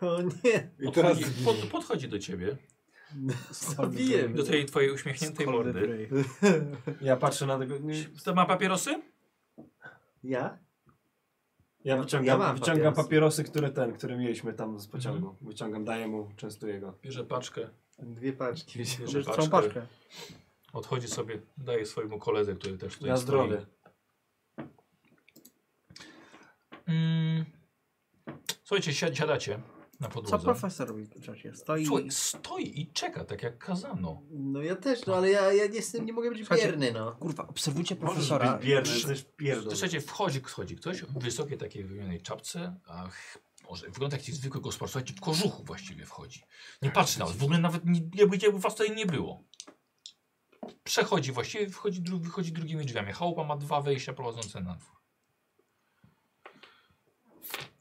S3: o nie!
S7: I teraz...
S1: Podchodzi, pod, podchodzi do ciebie,
S3: Zabiję!
S1: do tej twojej uśmiechniętej mordy.
S2: Ja patrzę na tego. Nie,
S1: To ma papierosy?
S3: Ja?
S2: ja wyciągam,
S3: mam
S2: wyciągam
S3: papierosy.
S2: papierosy, Mhm. które ten, które mieliśmy tam z pociągu. Wyciągam, daję mu, częstuję go.
S1: Bierze paczkę,
S3: Dwie paczki.
S1: bierze
S6: Może
S1: paczkę,
S6: tą paczkę.
S1: odchodzi sobie, daje swojemu koledze, który też tutaj
S2: Na
S1: stoi.
S2: zdrowie.
S1: Mm. Słuchajcie, siad, siadacie na
S6: Co
S1: podłodze.
S6: profesor robi w tym czasie? Stoi.
S1: Słuchaj, stoi i czeka, tak jak kazano.
S3: No ja też, no ale ja, ja nie jestem, nie mogę być
S6: Słuchajcie,
S3: bierny, no.
S6: Kurwa, obserwujcie
S2: Możesz
S6: profesora.
S2: być bierny, jesteś pierdol.
S1: Słuchajcie, wchodzi, wchodzi ktoś w wysokiej takiej wymienionej czapce, ach, może wygląda jak jakiś zwykły gospodarz, słuchajcie, w kożuchu właściwie wchodzi. Nie patrzy na was, w ogóle nawet nie, jakby, jakby was tutaj nie było. Przechodzi właściwie, wchodzi, dru, wychodzi drugimi drzwiami. Chałupa ma dwa wejścia prowadzące na dwór.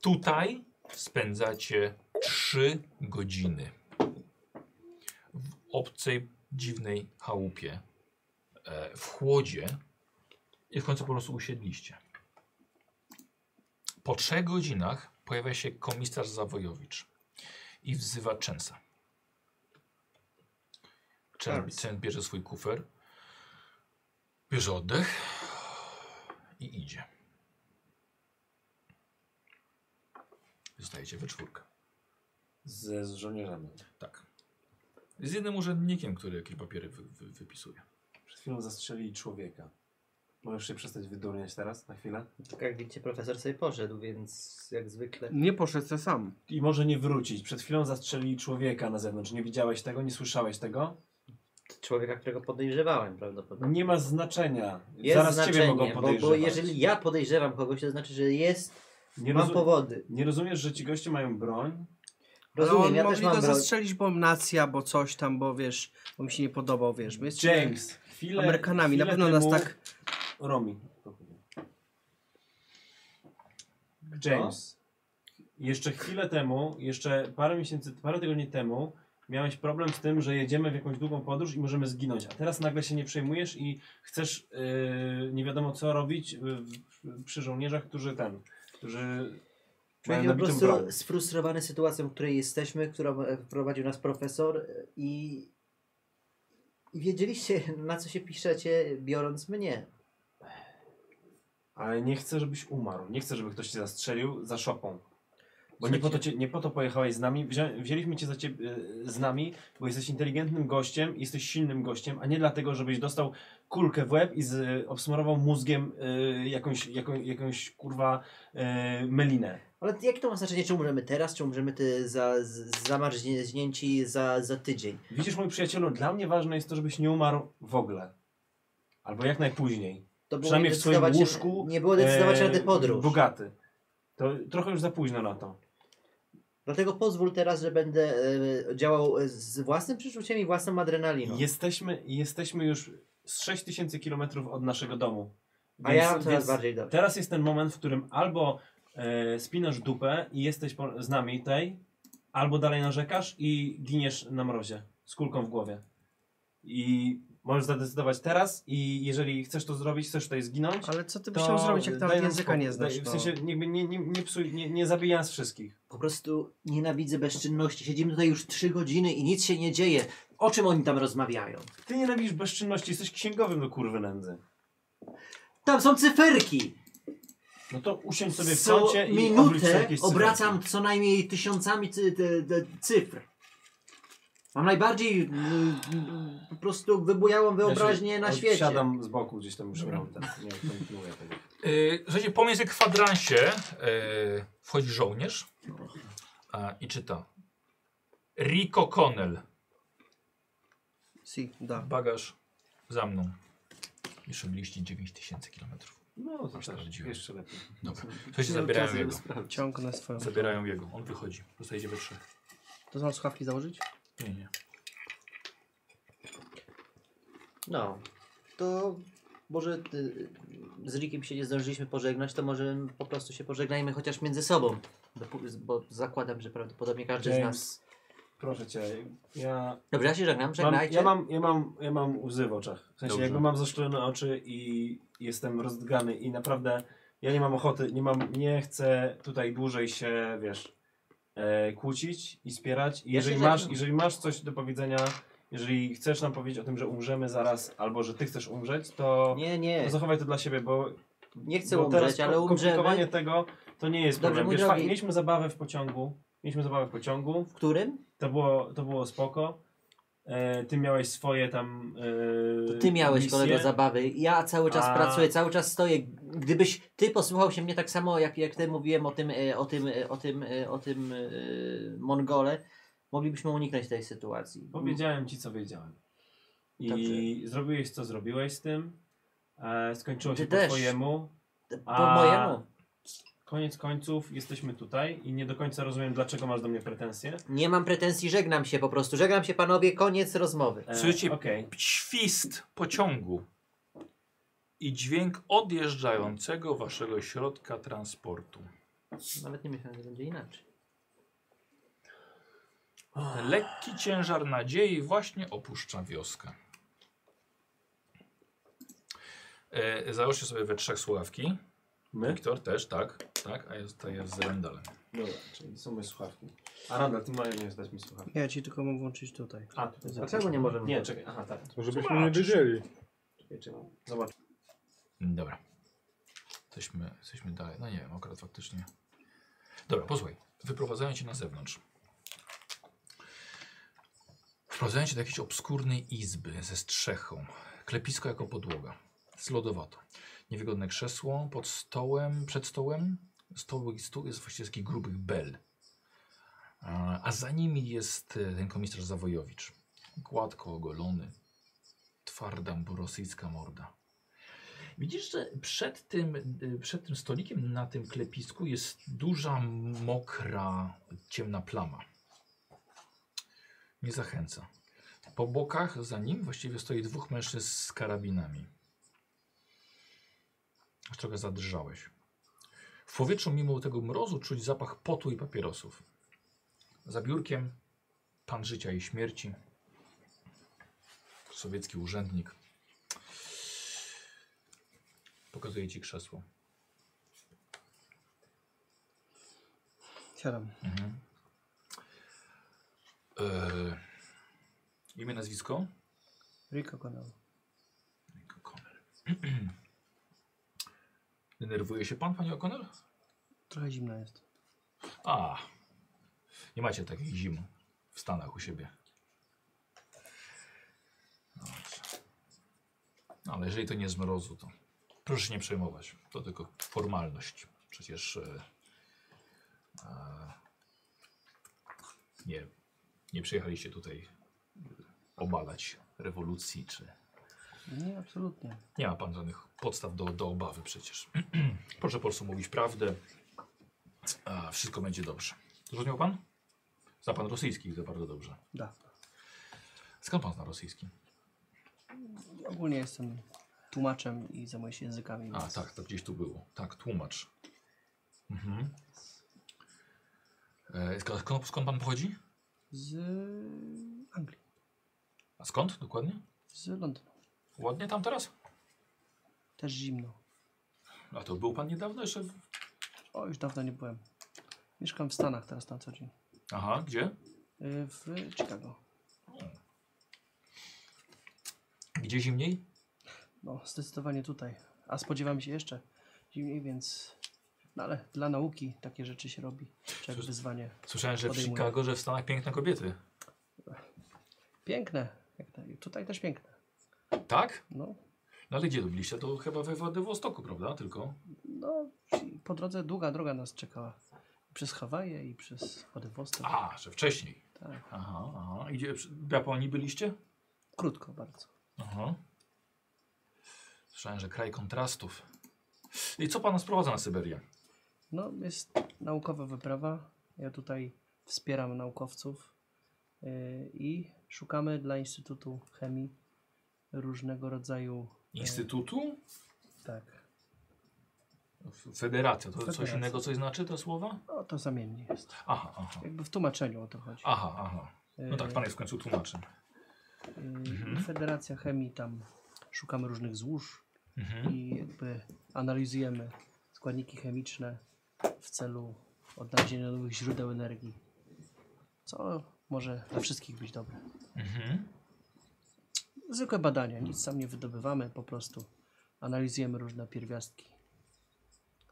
S1: Tutaj spędzacie 3 godziny w obcej, dziwnej chałupie, e, w chłodzie i w końcu po prostu usiedliście. Po trzech godzinach pojawia się komisarz Zawojowicz i wzywa Częsa. Częs, Częs bierze swój kufer, bierze oddech i idzie. Zostajecie we czwórkę.
S17: Ze z żołnierzami.
S1: Tak. Z jednym urzędnikiem, który jakieś papiery wy, wy, wypisuje.
S17: Przed chwilą zastrzelili człowieka. Możesz się przestać wydurniać teraz, na chwilę?
S3: Tak jak widzicie, profesor sobie poszedł, więc jak zwykle.
S6: Nie poszedł se sam.
S17: I może nie wrócić. Przed chwilą zastrzelili człowieka na zewnątrz. Nie widziałeś tego? Nie słyszałeś tego?
S3: Człowieka, którego podejrzewałem prawdopodobnie.
S17: Nie ma znaczenia.
S3: Jest
S17: Zaraz ciebie
S3: znaczenie,
S17: mogą
S3: bo,
S17: podejrzewać.
S3: bo jeżeli ja podejrzewam kogoś, to znaczy, że jest.
S17: nie,
S3: mam
S17: rozu-
S3: powody.
S17: nie rozumiesz, że ci goście mają broń?
S6: Ale
S3: Rozumiem,
S6: on
S3: ja też
S6: mogli
S3: mam
S6: go
S3: broń.
S6: zastrzelić, bo nacja, bo coś tam, bo wiesz, bo mi się nie podobał, wiesz. My jesteśmy
S17: James, chwilę,
S6: Amerykanami, na
S17: chwilę
S6: pewno nas
S17: temu-
S6: tak...
S17: Romi. James.
S2: Jeszcze chwilę temu, jeszcze parę miesięcy, parę tygodni temu miałeś problem z tym, że jedziemy w jakąś długą podróż i możemy zginąć, a teraz nagle się nie przejmujesz i chcesz yy, nie wiadomo co robić yy, w- przy żołnierzach, którzy ten, którzy mają
S3: Człowiek po
S2: nabitą broń.
S3: prostu sfrustrowany sytuacją, w której jesteśmy, którą e, wprowadził nas profesor e, i, i wiedzieliście, na co się piszecie, biorąc mnie.
S2: Ale nie chcę, żebyś umarł, nie chcę, żeby ktoś cię zastrzelił za szopą. Bo nie po, to cię, nie po to pojechałeś z nami, Wzią, wzięliśmy cię za ciebie, yy, z nami, bo jesteś inteligentnym gościem, jesteś silnym gościem, a nie dlatego, żebyś dostał kulkę w łeb i z, e, obsmarował mózgiem yy, jakąś, jaką, jakąś kurwa yy, melinę.
S3: Ale jakie to ma znaczenie, czy umrzemy teraz, czy umrzemy ty za, z- zamarznięci za, za tydzień?
S2: Widzisz, mój przyjacielu, dla mnie ważne jest to, żebyś nie umarł w ogóle. Albo jak najpóźniej.
S3: To było
S2: Przynajmniej w swoim
S3: decydować-
S2: łóżku,
S3: Nie było decydować
S2: Eee,
S3: rady podróż.
S2: Bogaty. To trochę już za późno na to.
S3: Dlatego pozwól teraz, że będę e, działał e, z własnym przeczuciem i własną adrenaliną.
S2: Jesteśmy, jesteśmy już z 6000 km od naszego domu.
S3: A ja mam coraz bardziej dobrze.
S2: Teraz jest ten moment, w którym albo e, spinasz dupę i jesteś po, z nami tej, albo dalej narzekasz i giniesz na mrozie z kulką w głowie. I możesz zadecydować teraz i jeżeli chcesz to zrobić, chcesz tutaj zginąć,
S6: Ale co ty byś
S2: to
S6: chciał zrobić, jak
S2: daj
S6: nawet
S2: nam
S6: języka nie
S2: spokój.
S6: znasz?
S2: Daj- W
S6: no?
S2: sensie jakby nie, nie, nie psuj, nie, nie zabij nas wszystkich.
S3: Po prostu nienawidzę bezczynności. Siedzimy tutaj już trzy godziny i nic się nie dzieje. O czym oni tam rozmawiają?
S2: Ty nienawidzisz bezczynności, jesteś księgowym do kurwy nędzy.
S3: Tam są cyferki!
S2: No to usiądź sobie w
S3: Co
S2: kącie i oblicz sobie
S3: minutę
S2: jakieś cyferki.
S3: obracam co najmniej tysiącami cy, te, te, cyfr. Mam najbardziej y, y, po prostu wybujałą wyobraźnię na świecie.
S2: Siadam z boku gdzieś tam już
S1: Dobra.
S2: mam ten, nie kontynuuję tego.
S1: Yy, słuchajcie, pomiędzy kwadransie yy, wchodzi żołnierz a, i czyta. Rico Connell,
S6: Si, da.
S1: bagaż za mną. Jeszcze byliście 9000 km.
S2: No to
S1: Aż
S2: też,
S1: sprawdziłem.
S2: jeszcze lepiej.
S1: Dobra,
S6: No,
S1: słuchajcie,
S2: Miałem czas,
S1: zabierają
S2: żeby
S1: jego.
S2: sprawdzić.
S6: Ciągnę swoją.
S1: Zabierają jego, on wychodzi. Zostajecie we trzech.
S6: To mam słuchawki założyć?
S1: Nie, nie.
S3: No, to może ty, z Rikiem się nie zdążyliśmy pożegnać, to może po prostu się pożegnajmy chociaż między sobą. Dopó- Bo zakładam, że prawdopodobnie każdy z nas
S2: James, proszę cię, ja
S3: Dobrze, ja się żegnam,
S2: mam,
S3: żegnajcie.
S2: ja mam, ja mam, ja mam łzy w oczach. W sensie
S1: Dobrze.
S2: jakby mam zaszklone oczy i jestem rozdgany i naprawdę ja nie mam ochoty, nie mam, nie chcę tutaj dłużej się, wiesz, e, kłócić i spierać. I
S3: Ja się
S2: jeżeli, masz,
S3: żegnam.
S2: jeżeli masz coś do powiedzenia, jeżeli chcesz nam powiedzieć o tym, że umrzemy zaraz albo że ty chcesz umrzeć, to,
S3: Nie, nie,
S2: to zachowaj to dla siebie, bo
S3: nie chcę
S2: Bo
S3: umrzeć,
S2: ko-
S3: ale
S2: komplikowanie
S3: umrzemy.
S2: tego to nie jest
S3: Dobrze,
S2: problem.
S3: mój
S2: Wiesz,
S3: drogi.
S2: fajnie, mieliśmy zabawę w pociągu. Mieliśmy zabawę w pociągu.
S3: W którym?
S2: To było, to było spoko. E, ty miałeś swoje tam. E,
S3: To ty miałeś,
S2: misje.
S3: kolego, zabawy. Ja cały czas
S2: A-
S3: pracuję, cały czas stoję. Gdybyś ty posłuchał się mnie tak samo, jak, jak ty mówiłem o tym, e, o tym, e, o tym, e, o tym e, Mongole, moglibyśmy uniknąć tej sytuacji.
S2: Powiedziałem ci, co wiedziałem. I
S3: Dobrze.
S2: zrobiłeś, co zrobiłeś z tym. E, skończyło
S3: Ty
S2: się po
S3: też.
S2: twojemu.
S3: Po
S2: A-
S3: mojemu.
S2: Koniec końców jesteśmy tutaj i nie do końca rozumiem, dlaczego masz do mnie pretensje.
S3: Nie mam pretensji, żegnam się po prostu. Żegnam się, panowie, koniec rozmowy.
S2: E,
S1: Słuchajcie,
S2: okej.
S1: Świst pociągu i dźwięk odjeżdżającego waszego środka transportu.
S5: Nawet nie myślałem, że będzie inaczej.
S1: Ten lekki ciężar nadziei właśnie opuszcza wioskę. E, załóżcie sobie we trzech słuchawki.
S2: My?
S1: Wiktor też, tak. Tak, a ja zostaję z Rendalem.
S2: Dobra, czyli są moje słuchawki. A Randall, ty masz dać mi słuchawki.
S6: Ja ci tylko mam włączyć tutaj.
S2: A, tutaj
S5: Dlaczego nie możemy?
S2: Nie, czekaj, aha, tak.
S7: To Żebyśmy nie wiedzieli.
S2: czekaj, czekaj. Zobacz.
S1: Mm, Dobra. Jesteśmy, jesteśmy dalej. No nie wiem, akurat faktycznie. Dobra, posłuchaj. Wyprowadzają cię na zewnątrz. Wprowadzają cię do jakiejś obskurnej izby ze strzechą. Klepisko jako podłoga. Jest lodowato. Niewygodne krzesło pod stołem, przed stołem. Stoł, stół jest właściwie z takich grubych bel. A- A za nimi jest e, ten komisarz Zawojowicz. Gładko ogolony. Twarda rosyjska morda. Widzisz, że przed tym, y, przed tym stolikiem na tym klepisku jest duża, mokra, ciemna plama. Nie zachęca. Po bokach za nim właściwie stoi dwóch mężczyzn z karabinami. Aż trochę zadrżałeś. W powietrzu mimo tego mrozu czuć zapach potu i papierosów. Za biurkiem pan życia i śmierci. Sowiecki urzędnik. Pokazuje ci krzesło.
S6: Siadam.
S1: Mhm. Eee, imię, nazwisko?
S6: Rico kanał.
S1: O'Connell. Denerwuje się pan, panie O'Connell?
S6: Trochę zimno jest.
S1: A, nie macie takich zim w Stanach u siebie. Dobrze. No, ale jeżeli to nie z mrozu, to proszę się nie przejmować. To tylko formalność. Przecież e, e, nie, nie przyjechaliście tutaj e, obalać rewolucji, czy
S6: Nie, absolutnie.
S1: nie ma pan żadnych podstaw do, do obawy przecież. Proszę po prostu mówić prawdę. A wszystko będzie dobrze. Zrozumiał pan? Zna pan rosyjski, widzę bardzo dobrze.
S6: Da.
S1: Skąd pan zna rosyjski?
S6: Ogólnie jestem tłumaczem i zajmuję się językami.
S1: A,
S6: więc-
S1: tak, to gdzieś tu było. Tak, tłumacz. Mhm. E, skąd, skąd- skąd pan pochodzi?
S6: Z Anglii.
S1: A skąd dokładnie?
S6: Z Londynu.
S1: Ładnie tam teraz?
S6: Też zimno.
S1: A to był pan niedawno jeszcze? W...
S6: O, już dawno nie byłem. Mieszkam w Stanach teraz na co dzień.
S1: Aha, gdzie?
S6: Y, W Chicago.
S1: Gdzie zimniej?
S6: No, zdecydowanie tutaj. A spodziewam się jeszcze zimniej, więc... No ale dla nauki takie rzeczy się robi. Czy jak
S1: Cóż-
S6: wyzwanie.
S1: Słyszałem, że w
S6: Podejmuję.
S1: Chicago, że w Stanach piękne kobiety.
S6: Piękne. Jak tak- Tutaj też piękne.
S1: Tak?
S6: No,
S1: No ale gdzie byliście? To chyba we Władywostoku, prawda? Tylko.
S6: no i po drodze długa droga nas czekała. Przez Hawaje i przez Władywostok.
S1: A, że wcześniej.
S6: Tak.
S1: Aha, aha. I gdzie, w Japonii byliście?
S6: Krótko bardzo.
S1: Aha. Słyszałem, że kraj kontrastów. I co pana sprowadza na Syberię?
S6: No, jest naukowa wyprawa. Ja tutaj wspieram naukowców yy, i szukamy dla Instytutu Chemii różnego rodzaju.
S1: Instytutu?
S6: Tak.
S1: F- Federacja. To coś
S6: Federacja.
S1: innego coś znaczy te słowa?
S6: O, no, to zamiennie jest.
S1: Aha, aha.
S6: Jakby w tłumaczeniu o to chodzi.
S1: Aha, aha. No tak,
S6: Yy,
S1: pan jest w końcu tłumaczem.
S6: yy, i Federacja Chemii tam szukamy różnych złóż
S1: Mhm.
S6: i jakby analizujemy składniki chemiczne w celu odnalezienia nowych źródeł energii. Co może dla wszystkich być dobre.
S1: Mhm.
S6: Zwykłe badania, nic sam nie wydobywamy, po prostu analizujemy różne pierwiastki.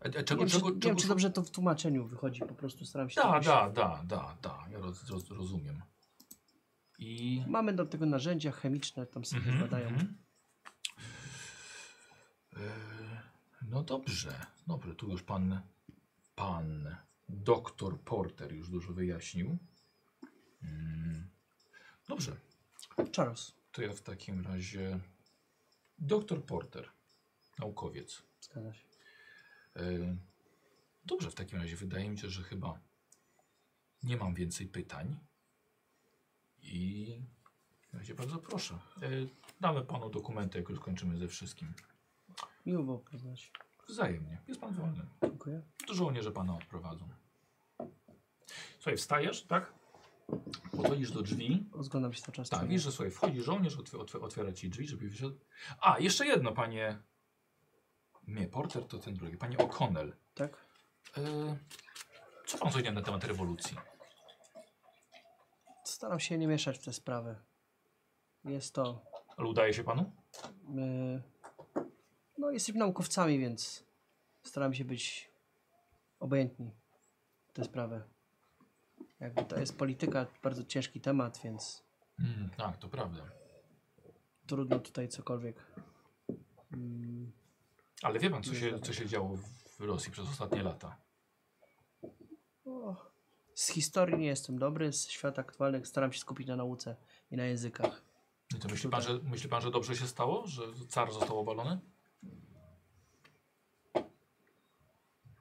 S1: A, a
S6: nie
S1: E, czego,
S6: wiem,
S1: czego,
S6: czy, nie wiem,
S1: czego,
S6: czy
S1: czego...
S6: dobrze to w tłumaczeniu wychodzi, po prostu staram się...
S1: Da,
S6: czegoś-
S1: da, da, da, da. Ja roz, roz, rozumiem. I...
S6: Mamy do tego narzędzia chemiczne, tam sobie
S1: Mhm,
S6: badają.
S1: mhm. E, No dobrze, dobrze, tu już pan, pan doktor Porter już dużo wyjaśnił. Mm. Dobrze,
S6: Charles,
S1: to ja w takim razie doktor Porter, naukowiec.
S6: zgadza się.
S1: E, Dobrze, w takim razie wydaje mi się, że chyba nie mam więcej pytań. I w takim razie bardzo proszę. Y, E, Damy panu dokumenty, jak już kończymy ze wszystkim.
S6: Miło było poznać.
S1: Wzajemnie. Jest pan wolny.
S6: Dziękuję.
S1: To żołnierze pana odprowadzą. Słuchaj, wstajesz, tak? Podchodzisz do drzwi.
S6: Rozglądam się cały czas.
S1: Tak, widzisz, że słuchaj, wchodzi żołnierz, otw otw otwiera ci drzwi, żeby wyszedł. A, jeszcze jedno, panie... Nie, porter to ten drugi. Panie O'Connell.
S6: Tak?
S1: Y, Co pan sądzi na temat rewolucji?
S6: Staram się nie mieszać w te sprawy. Jest to...
S1: Ale udaje się panu?
S6: y, no jesteśmy naukowcami, więc staram się być obojętni w te sprawy. Jakby to jest polityka, bardzo ciężki temat, więc
S1: Mm, tak, to prawda.
S6: trudno tutaj cokolwiek. Mm,
S1: Ale wie pan, co się, co się działo w Rosji przez ostatnie lata.
S6: o. Z historii nie jestem dobry, z świata aktualnych staram się skupić na nauce i na językach.
S1: I to myśli pan, że, myśli pan, że dobrze się stało? Że car został obalony?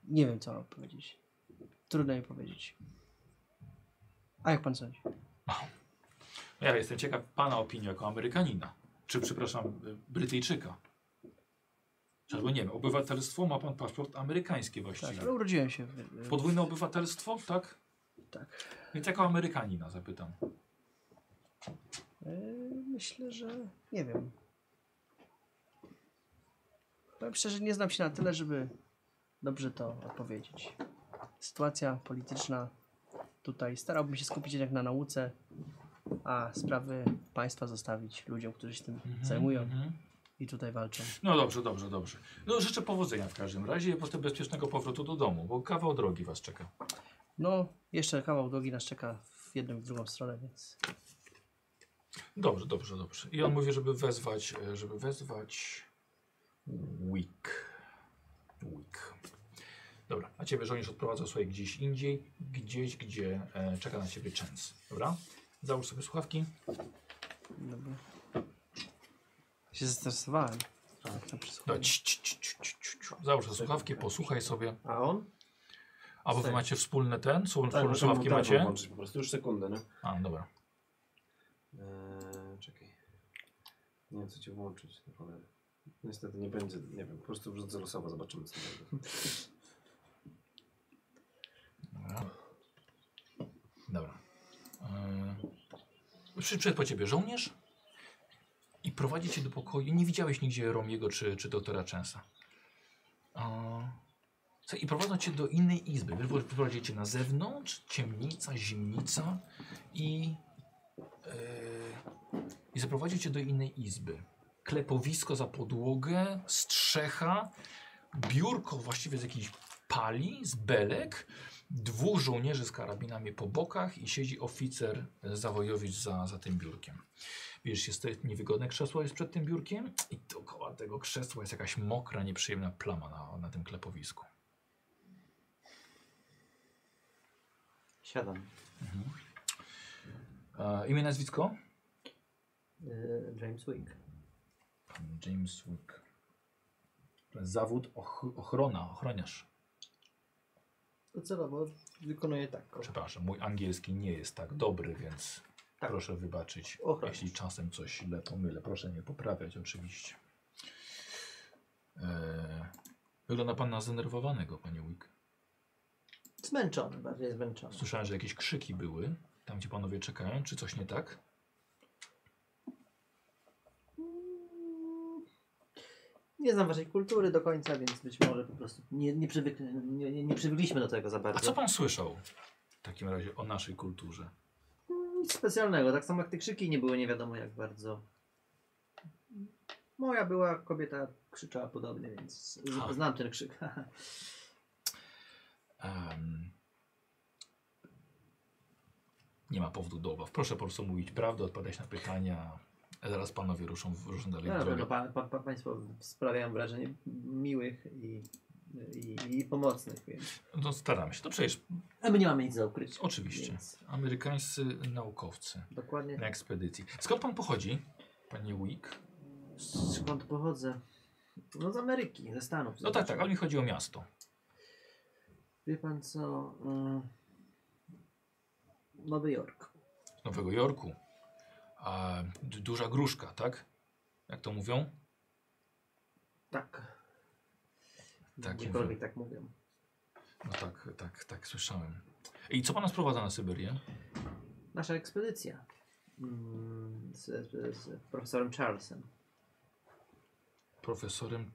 S6: Nie wiem, co mam powiedzieć. Trudno mi powiedzieć. A jak pan sądzi? Tak,
S1: Ja jestem ciekaw pana opinii jako Amerykanina. Czy, przepraszam, y, Brytyjczyka. Czy Albo nie wiem, obywatelstwo ma pan paszport amerykański
S6: Tak,
S1: właściwie.
S6: ale urodziłem się. W, w,
S1: Podwójne obywatelstwo, tak?
S6: tak.
S1: Więc jako Amerykanina zapytam.
S6: E, myślę, że nie wiem. Powiem szczerze, nie znam się na tyle, żeby dobrze to odpowiedzieć. Sytuacja polityczna tutaj. Starałbym się skupić jednak na nauce, a sprawy państwa zostawić ludziom, którzy się tym
S1: Mhm,
S6: zajmują
S1: mhm.
S6: i tutaj walczą.
S1: No dobrze, dobrze, dobrze. No życzę powodzenia w każdym razie i po prostu bezpiecznego powrotu do domu, bo kawał drogi was czeka.
S6: No, jeszcze kawał drogi nas czeka w jedną i w drugą stronę, więc
S1: Dobrze, dobrze, dobrze. I on mówi, żeby wezwać, e, żeby wezwać Wick. Wick. Dobra, a ciebie żołnierz odprowadza sobie gdzieś indziej, gdzieś, gdzie e, czeka na ciebie Chance. Dobra? Załóż sobie słuchawki.
S6: dobra. Się zestresowałem. Tak, to
S1: No,
S6: przesłuchanie.
S1: ć, ć, ć, ć, ć, ć. Załóż sobie słuchawki, posłuchaj sobie.
S2: A on?
S1: A bo wy
S2: Wstaję.
S1: macie wspólne ten? Są wspólne
S2: muszę
S1: słuchawki
S2: mu telefon
S1: macie?
S2: włączyć po prostu, już sekundę, nie?
S1: A, dobra.
S2: Eee, czekaj. Nie wiem, co ci włączyć. na cholerę. Niestety nie będzie, nie wiem, po prostu wrzucę losowo, zobaczymy co będzie.
S1: Dobra. Dobra. Yy, przyszedł po ciebie żołnierz i prowadzi cię do pokoju. Nie widziałeś nigdzie Romiego czy, czy doktora Częsa. E, I prowadzą cię do innej izby. Wypro- Wyprowadzili cię na zewnątrz, ciemnica, zimnica i, yy, i zaprowadzi cię do innej izby. Klepowisko za podłogę, strzecha, biurko właściwie z jakiejś pali, z belek dwóch żołnierzy z karabinami po bokach i siedzi oficer e, Zawojowicz za, za tym biurkiem. Wiesz, jest to niewygodne krzesło jest przed tym biurkiem i dookoła tego krzesła jest jakaś mokra, nieprzyjemna plama na, na tym klepowisku.
S3: Siadam.
S1: E, imię, nazwisko?
S3: Y, James Wick.
S1: Pan James Wick. Zawód och ochrona, ochroniarz.
S3: Docelowo wykonuję tak. o.
S1: Przepraszam, mój angielski nie jest tak dobry, więc
S3: Tak.
S1: proszę wybaczyć,
S3: Ochroniarz.
S1: jeśli czasem coś źle pomylę. Proszę mnie poprawiać oczywiście. Eee, wygląda pan na zdenerwowanego, panie Wick.
S3: Zmęczony, bardziej zmęczony.
S1: Słyszałem, że jakieś krzyki były, tam gdzie panowie czekają. Czy coś nie tak?
S3: Nie znam waszej kultury do końca, więc być może po prostu nie, nie, przywyk, nie, nie, nie przywykliśmy do tego za bardzo.
S1: A co pan słyszał w takim razie o naszej kulturze?
S3: No, Nic specjalnego, tak samo jak te krzyki nie były nie wiadomo jak bardzo. Moja była kobieta krzyczała podobnie, więc z-
S1: Ha.
S3: znam ten krzyk. No,
S1: Em, nie ma powodu do obaw. Proszę po prostu mówić prawdę, odpowiadać na pytania. Zaraz panowie ruszą, ruszą dalej
S3: No,
S1: w
S3: na
S1: drogę.
S3: pewno pa, pa, pa, państwo sprawiają wrażenie miłych i, i, i pomocnych, więc.
S1: No staramy się. To przecież
S3: A my nie mamy nic za ukrycie.
S1: Oczywiście.
S3: Więc
S1: amerykańscy naukowcy
S3: dokładnie
S1: na ekspedycji. Skąd pan pochodzi, panie Wick?
S3: skąd pochodzę? No z Ameryki, ze Stanów.
S1: No tak, tak, ale mi chodzi o miasto.
S3: Wie pan co? mm, Nowy Jork.
S1: Z Nowego Jorku. A, d- duża gruszka, tak? Jak to mówią?
S3: Tak.
S1: Tak,
S3: Gdziekolwiek tak mówią.
S1: No tak, tak, tak, słyszałem. I co pana sprowadza na Syberię?
S3: Nasza ekspedycja mm, z, z, z profesorem Charlesem.
S1: Profesorem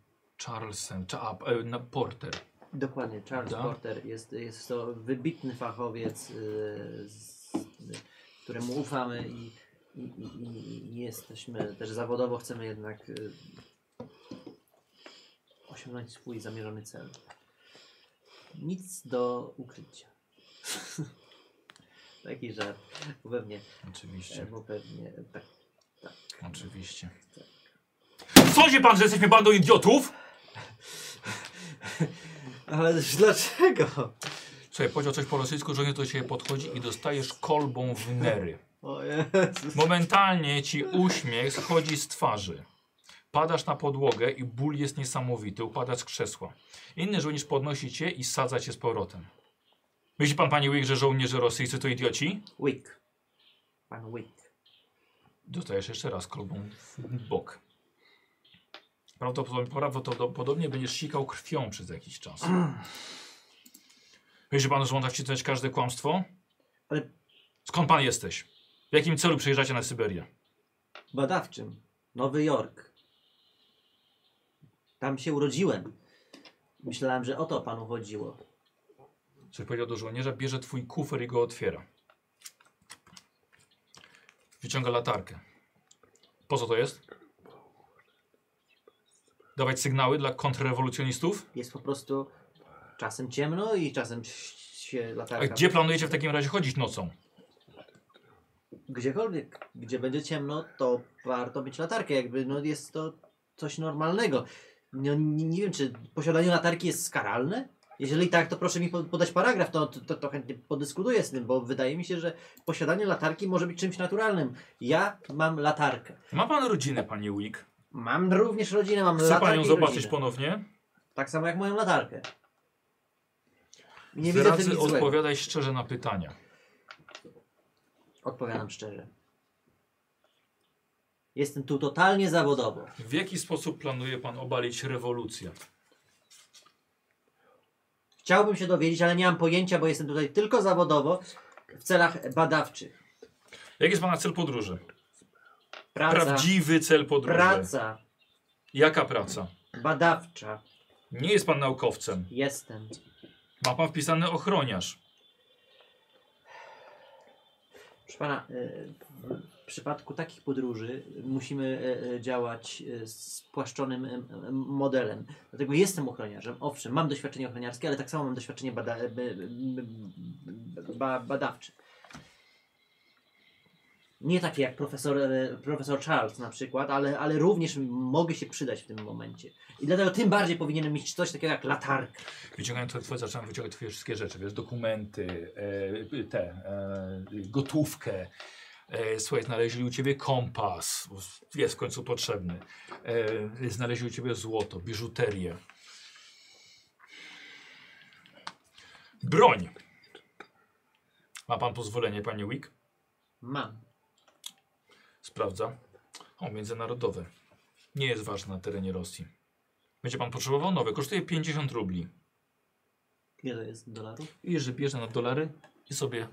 S1: Charlesem, cza, a, e, na Porter.
S3: Dokładnie, Charles
S1: Da.
S3: Porter jest, jest to wybitny fachowiec, y, z, któremu ufamy i, i, i, i- i jesteśmy też zawodowo, chcemy jednak y, osiągnąć swój zamierzony cel. Nic do ukrycia. Taki żart, bo pewnie,
S1: Oczywiście,
S3: bo pewnie tak.
S1: oczywiście. Sądzi pan, że jesteśmy bandą idiotów?
S3: Ale dlaczego?
S1: Słuchaj, powiedział coś po rosyjsku, że nie do ciebie podchodzi i dostajesz kolbą w nery.
S3: O Jezus.
S1: Momentalnie ci uśmiech schodzi z twarzy. Padasz na podłogę i ból jest niesamowity. Upadasz z krzesła. Inny żołnierz podnosi cię i sadza cię z powrotem. Myśli pan, panie Wick, że żołnierze rosyjscy to idioci?
S3: Wick. Pan Wick.
S1: Dostajesz jeszcze raz kolbą w bok. Prawdopodobnie, prawdopodobnie będziesz sikał krwią przez jakiś czas. Wiecie pan, że można wcisnąć każde kłamstwo?
S3: Ale-
S1: Skąd pan jesteś? W jakim celu przyjeżdżacie na Syberię?
S3: badawczym. Nowy Jork. Tam się urodziłem. Myślałem, że o to panu chodziło.
S1: Coś powiedział do żołnierza, bierze twój kufer i go otwiera. Wyciąga latarkę. Po co to jest? Dawać sygnały dla kontrrewolucjonistów?
S3: Jest po prostu czasem ciemno i czasem ś- się
S1: A
S3: latarka.
S1: gdzie planujecie w takim razie chodzić nocą?
S3: Gdziekolwiek, gdzie będzie ciemno, to warto mieć latarkę. Jakby no jest to coś normalnego. No, nie, nie wiem, czy posiadanie latarki jest skaralne? Jeżeli tak, to proszę mi po- podać paragraf, to, to, to, to chętnie podyskutuję z tym, bo wydaje mi się, że posiadanie latarki może być czymś naturalnym. Ja mam latarkę.
S1: Ma pan rodzinę, panie Wick.
S3: Mam również rodzinę, mam
S1: Chce pan
S3: latarkę
S1: ją
S3: i
S1: zobaczyć
S3: rodzinę.
S1: ponownie?
S3: Tak samo jak moją latarkę. Nie widzę w tym
S1: Zdradzę,
S3: nic złego.
S1: odpowiadaj szczerze na pytania.
S3: Odpowiadam szczerze. Jestem tu totalnie zawodowo.
S1: W jaki sposób planuje pan obalić rewolucję?
S3: Chciałbym się dowiedzieć, ale nie mam pojęcia, bo jestem tutaj tylko zawodowo w celach badawczych.
S1: Jaki jest pana cel podróży?
S3: Praca,
S1: Prawdziwy cel podróży.
S3: praca
S1: Jaka praca?
S3: badawcza.
S1: Nie jest pan naukowcem.
S3: Jestem.
S1: Ma pan wpisany ochroniarz.
S3: Proszę pana, y, w przypadku takich podróży musimy y, y, działać y, spłaszczonym y, y, modelem. Dlatego jestem ochroniarzem. Owszem, mam doświadczenie ochroniarskie, ale tak samo mam doświadczenie bada y, y, y, y, ba badawcze. Nie takie jak profesor, y, profesor Charles na przykład, ale, ale również mogę się przydać w tym momencie. I dlatego tym bardziej powinienem mieć coś takiego jak latarkę.
S1: Wyciągałem twoje, twoje, zacząłem wyciągać twoje wszystkie rzeczy, wiesz, dokumenty, e, te, e, gotówkę. E, słuchaj, znaleźli u ciebie kompas, jest w końcu potrzebny. E, znaleźli u ciebie złoto, biżuterię. Broń. Ma pan pozwolenie, panie Wick?
S3: Mam.
S1: Sprawdza. O, międzynarodowe. Nie jest ważne na terenie Rosji. Będzie pan potrzebował nowe, kosztuje 50 rubli.
S3: Ile to jest dolarów?
S1: I że bierze na dolary i sobie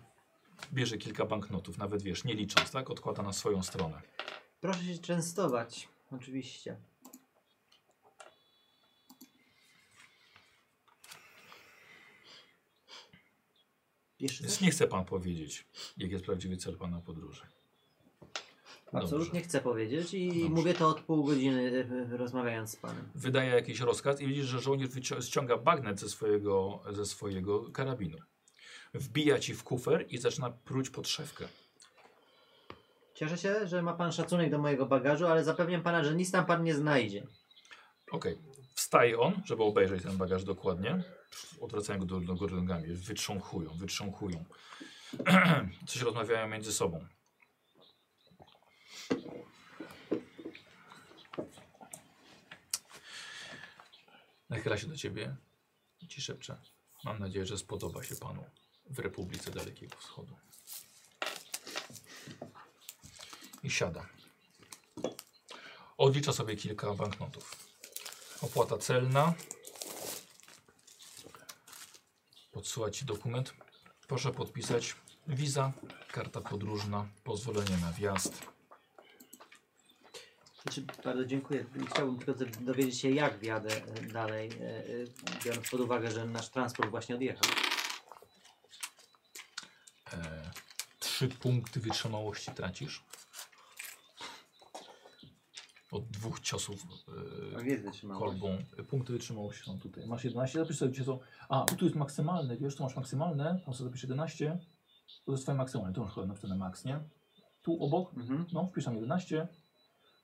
S1: bierze kilka banknotów, nawet wiesz, nie licząc, tak? Odkłada na swoją stronę.
S3: Proszę się częstować, oczywiście. Jeszcze
S1: Więc
S3: coś?
S1: nie chce pan powiedzieć, jaki jest prawdziwy cel pana podróży.
S3: Absolutnie
S1: Dobrze.
S3: chcę powiedzieć i
S1: Dobrze.
S3: mówię to od pół godziny y, y, rozmawiając z panem.
S1: Wydaje jakiś rozkaz i widzisz, że żołnierz wycią- ściąga bagnet ze swojego, ze swojego karabinu. Wbija ci w kufer i zaczyna pruć podszewkę.
S3: Cieszę się, że ma pan szacunek do mojego bagażu, ale zapewniam pana, że nic tam pan nie znajdzie.
S1: Okej. Wstaje on, żeby obejrzeć ten bagaż dokładnie. Odwracają go do, do góry nogami. Wytrząchują, wytrząchują. Coś rozmawiają między sobą. Nachyla się do ciebie i ci szepcze. Mam nadzieję, że spodoba się panu w Republice Dalekiego Wschodu. I siada. Odlicza sobie kilka banknotów. Opłata celna. Podsyła ci dokument. Proszę podpisać. Wiza, karta podróżna, pozwolenie na wjazd.
S3: Znaczy, bardzo dziękuję. Chciałbym tylko z- dowiedzieć się, jak wjadę e, dalej, e, e, biorąc pod uwagę, że nasz transport właśnie odjechał.
S1: E, trzy punkty wytrzymałości tracisz. Od dwóch ciosów e,
S3: A wiedzy trzymam.
S1: kolbą. E, Punkty wytrzymałości są tutaj. Masz 11, zapisz sobie gdzie są. A, tu jest maksymalne, wiesz, tu masz maksymalne, tam sobie zapisz 11. To jest twoje maksymalne, tu masz chyba napisane max, nie? Tu obok,
S3: Mhm.
S1: no, wpisz tam 11.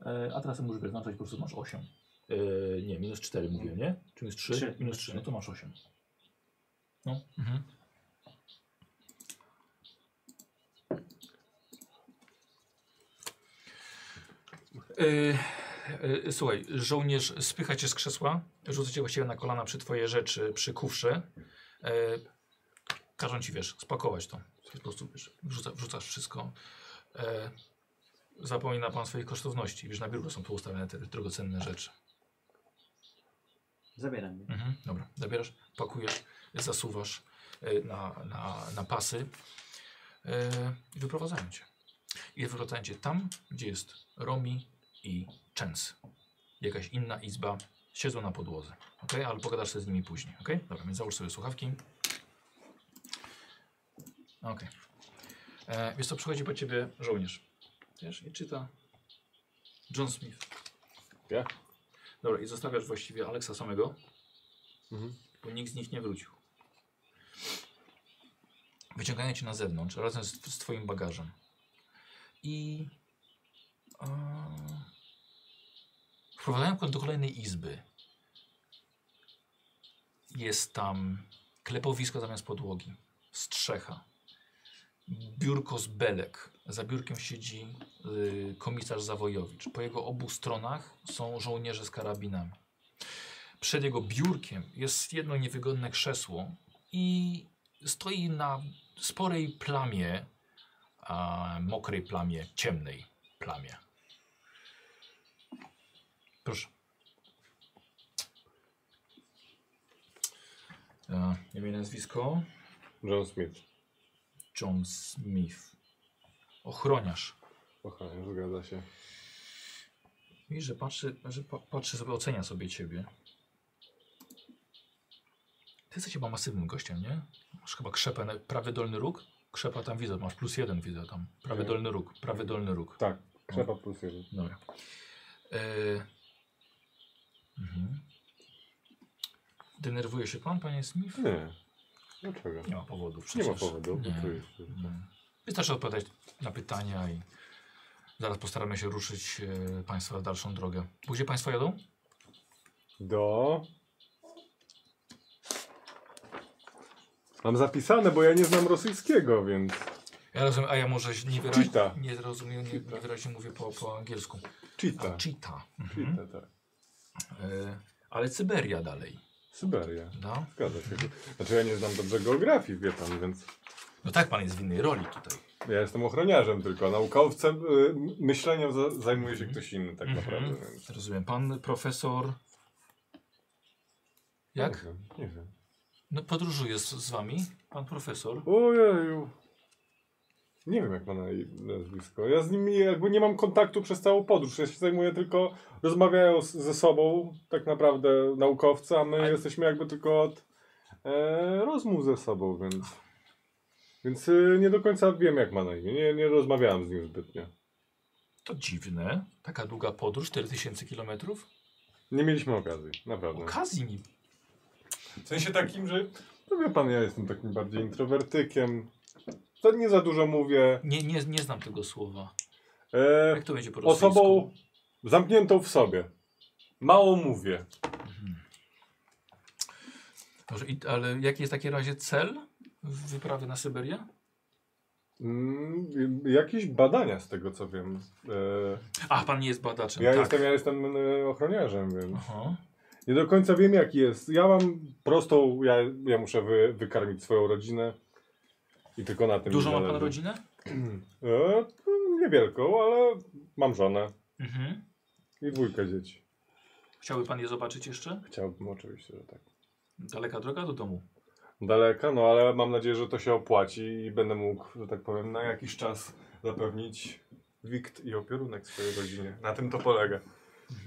S1: E, a teraz możesz wyznaczać, po prostu masz 8. E, nie, minus 4 mówiłem, nie? Czy minus 3?
S3: Trzy.
S1: Minus 3, no to masz 8. No, mhm. E, E, Słuchaj, żołnierz spycha cię z krzesła, rzuca cię właściwie na kolana przy twoje rzeczy, przy kufrze. E, każą ci, wiesz, spakować to. Po prostu, wiesz, wrzuca, wrzucasz wszystko. E, zapomina pan swojej kosztowności. Wiesz, na biurku są poustawione te drogocenne rzeczy.
S3: Zabieram je.
S1: Mhm, dobra, zabierasz, pakujesz, zasuwasz e, na, na, na pasy e, i wyprowadzają cię. I wyprowadzają cię tam, gdzie jest Romi i Chens. Jakaś inna izba, siedzą na podłodze, ok? Ale pogadasz sobie z nimi później, ok? Dobra, więc załóż sobie słuchawki. Ok. E, wiesz co, przychodzi po ciebie żołnierz. Wiesz, i czyta John Smith.
S7: Ja?
S1: Dobra, i zostawiasz właściwie Aleksa samego
S7: Mhm.
S1: bo nikt z nich nie wrócił. Wyciągają cię na zewnątrz razem z, z twoim bagażem. I e, wprowadzają ko- do kolejnej izby. Jest tam klepowisko zamiast podłogi, strzecha, biurko z belek. Za biurkiem siedzi y, komisarz Zawojowicz. Po jego obu stronach są żołnierze z karabinami. Przed jego biurkiem jest jedno niewygodne krzesło i stoi na sporej plamie, a, mokrej plamie, ciemnej plamie. Proszę. E, imię, nazwisko?
S7: John Smith.
S1: John Smith. Ochroniarz.
S7: Kochanie, zgadza się.
S1: Widzisz, że patrzy, że pa- patrzy sobie, ocenia sobie ciebie. Ty jesteś chyba masywnym gościem, nie? Masz chyba krzepę, na- prawy dolny róg? Krzepa tam widzę, masz plus jeden widzę tam. Prawy
S7: Nie.
S1: dolny róg, prawy dolny róg.
S7: Tak, krzepa plus jeden.
S1: Dobra. Yy. Mhm. Denerwuje się pan, panie Smith?
S7: Nie. Dlaczego?
S1: Nie ma powodów
S7: Nie
S1: przecież.
S7: ma powodu.
S1: Nie.
S7: Nie.
S1: Mm. Wystarczy odpowiadać na pytania i zaraz postaramy się ruszyć e, Państwa w dalszą drogę. Bo Gdzie Państwo jadą?
S7: Do. Mam zapisane, bo ja nie znam rosyjskiego, więc.
S1: Ja rozumiem, a ja może nie wyraźnie,
S7: Cheetah.
S1: nie rozumiem, nie, nie wyraźnie mówię po, po angielsku.
S7: Cheetah.
S1: A, cheetah. Mhm.
S7: Cheetah, tak.
S1: E, ale Syberia dalej, no.
S7: Syberia.
S1: prawda?
S7: Zgadza się. Znaczy ja nie znam dobrze geografii, wie pan, więc
S1: No tak, Pan jest w innej roli tutaj.
S7: ja jestem ochroniarzem tylko, a naukowcem, y, myśleniem za, zajmuje się ktoś inny tak
S1: Mhm.
S7: naprawdę. Więc...
S1: Rozumiem. Pan profesor...
S7: Nie
S1: Jak?
S7: wiem, nie wiem.
S1: No podróżuje z, z Wami pan profesor.
S7: Ojeju. Nie wiem jak ma na nazwisko. Ja z nimi jakby nie mam kontaktu przez całą podróż. Ja się zajmuję tylko, rozmawiają z, ze sobą tak naprawdę naukowcy, a my
S1: A-
S7: jesteśmy jakby tylko od e, rozmów ze sobą, więc... Więc y, nie do końca wiem jak ma na imię. Nie, nie rozmawiałem z nim zbytnio.
S1: To dziwne. Taka długa podróż, 4000 kilometrów.
S7: Nie mieliśmy okazji, naprawdę.
S1: Okazji nie
S4: W sensie takim, że
S7: No wie pan, ja jestem takim bardziej introwertykiem. To nie za dużo mówię.
S1: Nie, nie, nie znam tego słowa.
S7: E,
S1: Jak to będzie po rosyjsku?
S7: osobą zamkniętą w sobie. Mało mówię.
S1: Dobrze, i, ale jaki jest w takim razie cel wyprawy na Syberię?
S7: Mm, jakieś badania z tego co wiem. E,
S1: A, pan nie jest badaczem,
S7: ja,
S1: tak.
S7: jestem, ja jestem e, ochroniarzem, więc
S1: Aha.
S7: nie do końca wiem jaki jest. Ja mam prostą, ja, ja muszę wy, wykarmić swoją rodzinę i tylko na tym
S1: Dużą
S7: mi
S1: ma pan
S7: zależy.
S1: rodzinę?
S7: E, niewielką, ale mam żonę
S1: Mhm.
S7: i dwójkę dzieci.
S1: Chciałby pan je zobaczyć jeszcze?
S7: Chciałbym oczywiście, że tak.
S1: Daleka droga do domu.
S7: daleka, no ale mam nadzieję, że to się opłaci i będę mógł, że tak powiem, na jakiś czas zapewnić wikt i opierunek swojej rodzinie. Na tym to polega.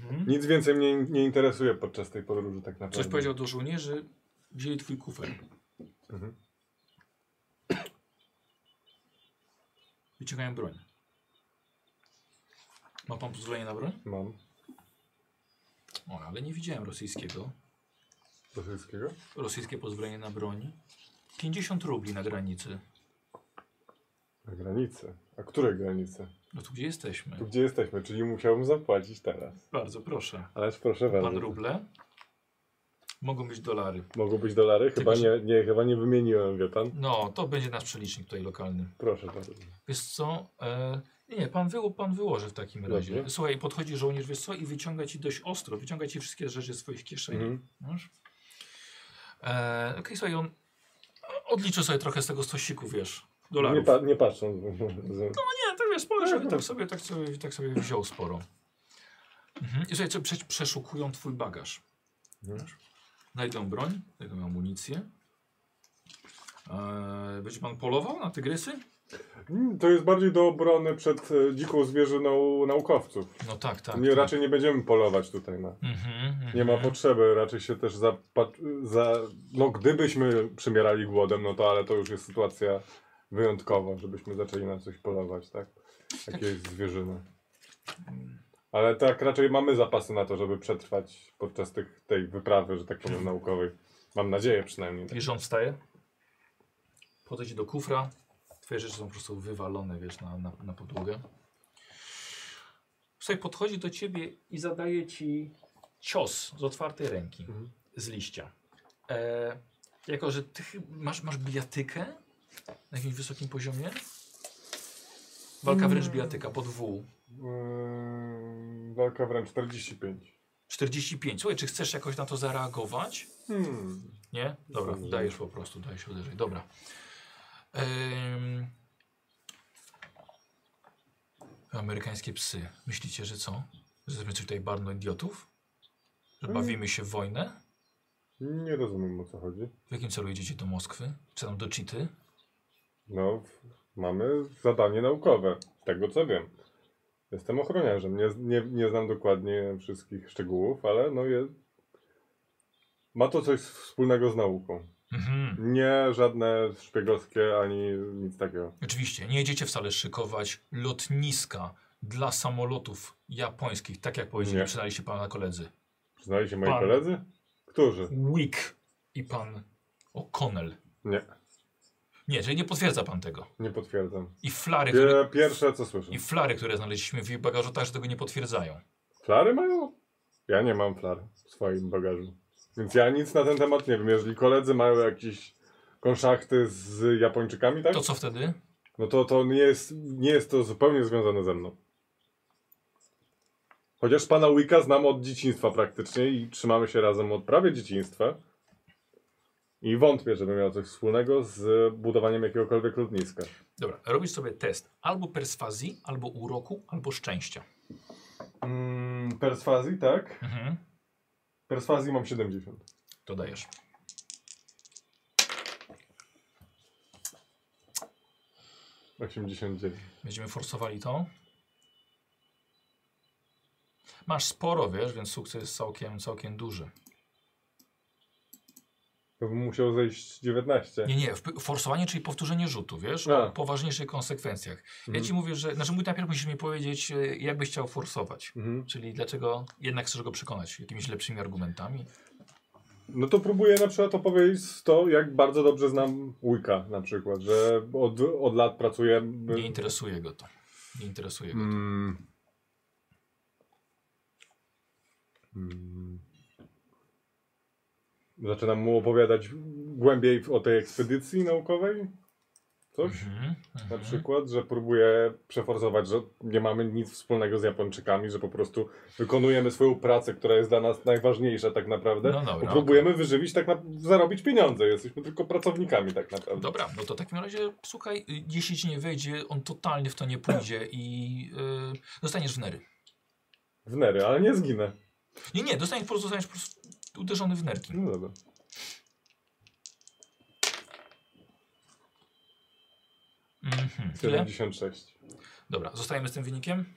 S1: Mhm.
S7: Nic więcej mnie nie interesuje podczas tej podróży tak naprawdę.
S1: Coś powiedział do żołnierzy, wzięli twój kufer.
S7: Mhm.
S1: Wyciągają broń. Ma pan pozwolenie na broń?
S7: Mam.
S1: O, ale nie widziałem rosyjskiego.
S7: Rosyjskiego?
S1: Rosyjskie pozwolenie na broń. 50 rubli na granicy.
S7: Na granicy. A które granice?
S1: No tu gdzie jesteśmy?
S7: Tu gdzie jesteśmy, czyli musiałbym zapłacić teraz.
S1: Bardzo proszę.
S7: Ależ proszę
S1: Pan
S7: bardzo.
S1: ruble? Mogą być dolary.
S7: Mogą być dolary? Chyba
S1: Tylko,
S7: nie, nie, chyba nie wymieniłem, wie pan.
S1: No, to będzie nasz przelicznik tutaj lokalny.
S7: Proszę bardzo.
S1: Wiesz co? E, nie, pan, wyło, pan wyłoży w takim razie.
S7: Dobrze.
S1: Słuchaj, podchodzi żołnierz, wiesz co, i wyciąga ci dość ostro, wyciąga ci wszystkie rzeczy z swoich kieszeni.
S7: Mhm.
S1: Wiesz? E, Okej, słuchaj, on odliczy sobie trochę z tego stosiku, wiesz, dolarów.
S7: Nie,
S1: Nie,
S7: pa, nie patrząc. z-
S1: to wiesz, spojrzał i tak sobie, tak sobie, tak sobie wziął sporo. Mhm. I słuchaj, prze, przeszukują twój bagaż.
S7: Mhm.
S1: Wiesz? Znajdą broń, znajdą amunicję. E, będzie pan polował na tygrysy?
S7: Mm, To jest bardziej do obrony przed e, dziką zwierzyną naukowców.
S1: No tak, tak.
S7: nie,
S1: tak.
S7: Raczej nie będziemy polować tutaj na.
S1: Mhm, mhm.
S7: Nie ma potrzeby, raczej się też zapat- za. No, gdybyśmy przymierali głodem, no to ale to już jest sytuacja wyjątkowa, żebyśmy zaczęli na coś polować, tak? Jakieś zwierzyny. Ale tak, raczej mamy zapasy na to, żeby przetrwać podczas tych, tej wyprawy, że tak powiem, naukowej. Mam nadzieję przynajmniej. Tak.
S1: Wiesz, on wstaje, podejdzie do kufra, twoje rzeczy są po prostu wywalone, wiesz, na, na, na podłogę. Słuchaj, podchodzi do ciebie i zadaje ci cios z otwartej ręki, z liścia. E, jako, że ty chy- masz, masz bijatykę na jakimś wysokim poziomie? Walka wręcz bijatyka, pod W.
S7: Yy, walka wręcz 45.
S1: 45. Słuchaj, czy chcesz jakoś na to zareagować?
S7: Hmm.
S1: Nie? Dobra,
S7: Dobrze.
S1: dajesz po prostu, dajesz uderzyć. Dobra. Ym... Amerykańskie psy. Myślicie, że co? Że jesteśmy coś tutaj barno idiotów? Że
S7: Mm.
S1: bawimy się w wojnę?
S7: Nie rozumiem o co chodzi.
S1: W jakim celu jedziecie do Moskwy? Czy tam do Czity?
S7: No, w- mamy zadanie naukowe, z tego co wiem. Jestem ochroniarzem, nie, nie, nie znam dokładnie wszystkich szczegółów, ale no je... ma to coś wspólnego z nauką.
S1: Mhm.
S7: Nie żadne szpiegowskie ani nic takiego.
S1: Oczywiście, nie jedziecie wcale szykować lotniska dla samolotów japońskich, tak jak powiedzieli,
S7: Nie.
S1: przyznali się pana koledzy.
S7: Przyznali się moi
S1: Pan-
S7: koledzy? Którzy?
S1: Wick i pan O'Connell.
S7: Nie,
S1: Nie, czyli nie potwierdza pan tego.
S7: nie potwierdzam.
S1: I flary, które
S7: Pier, pierwsze co słyszę.
S1: I flary, które znaleźliśmy w ich bagażu, także tego nie potwierdzają.
S7: Tak. Flary mają? Ja nie mam flar w swoim bagażu. Więc ja nic na ten temat nie wiem. Jeżeli koledzy mają jakieś konszachty z Japończykami, tak?
S1: To co wtedy?
S7: No to, to nie, jest, nie jest to zupełnie związane ze mną. Chociaż pana Wicka znam od dzieciństwa praktycznie i trzymamy się razem od prawie dzieciństwa. I wątpię, żeby miał coś wspólnego z budowaniem jakiegokolwiek lotniska.
S1: Dobra, robisz sobie test albo perswazji, albo uroku, albo szczęścia.
S7: Mm, perswazji, tak?
S1: Mhm.
S7: Perswazji mam 70.
S1: To dajesz. Będziemy forsowali to. Masz sporo, wiesz, więc sukces jest całkiem, całkiem duży.
S7: To bym musiał zejść 19.
S1: Nie, nie, wp- forsowanie, czyli powtórzenie rzutu, wiesz,
S7: A.
S1: o poważniejszych konsekwencjach. Ja
S7: Mhm.
S1: ci mówię, że, znaczy mój najpierw musisz mi powiedzieć, e, jak byś chciał forsować.
S7: Mhm.
S1: Czyli dlaczego jednak chcesz go przekonać? Jakimiś lepszymi argumentami?
S7: No to próbuję na przykład opowiedzieć to, jak bardzo dobrze znam Wicka na przykład, że od, od lat pracuję...
S1: Nie interesuje go to. Nie interesuje go.
S7: Mm. Mm. Zaczynam mu opowiadać głębiej o tej ekspedycji naukowej. Coś?
S1: Mhm,
S7: Na
S1: mhm.
S7: przykład, że próbuję przeforsować, że nie mamy nic wspólnego z Japończykami, że po prostu wykonujemy swoją pracę, która jest dla nas najważniejsza tak naprawdę.
S1: No dobra,
S7: Bo próbujemy wyżywić, tak na... zarobić pieniądze. Jesteśmy tylko pracownikami tak naprawdę.
S1: Dobra, no to w takim razie słuchaj, y, jeśli ci nie wejdzie, on totalnie w to nie pójdzie i y, dostaniesz w nery.
S7: W nery, ale nie zginę.
S1: Nie, nie, dostaniesz po prostu, zostaniesz po prostu uderzony w nerki.
S7: No dobra.
S1: Mhm. Ile?
S7: 76.
S1: Dobra, zostajemy z tym wynikiem?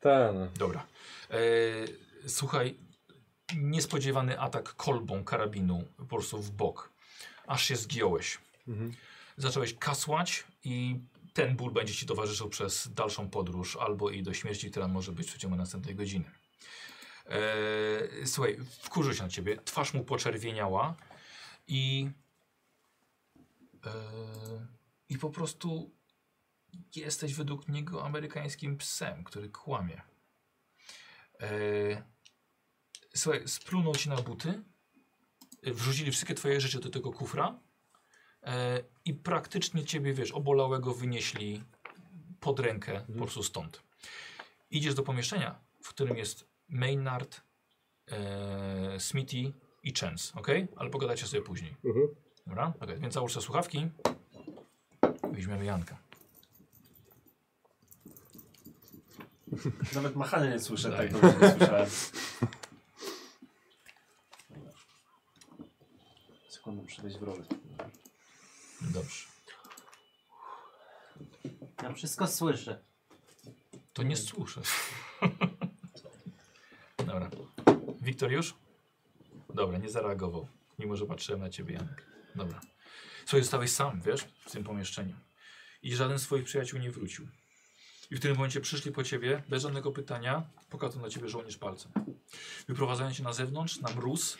S7: Ten.
S1: Dobra. E, słuchaj, niespodziewany atak kolbą karabinu po prostu w bok. Aż się zgiąłeś.
S7: Mhm.
S1: Zacząłeś kasłać i ten ból będzie ci towarzyszył przez dalszą podróż albo i do śmierci, która może być w ciągu następnej godziny. E, słuchaj, wkurzył się na ciebie, twarz mu poczerwieniała i e, i po prostu jesteś według niego amerykańskim psem, który kłamie. Eee, słuchaj, splunął ci na buty, e, wrzucili wszystkie twoje rzeczy do tego kufra e, i praktycznie ciebie, wiesz, obolałego wynieśli pod rękę po prostu stąd. Idziesz do pomieszczenia, w którym jest Maynard, e, Smithy i Chance, ok? Ale pogadacie sobie później.
S7: Mhm.
S1: Dobra? Okay. Więc załóż te słuchawki. Weźmiemy Janka.
S2: Nawet machania nie słyszę,
S1: Daj.
S2: tak dobrze nie słyszałem. Sekundę, muszę wejść w rolę.
S1: Dobrze.
S3: Ja wszystko słyszę.
S1: To nie słyszę. Dobra. Wiktor już? Dobra, nie zareagował. Mimo, że patrzyłem na ciebie, Janek. Dobra. Słuchaj, zostałeś sam, wiesz, w tym pomieszczeniu. I żaden z twoich przyjaciół nie wrócił. I w tym momencie przyszli po ciebie, bez żadnego pytania, pokazał na ciebie żołnierz palcem. Wyprowadzają cię na zewnątrz, na mróz.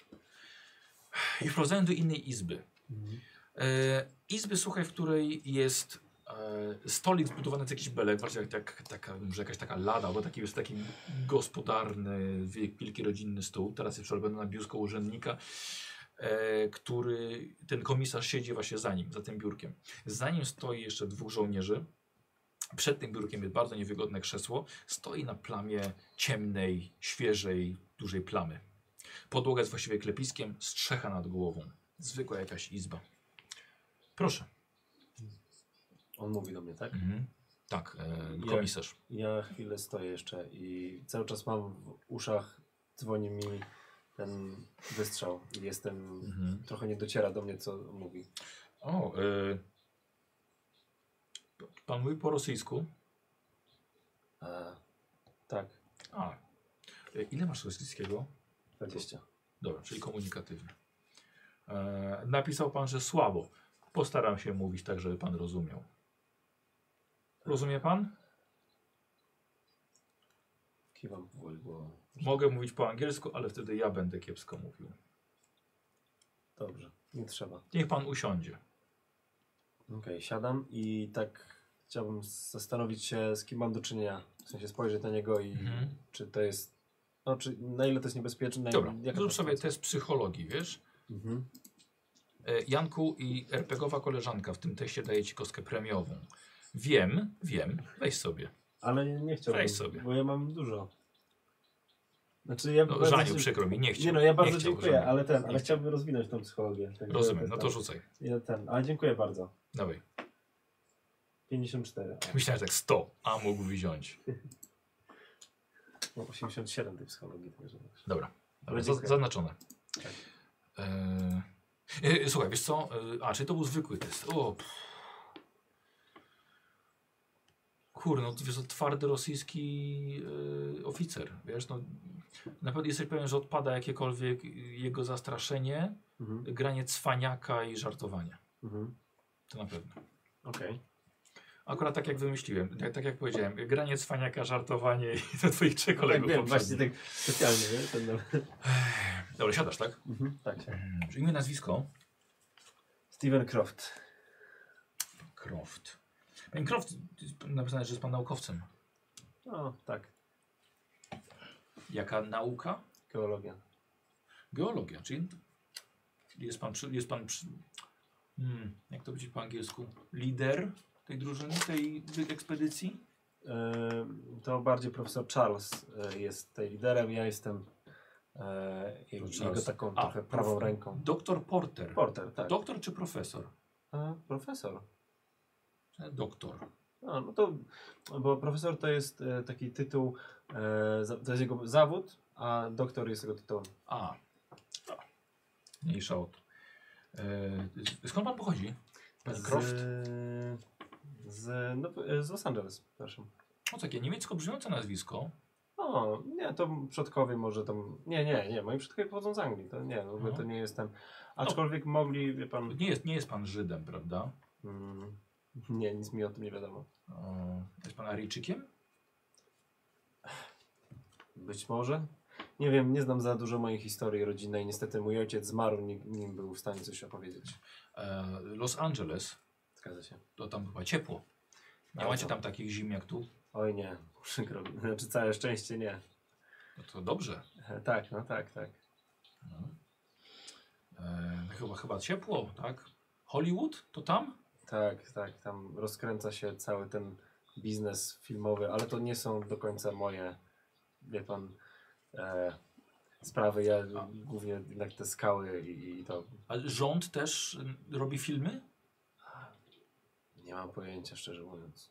S1: I wprowadzają do innej izby. E, izby, słuchaj, w której jest e, stolik zbudowany z jakichś belek, bardziej jak, jak taka, może jakaś taka lada, albo taki, jest taki gospodarny, wie- wielki rodzinny stół. Teraz jest przerobiony na biurko urzędnika, e, który, ten komisarz siedzi właśnie za nim, za tym biurkiem. Za nim stoi jeszcze dwóch żołnierzy. Przed tym biurkiem jest bardzo niewygodne krzesło. Stoi na plamie ciemnej, świeżej, dużej plamy. Podłoga jest właściwie klepiskiem, strzecha nad głową. Zwykła jakaś izba. Proszę.
S2: On mówi do mnie, tak?
S1: Mhm. Tak, e,
S2: Jak?
S1: komisarz.
S2: Ja chwilę stoję jeszcze i cały czas mam w uszach, dzwoni mi ten wystrzał i jestem...
S1: Mhm.
S2: Trochę nie dociera do mnie, co mówi.
S1: O, e, pan mówi po rosyjsku?
S2: E, tak,
S1: A, e, ile masz rosyjskiego?
S2: 20.
S1: Dobra, czyli komunikatywny. E, napisał pan, że słabo. Postaram się mówić tak, żeby pan rozumiał. Rozumie pan?
S2: Kiwam powoli głową.
S1: Mogę mówić po angielsku, ale wtedy ja będę kiepsko mówił.
S2: Dobrze, nie trzeba.
S1: Niech pan usiądzie.
S2: Okej, siadam i tak chciałbym zastanowić się, z kim mam do czynienia. W sensie spojrzeć na niego i
S1: Mhm.
S2: czy to jest. No, czy na ile to jest niebezpieczne? Na
S1: Dobra,
S2: jak
S1: zrób sobie test psychologii, wiesz?
S2: Mhm.
S1: E, Janku i RPGowa koleżanka w tym teście daje ci kostkę premiową. Wiem, wiem, weź sobie.
S2: Ale nie, nie chciałbym.
S1: Weź sobie.
S2: Bo ja mam dużo. Znaczy, ja.
S1: No,
S2: bardzo
S1: Żaniu,
S2: ci-
S1: przykro mi, nie chciał.
S2: Nie no, ja bardzo
S1: nie chciał,
S2: dziękuję,
S1: Żaniu.
S2: ale ten, ale
S1: chciał.
S2: chciałbym rozwinąć tą psychologię. Także
S1: Rozumiem,
S2: ten-
S1: no to rzucaj.
S2: ja ten, ale dziękuję bardzo.
S1: Dawaj.
S2: 54.
S1: Myślałem, że tak 100, a mógł wziąć.
S2: No, 87 tej psychologii. Także.
S1: Dobra, Dobra
S2: dziękuję.
S1: zaz- zaznaczone.
S2: Tak.
S1: E, e, Słuchaj, wiesz co? E, A, czyli to był zwykły test. O, pff. Kur, no wiesz, to twardy rosyjski e, oficer, wiesz, no na pewno jesteś pewien, że odpada jakiekolwiek jego zastraszenie,
S2: Mhm.
S1: granie cwaniaka i żartowanie.
S2: Mhm.
S1: To na pewno.
S2: Okej.
S1: Akurat tak jak wymyśliłem, tak, tak jak powiedziałem, granie cwaniaka, żartowanie i do twoich trzech kolegów
S2: Tak wiem,
S1: poprzednich.
S2: właśnie tak specjalnie, wiesz? Ten...
S1: Dobra, siadasz, tak?
S2: Mhm. Tak. tak.
S1: Dobrze, Imię, nazwisko?
S2: Steven Croft.
S1: Croft. Panie Croft, napisane, że jest pan naukowcem.
S2: O, tak,
S1: Jaka nauka?
S2: geologia.
S1: Geologia, czyli jest pan, przy- jest pan przy, hmm, jak to będzie po angielsku, lider tej drużyny, tej wy- ekspedycji?
S2: E, to bardziej profesor Charles e, jest tutaj liderem, ja jestem e, i-
S1: Charles.
S2: jego taką
S1: A,
S2: trochę prawą
S1: prof-
S2: ręką.
S1: Doktor Porter.
S2: Porter, tak.
S1: Doktor czy profesor?
S2: A, profesor.
S1: E, Doktor.
S2: A, no to, bo profesor to jest e, taki tytuł, e, za- to jest jego zawód, a doktor jest jego tytułem.
S1: A. Mniejsza od. E, skąd pan pochodzi? Croft?
S2: Z, z, no, z Los Angeles, przepraszam.
S1: No takie niemiecko brzmiące nazwisko.
S2: O, nie, to przodkowie może tam. Nie, nie, nie, moi przodkowie pochodzą z Anglii, to nie, w ogóle
S1: No.
S2: to nie jestem. Aczkolwiek mogli, wie pan.
S1: Nie jest, nie jest pan Żydem, prawda?
S2: Mm, nie, nic mi o tym nie wiadomo.
S1: E, Jest pan Aryjczykiem?
S2: Być może. Nie wiem, nie znam za dużo mojej historii rodzinnej. Niestety mój ojciec zmarł, nim, nim był w stanie coś opowiedzieć.
S1: E, Los Angeles,
S2: Zgadza się.
S1: to tam chyba ciepło. Nie
S2: A
S1: macie
S2: co?
S1: tam takich zim jak tu?
S2: Oj nie, przykro mi. Znaczy całe szczęście nie.
S1: No to dobrze.
S2: E, Tak, no tak, tak.
S1: No. E, chyba, chyba ciepło, tak? Hollywood? To tam?
S2: Tak, tak, tam rozkręca się cały ten biznes filmowy, ale to nie są do końca moje, wie pan, e, sprawy. Ja głównie jednak te skały i, i to
S1: A rząd też y, robi filmy?
S2: nie mam pojęcia, szczerze mówiąc.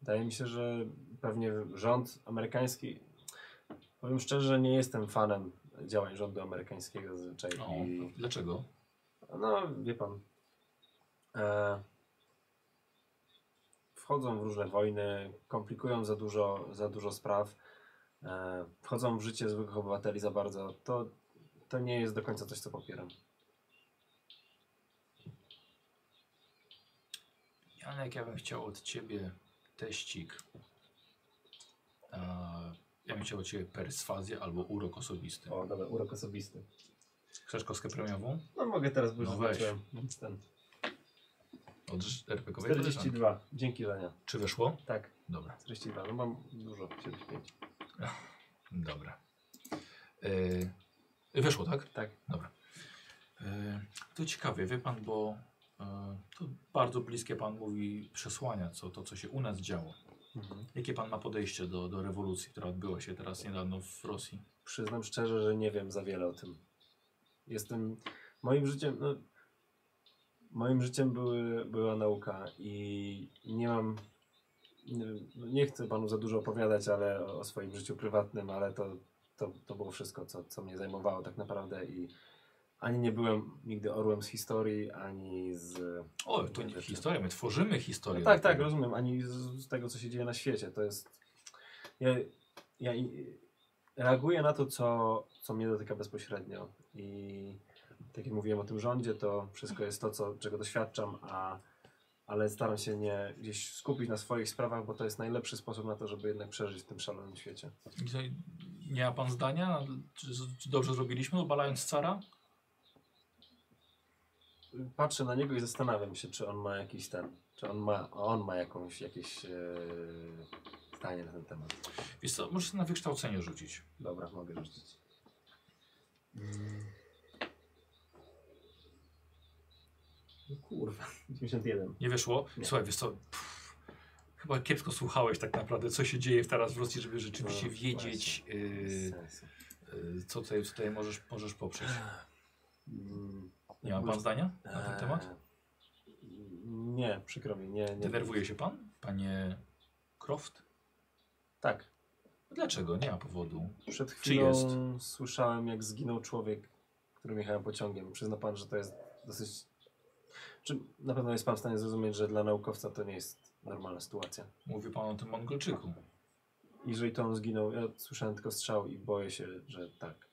S2: Wydaje mi się, że pewnie rząd amerykański, powiem szczerze, nie jestem fanem działań rządu amerykańskiego zazwyczaj.
S1: No,
S2: I,
S1: dlaczego?
S2: No, wie pan. E, wchodzą w różne wojny, komplikują za dużo, za dużo spraw, e, wchodzą w życie zwykłych obywateli za bardzo. To, to nie jest do końca coś, co popieram.
S1: Janek, ja bym chciał od ciebie teścik. E, ja bym chciał od ciebie perswazję albo urok osobisty.
S2: O, dobra, urok osobisty.
S1: Chcesz kostkę premiową?
S2: No mogę teraz, bo
S1: No
S2: już
S1: weź.
S2: zobaczyłem. Ten.
S1: Od RPKowej
S2: 42. Dzięki, Lenia.
S1: Czy wyszło?
S2: Tak,
S1: Dobra.
S2: 42. No mam dużo, 75.
S1: Dobra. E, wyszło, tak?
S2: Tak.
S1: Dobra. E, to ciekawie, wie pan, bo e, to bardzo bliskie pan mówi przesłania, co, to co się u nas działo.
S2: Mhm.
S1: Jakie pan ma podejście do, do rewolucji, która odbyła się teraz niedawno w Rosji?
S2: Przyznam szczerze, że nie wiem za wiele o tym. Jestem. Moim życiem. No, moim życiem były, była nauka i nie mam. Nie, wiem, no nie chcę panu za dużo opowiadać, ale o, o swoim życiu prywatnym, ale to, to, to było wszystko, co, co mnie zajmowało tak naprawdę i ani nie byłem nigdy orłem z historii, ani z.
S1: O, to nie historia, my tworzymy historię.
S2: No tak, tak, rozumiem. Ani z, z tego, co się dzieje na świecie. To jest. Ja, ja i- reaguję na to, co, co mnie dotyka bezpośrednio. I tak jak mówiłem o tym rządzie, to wszystko jest to, co, czego doświadczam, a, ale staram się nie gdzieś skupić na swoich sprawach, bo to jest najlepszy sposób na to, żeby jednak przeżyć w tym szalonym świecie.
S1: I co, Nie ma pan zdania, czy, czy dobrze zrobiliśmy, obalając cara?
S2: Patrzę na niego i zastanawiam się, czy on ma jakiś ten. Czy on ma, on ma jakąś, jakieś e, zdanie na ten temat.
S1: Wiesz co, możesz na wykształcenie rzucić.
S2: Dobra, mogę rzucić. No kurwa, 91.
S1: Nie wyszło? Słuchaj, wiesz co, pff, chyba kiepsko słuchałeś tak naprawdę, co się dzieje teraz w Rosji, żeby rzeczywiście
S2: No,
S1: wiedzieć,
S2: Bez
S1: yy,
S2: sensu.
S1: yy, co tutaj, co tutaj możesz, możesz poprzeć.
S2: Mm,
S1: Nie ma pan zdania na ten
S2: eee,
S1: temat?
S2: Nie, przykro mi, nie. nie
S1: Denerwuje się pan, panie Croft?
S2: Tak.
S1: Dlaczego? Nie ma powodu.
S2: Przed
S1: Czy
S2: chwilą
S1: jest?
S2: słyszałem, jak zginął człowiek, którym jechałem pociągiem. Przyzna pan, że to jest dosyć. Czy na pewno jest pan w stanie zrozumieć, że dla naukowca to nie jest normalna sytuacja?
S1: Mówi pan o tym Mongolczyku.
S2: I Jeżeli to on zginął, ja słyszałem tylko strzał i boję się, że tak.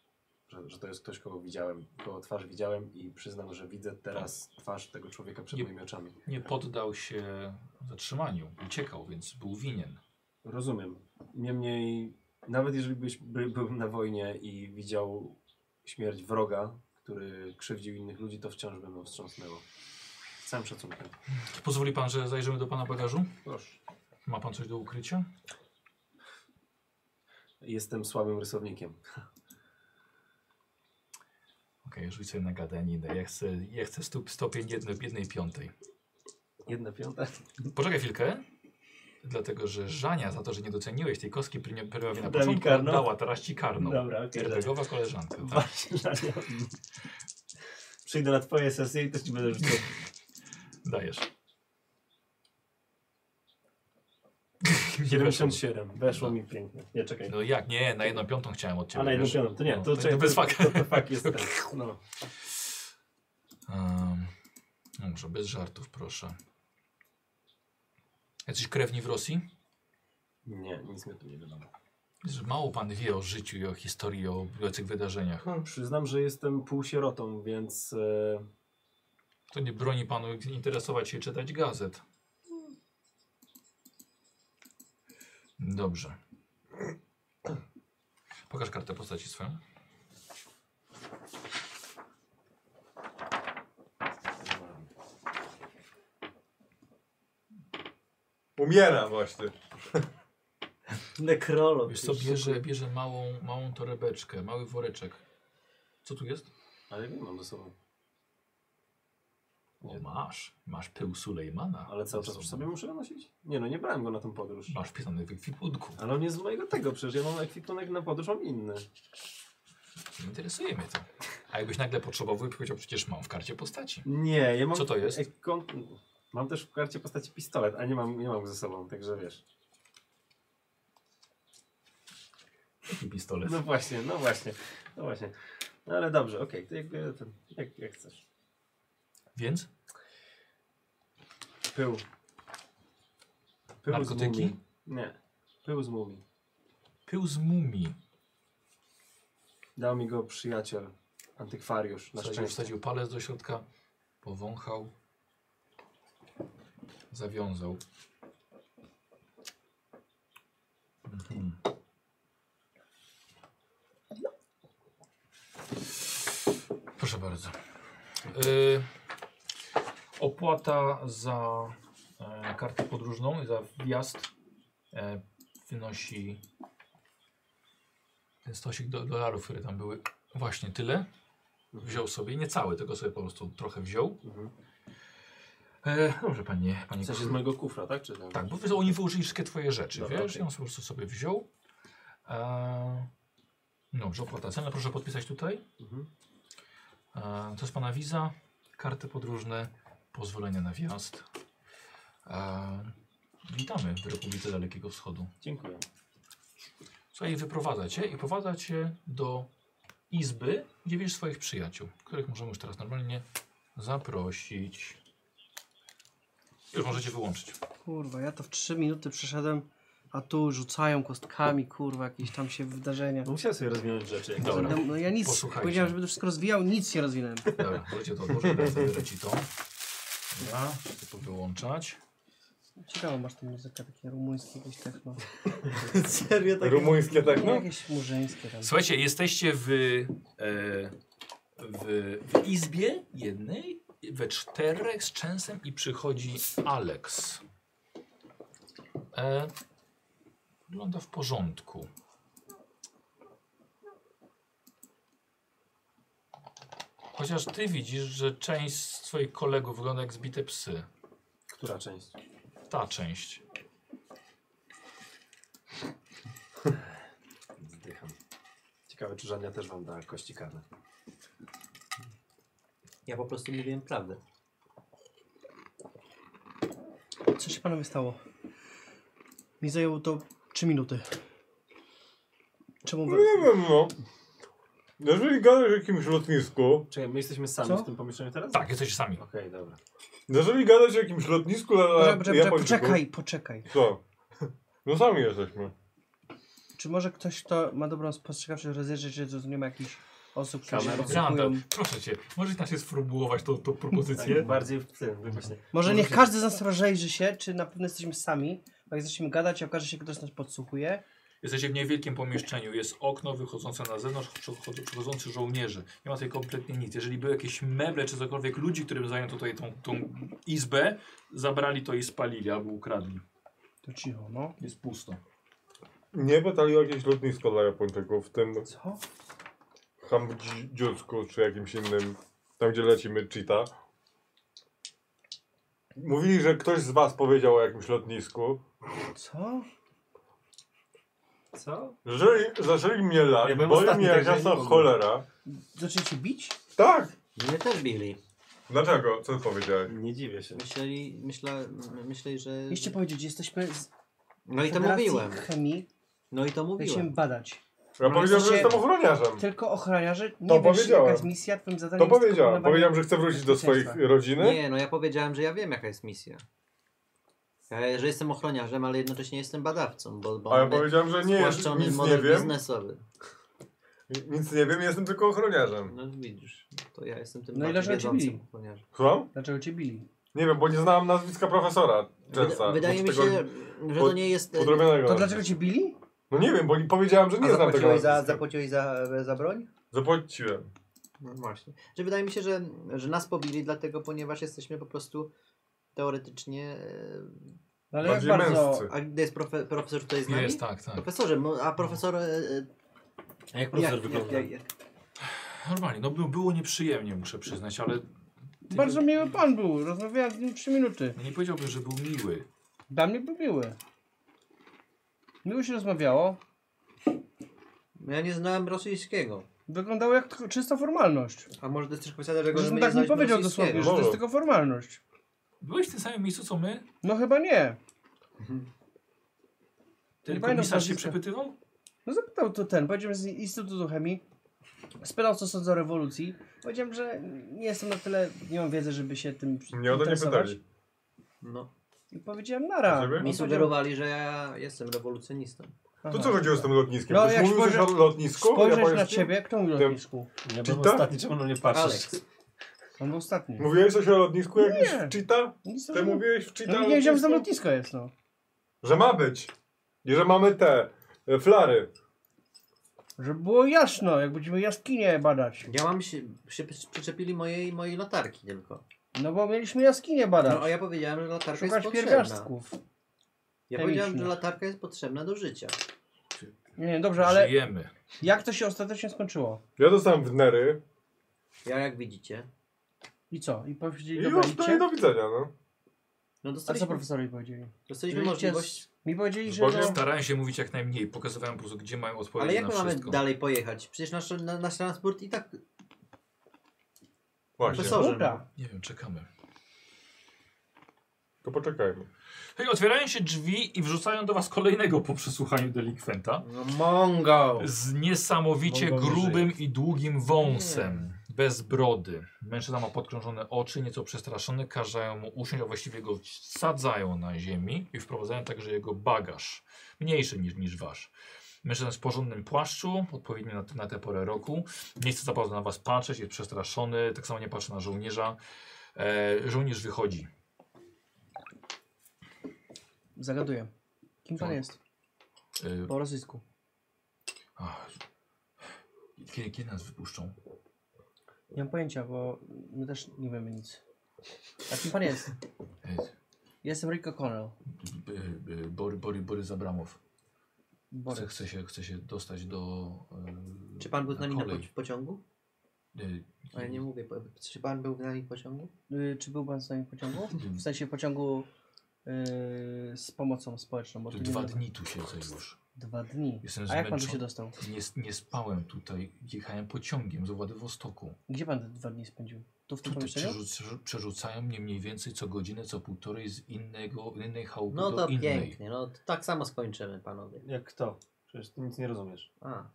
S2: Że, że to jest ktoś, kogo widziałem, kogo twarz widziałem i przyznam, że widzę teraz twarz tego człowieka przed
S1: Nie-
S2: moimi oczami.
S1: Nie poddał się zatrzymaniu, uciekał, więc był winien.
S2: Rozumiem. Niemniej, nawet jeżeli byś by, był na wojnie i widział śmierć wroga, który krzywdził innych ludzi, to wciąż by mną wstrząsnęło. Z całym szacunkiem.
S1: Pozwoli pan, że zajrzymy do pana bagażu?
S2: Proszę.
S1: Ma pan coś do ukrycia?
S2: Jestem słabym rysownikiem.
S1: Okej, okay, rzuć sobie na gadaninę. Ja chcę, ja chcę stup, stopień jednej, jednej piątej.
S2: Jedna piąta.
S1: Poczekaj chwilkę. Dlatego, że Żania za to, że nie doceniłeś tej kostki prynie- pryniowej na
S2: Dała mi
S1: początku,
S2: karną.
S1: dała teraz ci karną.
S2: okej.
S1: Pierdegowa koleżanka. Tak?
S2: Właśnie, Żania. Przyjdę na twoje sesje i też ci będę rzucał.
S1: Tak, Dajesz. Nie weszło.
S2: 77. Weszło mi pięknie. Nie, czekaj.
S1: No jak? Nie, na jedną piątą chciałem od ciebie.
S2: A na jedną
S1: wiesz.
S2: piątą, to nie,
S1: No,
S2: to,
S1: to,
S2: czekaj,
S1: bez faka.
S2: To, to fakt jest ten. No.
S1: Um, Dobrze, bez żartów, proszę. Jacyś krewni w Rosji?
S2: Nie, nic mi tu nie wiadomo.
S1: Że Mało pan wie o życiu i o historii, o tych wydarzeniach.
S2: No, Przyznam, że jestem półsierotą, więc e,
S1: To nie broni panu interesować się i czytać gazet. Dobrze. Pokaż kartę postaci swoją.
S7: Umiera właśnie.
S3: Nekrolog.
S1: Wiesz co, bierze, bierze małą, małą torebeczkę, mały woreczek. Co tu jest?
S2: ale wiem, mam ze sobą.
S1: O, masz. Masz pył Sulejmana.
S2: Ale cały czas przy sobie muszę nosić? Nie no, nie brałem go na tą podróż.
S1: Masz pisany w ekwipunku.
S2: Ale on jest z mojego tego, przecież ja mam ekwipunek na podróż, mam inny.
S1: Nie interesuje mnie to. A jakbyś nagle potrzebował, powiedział, przecież mam w karcie postaci.
S2: Nie, ja mam...
S1: Co to jest?
S2: ekon- Mam też w karcie postaci pistolet, a nie mam, nie mam go ze sobą, także wiesz.
S1: I pistolet.
S2: No właśnie, no właśnie, no właśnie. No ale dobrze, okej, to jakby ten, jak, jak chcesz.
S1: Więc?
S2: Pył. Pył z
S1: Narkotyki?
S2: mumii. Nie, pył z mumii.
S1: Pył z mumii.
S2: Dał mi go przyjaciel, antykwariusz, na
S1: Wsadził,
S2: szczęście.
S1: wsadził palec do środka, powąchał, zawiązał. Mhm. Proszę bardzo. Y, opłata za e, kartę podróżną i za wjazd e, wynosi ten stosik do, dolarów, które tam były. Właśnie tyle. Wziął sobie, nie cały, tylko sobie po prostu trochę wziął.
S2: Mhm.
S1: E, dobrze, panie, panie
S2: W sensie z mojego kufra, tak? Czy tam?
S1: tak, bo wiesz, oni wyłożyli wszystkie twoje rzeczy,
S2: Dobra,
S1: wiesz?
S2: okej.
S1: I on po prostu sobie wziął. Eee, dobrze, opłata cenę. Proszę podpisać tutaj.
S2: Mhm.
S1: Eee, to jest pana wiza, karty podróżne, pozwolenie na wjazd. Eee, witamy w Republice Dalekiego Wschodu.
S2: Dziękuję.
S1: Słuchaj, wyprowadza cię i prowadza cię do izby, gdzie widzisz swoich przyjaciół, których możemy już teraz normalnie zaprosić. Już możecie wyłączyć.
S6: Kurwa, ja to w 3 minuty przeszedłem, a tu rzucają kostkami, kurwa, jakieś tam się wydarzenia.
S2: No musiałem sobie rozwinąć rzeczy. jak
S1: Dobra.
S6: No, ja nic,
S1: Posłuchajcie.
S6: powiedziałem, że będę wszystko rozwijał, nic się rozwinąłem.
S1: Dobra, możecie to odłożyć, teraz wybiorę ci to. Dobra, żeby to wyłączać.
S6: Ciekawe, masz tą muzykę, takie rumuńskie, jakieś techno.
S3: Serio tak.
S7: Rumuńskie tak,
S6: No,
S7: no?
S6: jakieś murzyńskie tam.
S1: Słuchajcie, jesteście w, e, w, w izbie jednej, we czterech z częsem i przychodzi Alex. E, wygląda w porządku. Chociaż ty widzisz, że część z twoich kolegów wygląda jak zbite psy.
S2: Która część?
S1: Ta część.
S2: Zdycham. Ciekawe, czy Żania też wam da kości karne.
S3: Ja po prostu mówiłem prawdę.
S6: Co się panowie stało? Mi zajęło to 3 minuty. Czemu wy...
S7: Nie wiem, no. Jeżeli gadasz o jakimś lotnisku,
S2: Czekaj, my jesteśmy sami
S6: Co?
S2: w tym pomieszczeniu teraz?
S1: Tak, jesteście sami.
S2: Okej, dobra.
S7: jeżeli gadasz o jakimś lotnisku na
S6: Poczekaj,
S7: na
S6: poczekaj,
S7: Japończyku,
S6: poczekaj, poczekaj.
S7: Co? No sami jesteśmy.
S6: Czy może ktoś, kto ma dobrą spostrzegawczość, rozejrzeć się, że tu nie ma jakichś osób, które się
S2: Kamerę.
S6: odsłuchują?
S1: Randall, proszę cię, możesz inaczej sformułować tą, tą propozycję?
S2: Tak, bardziej w tym, wy właśnie.
S6: Może niech każdy z nas rozejrzy się, czy na pewno jesteśmy sami. Bo jak zaczniemy gadać, okaże się, ktoś nas podsłuchuje.
S1: Jesteście w niewielkim pomieszczeniu, jest okno wychodzące na zewnątrz, przychod- przychodzący żołnierze. Nie ma tutaj kompletnie nic. Jeżeli były jakieś meble czy cokolwiek, ludzi, którym zajęto tutaj tą, tą izbę, zabrali to i spalili albo ukradli.
S6: To cicho, no.
S1: Jest pusto.
S7: Nie pytali o jakieś lotnisko dla Japończyków, w tym
S6: Co?
S7: Hamdziucku czy jakimś innym, tam gdzie lecimy Cheetah. Mówili, że ktoś z was powiedział o jakimś lotnisku.
S6: Co?
S2: Co?
S7: Zaczęli, zaczęli mnie lać,
S2: Ja byłem
S7: boli
S2: ostatni,
S7: mnie
S3: tak,
S7: jak
S2: także ja
S7: jasna
S2: nie mogłem.
S7: cholera.
S6: Zaczęli cię bić?
S7: Tak!
S3: Mnie też bili.
S7: Dlaczego? Co powiedziałeś?
S2: Nie dziwię się.
S3: Myśleli, myśla, myśleli, że...
S6: Jeszcze powiedzieć, jesteśmy z
S3: No i to
S6: Federacji
S3: mówiłem.
S6: Chemii.
S3: No i to
S6: Będziemy
S3: mówiłem.
S6: badać.
S7: Ja powiedziałem, że
S6: jesteście-
S7: jestem ochroniarzem.
S6: Tylko ochroniarze, nie
S7: To
S6: to wiesz,
S7: powiedziałem.
S6: jaka jest misja, twoim zadaniem
S7: To
S6: jest
S7: powiedziałem.
S6: pilnowanie
S7: Powiedziałem, że chcę wrócić do swoich
S6: bezpieczeństwa.
S7: rodziny.
S3: Nie, no ja powiedziałem, że ja wiem jaka jest misja. Ja, że jestem ochroniarzem, ale jednocześnie jestem badawcą, bo, bo
S7: A ja
S3: mamy
S7: powiedziałem, że nie,
S3: spłaszczony
S7: nic nie
S3: model
S7: wiem.
S3: biznesowy.
S7: Nic nie wiem, jestem tylko ochroniarzem.
S3: No widzisz, to ja jestem tym
S6: No
S3: bardziej
S6: i dlaczego ci
S3: wiedzącym
S6: bili?
S3: ochroniarzem.
S7: Słucham?
S6: Dlaczego cię bili?
S7: Nie wiem, bo nie znałem nazwiska profesora Częsa.
S3: Wyda- wydaje mi
S7: Tego
S3: się, że to
S7: pod-
S3: nie jest... e,
S7: Podrobionego.
S6: To dlaczego cię bili?
S7: No nie wiem, bo nie powiedziałem, że nie
S3: A
S7: znam tego
S3: zapłaciłeś
S7: nazwiska.
S3: za, zapłaciłeś za, za broń?
S7: Zapłaciłem.
S3: No właśnie. Że wydaje mi się, że, że nas pobili dlatego, ponieważ jesteśmy po prostu teoretycznie... e,
S6: No, ale jak
S7: Bardziej
S6: bardzo...
S7: męscy.
S3: A gdy jest profe, profesor tutaj z nami?
S1: Jest, tak, tak.
S3: Profesorze, mo- a profesor... e, e,
S2: A jak profesor
S3: jak-
S2: wygląda?
S3: jak- jak-
S1: Normalnie, no by- było nieprzyjemnie, muszę przyznać, ale
S6: Bardzo miły pan był, rozmawiałem z nim 3 minuty.
S1: no nie powiedziałbym, że był miły.
S6: Dla mnie był miły. Miło się rozmawiało,
S3: No ja nie znałem rosyjskiego.
S6: wyglądało jak tylko czysta formalność.
S3: A może ty chcesz powiedzieć, że go
S6: Zresztą
S3: my
S6: tak mi
S3: znaliśmy
S6: powiedział
S3: rosyjskiego?
S6: dosłownie, że to jest tylko formalność.
S1: Byłeś w tym samym miejscu co my?
S6: No chyba nie.
S1: Ten
S6: pamiętam
S1: komisarz się
S6: nazwiska.
S1: przepytywał?
S6: No zapytał to ten, powiedział z Instytutu Chemii, spytał co sądzę o rewolucji. Powiedziałem, że nie jestem na tyle, nie mam wiedzy, żeby się tym
S7: Mnie o to nie
S6: interesować.
S7: pytali.
S3: No.
S6: I powiedziałem nara.
S7: A ciebie?
S6: On
S3: Mi
S6: powiedział-
S3: sugerowali, że ja jestem rewolucjonistą.
S6: Aha.
S7: To co chodziło z tym lotniskiem?
S6: No,
S7: Ktoś
S6: jak
S7: mówił coś
S6: spojrzę-
S7: o lotnisku?
S6: Spojrzeć na
S7: japońskim?
S6: ciebie, kto mówił o
S7: Tym-
S6: lotnisku?
S2: Ja
S7: Cheetah?
S2: byłem ostatni, czemu na mnie patrzysz?
S3: Alex,
S6: On był ostatni. No
S7: Mówiłeś coś o lotnisku jakimś
S6: Nie.
S7: w Cheetah?
S6: Nic
S7: Ty
S6: tam-
S7: mówiłeś w Cheetah
S6: no, nie wiedziałem, że tam
S7: lotnisku?
S6: lotnisko jest, no.
S7: Że ma być. I że mamy te e, flary.
S6: Żeby było jasno, jak będziemy jaskinie badać.
S3: ja mam się, się przyczepili mojej, mojej latarki tylko.
S6: No bo mieliśmy jaskinie badać.
S3: No a ja powiedziałem, że latarka
S6: Szukać
S3: jest potrzebna.
S6: pierwiastków.
S3: Ja powiedziałem, że
S6: chemicznych.
S3: latarka jest potrzebna do życia.
S6: Nie, nie, dobrze, ale
S1: Żyjemy.
S6: jak to się ostatecznie skończyło?
S7: Ja dostałem wnery
S3: Ja jak widzicie.
S6: I co? I
S7: i
S6: powiedzieli, dobra,
S7: już to
S6: idźcie?
S7: nie do widzenia, no.
S3: No
S6: A co
S3: dostaliśmy,
S6: profesorowi powiedzieli?
S3: dostaliśmy
S6: Byliście
S3: możliwość.
S6: z- Mi powiedzieli, że...
S7: Zbożem?
S6: No,
S1: Starałem się mówić jak najmniej, pokazywałem po prostu, gdzie mają odpowiedzi
S3: Ale jak
S1: na
S3: my mamy
S1: wszystko.
S3: dalej pojechać? Przecież nasz, na, nasz transport i tak
S7: Właśnie.
S3: profesorze.
S6: dobra.
S1: Nie wiem, czekamy.
S7: To poczekajmy.
S1: Hej, otwierają się drzwi i wrzucają do was kolejnego po przesłuchaniu delikwenta.
S3: No Mongo!
S1: Z niesamowicie
S2: Mogą nie
S1: grubym i długim wąsem. Bez brody. Mężczyzna ma podkrążone oczy, nieco przestraszony, każą mu usiąść, a właściwie go sadzają na ziemi i wprowadzają także jego bagaż. Mniejszy niż, niż wasz. Mężczyzna jest w porządnym płaszczu, odpowiednio na, na tę porę roku. Nie chce za bardzo na was patrzeć, jest przestraszony, tak samo nie patrzy na żołnierza. E, żołnierz wychodzi.
S6: Zagaduję. Kim pan
S1: No.
S6: jest?
S1: E,
S6: Po rosyjsku.
S1: ach. kiedy, kiedy nas wypuszczą?
S6: Nie mam pojęcia, bo my też nie wiemy nic. A kim pan jest?
S1: E,
S6: Jestem Rick O'Connell.
S1: b- b- Bory, Bory, Borys Abramow. Chce,
S6: Borys.
S1: chce, się, chce się dostać do. e,
S3: Czy pan był z nami na
S1: kolej.
S3: po, w pociągu?
S1: E,
S3: Ale nie mówię, po- czy pan był z nami w pociągu?
S6: Y, Czy był pan z nami w pociągu? W sensie pociągu y, z pomocą społeczną. Bo
S1: d-
S6: tu nie
S1: Dwa
S6: ma-
S1: dni tu siedzę już.
S6: Dwa dni.
S1: Jestem
S6: A jak pan tu
S1: zmęczony.
S6: się dostał?
S1: Nie, s- nie spałem tutaj. Jechałem pociągiem z Władywostoku.
S6: Gdzie pan te dwa dni spędził? Tu w tym
S1: Tutaj
S6: pomieszczeniu?
S1: przerzuc- przerzucają mnie mniej więcej co godzinę, co półtorej z innego, innej chałupy
S3: No
S1: do
S3: to
S1: innej.
S3: pięknie, no to tak samo skończymy panowie.
S18: Jak kto? Przecież ty nic nie rozumiesz.
S3: A,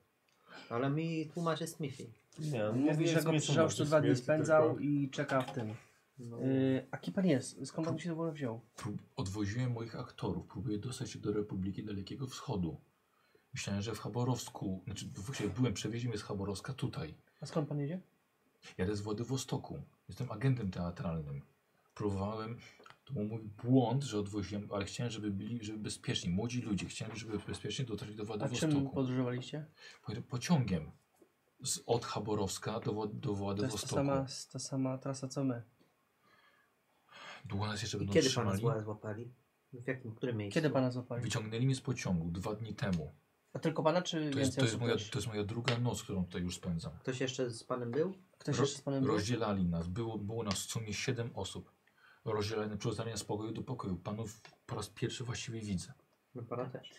S3: ale mi tłumaczy Smithy.
S18: Nie, on
S6: Mówi, że go przyjrzał, że tu dwa dni
S7: Jest
S6: spędzał
S7: tylko-
S6: i czeka w tym.
S3: No.
S6: Y, a kim pan jest? Skąd pan się w ogóle wziął?
S1: Prób- odwoziłem moich aktorów. Próbuję dostać się do Republiki Dalekiego Wschodu. Myślałem, że w Chaborowsku, znaczy właściwie byłem, przewieziony z Chaborowska tutaj.
S6: A skąd pan jedzie?
S1: Jadę z Władywostoku. Jestem agentem teatralnym. Próbowałem, to był mój błąd, że odwoziłem, ale chciałem, żeby byli, żeby bezpieczni, młodzi ludzie, chciałem, żeby bezpiecznie dotarli do
S6: A czym
S1: Władywostoku.
S6: podróżowaliście?
S1: Po, pociągiem z, od Chaborowska do, Wo- do
S6: To jest ta
S1: Władywostoku.
S6: sama, ta sama trasa co my.
S1: Długo nas jeszcze
S3: I
S1: będą
S3: kiedy pana
S1: trzymali.
S3: zła złapali? W jakim, w którym miejscu?
S6: Kiedy pana złapali?
S1: Wyciągnęli mnie z pociągu dwa dni temu.
S6: A tylko pana czy
S1: To jest,
S6: więcej
S1: to, jest
S6: osób
S1: moja,
S6: też?
S1: to jest moja druga noc, którą tutaj już spędzam.
S3: Ktoś jeszcze z panem był?
S6: Ktoś
S1: Ro-
S6: jeszcze z panem był?
S1: Rozdzielali nas. Było, było nas w sumie 7 osób. Rozdzielane przerzucanie z pokoju do pokoju. Panów po raz pierwszy właściwie widzę.
S3: No pana też.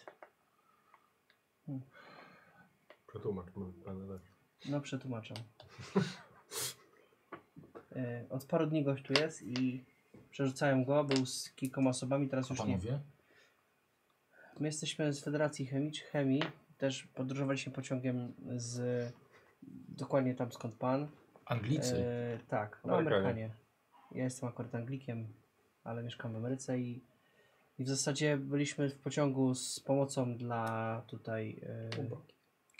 S7: Przetłumacz mówi pan Lech.
S6: No przetłumaczam. Y, Od paru dni gość tu jest i przerzucałem go, był z kilkoma osobami, teraz
S1: A
S6: już nie.
S1: panowie?
S6: My jesteśmy z Federacji Chemicz, Chemii też podróżowaliśmy pociągiem z dokładnie tam skąd pan.
S1: Anglicy.
S6: E, tak, no
S7: Amerykanie.
S6: Amerykanie. Ja jestem akurat Anglikiem, ale mieszkam w Ameryce i, i w zasadzie byliśmy w pociągu z pomocą dla tutaj e,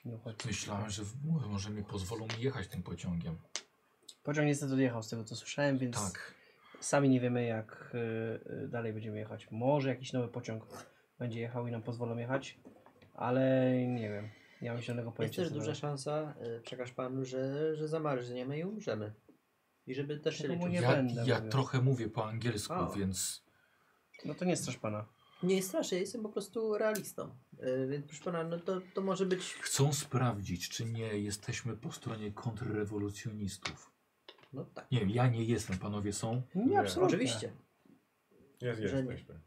S6: nie uchodźców.
S1: Myślałem, że w- może mi pozwolą mi jechać tym pociągiem.
S6: Pociąg niestety odjechał z tego co słyszałem, więc
S1: Tak.
S6: sami nie wiemy jak e, e, dalej będziemy jechać. Może jakiś nowy pociąg będzie jechał i nam pozwolą jechać, ale nie wiem. Nie mam zielonego
S3: Jest
S6: pojęcia.
S3: też
S6: co
S3: duża
S6: dalej.
S3: szansa, y, przekaż panu, że, że zamarzniemy i umrzemy. I żeby też się
S6: Tego mu
S3: liczył.
S6: nie
S1: ja
S6: będę
S1: ja
S6: mówił.
S1: trochę mówię po angielsku,
S3: O.
S1: więc
S6: No to nie strasz pana.
S3: Nie straszę, ja jestem po prostu realistą. Y, Więc proszę pana, no to, to może być.
S1: chcą sprawdzić, czy nie jesteśmy po stronie kontrrewolucjonistów.
S3: No tak.
S1: Nie wiem, ja nie jestem, panowie są.
S7: Nie.
S6: Nie, absolutnie.
S3: Oczywiście.
S7: Jest,
S3: Że nie.
S7: jesteśmy.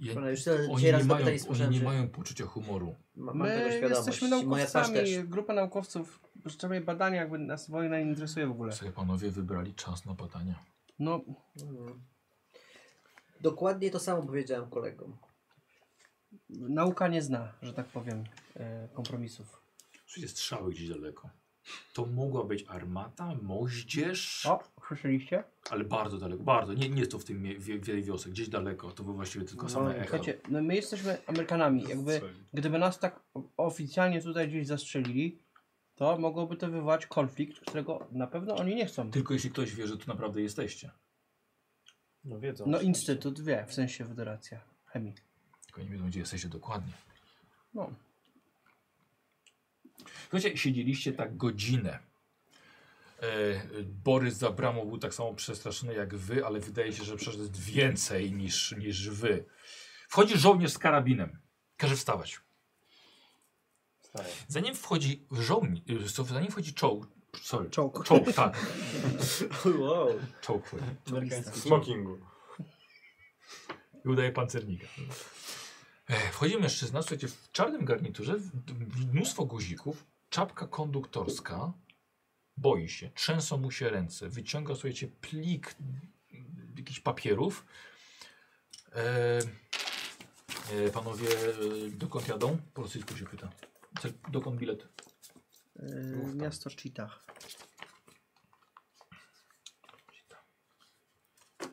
S1: Ja,
S3: Pana, już tyle
S1: oni
S3: dzisiaj
S1: nie,
S3: raz
S1: mają,
S3: zapytali,
S1: oni
S3: słyszałem,
S1: nie
S3: że
S1: mają poczucia humoru.
S3: ma, mam tego
S6: My
S3: świadomość.
S6: jesteśmy
S3: Moja twarz też.
S6: naukowcami, grupa naukowców. Rzeczywiście badania jakby nas wojna nie interesuje w ogóle.
S1: Sobie panowie wybrali czas na badania.
S6: No,
S3: Mhm. Dokładnie to samo powiedziałem kolegom.
S6: nauka nie zna, że tak powiem, e, kompromisów.
S1: Przecież strzały gdzieś daleko. To mogła być armata, moździerz,
S6: O, słyszeliście?
S1: ale bardzo daleko, bardzo. Nie, nie jest to w tym mie- wie- wiele wiosek, gdzieś daleko. To były właściwie tylko same echa.
S6: Słuchajcie, no my jesteśmy Amerykanami. Jakby, gdyby nas tak o- oficjalnie tutaj gdzieś zastrzelili, to mogłoby to wywołać konflikt, którego na pewno oni nie chcą.
S1: Tylko jeśli ktoś wie, że tu naprawdę jesteście.
S17: No wiedzą.
S6: No instytut wie, w sensie federacja chemii.
S1: Tylko nie wiedzą, gdzie jesteście dokładnie.
S6: No.
S1: Słuchajcie, siedzieliście tak godzinę. E, Borys za bramą był tak samo przestraszony jak wy, ale wydaje się, że przeszedł więcej niż, niż wy. Wchodzi żołnierz z karabinem. Każe wstawać.
S17: Wstaję.
S1: Zanim wchodzi żołnierz, zanim wchodzi czołg, sorry,
S6: Czołg.
S1: czołg, tak,
S3: Wow.
S1: czołg wchodzi.
S7: W smokingu.
S1: I udaje pancernika. E, Wchodzi mężczyzna, słuchajcie, w czarnym garniturze, w- w- mnóstwo guzików, czapka konduktorska, boi się, trzęsą mu się ręce, wyciąga, słuchajcie, plik mm, jakichś papierów. E, e, panowie, e, dokąd jadą? Po rosyjsku się pyta. Cel- Dokąd bilet?
S6: Yy, miasto Cheetah.
S1: E,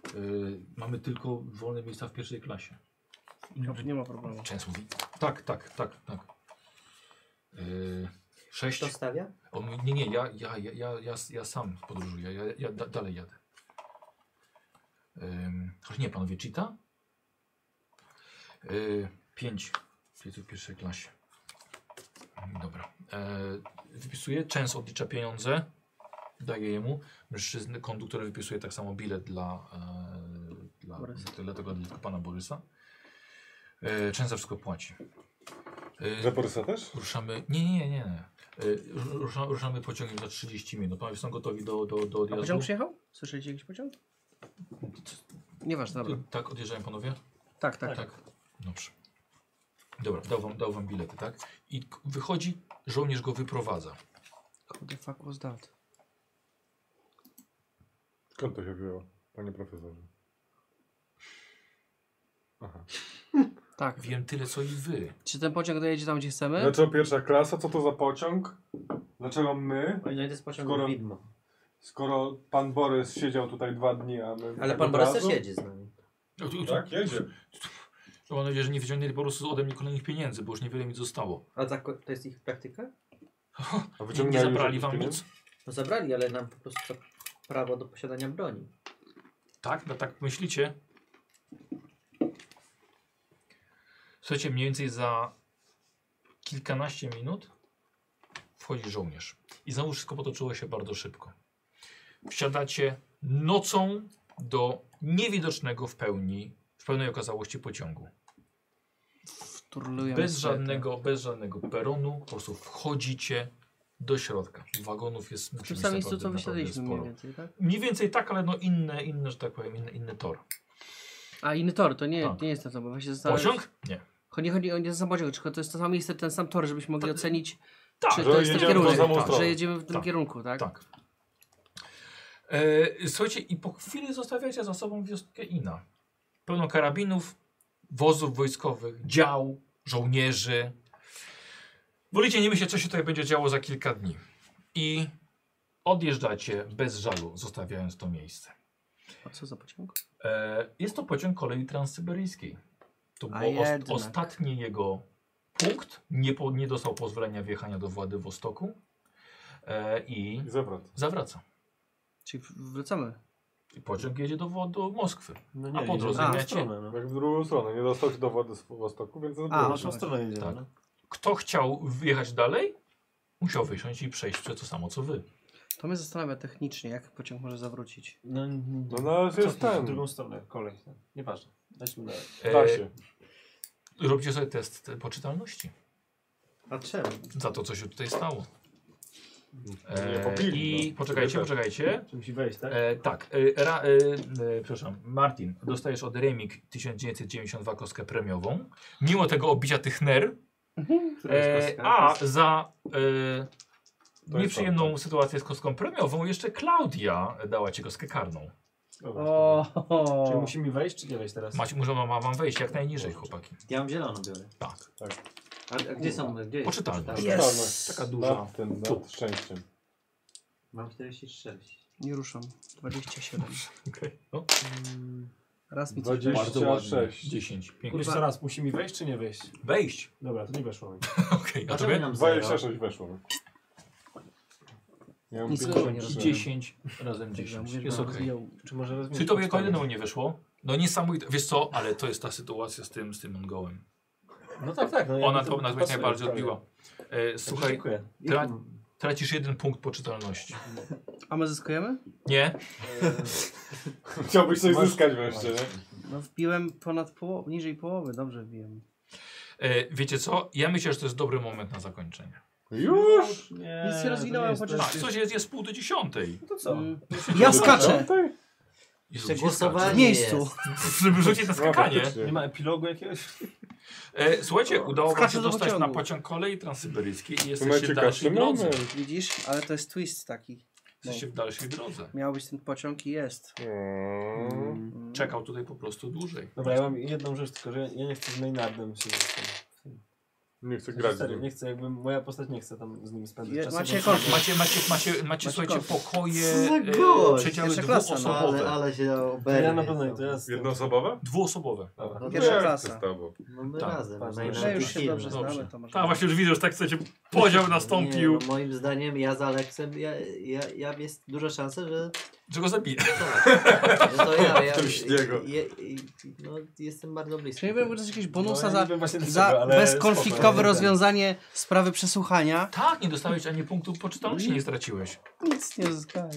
S1: mamy tylko wolne miejsca w pierwszej klasie.
S6: Nie ma problemu.
S1: Często mówi, tak, tak, tak, tak. E, sześć.
S3: Kto stawia?
S1: On mówi, nie, nie, ja, ja, ja, ja, ja, ja sam podróżuję, ja, ja da, dalej jadę. Ym, Choć nie, panowie, czyta? Yy, pięć pleców w pierwszej klasie. Mm, Dobra. Yy, wypisuje, często odlicza pieniądze, daje jemu. Mężczyzny, konduktor wypisuje tak samo bilet dla, e, dla, dla tego dla pana Borysa. Yy, często wszystko płaci. Yy,
S7: Że Borysa też?
S1: Ruszamy. Nie, nie, nie, nie. Y, Rusza, ruszamy pociągiem za 30 minut. Panowie są gotowi do, do, do
S6: A
S1: odjazdu.
S6: pociąg przyjechał? Słyszeliście jakiś pociąg? Nieważne, dobra.
S1: Y, Tak, odjeżdżają panowie?
S6: Tak,
S1: Tak.
S6: tak, tak.
S1: Dobrze. Dobra, dał wam, dał wam bilety, tak? I k- wychodzi, żołnierz go wyprowadza.
S6: Who the fuck was that?
S7: Skąd to się wzięło, panie profesorze? Aha.
S6: Tak.
S1: Wiem tyle, co i wy.
S6: Czy ten pociąg dojedzie tam, gdzie chcemy?
S1: No,
S7: Dlaczego pierwsza klasa? Co to za pociąg? Dlaczego my?
S3: Moim zdaniem to jest pociąg
S7: Skoro-
S3: widmo.
S7: Skoro pan Borys siedział tutaj dwa dni, a my...
S3: Ale
S7: tak
S3: pan
S7: od
S3: Borys
S7: razu?
S3: też jedzie z nami.
S1: No, tu- tu-
S7: Tak, jedzie.
S1: to Mam nadzieję, że nie wyciągnęli po prostu ode mnie kolejnych pieniędzy, bo już niewiele mi zostało.
S3: A za, ko- to jest ich praktyka?
S7: A
S1: Nie,
S7: wyciągnęli
S1: nie
S7: już
S1: zabrali
S7: jakieś
S1: wam
S7: pieniądze?
S1: nic?
S3: No zabrali, ale nam po prostu prawo do posiadania broni.
S1: Tak? No tak myślicie? Słuchajcie, mniej więcej za kilkanaście minut wchodzi żołnierz. I znowu wszystko potoczyło się bardzo szybko. Wsiadacie nocą do niewidocznego w pełni, w pełnej okazałości pociągu.
S6: Turlują
S1: Bez
S6: sobie.
S1: żadnego, bez żadnego peronu, po prostu wchodzicie do środka. Wagonów jest
S6: W tym
S1: naprawdę-
S6: samym miejscu, co
S1: naprawdę
S6: wysiadaliśmy mniej
S1: sporo.
S6: więcej, tak?
S1: Mniej więcej tak, ale no inne, inne, że tak powiem, inne, inne tor.
S6: A inny tor, to nie,
S1: Tak.
S6: nie jest ten sam, bo właśnie zastanawiam się-
S1: Pociąg? Nie.
S6: Chodzi, chodzi o nie sam pociąg, tylko to jest to samo miejsce, ten sam tor, żebyśmy mogli ocenić,
S1: Tak,
S7: że
S6: czy to jest ten
S7: jedziemy w tą
S6: kierunek,
S7: samą
S6: tak,
S7: stronę.
S6: że jedziemy w tym
S1: Tak.
S6: kierunku, tak?
S1: Tak. E, słuchajcie, i po chwili zostawiacie za sobą wioskę Ina. Pełno karabinów, wozów wojskowych, dział, żołnierzy. Wolicie nie myśleć, co się tutaj będzie działo za kilka dni. I odjeżdżacie bez żalu, zostawiając to miejsce.
S6: A co za pociąg?
S1: E, jest to pociąg kolei transsyberyjskiej. To
S6: A
S1: był ost-
S6: jednak.
S1: ostatni jego punkt. Nie, po, nie dostał pozwolenia wjechania do Władywostoku. E, I
S7: I zawrot.
S1: zawraca.
S6: Czyli wracamy.
S1: I pociąg jedzie do, Wo- do Moskwy.
S2: No
S1: A po
S2: jedziemy
S1: drodze
S2: w drugą
S1: miacie-
S2: stronę, no.
S7: Jak w drugą stronę. Nie dostał się do wody z Wostoku, więc
S2: A,
S7: odbył
S2: w naszą
S7: się.
S2: stronę jedziemy.
S1: Tak.
S2: No.
S1: Kto chciał wjechać dalej, musiał wysiąść i przejść przez to samo co wy.
S6: To mnie zastanawia technicznie, jak pociąg może zawrócić.
S2: No,
S7: No, no
S2: co
S7: jest
S2: ty, w
S7: ten.
S2: drugą stronę, kolej. no. Nieważne. Lećmy dalej.
S7: Da się.
S1: robicie E, sobie test e, poczytalności
S3: A czemu?
S1: za to, co się tutaj stało.
S7: Nie
S1: E,
S7: popili. no.
S1: I poczekajcie, poczekajcie.
S2: Czy musi wejść, tak?
S1: E, tak, e, ra, e, e, przepraszam, Martin, dostajesz od Remik 1992 kostkę premiową. Mimo tego obicia tych ner,
S2: Która jest
S1: e,
S2: kostka?
S1: a za e,
S7: To jest
S1: nieprzyjemną sytuację z kostką premiową jeszcze Klaudia dała ci kostkę karną.
S2: O, Czy musimy wejść, czy nie wejść teraz?
S1: Macie, może ma ma wam wejść jak najniżej, chłopaki.
S3: Ja mam zieloną biorę.
S1: Tak.
S3: A, a gdzie są? Gdzie jest?
S1: Poczytalność.
S7: Jest.
S1: Taka duża.
S7: Nad tym,
S1: Tu.
S7: nad szczęściem.
S3: Mam 46.
S6: Nie ruszam. 27.
S1: Okej. No,
S6: Raz mi coś weszło.
S1: Bardzo ładnie.
S7: 26.
S1: 10. Pięknie.
S2: Jeszcze raz, musimy wejść, czy nie wejść?
S1: Wejść.
S2: Dobra, to nie weszło mi.
S1: Okej, a tobie?
S3: nam zero?
S7: 26 weszło. Ja mam
S6: Nic złego nie
S7: 53.
S6: robiłem.
S1: 10 razem
S6: Ja
S1: 10.
S6: mówię, że
S1: Jest
S6: będę
S1: okej.
S6: rozwijał.
S2: Czy może rozmienić?
S1: Czyli tobie kolejną nie wyszło? No niesamowite. Wiesz co, ale to jest ta sytuacja z tym, z tym Mongołem.
S2: No tak, tak. No,
S1: Ona
S2: jakby
S1: to nas
S2: pasuje,
S1: najbardziej
S2: tak.
S1: odbiła. E,
S2: Także
S1: słuchaj,
S2: Dziękuję.
S1: tra tracisz jeden punkt poczytalności.
S6: A my zyskujemy?
S1: Nie?
S7: Chciałbyś coś zyskać wreszcie, nie?
S6: No wbiłem ponad połowę, niżej połowy, dobrze wbiłem.
S1: E, wiecie co? Ja myślę, że to jest dobry moment na zakończenie.
S7: Już!
S2: Nie,
S6: Nic się rozwinąłem,
S2: to nie
S6: chociaż-
S1: A, coś jest, jest pół do dziesiątej.
S2: jest- No To co?
S6: Mm. Ja skaczę!
S1: Jezu, gdzie
S3: głosowanie
S6: W
S1: skaczesz?
S6: miejscu!
S3: jest.
S1: Żeby rzucić na skakanie.
S2: Nie ma epilogu jakiegoś?
S1: E, słuchajcie, udało wam
S6: Wkraczam
S1: się
S6: do
S1: dostać na
S6: pociągu.
S1: pociąg kolei transyberyjskiej i jesteście w
S7: Macie
S1: dalszej
S7: ciekawszy
S1: drodze.
S7: moment.
S6: Widzisz? Ale to jest twist taki.
S1: Jesteście w dalszej drodze.
S6: Miał być ten pociąg i jest.
S7: Mm.
S6: Mm.
S1: Czekał tutaj po prostu dłużej.
S2: Dobra, ja mam jedną rzecz, tylko że ja nie chcę z Maynardem się zostać.
S7: Nie chcę grać z nim.
S2: Nie chcę, jakby moja postać nie chce tam z nimi spędzać
S6: Je-
S2: czasu.
S6: macie
S2: bo- No
S6: konflikt.
S1: Macie, macie, macie, macie, słuchajcie,
S6: koszt.
S1: pokoje,
S3: Co za
S1: e,
S3: gość?
S1: przedziały
S6: Pierwsza klasa, no,
S1: dwuosobowe.
S3: Ale, ale się
S2: To
S3: oberwie.
S2: ja na pewno nie, to ja z tym-
S7: Jednoosobowe?
S1: Dwuosobowe.
S2: Dobra.
S3: No to
S6: Pierwsza
S7: Jak
S6: klasa.
S7: chcę z tobą?
S3: No my
S1: Tak,
S3: razem.
S2: tak,
S3: najlepiej
S6: My No, już się
S3: firmy.
S6: dobrze
S1: Dobrze.
S6: znamy, to może...
S1: A właśnie już widzę, że tak chcecie podział
S3: Nie,
S1: nastąpił.
S3: no moim zdaniem ja z Aleksem, ja, ja, ja jest duża szansa, że
S1: Że go zabiję.
S3: tak, że to ja, ja,
S7: W tym śniegu.
S3: ja, no, jestem bardzo blisko.
S6: Czy nie wiem, że jakieś
S2: No,
S6: bonusa
S2: ja
S6: za,
S2: nie wiem właśnie dlaczego,
S6: za
S2: ale spoko,
S6: bezkonfliktowe
S2: nie
S6: rozwiązanie sprawy przesłuchania?
S1: Tak, nie dostałeś ani punktu poczytalności, nie straciłeś.
S6: Nic nie zyskałem.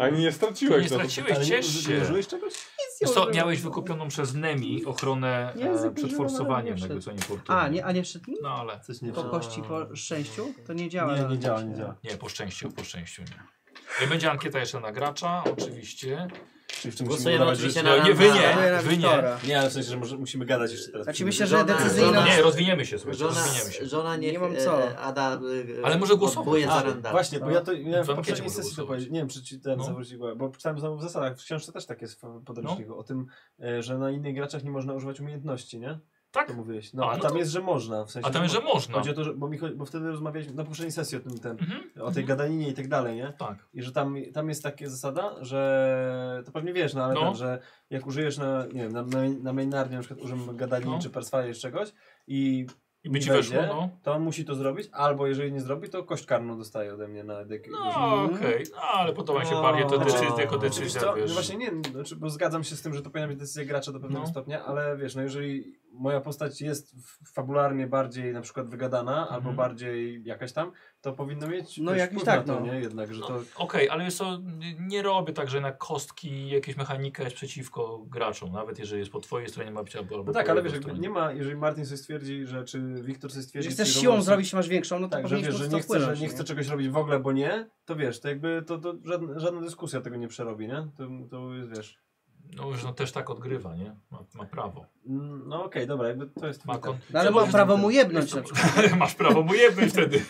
S7: Ani nie
S1: Nie
S7: straciłeś. no to-
S1: straciłeś, ciesz się.
S2: użyłeś czegoś?
S1: Wiesz Co, miałeś wykupioną przez Nemi ochronę e,
S6: Język
S1: przed
S6: używany,
S1: forsowaniem
S6: nie
S1: tego, co nie fortuny.
S6: A, nie, a nie wszedł mi?
S1: No ale,
S2: Coś nie
S6: Po
S2: działa.
S6: kości, po szczęściu? To nie działa.
S2: Nie, nie
S6: nawet
S2: działa,
S6: właśnie.
S2: nie działa.
S1: nie, po szczęściu, po szczęściu nie. E, Będzie ankieta jeszcze na gracza, oczywiście.
S2: Czyli w czym musimy
S3: Głosujemy
S2: dawać
S3: oczywiście
S2: życie?
S1: No,
S3: na
S1: nie, wy nie.
S3: Randala.
S6: Głosuję na
S1: Wy nie.
S6: Wiktora.
S2: Nie, ale w sensie, że może, musimy gadać jeszcze teraz.
S6: Znaczy myślę, że
S3: Żona-
S6: decyzyjna...
S1: Nie, rozwiniemy się, słuchajcie,
S3: Żona,
S1: rozwiniemy się.
S3: żona niech
S6: Nie mam
S3: e,
S6: co.
S3: e, Ada e, e,
S1: Ale może głosować. Tak,
S3: odwołuje za
S2: A,
S3: Randala.
S2: właśnie, bo ja to ja w
S1: ankiecie
S2: poprzedniej
S1: może
S2: sesji to
S1: głosować.
S2: powiedziałem. Nie wiem, czy ci ten
S1: No.
S2: zawrócił głowę, bo czytałem znowu w zasadach, w książce też tak jest w podręczniku, o tym, e, że na innych graczach nie można używać umiejętności, nie?
S1: Tak?
S2: To mówiłeś. No,
S1: A,
S2: a,
S1: no
S2: tam
S1: to-
S2: jest, że można. W sensie,
S1: A tam jest, że można.
S2: Chodzi o to, że, bo, mi, chodzi- bo wtedy rozmawialiśmy na poprzedniej sesji o tym, ten,
S1: Mhm.
S2: o tej gadaninie i tak dalej, nie?
S1: Tak.
S2: I że tam, tam jest taka zasada, że to pewnie wiesz, no ale
S1: No.
S2: Ten, że jak użyjesz na, nie wiem, na, main- na mainarnie na przykład użyjemy gadaniny
S1: No.
S2: czy perswali czy czegoś i
S1: I by ci
S2: nie
S1: weszło,
S2: wejdzie,
S1: no.
S2: to on musi to zrobić, albo jeżeli nie zrobi, to kość karną dostaje ode mnie na dek.
S1: No okej, no, ale podoba mi się bardziej to
S2: Mhm. No.
S6: Znaczy,
S1: decyzja jako
S2: Wiesz
S1: decyzja,
S2: co? No
S1: wiesz.
S2: właśnie nie, no, znaczy, bo zgadzam się z tym, że to powinna być decyzja gracza do pewnego
S1: No.
S2: stopnia, ale wiesz, no jeżeli moja postać jest w- fabularnie bardziej na przykład wygadana,
S1: Mhm.
S2: albo bardziej jakaś tam, to powinno mieć
S6: No
S2: wiesz,
S6: jakiś
S2: wpływ
S6: tak,
S2: na to,
S6: no.
S2: nie? Jednak, że
S1: No,
S2: to...
S1: Okej, ale jest to, nie robię tak, że na kostki jakieś mechanika jest przeciwko graczom, nawet jeżeli jest po twojej stronie ma być albo albo po
S2: No tak, ale
S1: jego
S2: wiesz, jakby
S1: stronie.
S2: nie ma, jeżeli Martin coś stwierdzi, że czy Wiktor coś
S6: Jeżeli
S2: stwierdzi...
S6: chcesz
S2: czy
S6: siłą
S2: Roman-
S6: zrobić, masz większą, no to
S2: Tak, że
S6: powinieneś
S2: wiesz,
S6: po
S2: że
S6: prostu
S2: nie chce, że
S6: wpłynąć,
S2: nie
S6: nie?
S2: chce czegoś robić w ogóle, bo nie, to wiesz, to jakby to, to żadna, żadna dyskusja tego nie przerobi, nie? To, to jest, wiesz...
S1: No już no, też tak odgrywa, nie? Ma, ma prawo.
S2: Mm, No okej, dobra, jakby to jest
S1: Ma
S2: twój
S1: kon...
S6: No ale mam prawo mu jebnąć na przykład.
S1: Masz prawo mu jebnąć wtedy.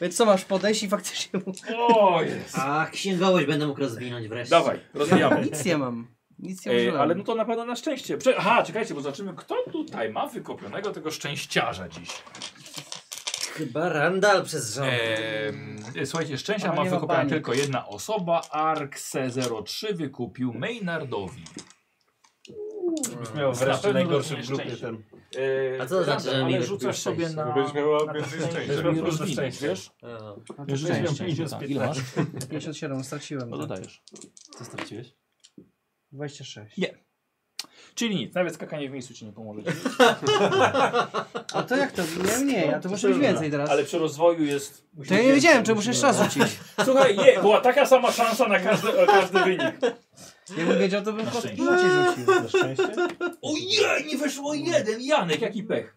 S6: Więc co, masz podejść i faktycznie mu...
S1: O jest.
S3: A księgowość będę mógł rozwinąć wreszcie.
S19: Dawaj, rozwijamy.
S6: Nic nie mam. Nic nie
S19: Ej,
S6: używam.
S19: ale no to na pewno na szczęście. Prze- Aha, czekajcie,
S1: Czekajcie, bo zobaczymy, kto tutaj ma wykopionego tego szczęściarza dziś.
S3: Chyba Randall przez rząd.
S1: Ehm, słuchajcie, szczęścia
S6: Ona
S1: ma
S6: nie ma
S1: wykupiona
S6: bani.
S1: tylko jedna osoba. Arkse03 wykupił Maynardowi. Znaczy,
S20: Byś miał
S1: Na
S20: wreszcie
S1: pewno
S20: najgorszy w
S1: dostaniesz
S20: grupie
S1: szczęście.
S20: ten.
S1: Ehm,
S3: A co to znaczy, że mi
S1: ale
S3: wykupił
S1: rzucasz sobie
S3: szczęście?
S1: na...
S7: Będziesz miała
S1: na
S7: więcej
S1: tej-
S7: szczęścia.
S1: tej
S20: Miał plus
S1: rozwiny,
S20: szczęście.
S1: wiesz?
S3: O.
S6: No to
S1: Wiesz, że
S20: miał
S1: szczęście,
S20: minus
S1: tak. Ile masz?
S6: 57 straciłem.
S1: No
S6: tak.
S1: dodajesz.
S20: Co straciłeś?
S6: 26.
S1: Czyli nic, nawet skakanie w miejscu ci nie pomoże. ci.
S6: A to jak to? Nie, nie, a to muszę mieć więcej teraz.
S1: Ale przy rozwoju jest...
S6: To ja nie wiedziałem, czy muszę jeszcze raz rzucić.
S1: Słuchaj, nie, była taka sama szansa na każdy, na każdy wynik.
S6: Jakbym wiedział, to bym
S1: Na
S6: po
S1: szczęście.
S6: rzucił.
S20: Na szczęście?
S1: Ojej, nie weszło jeden! Janek, jaki pech!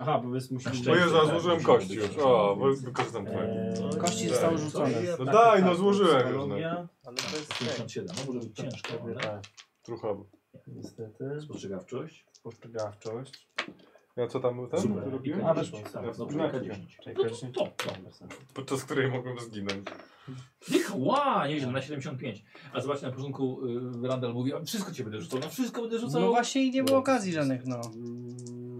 S20: Aha, bo my musimy...
S7: Bo ja
S20: Tak,
S7: No złożyłem
S20: tak,
S7: kości
S20: tak,
S7: już.
S20: tak,
S7: O,
S20: tak,
S7: wy- wykorzystam twoje.
S2: No,
S20: Eee,
S6: Kości
S20: tak.
S6: zostały rzucone.
S7: No daj, no złożyłem już. No.
S20: Psychologia,
S3: Ale to jest
S1: 57, no może być ciężko, ale...
S20: tak,
S7: Truchowo.
S20: Niestety.
S1: Spostrzegawczość.
S20: Spostrzegawczość.
S7: Ja co tam ten
S1: Super.
S7: robiłem?
S20: A, weszło.
S7: Ja
S1: Dobrze,
S7: na
S1: jaka
S7: kilka.
S1: 10. No to,
S20: Czekaj,
S1: to, to.
S7: Podczas której mogłem zginąć.
S1: Tych, ła, nieźle, na 75. A zobaczcie, na początku y, Randall mówi, a wszystko cię będę rzucał, na wszystko będę rzucał.
S6: No właśnie i nie było okazji żadnych, no.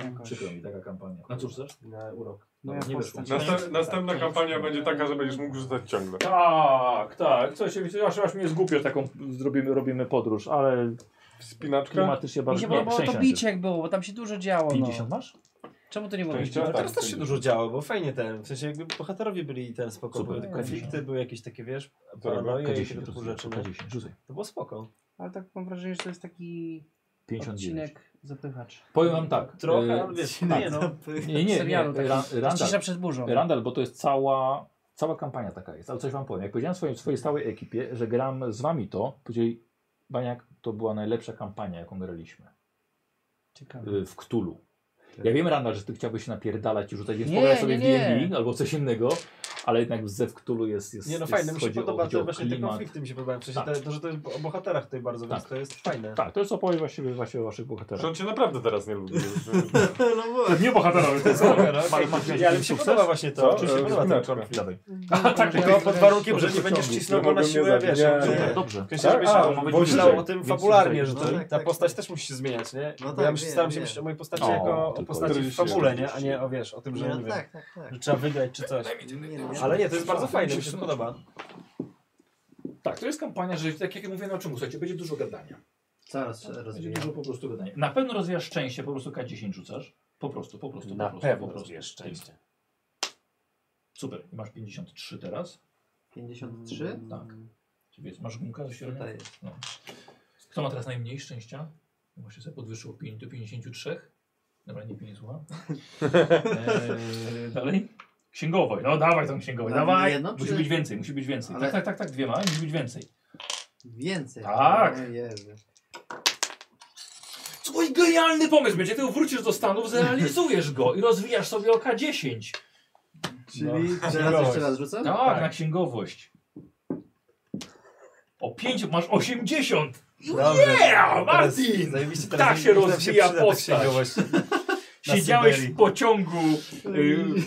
S6: Jakoś.
S1: Przykro mi, taka kampania. Na No cóż też?
S20: Mm, Na urok.
S6: Moja
S2: No,
S1: Dobra, nie
S6: postać.
S1: weszło.
S7: Nasta następna kampania będzie taka, że będziesz mógł rzucać ciągle.
S1: Tak, tak, coś, aż, aż mnie zgubio taką, zrobimy, robimy podróż, ale
S7: Spinaczka?
S1: klimatycznie
S6: Mi się
S1: bardzo...
S6: podobało to
S1: 60.
S6: bicie jak było, bo tam się dużo działo, no.
S1: 50 masz?
S6: Czemu to nie było
S7: Szczęścia?
S6: bicie?
S7: Tak,
S2: No, Teraz też się
S7: będzie.
S2: dużo działo, bo fajnie ten, w sensie jakby bohaterowie byli ten spoko,
S1: Super.
S2: były konflikty, były jakieś takie, wiesz,
S7: Co robię?
S2: paranoje i
S1: K10,
S2: tego typu rzeczy, nie?
S1: K10, rzucaj.
S2: To było spoko.
S6: Ale tak mam wrażenie, że to jest taki
S1: 59.
S6: odcinek zapychacz.
S1: Powiem wam tak.
S2: Trochę,
S1: e,
S2: ale wiesz,
S1: tak.
S2: nie no.
S1: Nie, nie, nie.
S6: serialu taki.
S1: Ra- Randall,
S6: Cisza przed burzą.
S1: Randall, bo to jest cała, cała kampania taka jest. Ale coś wam powiem. Jak powiedziałem swojej, swojej stałej ekipie, że gram z wami to, powiedzieli, Baniak, to była najlepsza kampania, jaką graliśmy
S6: Ciekawe.
S1: y, w Ktulu. Ja wiem, Randall, że ty chciałbyś się napierdalać i rzucać
S6: Nie,
S1: nie, sobie
S6: nie, nie.
S1: w D&D albo coś innego, ale jednak ze w Ktulu jest, jest
S2: Nie no
S1: jest,
S2: fajne, mi się
S1: chodzi o-
S2: podoba
S1: chodzi o
S2: te, właśnie te
S1: klimat.
S2: konflikty mi się podobają, w sensie
S1: Tak.
S2: te, to, że to jest o bohaterach tutaj bardzo, więc
S1: Tak.
S2: to jest fajne.
S1: Tak, to jest opowieść właściwie właśnie o waszych bohaterach.
S7: Że on cię naprawdę teraz nie lubi.
S3: No
S1: Nie bohaterowie, to jest
S2: Nie, ale mi się podoba właśnie to,
S7: Co?
S2: czy mi się
S7: E,
S2: podoba ten
S7: spinaczka.
S2: konflikt.
S1: Tak,
S2: Tylko pod warunkiem, że
S7: Dobrze,
S2: nie będziesz
S7: pociągnij.
S2: cisnął
S7: Nie
S2: go na
S7: mogę mnie
S2: siłę,
S7: zabić.
S2: wiesz,
S7: Nie,
S2: jak
S7: nie.
S2: to-
S1: Dobrze.
S2: W sensie, żebyś
S7: A,
S2: tam
S7: bo
S2: myślał
S7: będzie
S2: o
S7: wyżej.
S2: tym
S7: Więc
S2: fabularnie, że
S7: wyżej.
S2: to,
S3: No
S2: ta
S3: tak, tak,
S2: postać
S3: tak.
S2: też musi się zmieniać, nie?
S3: No
S2: Bo ja
S3: tak,
S2: myślę,
S3: wiem,
S2: staram się
S3: wiem.
S2: myśleć o mojej postaci
S1: O,
S2: jako o
S1: tylko
S2: postaci w
S7: 47,
S2: fabule, nie? A nie o, wiesz, o tym, że,
S3: Nie,
S2: nie
S3: no
S2: wiem,
S3: tak, tak, tak.
S2: że trzeba wygrać czy coś.
S3: Nie, no,
S2: Ale nie, to jest bardzo fajne, mi się podoba.
S1: Tak, to jest kampania, że tak jak mówię na czym, słuchajcie, będzie dużo gadania.
S3: Coraz
S1: Będzie
S3: rozwijam.
S1: dużo po prostu gadania. Na pewno rozwijasz szczęście, po prostu K10 rzucasz. Po prostu, po prostu, po
S2: Na
S1: prostu.
S2: pewno
S1: po prostu.
S2: rozwijasz szczęście.
S1: Super, I masz 53 teraz.
S3: 53?
S1: Tak. Czyli jest, masz gumka do środka?
S3: Tutaj jest.
S1: No. Kto ma teraz najmniej szczęścia? Właśnie sobie podwyższył 5 do 53. Dobra, nikt mnie nie słucha. Eee, dalej. Księgowej, no dawaj tą księgowej,
S3: Na
S1: dawaj.
S3: jedno,
S1: musi
S3: czy-
S1: być więcej, musi być więcej.
S3: Ale-
S1: Tak, tak, tak, tak, dwiema, musi być więcej.
S3: Więcej.
S1: Tak.
S3: O Jezu.
S1: Twój genialny pomysł będzie, ty wrócisz do Stanów, zrealizujesz go i rozwijasz sobie oka 10.
S3: Czyli teraz
S7: Księgowość.
S3: jeszcze raz rzucam?
S1: Tak, na księgowość. O 5 masz 80.
S2: Dobrze.
S1: Yeah,
S2: Teraz
S1: Martin!
S2: zajebiście,
S1: Tak
S2: teraz
S1: się
S2: mi- nam
S1: rozwija
S2: przyda ta
S1: postać.
S2: księgowość. Na
S1: Siedziałeś
S2: Syberii.
S1: w pociągu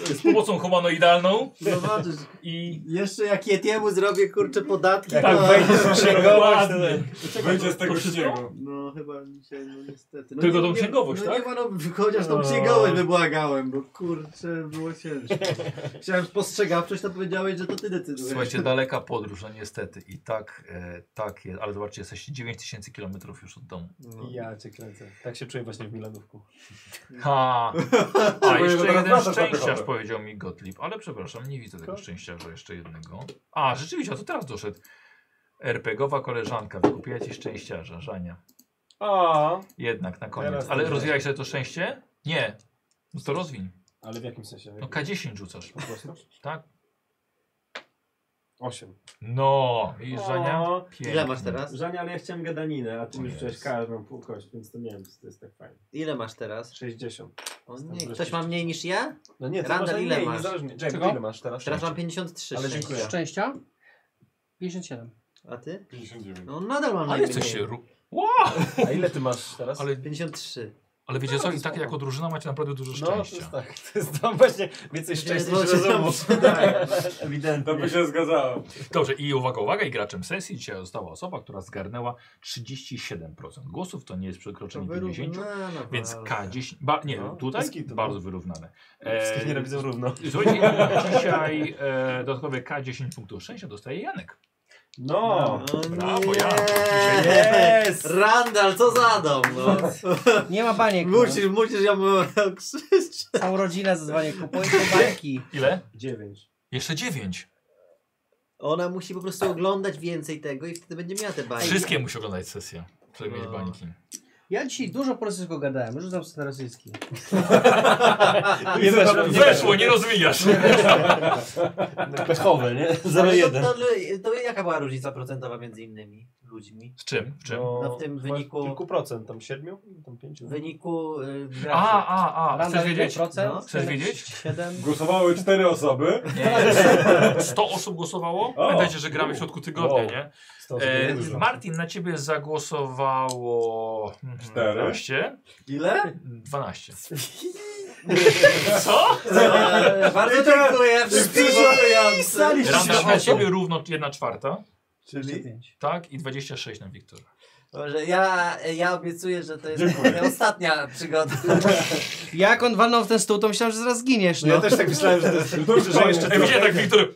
S1: y, z pomocą humanoidalną
S3: No Zobaczysz.
S1: i
S3: Jeszcze jak Yetiemu zrobię kurczę podatki,
S1: Tak,
S7: Tak,
S2: Jak
S3: to...
S2: wejdziesz w księgowość, to...
S1: Dokładnie.
S7: Wyjdzie z tego
S1: To wszystko?
S7: śniegu.
S3: No chyba mi się, no niestety. No,
S1: Tylko
S3: nie-
S1: tą
S3: nie-
S1: księgowość,
S3: no,
S1: tak?
S3: Nie, no, chociaż tą księgowość wybłagałem, bo kurczę, było ciężko. Chciałem spostrzegawczość, to powiedziałeś, że to ty decydujesz.
S1: Słuchajcie, daleka podróż, no niestety i tak, e, tak jest, ale zobaczcie, jesteście 9000 km już od domu.
S3: No.
S2: Ja cię kręcę. Tak się czuję właśnie w Milanówku.
S1: Ha! A
S7: Próbuję
S1: jeszcze
S7: go teraz
S1: jeden
S7: wracać na
S1: szczęściarz
S7: piechotę.
S1: powiedział mi Gottlieb, ale przepraszam, nie widzę tego szczęściarza jeszcze jednego. A, rzeczywiście, a to teraz doszedł. RPGowa koleżanka, wykupiła ci szczęściarza, Żania.
S2: A,
S1: Jednak na
S2: Teraz
S1: koniec.
S2: to
S1: Ale
S2: tak.
S1: rozwijałeś sobie to szczęście? Nie. No to rozwiń.
S2: ale w jakim sensie?
S1: No K10 rzucasz, tak?
S2: 8.
S1: No, i Żania.
S20: O,
S3: Ile masz
S1: Pięknie.
S3: teraz?
S20: Żania, ale ja chciałem gadaninę, a ty
S1: O
S20: mi rzuciłeś
S1: Jezu.
S20: każdą półkość, więc to nie wiem, czy to jest tak fajne.
S3: Ile masz teraz?
S2: 60.
S3: O, nie. Ktoś ma mniej niż ja?
S2: No nie,
S3: Randall,
S2: masz
S3: ile
S2: mniej,
S3: masz?
S2: niezależnie. Jack,
S6: Czego?
S2: ile masz teraz?
S3: Teraz mam 53
S2: Ale
S3: szczęścia.
S2: dziękuję.
S6: Szczęścia? 57.
S3: A ty?
S7: 59.
S3: No nadal mam
S1: Ale coś
S3: najmniej.
S1: się ru...
S2: A ile ty masz teraz?
S1: Ale
S3: 53.
S1: Ale wiecie co, i tak jako drużyna macie naprawdę dużo szczęścia.
S2: tak. To jest tam właśnie więcej szczęścia niż rozumu.
S20: Tak.
S21: To by
S2: Ewidentnie.
S21: się zgadzało.
S1: Dobrze, i uwaga, uwaga, i graczem sesji dzisiaj została osoba, która zgarnęła 37% głosów, to no, nie jest przekroczenie 50, więc K10, ba, nie, tutaj
S2: skitu.
S1: bardzo wyrównane.
S2: No, Wszystkich nie robią równo.
S1: Słuchajcie, dzisiaj e, dodatkowe K10 punktów szczęścia dostaje Janek.
S2: No.
S1: Brawo, Janek.
S2: Yes!
S3: Randall, co za dom, no.
S6: Nie ma baniek. No.
S3: Musisz, musisz ją krzyczeć.
S6: Całą rodzinę zadzwonię, kupuję te bańki.
S1: Ile?
S2: Dziewięć.
S1: Jeszcze 9.
S3: Ona musi po prostu oglądać więcej tego i wtedy będzie miała te bajki.
S1: Wszystkie musi oglądać sesję, żeby mieć
S3: No.
S1: bańki.
S6: Ja dzisiaj dużo po rosyjsku gadałem, rzucam sobie na rosyjski.
S2: Nie weszło. nie
S1: Weszło, nie rozwijasz.
S2: weszło. Pechowe, nie?
S3: Ale to,
S2: 0,1.
S3: to, to jaka była różnica procentowa między innymi ludźmi?
S1: Z czym? W czym?
S3: No w tym
S2: chyba
S3: wyniku-
S2: Kilku procent, tam siedmiu? Tam pięciu.
S3: W wyniku y, graczy.
S1: A, a, a, chcesz
S6: Randall
S1: wiedzieć?
S6: 1%,
S3: No.
S1: Chcesz wiedzieć?
S6: 7.
S21: Głosowały cztery osoby.
S1: Nie. 100 osób głosowało?
S21: O,
S1: Pamiętajcie, że gramy w
S21: u,
S1: środku tygodnia,
S21: wow.
S1: nie?
S2: Sto osób
S1: E,
S2: nie dużo.
S1: Martin, na ciebie zagłosowało... mhm,
S21: Cztery.
S1: 12.
S3: Ile?
S1: 12. Co?
S3: E,
S6: No
S3: bardzo dziękuję. Wszystkim głosującym.
S1: Randall, na ciebie równo 1 czwarta,
S3: Czyli?
S1: tak? I 26 na Wiktora.
S3: Boże, ja, ja obiecuję, że to jest
S21: Dziękuję.
S3: ostatnia przygoda.
S6: Jak on walnął w ten stół, to myślałem, że zaraz zginiesz, no.
S2: też tak myślałem, że to jest...
S3: No,
S21: To już
S2: Że
S21: koniec.
S2: jeszcze
S1: Ej, widzicie tak, Wiktor...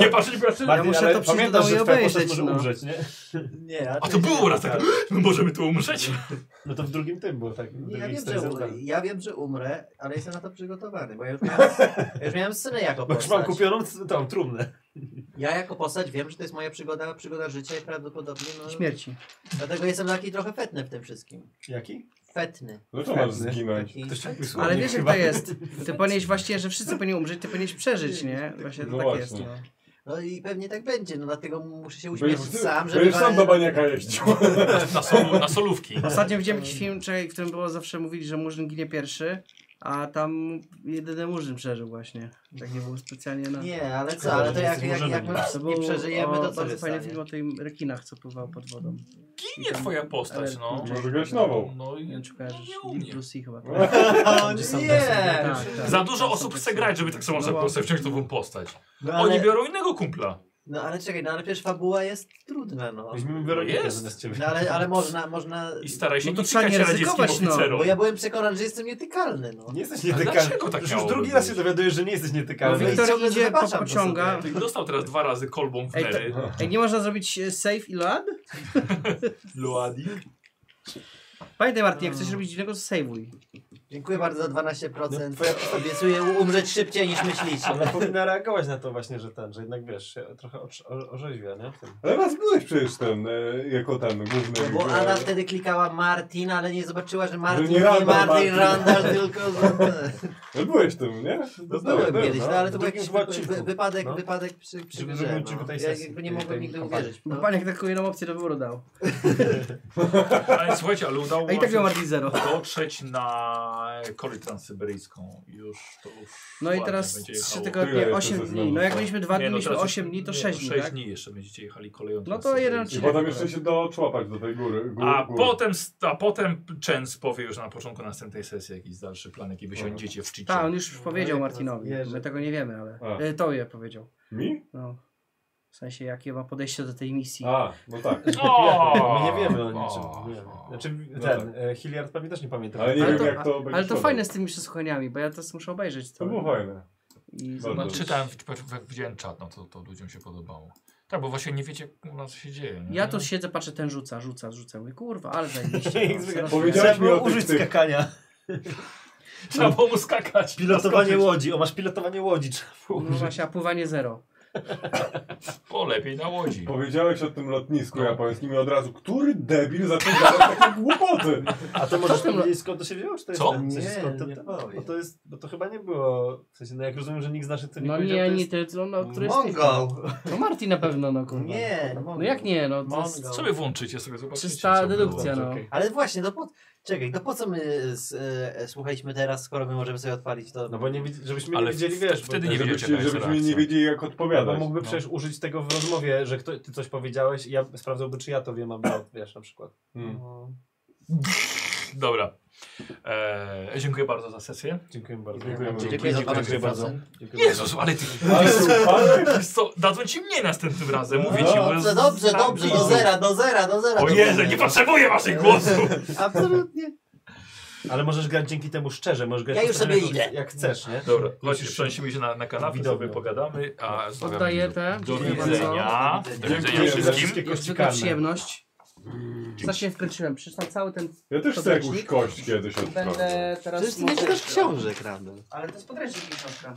S1: Nie patrz, nie patrz.
S6: Ja muszę to przyjść do
S2: pamiętasz,
S6: domu i
S2: że twoja postać
S6: obejrzeć,
S2: może
S6: no.
S2: umrzeć, nie?
S3: Nie,
S1: A to było raz tak, my możemy tu umrzeć.
S2: No to w drugim tym było tak. w
S3: Nie,
S2: drugiej
S3: ja, wiem,
S2: historii
S3: że
S2: zamknęli.
S3: umrę, ja wiem, że umrę, ale jestem na to przygotowany, bo ja już miałem, ja już miałem synę jako
S2: Bo już mam
S3: postać.
S2: kupioną c- tą trumnę.
S3: Ja jako postać wiem, że to jest moja przygoda, przygoda życia i prawdopodobnie no,
S6: Śmierci.
S3: Dlatego jestem taki trochę fetny w tym wszystkim.
S2: Jaki? tak
S3: Fetny.
S7: Dlaczego No masz zginąć?
S3: Taki...
S6: Ale wiesz jak to jest. Ty powinieneś właśnie, że wszyscy powinni umrzeć, ty powinieneś przeżyć, nie? Właśnie to
S7: No
S6: tak
S7: właśnie.
S6: jest, no.
S3: No i pewnie tak będzie, no dlatego muszę się
S21: Będziesz
S3: uśmiechać
S21: ty-
S3: sam, żeby...
S21: Będziesz sam do baniaka jeździł.
S1: Na, solu, na solówki.
S6: Ostatnio widziałem jakiś film, czekaj, w którym było zawsze mówili, że Murzyn ginie pierwszy, a tam jedyny Murzyn przeżył właśnie. Tak nie było specjalnie na...
S3: Nie, ale co, ale to jak, jak, jak my
S6: To
S3: nie
S6: był-
S3: przeżyjemy,
S6: o,
S3: to co
S6: Bardzo
S3: się
S6: fajny
S3: stanie?
S6: film o tym rekinach, co pływał pod wodą.
S1: Ginie twoja postać, no.
S21: Może grać nową.
S1: No i
S6: Nie wiem, czy kojarzysz. Lucy chyba. tak?
S3: O nie!
S6: Tak, tak.
S1: Za dużo osób
S6: Są
S1: chce
S6: tak
S1: grać, żeby tak samo
S6: No
S1: no,
S6: właśnie.
S1: wziąć nową postać.
S3: No
S1: Oni
S3: ale,
S1: biorą innego kumpla.
S3: no ale czekaj, no ale przecież fabuła jest trudna, no.
S2: Weźmiemy
S1: No
S2: Weronikę
S1: jest.
S2: zamiast ciebie.
S3: No ale, ale można, można...
S1: I staraj się
S6: No to
S1: nie
S6: trzeba
S1: cikać
S6: nie
S1: radzieckim
S6: ryzykować, no.
S1: oficerom.
S3: Bo ja byłem przekonany, że jestem nietykalny, no.
S2: Nie jesteś
S1: Ale
S2: nietykalny.
S1: dlaczego tak
S2: Już, już
S1: miałoby
S2: drugi raz się
S1: być?
S2: dowiadujesz, że nie jesteś nietykalny.
S3: No i
S6: Wiktor
S3: ciągle
S6: idzie po
S3: zapraszam do
S6: pociąga.
S3: sobie.
S1: Dostał teraz dwa razy kolbą w
S6: Ej, to-
S1: nery.
S6: Ej, nie można zrobić e, save i load?
S1: Luadi.
S6: Pamiętaj Martin, jak chcesz robić innego, to saveuj.
S3: Dziękuję bardzo za 12%. Obiecuję umrzeć szybciej niż myślicie.
S2: Ona powinna reagować na to właśnie, że ten, że jednak wiesz, się trochę orz- orz- orzeźwia, nie? W tym.
S7: Ale was byłeś przecież ten, e, jako ten główny.
S3: No bo
S7: e,
S3: Ada wtedy klikała Martin, ale nie zobaczyła, że Martin
S7: Że
S3: nie
S7: nie
S3: Martin,
S7: Randall, Martin.
S3: Randall, tylko... że-
S7: no byłeś tym, nie? tak?
S3: No byłem
S2: tak,
S3: kiedyś, no ale to
S2: W
S3: był
S2: drugim
S3: jakiś
S2: chyba
S3: wy-
S2: odcinku.
S3: wy- wypadek,
S2: No.
S3: wypadek przy, przy
S2: Żeby
S3: grze,
S2: był
S3: no.
S2: odcinku tej
S3: Ja
S2: sesji,
S3: jakby nie
S2: tej-
S3: mogłem
S2: tej
S3: nigdy
S2: kampanii.
S3: uwierzyć.
S6: Bo
S3: No.
S6: pan jak taką jedną opcję do wyboru dał.
S1: Ale słuchajcie, ale udało
S6: A i tak miał
S1: wam się
S6: Martin zero.
S1: dotrzeć na kolej transsyberyjską. Już to już
S6: No i
S1: ładnie
S6: teraz
S1: będzie
S6: 3
S1: jechało.
S7: Tyle
S6: tygodnie,
S7: jeszcze
S6: 8
S7: ze
S6: dni.
S7: znowu.
S6: No jak mieliśmy 2
S1: Nie,
S6: dni,
S1: no
S6: mieliśmy
S1: teraz-
S6: 8 dni, to
S1: nie,
S6: 6
S1: no,
S6: dni,
S1: 6
S6: tak?
S1: dni jeszcze będziecie jechali koleją
S6: No to
S1: transsyberyjską.
S6: jeden
S7: I
S6: odcinek.
S7: potem jeszcze się doczłapać do tej góry. gór-
S1: A
S7: gór.
S1: potem, a potem Częs powie już na początku następnej sesji jakiś dalszy plan, jaki wysiądziecie w Chicie.
S6: Tak, on już powiedział Martinowi. My tego nie wiemy, ale...
S7: A.
S6: E, to je powiedział.
S7: Mi?
S6: No. W sensie, jakie ma podejście do tej misji.
S7: A, no tak.
S1: O!
S2: My nie wiemy o
S1: O.
S2: niczym. Nie wiemy. Znaczy
S7: No
S2: ten, e, Hilliard pewnie też nie pamięta.
S7: Ale nie
S6: Ale
S7: wiem
S6: to-
S7: jak to będzie.
S6: Ale to
S7: szło.
S6: fajne z tymi przesłuchaniami, bo ja teraz muszę obejrzeć
S7: To było
S6: to.
S7: fajne.
S6: I
S7: Bardzo.
S1: No,
S6: zobaczyć.
S1: czytałem, w- w- widziałem czat, no to, to ludziom się podobało. Tak, bo właśnie nie wiecie u nas co się dzieje. Nie?
S6: Ja tu siedzę, patrzę, ten rzuca, rzuca, rzuca. Mówię, kurwa, ale zajebiście.
S2: Jak
S6: no,
S2: zwykle.
S6: teraz-
S7: Powiedziałeś mi o tych,
S2: użyć
S7: tych
S2: skakania.
S1: Trzeba było mu skakać.
S2: Pilotowanie łodzi. O, masz pilotowanie łodzi. Trzeba było
S6: No
S2: użyć.
S6: właśnie, a pływanie zero.
S1: O, lepiej na łodzi.
S7: Powiedziałeś o tym lotnisku
S1: No.
S7: japońskim i od razu, który debil zaczął gadać takie głupoty.
S2: A to możesz powiedzieć skąd to się wzięło? Czy to jest
S1: Co?
S2: ten- w sensie,
S3: Nie,
S2: skąd
S3: nie
S2: to, to,
S3: powiem.
S2: bo to jest, bo to chyba nie było, w sensie, no jak rozumiem, że nikt z naszych to nie
S6: No
S2: powiedział,
S6: nie,
S2: to
S6: nie,
S2: jest...
S6: ty, no, no, który jest
S3: Mongol!
S6: No Martin na pewno, no kurwa.
S3: Nie, no Mongol.
S6: No jak nie, no to jest
S3: Mongol.
S1: Sobie włączycie, sobie zobaczycie.
S6: czysta
S1: co było.
S6: dedukcja, no.
S2: Okej.
S3: Ale właśnie, no po... Czekaj, no po co my s- e, e, słuchaliśmy teraz, skoro my możemy sobie odpalić to?
S2: No bo nie, widz- żebyśmy
S1: Ale
S2: nie wiedzieli, wiesz, bo-
S1: wtedy nie
S7: Żebyście-
S1: wiedziecie, jaka jest
S7: Żebyśmy nie
S1: reakcja.
S7: wiedzieli jak
S2: bo
S7: odpowiadać.
S2: mógłby
S1: no.
S2: przecież użyć tego w rozmowie, że kto, ty coś powiedziałeś i ja sprawdzałby, czy ja to wiem, a brat, wiesz, na przykład.
S7: Hmm.
S3: No.
S1: Dobra. Eee, dziękuję bardzo za sesję.
S2: Dziękuję bardzo.
S7: Dziękujemy.
S3: Dziękuję za pana
S2: Dziękuję bardzo.
S3: pracę.
S1: Jezus, ale ty... Wiesz Co, dadzą ci mnie następnym razem, mówię ci. bo
S3: No Dobrze, dobrze, dobrze, do zera, do zera, do zera.
S1: O
S3: do
S1: Jezu,
S3: zera.
S1: nie potrzebuję waszych głosów.
S3: Absolutnie.
S2: Ale możesz grać dzięki temu szczerze, możesz grać
S3: Ja już
S2: szczerze,
S3: sobie idę.
S2: Jak chcesz, nie?
S1: Dobra, chodź, przenosimy się na, na kanapę,
S2: Widowie.
S1: sobie pogadamy, a zostawiamy
S6: Oddaję
S1: do-
S6: te.
S1: Do
S6: Dziękuję
S1: widzenia. Do widzenia
S7: Dziękuję za
S1: wszystkim.
S6: bardzo. Zwykła przyjemność. Strasznie wkręciłem. Przeczytam cały ten...
S7: Ja też chcę
S6: Podręcznik?
S7: jakąś kość kiedyś odprawić.
S6: Będę teraz...
S3: Przecież ty nie
S6: może-
S3: czytasz książek, Randall.
S6: Ale to jest podręcznik książka.